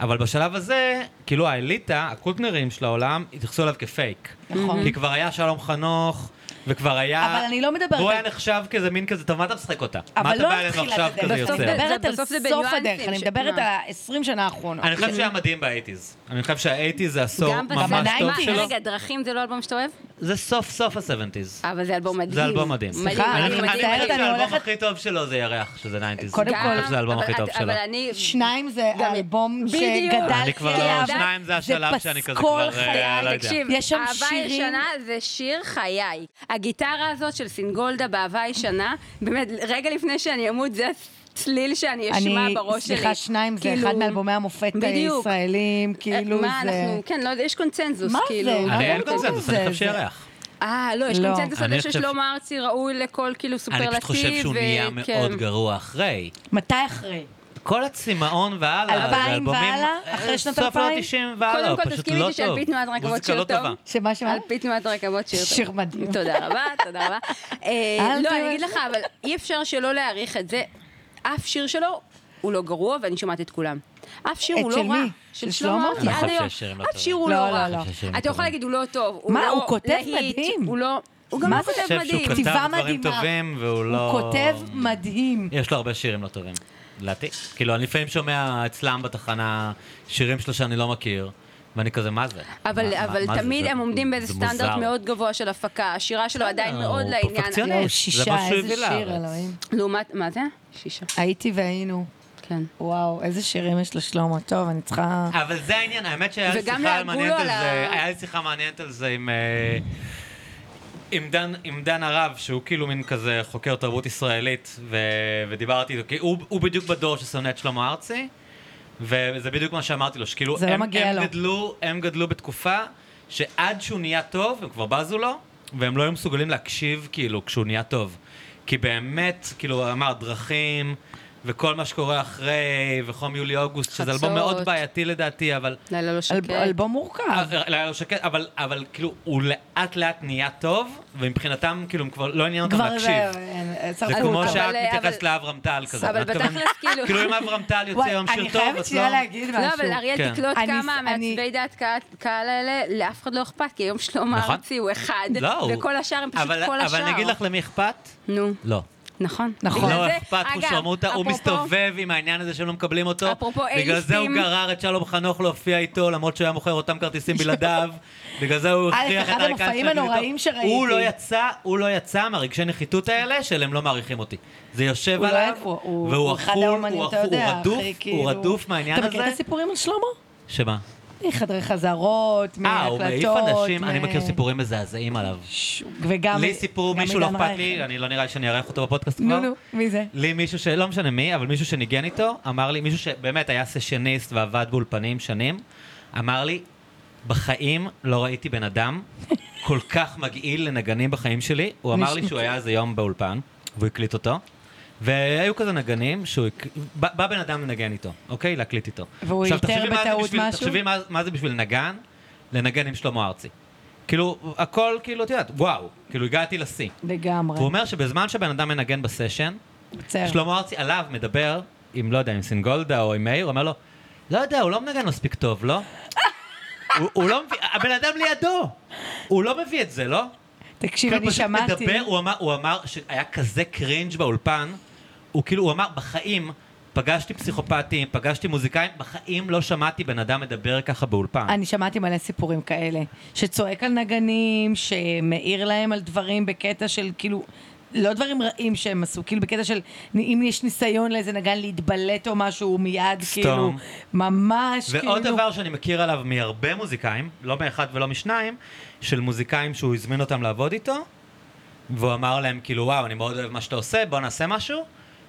Speaker 3: אבל בשלב הזה, כאילו האליטה, הקוטנרים של העולם, התייחסו אליו כפייק.
Speaker 2: נכון.
Speaker 3: כי כבר היה שלום חנוך, וכבר היה...
Speaker 2: אבל אני לא מדברת
Speaker 3: והוא
Speaker 2: על-
Speaker 3: אה, היה נחשב כזה מין כזה, טוב, מה אתה משחק אותה? מה
Speaker 2: אבל
Speaker 3: אתה
Speaker 2: לא
Speaker 3: בא אלינו
Speaker 2: התחילה
Speaker 3: עכשיו
Speaker 2: הדרך,
Speaker 3: כזה
Speaker 2: אני
Speaker 1: בסוף
Speaker 3: יוצר?
Speaker 1: זה-
Speaker 2: מדברת על
Speaker 1: בסוף זה
Speaker 2: סוף
Speaker 1: בניואנסים
Speaker 2: הדרך, אני
Speaker 1: ש-
Speaker 2: מדברת
Speaker 1: מה?
Speaker 2: על ה-20 שנה האחרונות.
Speaker 3: אני חושב שהיה מדהים באייטיז. אני חושב שהאייטיז זה עשור
Speaker 1: גם
Speaker 3: ממש
Speaker 1: בסמל-
Speaker 3: טוב
Speaker 1: מה,
Speaker 3: שלו.
Speaker 1: רגע, דרכים זה לא אלבום שאתה אוהב?
Speaker 3: זה סוף סוף הסבנטיז.
Speaker 1: אבל זה אלבום מדהים.
Speaker 3: זה אלבום מדהים.
Speaker 1: מדהים,
Speaker 2: סליחה,
Speaker 1: מדהים,
Speaker 3: אני
Speaker 1: מדהים.
Speaker 3: אני
Speaker 2: מצטערת,
Speaker 3: חושב
Speaker 2: אני
Speaker 3: שהאלבום
Speaker 2: הולכת-
Speaker 3: הכי טוב שלו זה ירח, שזה ניינטיז.
Speaker 2: קודם
Speaker 1: גם-
Speaker 2: כל-
Speaker 3: אני חושב שזה האלבום
Speaker 1: אבל
Speaker 3: הכי טוב
Speaker 1: את-
Speaker 3: שלו.
Speaker 1: אבל אני...
Speaker 2: שניים זה
Speaker 1: גם-
Speaker 2: האלבום
Speaker 1: בדיוק.
Speaker 3: אני
Speaker 2: שגדלתי
Speaker 3: כבר לא,
Speaker 2: עליו.
Speaker 3: שניים זה השלב שאני כזה
Speaker 2: פסקול
Speaker 3: כבר, אה, לא
Speaker 2: חיי,
Speaker 3: יודע.
Speaker 1: תקשיב,
Speaker 2: יש שם
Speaker 1: אהבה
Speaker 2: שירים-
Speaker 1: ישנה זה שיר חיי. הגיטרה הזאת של סינגולדה באהבה ישנה, באמת, רגע לפני שאני אמות, זה הצליל שאני אשמע
Speaker 2: אני,
Speaker 1: בראש שלי.
Speaker 2: סליחה, שניים זה
Speaker 1: כאילו-
Speaker 2: אחד מאלבומי המופת
Speaker 1: בדיוק.
Speaker 2: הישראלים,
Speaker 1: אה,
Speaker 2: כאילו
Speaker 1: מה
Speaker 2: זה...
Speaker 1: אנחנו, כן, לא, יש קונצנזוס,
Speaker 2: מה
Speaker 1: כאילו.
Speaker 2: זה?
Speaker 3: אני
Speaker 2: מה
Speaker 3: אין
Speaker 2: זה?
Speaker 3: קונצנזוס, אני
Speaker 2: זה-
Speaker 3: חושב
Speaker 2: זה-
Speaker 3: שירח.
Speaker 1: אה, לא, יש
Speaker 2: לא.
Speaker 1: קונצנזוס על
Speaker 3: אני
Speaker 1: זה
Speaker 3: חושב-
Speaker 1: ששלמה ארצי ראוי לכל כאילו
Speaker 3: אני
Speaker 1: סופרלטיב. אה, כן.
Speaker 3: פשוט חושב שהוא נהיה מאוד
Speaker 1: וכן.
Speaker 3: גרוע אחרי.
Speaker 2: מתי אחרי?
Speaker 3: כל הצמאון והלאה,
Speaker 2: אלפיים
Speaker 3: זה אלבומים... אה,
Speaker 2: והלאה? אחרי שנת
Speaker 3: סוף
Speaker 2: אלפיים?
Speaker 3: ה-90 והלאה,
Speaker 1: קודם כל,
Speaker 3: פשוט
Speaker 1: תסכימי
Speaker 3: לא
Speaker 1: איתי שעל
Speaker 3: טוב.
Speaker 1: פי תנועת רכבות
Speaker 3: מוזיקה
Speaker 1: שיר
Speaker 3: לא
Speaker 1: טוב.
Speaker 3: טובה.
Speaker 2: שמה שמה?
Speaker 1: על פי תנועת רכבות שיר טוב.
Speaker 2: כן. שיר מדהים.
Speaker 1: תודה רבה, תודה רבה. אה,
Speaker 2: אל
Speaker 1: לא, אני
Speaker 2: תראה.
Speaker 1: אגיד לך, אבל אי אפשר שלא להעריך את זה. אף שיר שלו הוא לא גרוע, ואני שומעת את כולם. אף שיר
Speaker 2: את
Speaker 1: הוא לא
Speaker 2: של
Speaker 1: רע.
Speaker 2: מי? של שלמה?
Speaker 1: ארצי,
Speaker 3: אני
Speaker 1: עד
Speaker 3: חושב
Speaker 1: היום.
Speaker 3: שהשירים לא
Speaker 1: אף
Speaker 3: טובים.
Speaker 1: שיר הוא לא
Speaker 2: לא,
Speaker 1: רע.
Speaker 2: לא, לא.
Speaker 3: שהשירים
Speaker 1: אתה יכול
Speaker 3: טובים.
Speaker 1: להגיד, הוא לא טוב. הוא
Speaker 2: מה,
Speaker 1: לא
Speaker 2: הוא כותב
Speaker 1: להיט,
Speaker 2: מדהים.
Speaker 1: הוא לא... הוא גם
Speaker 2: מה
Speaker 1: לא
Speaker 2: זה?
Speaker 1: כותב
Speaker 3: אני חושב שהוא
Speaker 1: מדהים.
Speaker 3: כתב
Speaker 2: כתיבה
Speaker 3: דברים
Speaker 2: מדהימה.
Speaker 3: טובים, והוא לא...
Speaker 2: הוא כותב מדהים.
Speaker 3: יש לו הרבה שירים לא טובים, לדעתי. כאילו, אני לפעמים שומע אצלם בתחנה שירים שלו שאני לא מכיר, ואני כזה, מה זה?
Speaker 1: אבל,
Speaker 3: מה-
Speaker 1: אבל
Speaker 3: מה זה?
Speaker 1: תמיד
Speaker 3: זה-
Speaker 1: הם עומדים באיזה
Speaker 3: זה
Speaker 1: סטנדרט
Speaker 3: מוזר.
Speaker 1: מאוד גבוה של הפקה. השירה שלו עדיין
Speaker 3: הוא
Speaker 1: מאוד לעניין.
Speaker 3: פרפקציוניסט.
Speaker 2: יואו,
Speaker 3: זה
Speaker 2: שישה,
Speaker 3: מה שהוא
Speaker 2: איזה
Speaker 3: הביא
Speaker 2: שיר,
Speaker 3: לארץ.
Speaker 2: אלוהים.
Speaker 1: לעומת, מה זה? שישה.
Speaker 2: הייתי והיינו.
Speaker 1: כן.
Speaker 2: וואו, איזה שירים יש לשלמה. טוב, אני צריכה...
Speaker 3: אבל זה העניין, האמת שהיה לי
Speaker 1: וגם
Speaker 3: שיחה
Speaker 1: לעגו
Speaker 3: מעניינת על
Speaker 1: על ה-
Speaker 3: זה, היה לי שיחה מעניינת על זה עם... אה, עם דן, עם דן הרב, שהוא כאילו מין כזה חוקר תרבות ישראלית, ו, ודיברתי איתו, כי הוא, הוא בדיוק בדור ששונא את שלמה ארצי, וזה בדיוק מה שאמרתי לו, שכאילו
Speaker 2: זה לא
Speaker 3: הם,
Speaker 2: מגיע
Speaker 3: הם,
Speaker 2: לו.
Speaker 3: גדלו, הם גדלו בתקופה שעד שהוא נהיה טוב, הם כבר בזו לו, והם לא היו מסוגלים להקשיב כאילו כשהוא נהיה טוב. כי באמת, כאילו, אמר דרכים, וכל מה שקורה אחרי, וחום יולי-אוגוסט, שזה אלבום מאוד
Speaker 1: חצות.
Speaker 3: בעייתי לדעתי, אבל...
Speaker 1: לילה לא
Speaker 2: אלב-
Speaker 3: כן.
Speaker 1: שקט.
Speaker 2: אלבום מורכב.
Speaker 3: לא היה לו שקט, אבל, אבל כאילו, הוא לאט לאט נהיה טוב, ומבחינתם, כאילו, הם כבר לא עניין אותם
Speaker 2: כבר
Speaker 3: להקשיב.
Speaker 2: זה... אה,
Speaker 3: זה
Speaker 2: צרפו
Speaker 3: כמו
Speaker 2: אותה.
Speaker 1: שה-
Speaker 3: שאת
Speaker 1: אבל-
Speaker 3: מתייחסת
Speaker 1: אבל-
Speaker 3: לאברהם טל כזה.
Speaker 1: אבל
Speaker 3: את אומרת,
Speaker 1: בתכלס, כאילו-
Speaker 3: כאילו, אם אברהם טל יוצא
Speaker 2: וואי,
Speaker 3: יום
Speaker 2: אני
Speaker 3: שיר טוב,
Speaker 2: חייבת
Speaker 3: אז
Speaker 2: שנייה
Speaker 3: לא...
Speaker 2: להגיד משהו.
Speaker 1: לא, אבל אריאל
Speaker 3: כן.
Speaker 1: תקלוט
Speaker 2: אני-
Speaker 1: כמה
Speaker 2: אני-
Speaker 1: מעצבי דעת קהל- קהל האלה, לאף אחד לא אכפת, כי היום שלמה
Speaker 3: נכון.
Speaker 1: ארצי הוא אחד,
Speaker 3: לא, הוא-
Speaker 1: וכל השאר הם פשוט
Speaker 3: אבל-
Speaker 1: כל השאר.
Speaker 3: אבל אני אגיד לך למי אכפת?
Speaker 1: נו,
Speaker 3: לא.
Speaker 1: נכון.
Speaker 2: נכון.
Speaker 1: בגלל
Speaker 3: לא
Speaker 1: זה-
Speaker 3: אכפת
Speaker 1: אגב,
Speaker 3: חושרמוטה, הוא
Speaker 1: אפרופו-
Speaker 3: מסתובב עם העניין הזה שלא מקבלים אותו.
Speaker 1: אפרופו
Speaker 3: בגלל זה הוא
Speaker 1: אליסטים.
Speaker 3: גרר את שלום חנוך להופיע איתו, למרות שהוא היה מוכר אותם כרטיסים בלעדיו. בגלל זה הוא
Speaker 2: א',
Speaker 3: הכריח את
Speaker 2: אחד המופעים
Speaker 3: אריק איינשטיין להיות
Speaker 2: הנוראים
Speaker 3: איתו.
Speaker 2: שראיתי.
Speaker 3: הוא לא יצא, הוא לא יצא מהרגשי נחיתות האלה של הם לא מעריכים אותי. זה יושב
Speaker 2: הוא לא
Speaker 3: עליו,
Speaker 2: איפה, הוא-
Speaker 3: והוא
Speaker 2: הוא
Speaker 3: עכור,
Speaker 2: אחד
Speaker 3: הוא
Speaker 2: האומנים, אתה
Speaker 3: עכור, הוא
Speaker 2: יודע,
Speaker 3: רדוף,
Speaker 2: אחי, כאילו-
Speaker 3: הוא רדוף מהעניין
Speaker 2: אתה מכיר
Speaker 3: הזה.
Speaker 2: את הסיפורים על שלמה?
Speaker 3: שמה?
Speaker 2: מחדרי חזרות,
Speaker 3: אה, הוא
Speaker 2: מהקלטות.
Speaker 3: מעיף אנשים,
Speaker 2: מ-
Speaker 3: אני מכיר סיפורים מזעזעים עליו.
Speaker 2: ש- וגם...
Speaker 3: לי סיפור
Speaker 2: גם
Speaker 3: מישהו לא
Speaker 2: עידן
Speaker 3: אכפת
Speaker 2: רייך.
Speaker 3: לי, אני לא נראה לי שאני אארח אותו בפודקאסט כבר.
Speaker 2: נו, נו, מי זה?
Speaker 3: לי מישהו שלא משנה מי, אבל מישהו שניגן איתו, אמר לי, מישהו שבאמת היה סשניסט ועבד באולפנים שנים, אמר לי, בחיים לא ראיתי בן אדם כל כך מגעיל לנגנים בחיים שלי. הוא אמר לי שהוא היה איזה יום באולפן, והוא הקליט אותו. והיו כזה נגנים, שהוא... הק- בא בא בן אדם לנגן איתו, אוקיי? להקליט איתו.
Speaker 2: והוא
Speaker 3: עכשיו,
Speaker 2: איתר
Speaker 3: תחשבי מה זה
Speaker 2: בטעות
Speaker 3: בשביל-
Speaker 2: משהו?
Speaker 3: תחשבי מה- מה זה בשביל נגן, לנגן עם שלמה ארצי. כאילו, הכל, כאילו, את יודעת, וואו. כאילו, הגעתי לשיא.
Speaker 2: לגמרי.
Speaker 3: הוא אומר שבזמן שבן אדם מנגן בסשן,
Speaker 2: מצער.
Speaker 3: שלמה ארצי עליו מדבר עם, לא יודע, עם סינגולדה או עם מאיר, הוא אומר לו, לא יודע, הוא לא מנגן מספיק טוב, לא? הוא, הוא לא מביא, הבן אדם לידו, הוא לא מביא את זה, לא?
Speaker 2: תקשיב,
Speaker 3: כאילו,
Speaker 2: אני
Speaker 3: פשוט
Speaker 2: שמעתי...
Speaker 3: מדבר, הוא אמר, הוא אמר שהיה כזה קרינג' באולפן, הוא כאילו, הוא אמר, בחיים פגשתי פסיכופטים, פגשתי מוזיקאים, בחיים לא שמעתי בן אדם מדבר ככה באולפן.
Speaker 2: אני שמעתי מלא סיפורים כאלה, שצועק על נגנים, שמעיר להם על דברים בקטע של כאילו, לא דברים רעים שהם עשו, כאילו בקטע של אם יש ניסיון לאיזה נגן להתבלט או משהו, הוא מיד
Speaker 3: סתום.
Speaker 2: כאילו, ממש כאילו.
Speaker 3: ועוד דבר שאני מכיר עליו מהרבה מוזיקאים, לא מאחד ולא משניים, של מוזיקאים שהוא הזמין אותם לעבוד איתו, והוא אמר להם כאילו, וואו, אני מאוד אוהב מה שאתה עושה, בוא נעשה משהו,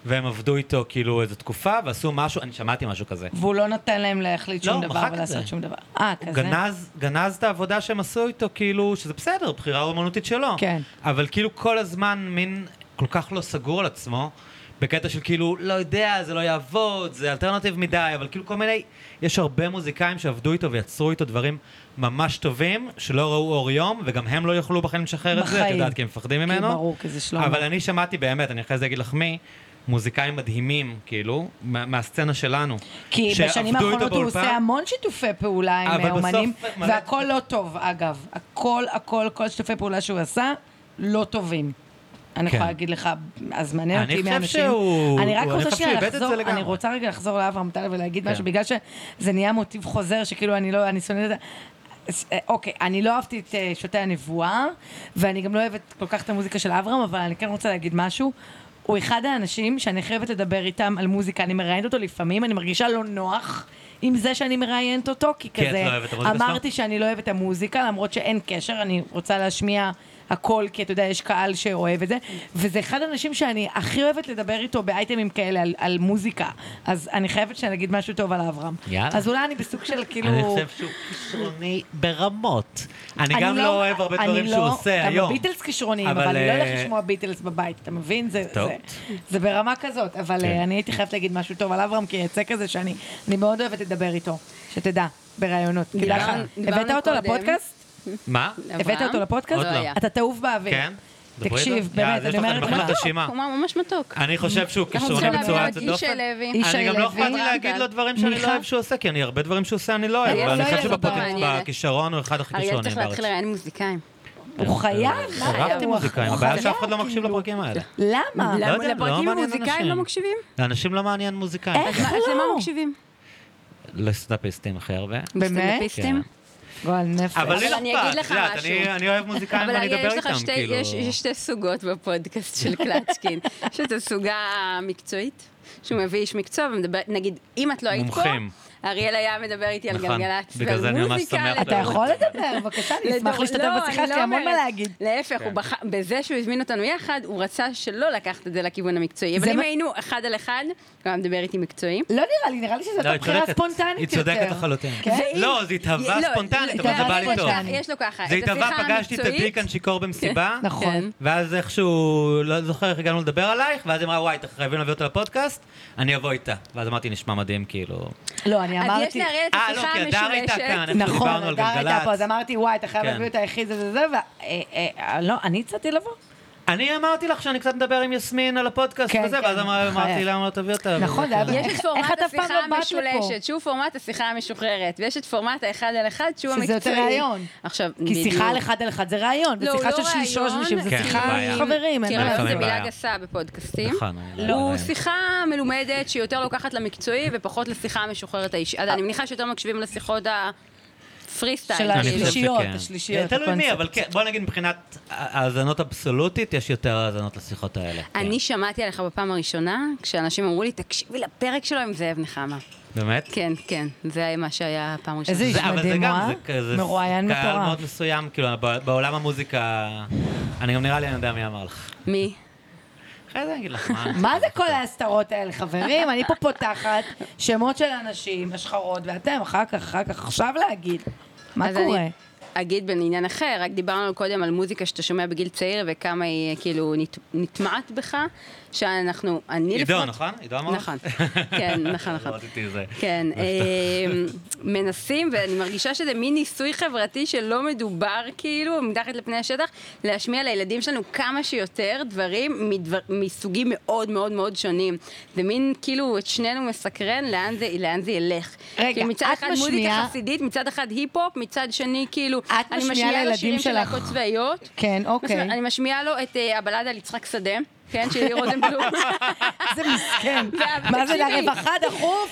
Speaker 3: והם עבדו איתו כאילו איזו תקופה, ועשו משהו, אני שמעתי משהו כזה.
Speaker 2: והוא לא נתן להם להחליט
Speaker 3: לא,
Speaker 2: שום
Speaker 3: הוא
Speaker 2: דבר
Speaker 3: מחק את זה.
Speaker 2: ולעשות שום דבר. אה,
Speaker 3: הוא
Speaker 2: כזה.
Speaker 3: גנז, גנז את העבודה שהם עשו איתו, כאילו, שזה בסדר, בחירה אומנותית שלו.
Speaker 2: כן.
Speaker 3: אבל כאילו כל הזמן מין כל כך לא סגור על עצמו, בקטע של כאילו, לא יודע, זה לא יעבוד, זה אלטרנטיב מדי, אבל כאילו כל מיני, יש הרבה מוזיקאים שעבדו איתו ויצרו איתו דברים ממש טובים, שלא ראו אור יום, וגם הם לא יוכלו בחיים לשחרר את זה, את
Speaker 2: בחיים.
Speaker 3: יודעת, כי הם מפחדים
Speaker 2: כי
Speaker 3: ממנו.
Speaker 2: ברור, כי זה שלמה.
Speaker 3: אבל אני שמעתי באמת, אני אחרי זה אגיד לך מי. מוזיקאים מדהימים, כאילו, מה- מהסצנה שלנו.
Speaker 2: כי
Speaker 3: שעבדו
Speaker 2: בשנים
Speaker 3: איתו
Speaker 2: האחרונות הוא
Speaker 3: באולפן.
Speaker 2: עושה המון שיתופי פעולה עם
Speaker 3: אבל
Speaker 2: אה, אומנים,
Speaker 3: בסוף מלא-
Speaker 2: והכל לא טוב, אגב. הכל, הכל, כל שיתופי פעולה שהוא עשה, לא טובים. אני
Speaker 3: כן.
Speaker 2: יכולה להגיד לך, אז מעניין
Speaker 3: אני
Speaker 2: אותי
Speaker 3: חושב
Speaker 2: מהאנשים.
Speaker 3: שהוא-
Speaker 2: אני רק
Speaker 3: הוא- אני
Speaker 2: רוצה
Speaker 3: חושב
Speaker 2: שנייה
Speaker 3: שהוא איבד את
Speaker 2: לחזור,
Speaker 3: זה לגמרי.
Speaker 2: אני רוצה רגע לחזור לאברהם טל ולהגיד
Speaker 3: כן.
Speaker 2: משהו, בגלל שזה נהיה מוטיב חוזר, שכאילו אני לא, אני שונאת את זה. ש- אה, אוקיי, אני לא אהבתי את אה, שוטי הנבואה, ואני גם לא אוהבת כל כך את המוזיקה של אברהם, אבל אני כן רוצה להגיד משהו. הוא אחד האנשים שאני חייבת לדבר איתם על מוזיקה. אני מראיינת אותו לפעמים, אני מרגישה לא נוח עם זה שאני מראיינת אותו, כי
Speaker 3: כי את
Speaker 2: כזה,
Speaker 3: לא אוהבת את המוזיקה שלו?
Speaker 2: אמרתי שאני לא אוהבת את המוזיקה, למרות שאין קשר, אני רוצה להשמיע הכל, כי אתה יודע, יש קהל שאוהב את זה. וזה אחד האנשים שאני הכי אוהבת לדבר איתו באייטמים כאלה, על, על מוזיקה. אז אני חייבת שאני אגיד משהו טוב על אברהם.
Speaker 3: יאללה.
Speaker 2: אז אולי אני בסוג של כאילו...
Speaker 3: אני חושב שהוא כישרוני ברמות. אני גם
Speaker 2: אני
Speaker 3: לא אוהב הרבה
Speaker 2: אני
Speaker 3: דברים שהוא
Speaker 2: לא-
Speaker 3: עושה
Speaker 2: גם
Speaker 3: היום.
Speaker 2: הביטלס כישרוניים,
Speaker 3: אבל,
Speaker 2: אבל אני לא
Speaker 3: אה,
Speaker 2: הולכת לשמוע ביטלס בבית, אתה מבין? זה-
Speaker 3: טוב.
Speaker 2: זה- זה ברמה כזאת, אבל
Speaker 3: כן.
Speaker 2: אה, אני הייתי חייבת להגיד משהו טוב על אברהם, כי יצא כזה שאני אני מאוד אוהבת לדבר איתו, שתדע, בראיונות. כדאי לך.
Speaker 1: דיברנו- דיברנו
Speaker 2: הבאת אותו
Speaker 1: קודם.
Speaker 2: לפודקאסט?
Speaker 3: מה?
Speaker 2: הבאת אותו לפודקאסט?
Speaker 3: עוד לא.
Speaker 1: היה.
Speaker 2: אתה תעוף באוויר.
Speaker 3: כן? דברי
Speaker 2: תקשיב,
Speaker 3: איתו. יאללה,
Speaker 2: באמת,
Speaker 3: אז יש
Speaker 2: אני
Speaker 3: לך-
Speaker 2: אומרת
Speaker 3: אני מכין
Speaker 2: לך,
Speaker 3: את הרשימה.
Speaker 1: הוא ממש מתוק.
Speaker 3: אני חושב שהוא כישרוני
Speaker 1: צריכים להביא
Speaker 3: בצורה
Speaker 1: עוד
Speaker 3: יוצאת
Speaker 1: ישי
Speaker 3: דופן.
Speaker 1: לוי.
Speaker 3: אני גם
Speaker 2: ישי
Speaker 3: לא
Speaker 2: לוי.
Speaker 3: אכפת לי להגיד לו דברים שאני לא
Speaker 2: מיכל.
Speaker 3: אוהב שהוא עושה, כי אני הרבה דברים שהוא עושה אני לא אוהב,
Speaker 2: אריאל
Speaker 3: אבל אני
Speaker 2: לא
Speaker 3: חושב
Speaker 2: יהיה לו
Speaker 3: שבפודקאסט-
Speaker 1: בעיה.
Speaker 3: בכישרון הוא אחד הכי
Speaker 1: אריאל
Speaker 3: כישרונים
Speaker 1: צריך
Speaker 3: בארץ.
Speaker 1: להתחיל לראיין מוזיקאים.
Speaker 2: הוא חייב. מה היה?
Speaker 3: כן. חרבתי
Speaker 2: הוא-
Speaker 3: מוזיקאים,
Speaker 2: הוא
Speaker 3: הבעיה
Speaker 2: חייב,
Speaker 3: שאף אחד לא מקשיב
Speaker 2: כאילו.
Speaker 3: לפרקים האלה.
Speaker 2: למה?
Speaker 3: לא יודע, לא
Speaker 1: לפרקים עם
Speaker 3: מעניין
Speaker 1: מוזיקאים
Speaker 3: אנשים.
Speaker 1: לא מקשיבים?
Speaker 3: לאנשים לא מעניין מוזיקאים.
Speaker 2: איך?
Speaker 1: מה- אז
Speaker 2: לא.
Speaker 1: למה מקשיבים?
Speaker 3: לסטנדאפיסטים הכי הרבה.
Speaker 2: באמת?
Speaker 3: כן.
Speaker 1: סטנדאפיסטים?
Speaker 2: גועל נפש.
Speaker 3: אבל לי
Speaker 1: אבל
Speaker 3: לא
Speaker 1: אני אגיד
Speaker 3: אכפת,
Speaker 1: לך
Speaker 3: את יודעת,
Speaker 1: משהו.
Speaker 3: אני- אני אוהב מוזיקאים
Speaker 1: אבל
Speaker 3: ואני
Speaker 1: אריאל,
Speaker 3: אדבר
Speaker 1: יש לך
Speaker 3: איתם,
Speaker 1: שתי,
Speaker 3: כאילו.
Speaker 1: יש, יש שתי סוגות בפודקאסט של קלצ'קין. יש את הסוגה המקצועית, שהוא מביא איש מקצוע ומדבר, נגיד, אם את לא היית פה,
Speaker 3: מומחים.
Speaker 1: אריאל היה מדבר איתי על
Speaker 3: נכון,
Speaker 1: גלגלצ
Speaker 3: בגלל זה
Speaker 1: ועל
Speaker 3: אני ממש
Speaker 1: מוזיקה.
Speaker 3: שמח
Speaker 1: על
Speaker 3: שאתה
Speaker 1: תרבות.
Speaker 2: אתה יכול לדבר, בבקשה, אני אשמח
Speaker 1: לדור-
Speaker 2: להשתתף
Speaker 1: לא,
Speaker 2: בשיחה,
Speaker 1: אני
Speaker 2: יש
Speaker 1: לא
Speaker 2: לי המון מה
Speaker 1: אומרת.
Speaker 2: להגיד.
Speaker 1: להפך,
Speaker 3: כן.
Speaker 1: הוא בחר- בזה שהוא הזמין אותנו יחד, הוא רצה שלא לקחת את זה לכיוון המקצועי. אבל
Speaker 2: זה
Speaker 1: אם
Speaker 2: מה-
Speaker 1: היינו אחד על אחד, הוא היה מדבר איתי מקצועי.
Speaker 2: לא נראה לי, נראה לי שזו
Speaker 3: לא,
Speaker 2: הייתה
Speaker 3: היא
Speaker 2: בחירה
Speaker 3: צודקת. היא
Speaker 2: ספונטנית יותר.
Speaker 3: צודקת לחלוטין.
Speaker 2: כן?
Speaker 1: ואם-
Speaker 3: לא, זה התהווה
Speaker 1: לא,
Speaker 3: ספונטנית, אבל
Speaker 1: לא,
Speaker 2: זה בא לי
Speaker 1: יש לו
Speaker 2: טוב.
Speaker 1: ככה, יש לו ככה.
Speaker 3: זה
Speaker 1: את
Speaker 3: התהווה,
Speaker 1: השיחה
Speaker 3: פגשתי את
Speaker 1: המקצועית.
Speaker 3: הדיקן שיכור במסיבה,
Speaker 1: כן.
Speaker 2: נכון.
Speaker 3: ואז איכשהו, לא זוכר איך הגענו לדבר עלייך, ואז היא אמרה, וואי, אתם חייבים להביא אותה לפודקאסט, אני אבוא איתה. ואז אמרתי, נשמע מדהים, כאילו...
Speaker 2: לא, אני
Speaker 1: אז יש
Speaker 2: אמרתי...
Speaker 1: לאריאל את
Speaker 3: אה, לא,
Speaker 1: השיחה
Speaker 3: כי הדר הייתה כאן,
Speaker 1: המשולשת.
Speaker 3: איך
Speaker 2: נכון,
Speaker 3: שדיברנו על
Speaker 2: הדר הייתה פה, אז
Speaker 3: גלגלצ.
Speaker 2: אמרתי, וואי, אתה חייב
Speaker 3: כן.
Speaker 2: להביא אותה היחיד, זה זה זה, ו... אה, אה, לא, אני הצעתי לבוא.
Speaker 3: אני אמרתי לך שאני קצת מדבר עם יסמין על הפודקאסט
Speaker 2: כן,
Speaker 3: וזה,
Speaker 2: כן,
Speaker 3: ואז אמר-
Speaker 2: חייב.
Speaker 3: אמרתי, למה לא תביא אותה?
Speaker 2: נכון,
Speaker 3: וזה
Speaker 2: זה היה
Speaker 3: כאילו-
Speaker 2: בגלל-
Speaker 1: יש את
Speaker 2: איך-
Speaker 1: פורמט
Speaker 2: איך את אף פעם
Speaker 1: השיחה
Speaker 2: לא באת לפה?
Speaker 1: המשולשת, שהוא פורמט השיחה המשוחררת, ויש את פורמט האחד על אחד שהוא
Speaker 2: שזה
Speaker 1: המקצועי.
Speaker 2: יותר ראיון.
Speaker 1: עכשיו,
Speaker 2: כי שיחה על אחד על אחד זה רעיון,
Speaker 1: לא, הוא
Speaker 2: ושיחה
Speaker 1: לא כאילו,
Speaker 2: של שלוש
Speaker 1: ראיון,
Speaker 2: אנשים זה
Speaker 3: כן,
Speaker 2: שיחה
Speaker 3: בעיה. כן,
Speaker 2: עם חברים, אין
Speaker 1: כי
Speaker 2: מה
Speaker 1: רעיון
Speaker 2: לעשות.
Speaker 1: זה מילה
Speaker 3: לפעמים בעיה.
Speaker 1: כאילו, גסה בפודקאסטים.
Speaker 3: נכון, אני לא
Speaker 1: הוא
Speaker 3: יודע.
Speaker 1: שיחה מלומדת שהיא יותר לוקחת למקצועי ופחות לשיחה המשוחררת האישית.
Speaker 2: אה.
Speaker 1: אני מניחה שיותר מקשיבים לשיחות כאילו. הפרי סטייל.
Speaker 2: של
Speaker 3: אני חושב
Speaker 2: השלישיות,
Speaker 3: שכן.
Speaker 2: השלישיות,
Speaker 3: תלוי מי,
Speaker 2: הקונספט.
Speaker 3: אבל כן, בוא נגיד מבחינת האזנות אבסולוטית, יש יותר האזנות לשיחות האלה. כן.
Speaker 1: אני שמעתי עליך בפעם הראשונה, כשאנשים אמרו לי, תקשיבי לפרק שלו עם זאב נחמה.
Speaker 3: באמת?
Speaker 1: כן, כן, זה מה שהיה הפעם הראשונה.
Speaker 2: איזה איש
Speaker 3: זה- אבל זה
Speaker 2: מדהים,
Speaker 3: גם,
Speaker 2: וואה.
Speaker 3: זה כזה-
Speaker 2: מרואיין
Speaker 3: קהל
Speaker 2: מטורף.
Speaker 3: מאוד מסוים, כאילו, ב- בעולם המוזיקה... אני גם נראה לי, אני יודע מי אמר לך.
Speaker 1: מי?
Speaker 3: אחרי זה אני אגיד לך מה.
Speaker 2: מה זה כל ההסתרות האלה, חברים? אני פה פותחת שמות של אנשים, השחרות, ואתם אחר כך, אחר כך, עכשיו להגיד. מה
Speaker 1: אז
Speaker 2: קורה?
Speaker 1: אני אגיד בעניין אחר, רק דיברנו קודם על מוזיקה שאתה שומע בגיל צעיר וכמה היא כאילו נת, נטמעת בך, שאנחנו, אני
Speaker 3: עידו,
Speaker 1: לפחות...
Speaker 3: נכון? עידו אמר? לך?
Speaker 1: נכון, כן, נכון, נכון.
Speaker 3: לא רציתי זה.
Speaker 1: כן, אמ, מנסים, ואני מרגישה שזה מין ניסוי חברתי שלא מדובר כאילו, מתחת לפני השטח, להשמיע לילדים שלנו כמה שיותר דברים מדבר, מסוגים מאוד מאוד מאוד שונים. זה מין כאילו את שנינו מסקרן לאן זה, לאן זה ילך.
Speaker 2: רגע,
Speaker 1: כאילו, מצד
Speaker 2: את
Speaker 1: אחד
Speaker 2: משמיעה-
Speaker 1: מוזיקה חסידית, מצד אחד היפ-הופ, מצד שני כאילו,
Speaker 2: את משמיעה לילדים
Speaker 1: לשירים של
Speaker 2: שלך.
Speaker 1: להקות צבאיות.
Speaker 2: כן, אוקיי.
Speaker 1: אני משמיעה לו את אה, הבלדה על יצחק שדה, כן, של ליאור רוזנבלום.
Speaker 2: איזה מסכן.
Speaker 1: וה-
Speaker 2: מה זה
Speaker 1: תקשיבי.
Speaker 2: לרווחה דחוף?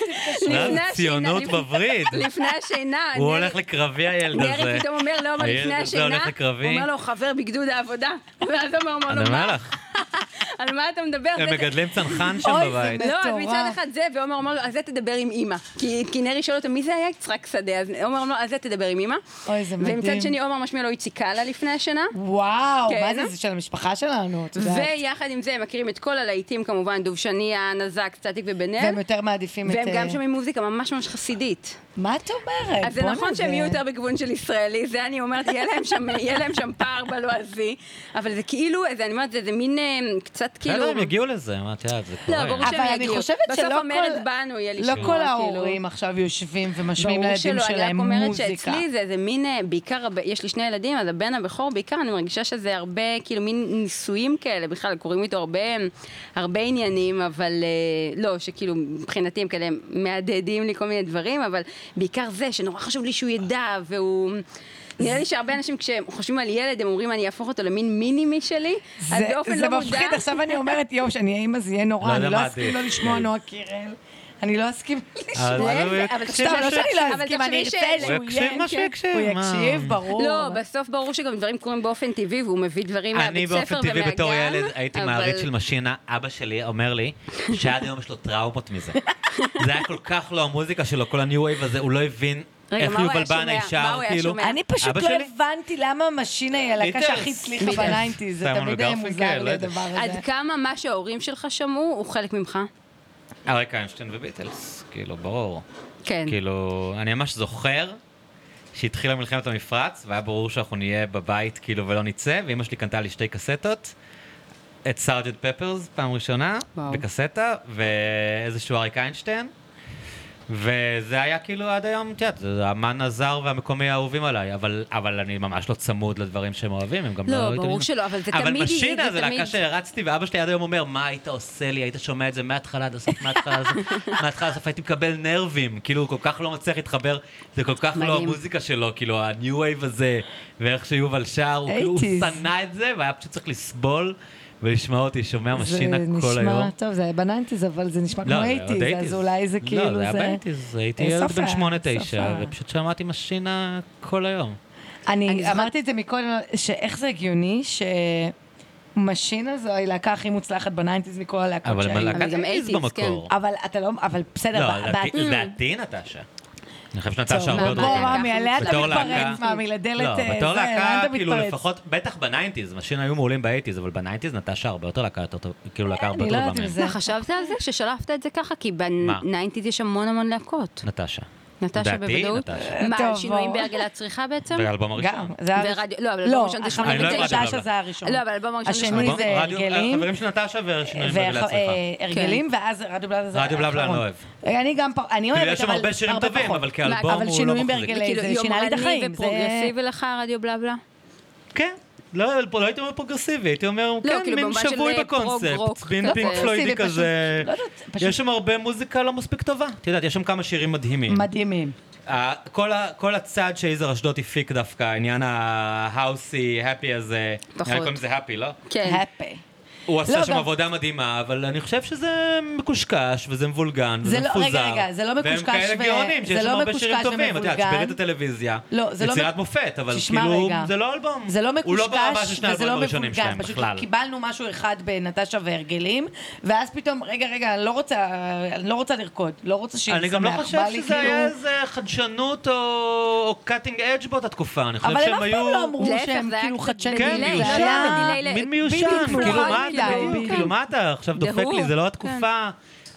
Speaker 1: לפני
Speaker 2: תתקשרי.
Speaker 1: השינה,
Speaker 3: אה? ציונות
Speaker 1: לפני-
Speaker 3: בווריד.
Speaker 1: לפני השינה.
Speaker 3: הוא
Speaker 1: נרי-
Speaker 3: הולך לקרבי הילד הזה.
Speaker 1: נרי פתאום אומר לאומה
Speaker 3: הילד
Speaker 1: לפני
Speaker 3: הזה
Speaker 1: השינה,
Speaker 3: הולך לקרבי.
Speaker 1: הוא אומר לו, חבר בגדוד העבודה. ואז הוא אומר,
Speaker 3: אני
Speaker 1: לו, מה?
Speaker 3: אומר לך,
Speaker 1: על מה אתה מדבר?
Speaker 3: הם
Speaker 1: זה-
Speaker 3: מגדלים צנחן שם
Speaker 2: אוי, זה
Speaker 3: בבית.
Speaker 1: לא, אז
Speaker 2: מטורף.
Speaker 1: מצד אחד זה, ועומר אומר לו, אז זה תדבר עם אימא. כי כי נרי שואל אותו, מי זה היה יצחק שדה? אז עומר אומר לו, אז זה תדבר עם אימא.
Speaker 2: אוי, זה מדהים.
Speaker 1: ומצד שני, עומר משמיע לו איציק קאלה לפני השינה.
Speaker 2: וואו,
Speaker 1: כן.
Speaker 2: מה זה, זה של המשפחה שלנו, את יודעת.
Speaker 1: ויחד עם זה, הם מכירים את כל הלהיטים, כמובן, דובשניה, נזק, סטטיק ובן-אל.
Speaker 2: והם יותר מעדיפים את...
Speaker 1: והם גם
Speaker 2: אה,
Speaker 1: שומעים מוזיקה ממש ממש חסידית.
Speaker 2: מה את אומרת?
Speaker 1: אז זה
Speaker 2: בואנה,
Speaker 1: נכון שהם יהיו יותר בכיוון של ישראלי, זה אני אומרת, יהיה להם שם, יהיה להם שם פער בלועזי, אבל זה כאילו, זה, אני אומרת, זה, זה מין אה, קצת כאילו...
Speaker 3: בסדר, הם יגיעו לזה, מה את יודעת, זה
Speaker 1: לא, ברור
Speaker 3: קורה.
Speaker 1: שהם
Speaker 2: אבל אני
Speaker 1: יגיעו.
Speaker 2: חושבת
Speaker 1: בסוף
Speaker 2: שלא
Speaker 1: המרד
Speaker 2: כל-
Speaker 1: בנו יהיה
Speaker 2: לא
Speaker 1: לשמוע,
Speaker 2: כל
Speaker 1: כאילו.
Speaker 2: ההורים עכשיו יושבים ומשמיעים
Speaker 1: ברור
Speaker 2: לילדים
Speaker 1: שלא,
Speaker 2: שלהם
Speaker 1: אני רק אומרת
Speaker 2: מוזיקה.
Speaker 1: שאצלי זה איזה מין, אה, בעיקר, הב- יש לי שני ילדים, אז הבן הבכור בעיקר, אני מרגישה שזה הרבה, כאילו, מין ניסויים כאלה, בכלל, קורים איתו הרבה, הרבה עניינים, אבל אה, לא, שכאילו, מבחינתי הם כאלה מהדהדים לי כל מיני דברים, אבל בעיקר זה, שנורא חשוב לי שהוא ידע, והוא... נראה לי שהרבה אנשים כשהם חושבים על ילד, הם אומרים, אני אהפוך אותו למין מיני משלי, אז
Speaker 2: זה-
Speaker 1: באופן
Speaker 2: זה
Speaker 1: לא מודע...
Speaker 2: מפחיד, עכשיו אני אומרת, יואו, שאני אהיה אימא, זה יהיה
Speaker 3: לא
Speaker 2: נורא,
Speaker 3: יודע
Speaker 2: אני לא
Speaker 3: מה
Speaker 2: אסכים
Speaker 3: עדיף.
Speaker 2: לא לשמוע נועה קירל. אני לא אסכים לשמוע.
Speaker 3: אז
Speaker 1: להפך,
Speaker 3: הוא יקשיב.
Speaker 1: אבל
Speaker 2: סתם, לא שאני לא
Speaker 1: אבל
Speaker 2: אסכים, אני
Speaker 1: תחשבי ש-
Speaker 2: ארצה שהוא
Speaker 3: הוא
Speaker 2: יהיה.
Speaker 3: יקשיב מה שהוא
Speaker 1: כן.
Speaker 3: יקשיב.
Speaker 2: הוא
Speaker 3: מה?
Speaker 2: יקשיב, ברור.
Speaker 1: לא, בסוף ברור שגם דברים קורים באופן טבעי, והוא מביא דברים
Speaker 3: אני
Speaker 1: מהבית ספר ומהגן.
Speaker 3: באופן טבעי בתור ילד הייתי
Speaker 1: אבל-
Speaker 3: מעריץ של משינה, אבא שלי אומר לי שעד היום יש לו טראומות מזה. זה היה כל כך לא המוזיקה שלו, כל הניו וייב הזה, הוא לא הבין
Speaker 1: רגע,
Speaker 3: איך
Speaker 1: מה הוא
Speaker 3: יובל
Speaker 1: היה
Speaker 3: בנה
Speaker 1: שומע? מה
Speaker 3: ישר,
Speaker 1: הוא היה
Speaker 3: כאילו.
Speaker 1: שומע?
Speaker 2: אני פשוט
Speaker 3: אבא
Speaker 2: לא
Speaker 3: שלי?
Speaker 2: הבנתי למה משינה היא הלהקה
Speaker 3: ביטלס.
Speaker 2: שהכי הצליחה
Speaker 1: ביטלס.
Speaker 2: בניינטיז, זה
Speaker 3: סיימון
Speaker 2: תמיד
Speaker 3: וגרפינקל,
Speaker 2: מוזר
Speaker 3: לא
Speaker 2: לי
Speaker 3: יודע.
Speaker 2: הדבר הזה.
Speaker 1: עד כמה מה שההורים שלך שמעו הוא חלק ממך?
Speaker 3: אריק איינשטיין וביטלס, כאילו, ברור.
Speaker 1: כן.
Speaker 3: כאילו, אני ממש זוכר שהתחילה מלחמת המפרץ, והיה ברור שאנחנו נהיה בבית, כאילו, ולא נצא, ואימא שלי קנתה לי שתי קסטות, את סארג'נט פפרס, פעם ראשונה,
Speaker 1: וואו.
Speaker 3: בקסטה, ואיזשהו אריק איינשטיין. וזה היה כאילו עד היום, את יודעת, זה האמן הזר והמקומי האהובים עליי, אבל, אבל אני ממש לא צמוד לדברים שהם אוהבים, הם גם לא...
Speaker 1: לא,
Speaker 3: היו
Speaker 1: ברור
Speaker 3: תמיד-
Speaker 1: שלא, אבל זה
Speaker 3: אבל
Speaker 1: תמיד-
Speaker 3: משינה
Speaker 1: זה
Speaker 3: זה להקה
Speaker 1: תמיד-
Speaker 3: שהרצתי, ואבא שלי עד היום אומר, מה היית עושה לי, היית שומע את זה מההתחלה עד הסוף, מההתחלה עד הסוף, מההתחלה עד הסוף, הייתי מקבל נרבים, כאילו, הוא כל כך לא מצליח להתחבר, זה כל כך לא
Speaker 1: מדהים.
Speaker 3: המוזיקה שלו, כאילו, הניו וייב הזה, ואיך שיובל שר, הוא כאילו, הוא
Speaker 2: 80s.
Speaker 3: שנא את זה, והיה פשוט צריך לסבול ולשמוע אותי שומע
Speaker 2: זה
Speaker 3: משינה כל
Speaker 2: נשמע,
Speaker 3: היום.
Speaker 2: טוב, זה היה בניינטיז, אבל זה נשמע כמו
Speaker 3: לא, זה עוד
Speaker 2: אייטיז, אז
Speaker 3: 80s.
Speaker 2: אולי זה כאילו זה...
Speaker 3: לא, זה היה באייטיז, הייתי
Speaker 2: אה,
Speaker 3: ילד
Speaker 2: סוף
Speaker 3: בן
Speaker 2: ה-
Speaker 3: 8-9,
Speaker 2: סוף ה-
Speaker 3: ופשוט שמעתי משינה כל היום.
Speaker 2: אני
Speaker 1: אני
Speaker 2: אמרתי את זה מקודם, שאיך זה הגיוני שמוזיקה משינה זו הלהקה הכי מוצלחת בניינטיז מכל הלהקות
Speaker 3: אבל
Speaker 2: שהיו.
Speaker 1: אבל
Speaker 3: מלהקת
Speaker 1: גם
Speaker 3: איז
Speaker 1: 80s,
Speaker 2: כן.
Speaker 3: במקור.
Speaker 2: אבל אתה לא, אבל בסדר,
Speaker 3: לא,
Speaker 2: ב-
Speaker 3: לדעתי-
Speaker 2: בעתיד-
Speaker 3: לדעתי נטשה. אני חושב שנטשה הרבה
Speaker 1: מה,
Speaker 3: יותר
Speaker 1: מה,
Speaker 2: בוא,
Speaker 3: טובה.
Speaker 1: מה,
Speaker 2: רמי, עליה אתה
Speaker 3: בתור
Speaker 2: מתפרץ,
Speaker 3: להקה-
Speaker 2: מאמי, לדלת...
Speaker 3: לא,
Speaker 2: אה,
Speaker 3: בתור
Speaker 2: זה, לאן
Speaker 3: להקה,
Speaker 2: אתה
Speaker 3: כאילו
Speaker 2: מתפרץ?
Speaker 3: לפחות, בטח בניינטיז, משינה היו מעולים באייטיז, אבל בניינטיז נטשה הרבה יותר להקה יותר טובה, כאילו להקה הרבה
Speaker 2: אני
Speaker 3: יותר
Speaker 2: לא
Speaker 3: טובה
Speaker 2: יודעת אם
Speaker 3: מהם.
Speaker 2: זה-
Speaker 1: מה, חשבת על זה ששלפת את זה ככה? כי בניינטיז יש המון המון להקות.
Speaker 3: נטשה.
Speaker 1: נטשה
Speaker 3: לדעתי,
Speaker 1: בוודאות.
Speaker 3: נטשה.
Speaker 1: מה,
Speaker 2: טוב,
Speaker 1: על שינויים
Speaker 2: בוא.
Speaker 1: בהרגלי הצריכה בעצם?
Speaker 3: והאלבום
Speaker 2: גם,
Speaker 3: הראשון.
Speaker 2: זה היה...
Speaker 1: ורדיו- לא, אבל
Speaker 2: לא,
Speaker 1: אלבום ראשון זה
Speaker 2: החברים
Speaker 3: אני לא
Speaker 2: של
Speaker 1: 89.
Speaker 3: הבנתי, אבל-
Speaker 2: שאשא זה הראשון.
Speaker 1: לא, אבל אלבום הראשון זה
Speaker 2: השני
Speaker 1: שמונה.
Speaker 3: אלבום-
Speaker 2: זה אה,
Speaker 3: רדיו-
Speaker 2: הרגלים.
Speaker 3: החברים של נטשה ושינויים בגלל הצריכה.
Speaker 2: והרגלים, ואז רדיו בלבלה זה...
Speaker 3: רדיו בלה בלה אני לא
Speaker 2: האחרון.
Speaker 3: אוהב.
Speaker 2: אני גם, פח- אני
Speaker 3: כאילו
Speaker 2: אוהבת, אבל
Speaker 3: יש שם הרבה שירים טובים,
Speaker 2: פחות.
Speaker 3: אבל כאלבום
Speaker 1: אבל
Speaker 3: הוא לא
Speaker 2: שינויים
Speaker 3: מחזיק.
Speaker 2: בהרגלי-
Speaker 1: כאילו
Speaker 2: זה שינה לי את
Speaker 1: יומרני
Speaker 2: החיים, זה-
Speaker 1: ופרוגרסיבי לך רדיו בלה בלה?
Speaker 3: כן. לא, אבל פה לא הייתי אומר פרוגרסיבי, הייתי אומר,
Speaker 2: לא,
Speaker 3: כן,
Speaker 1: כאילו,
Speaker 3: מין
Speaker 1: במובן של
Speaker 2: אה,
Speaker 3: שבוי
Speaker 1: פרוג-רוק
Speaker 3: בקונספט, מין
Speaker 1: כזה.
Speaker 3: פינק
Speaker 1: לא
Speaker 2: פרוגרסיבי,
Speaker 3: פלוידי כזה.
Speaker 2: פשוט- לא יודעת, פשוט-
Speaker 3: יש שם הרבה מוזיקה לא מספיק טובה. את יודעת, יש שם כמה שירים מדהימים.
Speaker 2: מדהימים.
Speaker 3: ה- כל ה- כל הצד שיזהר אשדוד הפיק דווקא, העניין ההאוסי, האפי הזה,
Speaker 1: פחות.
Speaker 3: נראה לי קוראים לזה האפי, לא?
Speaker 1: כן.
Speaker 2: הפי.
Speaker 3: הוא עשה
Speaker 2: לא,
Speaker 3: שם
Speaker 2: גם-
Speaker 3: עבודה מדהימה, אבל אני חושב שזה מקושקש, וזה מבולגן,
Speaker 2: זה
Speaker 3: וזה
Speaker 2: לא-
Speaker 3: מפוזר.
Speaker 2: רגע, רגע, זה לא
Speaker 3: והם
Speaker 2: מקושקש
Speaker 3: כאלה
Speaker 2: ו-
Speaker 3: גאונים,
Speaker 2: זה
Speaker 3: שיש שם
Speaker 2: לא
Speaker 3: הרבה שירים
Speaker 2: מקושקש
Speaker 3: טובים, את יודעת,
Speaker 2: ומבולגן.
Speaker 3: שבאמת הטלוויזיה,
Speaker 2: לא, זה לא
Speaker 3: יצירת
Speaker 2: מק-
Speaker 3: מופת, אבל
Speaker 2: תשמע
Speaker 3: כאילו,
Speaker 2: רגע.
Speaker 3: זה לא אלבום.
Speaker 2: זה לא
Speaker 3: הוא
Speaker 2: מקושקש,
Speaker 3: לא ברמה של שני
Speaker 2: וזה
Speaker 3: האלבומים
Speaker 2: לא
Speaker 3: הראשונים
Speaker 2: מבולגן,
Speaker 3: שלהם
Speaker 2: פשוט
Speaker 3: בכלל.
Speaker 2: קיבלנו משהו אחד בנטשה והרגלים, ואז פתאום, רגע, רגע, אני לא רוצה, אני לא רוצה לרקוד, לא רוצה שיר שמח,
Speaker 3: אני גם לא חושב
Speaker 2: בא לי
Speaker 3: שזה
Speaker 2: כאילו-
Speaker 3: היה איזה חדשנות או קאטינג אדג' באותה תקופה, אני חושב
Speaker 2: אבל הם
Speaker 3: שהם
Speaker 2: אף פעם
Speaker 3: היו...
Speaker 2: לא אמרו
Speaker 1: להפך,
Speaker 2: שהם
Speaker 1: זה היה
Speaker 2: כאילו
Speaker 1: קצת
Speaker 2: חדשנים,
Speaker 3: כן,
Speaker 1: בדיליי,
Speaker 2: זה
Speaker 1: זה
Speaker 2: היה-
Speaker 1: היה בדיליי ל-
Speaker 3: מין מיושן,
Speaker 2: בדיוק,
Speaker 3: כאילו
Speaker 2: מוכן
Speaker 3: מה אתה,
Speaker 2: מדי,
Speaker 3: בדיוק,
Speaker 2: בדיוק.
Speaker 3: כאילו מה אתה עכשיו דופק
Speaker 1: דהור,
Speaker 3: לי, זה לא
Speaker 1: כן.
Speaker 3: התקופה.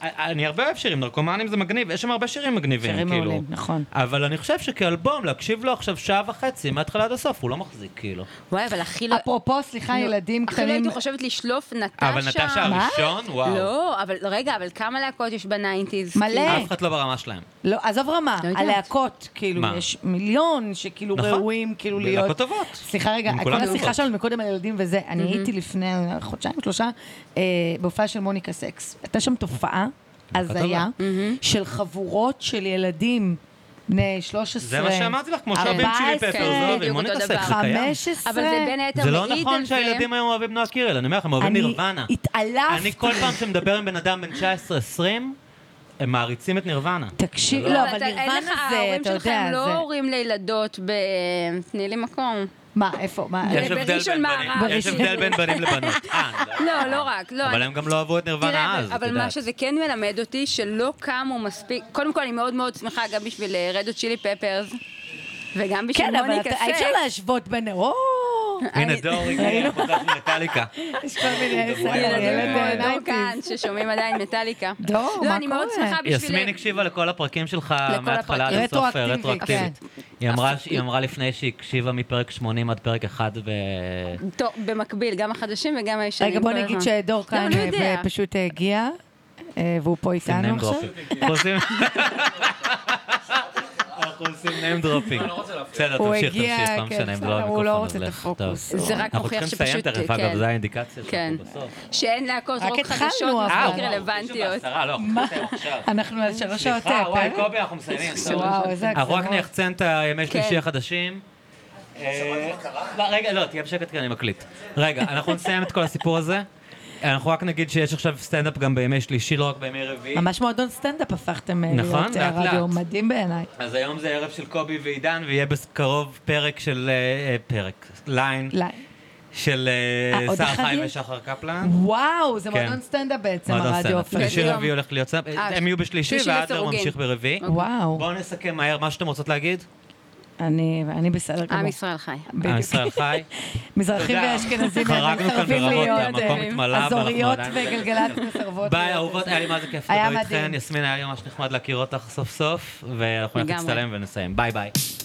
Speaker 3: אני הרבה אוהב שירים, נרקומנים זה מגניב, יש שם הרבה שירים מגניבים,
Speaker 2: שירים
Speaker 3: כאילו.
Speaker 2: מעולים, נכון.
Speaker 3: אבל אני חושב שכאלבום, להקשיב לו עכשיו שעה וחצי, מההתחלה עד הסוף, הוא לא מחזיק, כאילו.
Speaker 1: וואי, אבל הכי לא...
Speaker 2: אפרופו, סליחה, ילדים
Speaker 1: הכי לא
Speaker 2: קטנים,
Speaker 1: הייתי חושבת לשלוף נטשה.
Speaker 3: אבל נטשה הראשון, וואו.
Speaker 1: לא, אבל רגע, אבל כמה להקות יש בניינטיז?
Speaker 2: מלא.
Speaker 1: כאילו?
Speaker 3: אף אחד לא ברמה שלהם.
Speaker 2: לא, עזוב רמה,
Speaker 1: לא יודעת.
Speaker 2: הלהקות, כאילו,
Speaker 3: מה?
Speaker 2: יש מיליון שכאילו
Speaker 3: נכון.
Speaker 2: ראויים, כאילו להיות...
Speaker 3: להקות טובות.
Speaker 2: סליחה רגע,
Speaker 3: הם
Speaker 2: כל
Speaker 3: כולם
Speaker 2: השיחה
Speaker 3: טובות.
Speaker 2: שלנו מקודם על ילדים וזה, אני הייתי לפני חודשיים, שלושה, אה, בהופעה של מוניקה סקס. הייתה שם תופעה,
Speaker 3: טובה.
Speaker 2: הזיה, של חבורות של ילדים בני 13.
Speaker 3: זה מה שאמתי לך, כמו שאוהבים צ'ילי
Speaker 2: 14,
Speaker 3: פפר, זה
Speaker 1: בדיוק,
Speaker 3: אוהבים, בוא
Speaker 1: אותו
Speaker 3: נתעסק,
Speaker 1: דבר.
Speaker 3: זה קיים.
Speaker 2: 15.
Speaker 1: אבל זה בין היתר
Speaker 3: זה
Speaker 1: מעיד
Speaker 3: לא
Speaker 1: על זה.
Speaker 3: נכון שהילדים היום אוהבים נועה קירל, אני אומר לך, הם אוהבים
Speaker 2: אני
Speaker 3: נירוונה.
Speaker 2: התעלפת.
Speaker 3: אני כל פעם שמדבר עם בן אדם בן 19-20, הם מעריצים את נירוונה.
Speaker 2: תקשיב,
Speaker 1: לא,
Speaker 2: לא, אבל
Speaker 1: אתה- אין
Speaker 2: נירוונה
Speaker 1: לך-
Speaker 2: זה,
Speaker 1: ההורים
Speaker 2: אתה
Speaker 1: שלך הם
Speaker 2: יודע,
Speaker 1: לא
Speaker 2: זה...
Speaker 1: הורים לילדות ב... תני לי מקום.
Speaker 2: מה, איפה, מה?
Speaker 1: יש
Speaker 3: יש הבדל
Speaker 1: בראשון
Speaker 3: בין בנים,
Speaker 1: מערב.
Speaker 3: יש הבדל בין בנים לבנות. אה,
Speaker 1: לא, לא רק, לא.
Speaker 3: אבל
Speaker 1: אני-
Speaker 3: הם גם לא אהבו את
Speaker 1: תראה,
Speaker 3: נירוונה
Speaker 1: אבל-
Speaker 3: אז, את
Speaker 1: אבל מה
Speaker 3: יודעת.
Speaker 1: שזה כן מלמד אותי, שלא קמו מספיק, קודם כל אני מאוד מאוד שמחה גם בשביל אה, רדו צ'ילי פפרס, וגם בשביל
Speaker 2: כן, אבל
Speaker 1: מוניקה
Speaker 2: אתה- אי אפשר
Speaker 1: סקס.
Speaker 2: להשוות בין... או!
Speaker 3: הנה דור הגיע, פותח מטאליקה.
Speaker 2: יש כל מיני...
Speaker 1: ילדים
Speaker 2: ילד אה,
Speaker 1: כמו דור
Speaker 2: נייטיז.
Speaker 1: לא, כאן, ששומעים עדיין מטאליקה.
Speaker 2: דור,
Speaker 1: לא,
Speaker 2: מה
Speaker 1: אני מאוד
Speaker 2: קורה?
Speaker 1: שמחה בשביל...
Speaker 3: יסמין הקשיבה לכל הפרקים שלך
Speaker 1: לכל
Speaker 3: מההתחלה עד
Speaker 1: הפרקים.
Speaker 3: הסוף, אה,
Speaker 2: רטרואקטיבית,
Speaker 3: רטרואקטיבית. היא אמרה- היא אמרה לפני שהיא הקשיבה מפרק 80 עד פרק 1 ו...
Speaker 1: טוב, במקביל, גם החדשים וגם הישנים.
Speaker 2: רגע, בוא
Speaker 1: כל
Speaker 2: נגיד
Speaker 1: הזמן.
Speaker 2: שדור
Speaker 1: לא,
Speaker 2: כאן
Speaker 1: אבל הוא יודע.
Speaker 2: אה, פשוט אה, הגיע, אה, והוא פה איתנו
Speaker 3: name
Speaker 2: עכשיו.
Speaker 3: dropping. אנחנו עושים- אנחנו עושים name dropping. בסדר,
Speaker 2: הוא
Speaker 3: תמשיך,
Speaker 2: הגיע,
Speaker 3: תמשיך, לא
Speaker 2: כן,
Speaker 3: משנה, אם
Speaker 2: בסדר,
Speaker 3: לא
Speaker 2: הוא לא
Speaker 3: המיקרופון,
Speaker 2: רוצה
Speaker 3: אז
Speaker 2: את
Speaker 3: לך,
Speaker 2: הפוקוס.
Speaker 3: טוב.
Speaker 1: זה רק
Speaker 3: אנחנו
Speaker 1: הוכיח
Speaker 3: צריכים לסיים
Speaker 1: שפשוט...
Speaker 3: תכף, אגב,
Speaker 1: כן.
Speaker 3: זו האינדיקציה
Speaker 1: כן.
Speaker 3: שלנו בסוף. אה,
Speaker 1: שאין להקות
Speaker 2: רק
Speaker 1: רוק
Speaker 2: התחלנו,
Speaker 1: חדשות
Speaker 2: אבל.
Speaker 1: מספיק רלוונטיות.
Speaker 3: בעשרה, לא, אנחנו מסיימים עכשיו.
Speaker 2: אנחנו על כן, שלוש שעות
Speaker 3: סליחה,
Speaker 2: אה,
Speaker 3: וואי,
Speaker 2: פרק.
Speaker 3: קובי, אנחנו מסיימים.
Speaker 2: וואו, איזה
Speaker 3: אנחנו רק
Speaker 2: הגזמות.
Speaker 3: נחצן אה, את הימי
Speaker 1: כן.
Speaker 3: שלישי החדשים. אה, לא, רגע, לא, תהיה בשקט כי אני מקליט. רגע, אנחנו נסיים את כל הסיפור הזה. אנחנו רק נגיד שיש עכשיו סטנדאפ גם בימי שלישי, לא רק בימי רביעי.
Speaker 2: ממש מועדון סטנדאפ הפכתם אה,
Speaker 3: נכון,
Speaker 2: להיות אה,
Speaker 3: לאט
Speaker 2: רדיו,
Speaker 3: לאט.
Speaker 2: מדהים בעיניי.
Speaker 3: אז היום זה ערב של קובי ועידן, ויהיה בקרוב פרק של... אה, אה, פרק, ליין,
Speaker 2: לא.
Speaker 3: של אה,
Speaker 2: אה, עוד
Speaker 3: שר
Speaker 2: אחד
Speaker 3: חיים
Speaker 2: יש?
Speaker 3: ושחר קפלן.
Speaker 2: וואו, זה
Speaker 3: כן.
Speaker 2: מועדון סטנדאפ בעצם,
Speaker 3: מועדון
Speaker 2: הרדיו
Speaker 3: סטנדאפ.
Speaker 2: הפך.
Speaker 3: שלישי
Speaker 1: גדול.
Speaker 3: רביעי הולך להיות סטנדאפ.
Speaker 1: אה,
Speaker 3: הם יהיו בשלישי,
Speaker 1: שלישי
Speaker 3: והאדלר
Speaker 1: לסירוגין.
Speaker 3: ממשיך ברביעי.
Speaker 2: וואו,
Speaker 3: בואו נסכם מהר מה שאתם רוצות להגיד.
Speaker 2: אני אני בסדר
Speaker 1: עם
Speaker 2: גמור.
Speaker 1: ישראל חי.
Speaker 3: עם ישראל חי.
Speaker 2: מזרחים
Speaker 3: תודה.
Speaker 2: ואשכנזים
Speaker 3: אה, חרגנו כאן
Speaker 2: מסרבים
Speaker 3: ברמות,
Speaker 2: להיות
Speaker 3: המקום
Speaker 2: אה,
Speaker 3: התמלא, ואנחנו
Speaker 2: אזוריות
Speaker 3: עדיין-
Speaker 2: וגלגלצ מסרבות.
Speaker 3: ביי
Speaker 2: להיות
Speaker 3: אהובות, היה לי מה זה כיף
Speaker 2: היה
Speaker 3: לדבר איתכן.
Speaker 2: מדהים.
Speaker 3: יסמין, היה לי ממש נחמד להכיר אותך סוף סוף, ואנחנו נלך
Speaker 1: לגמרי.
Speaker 3: להצטלם ונסיים. ביי ביי.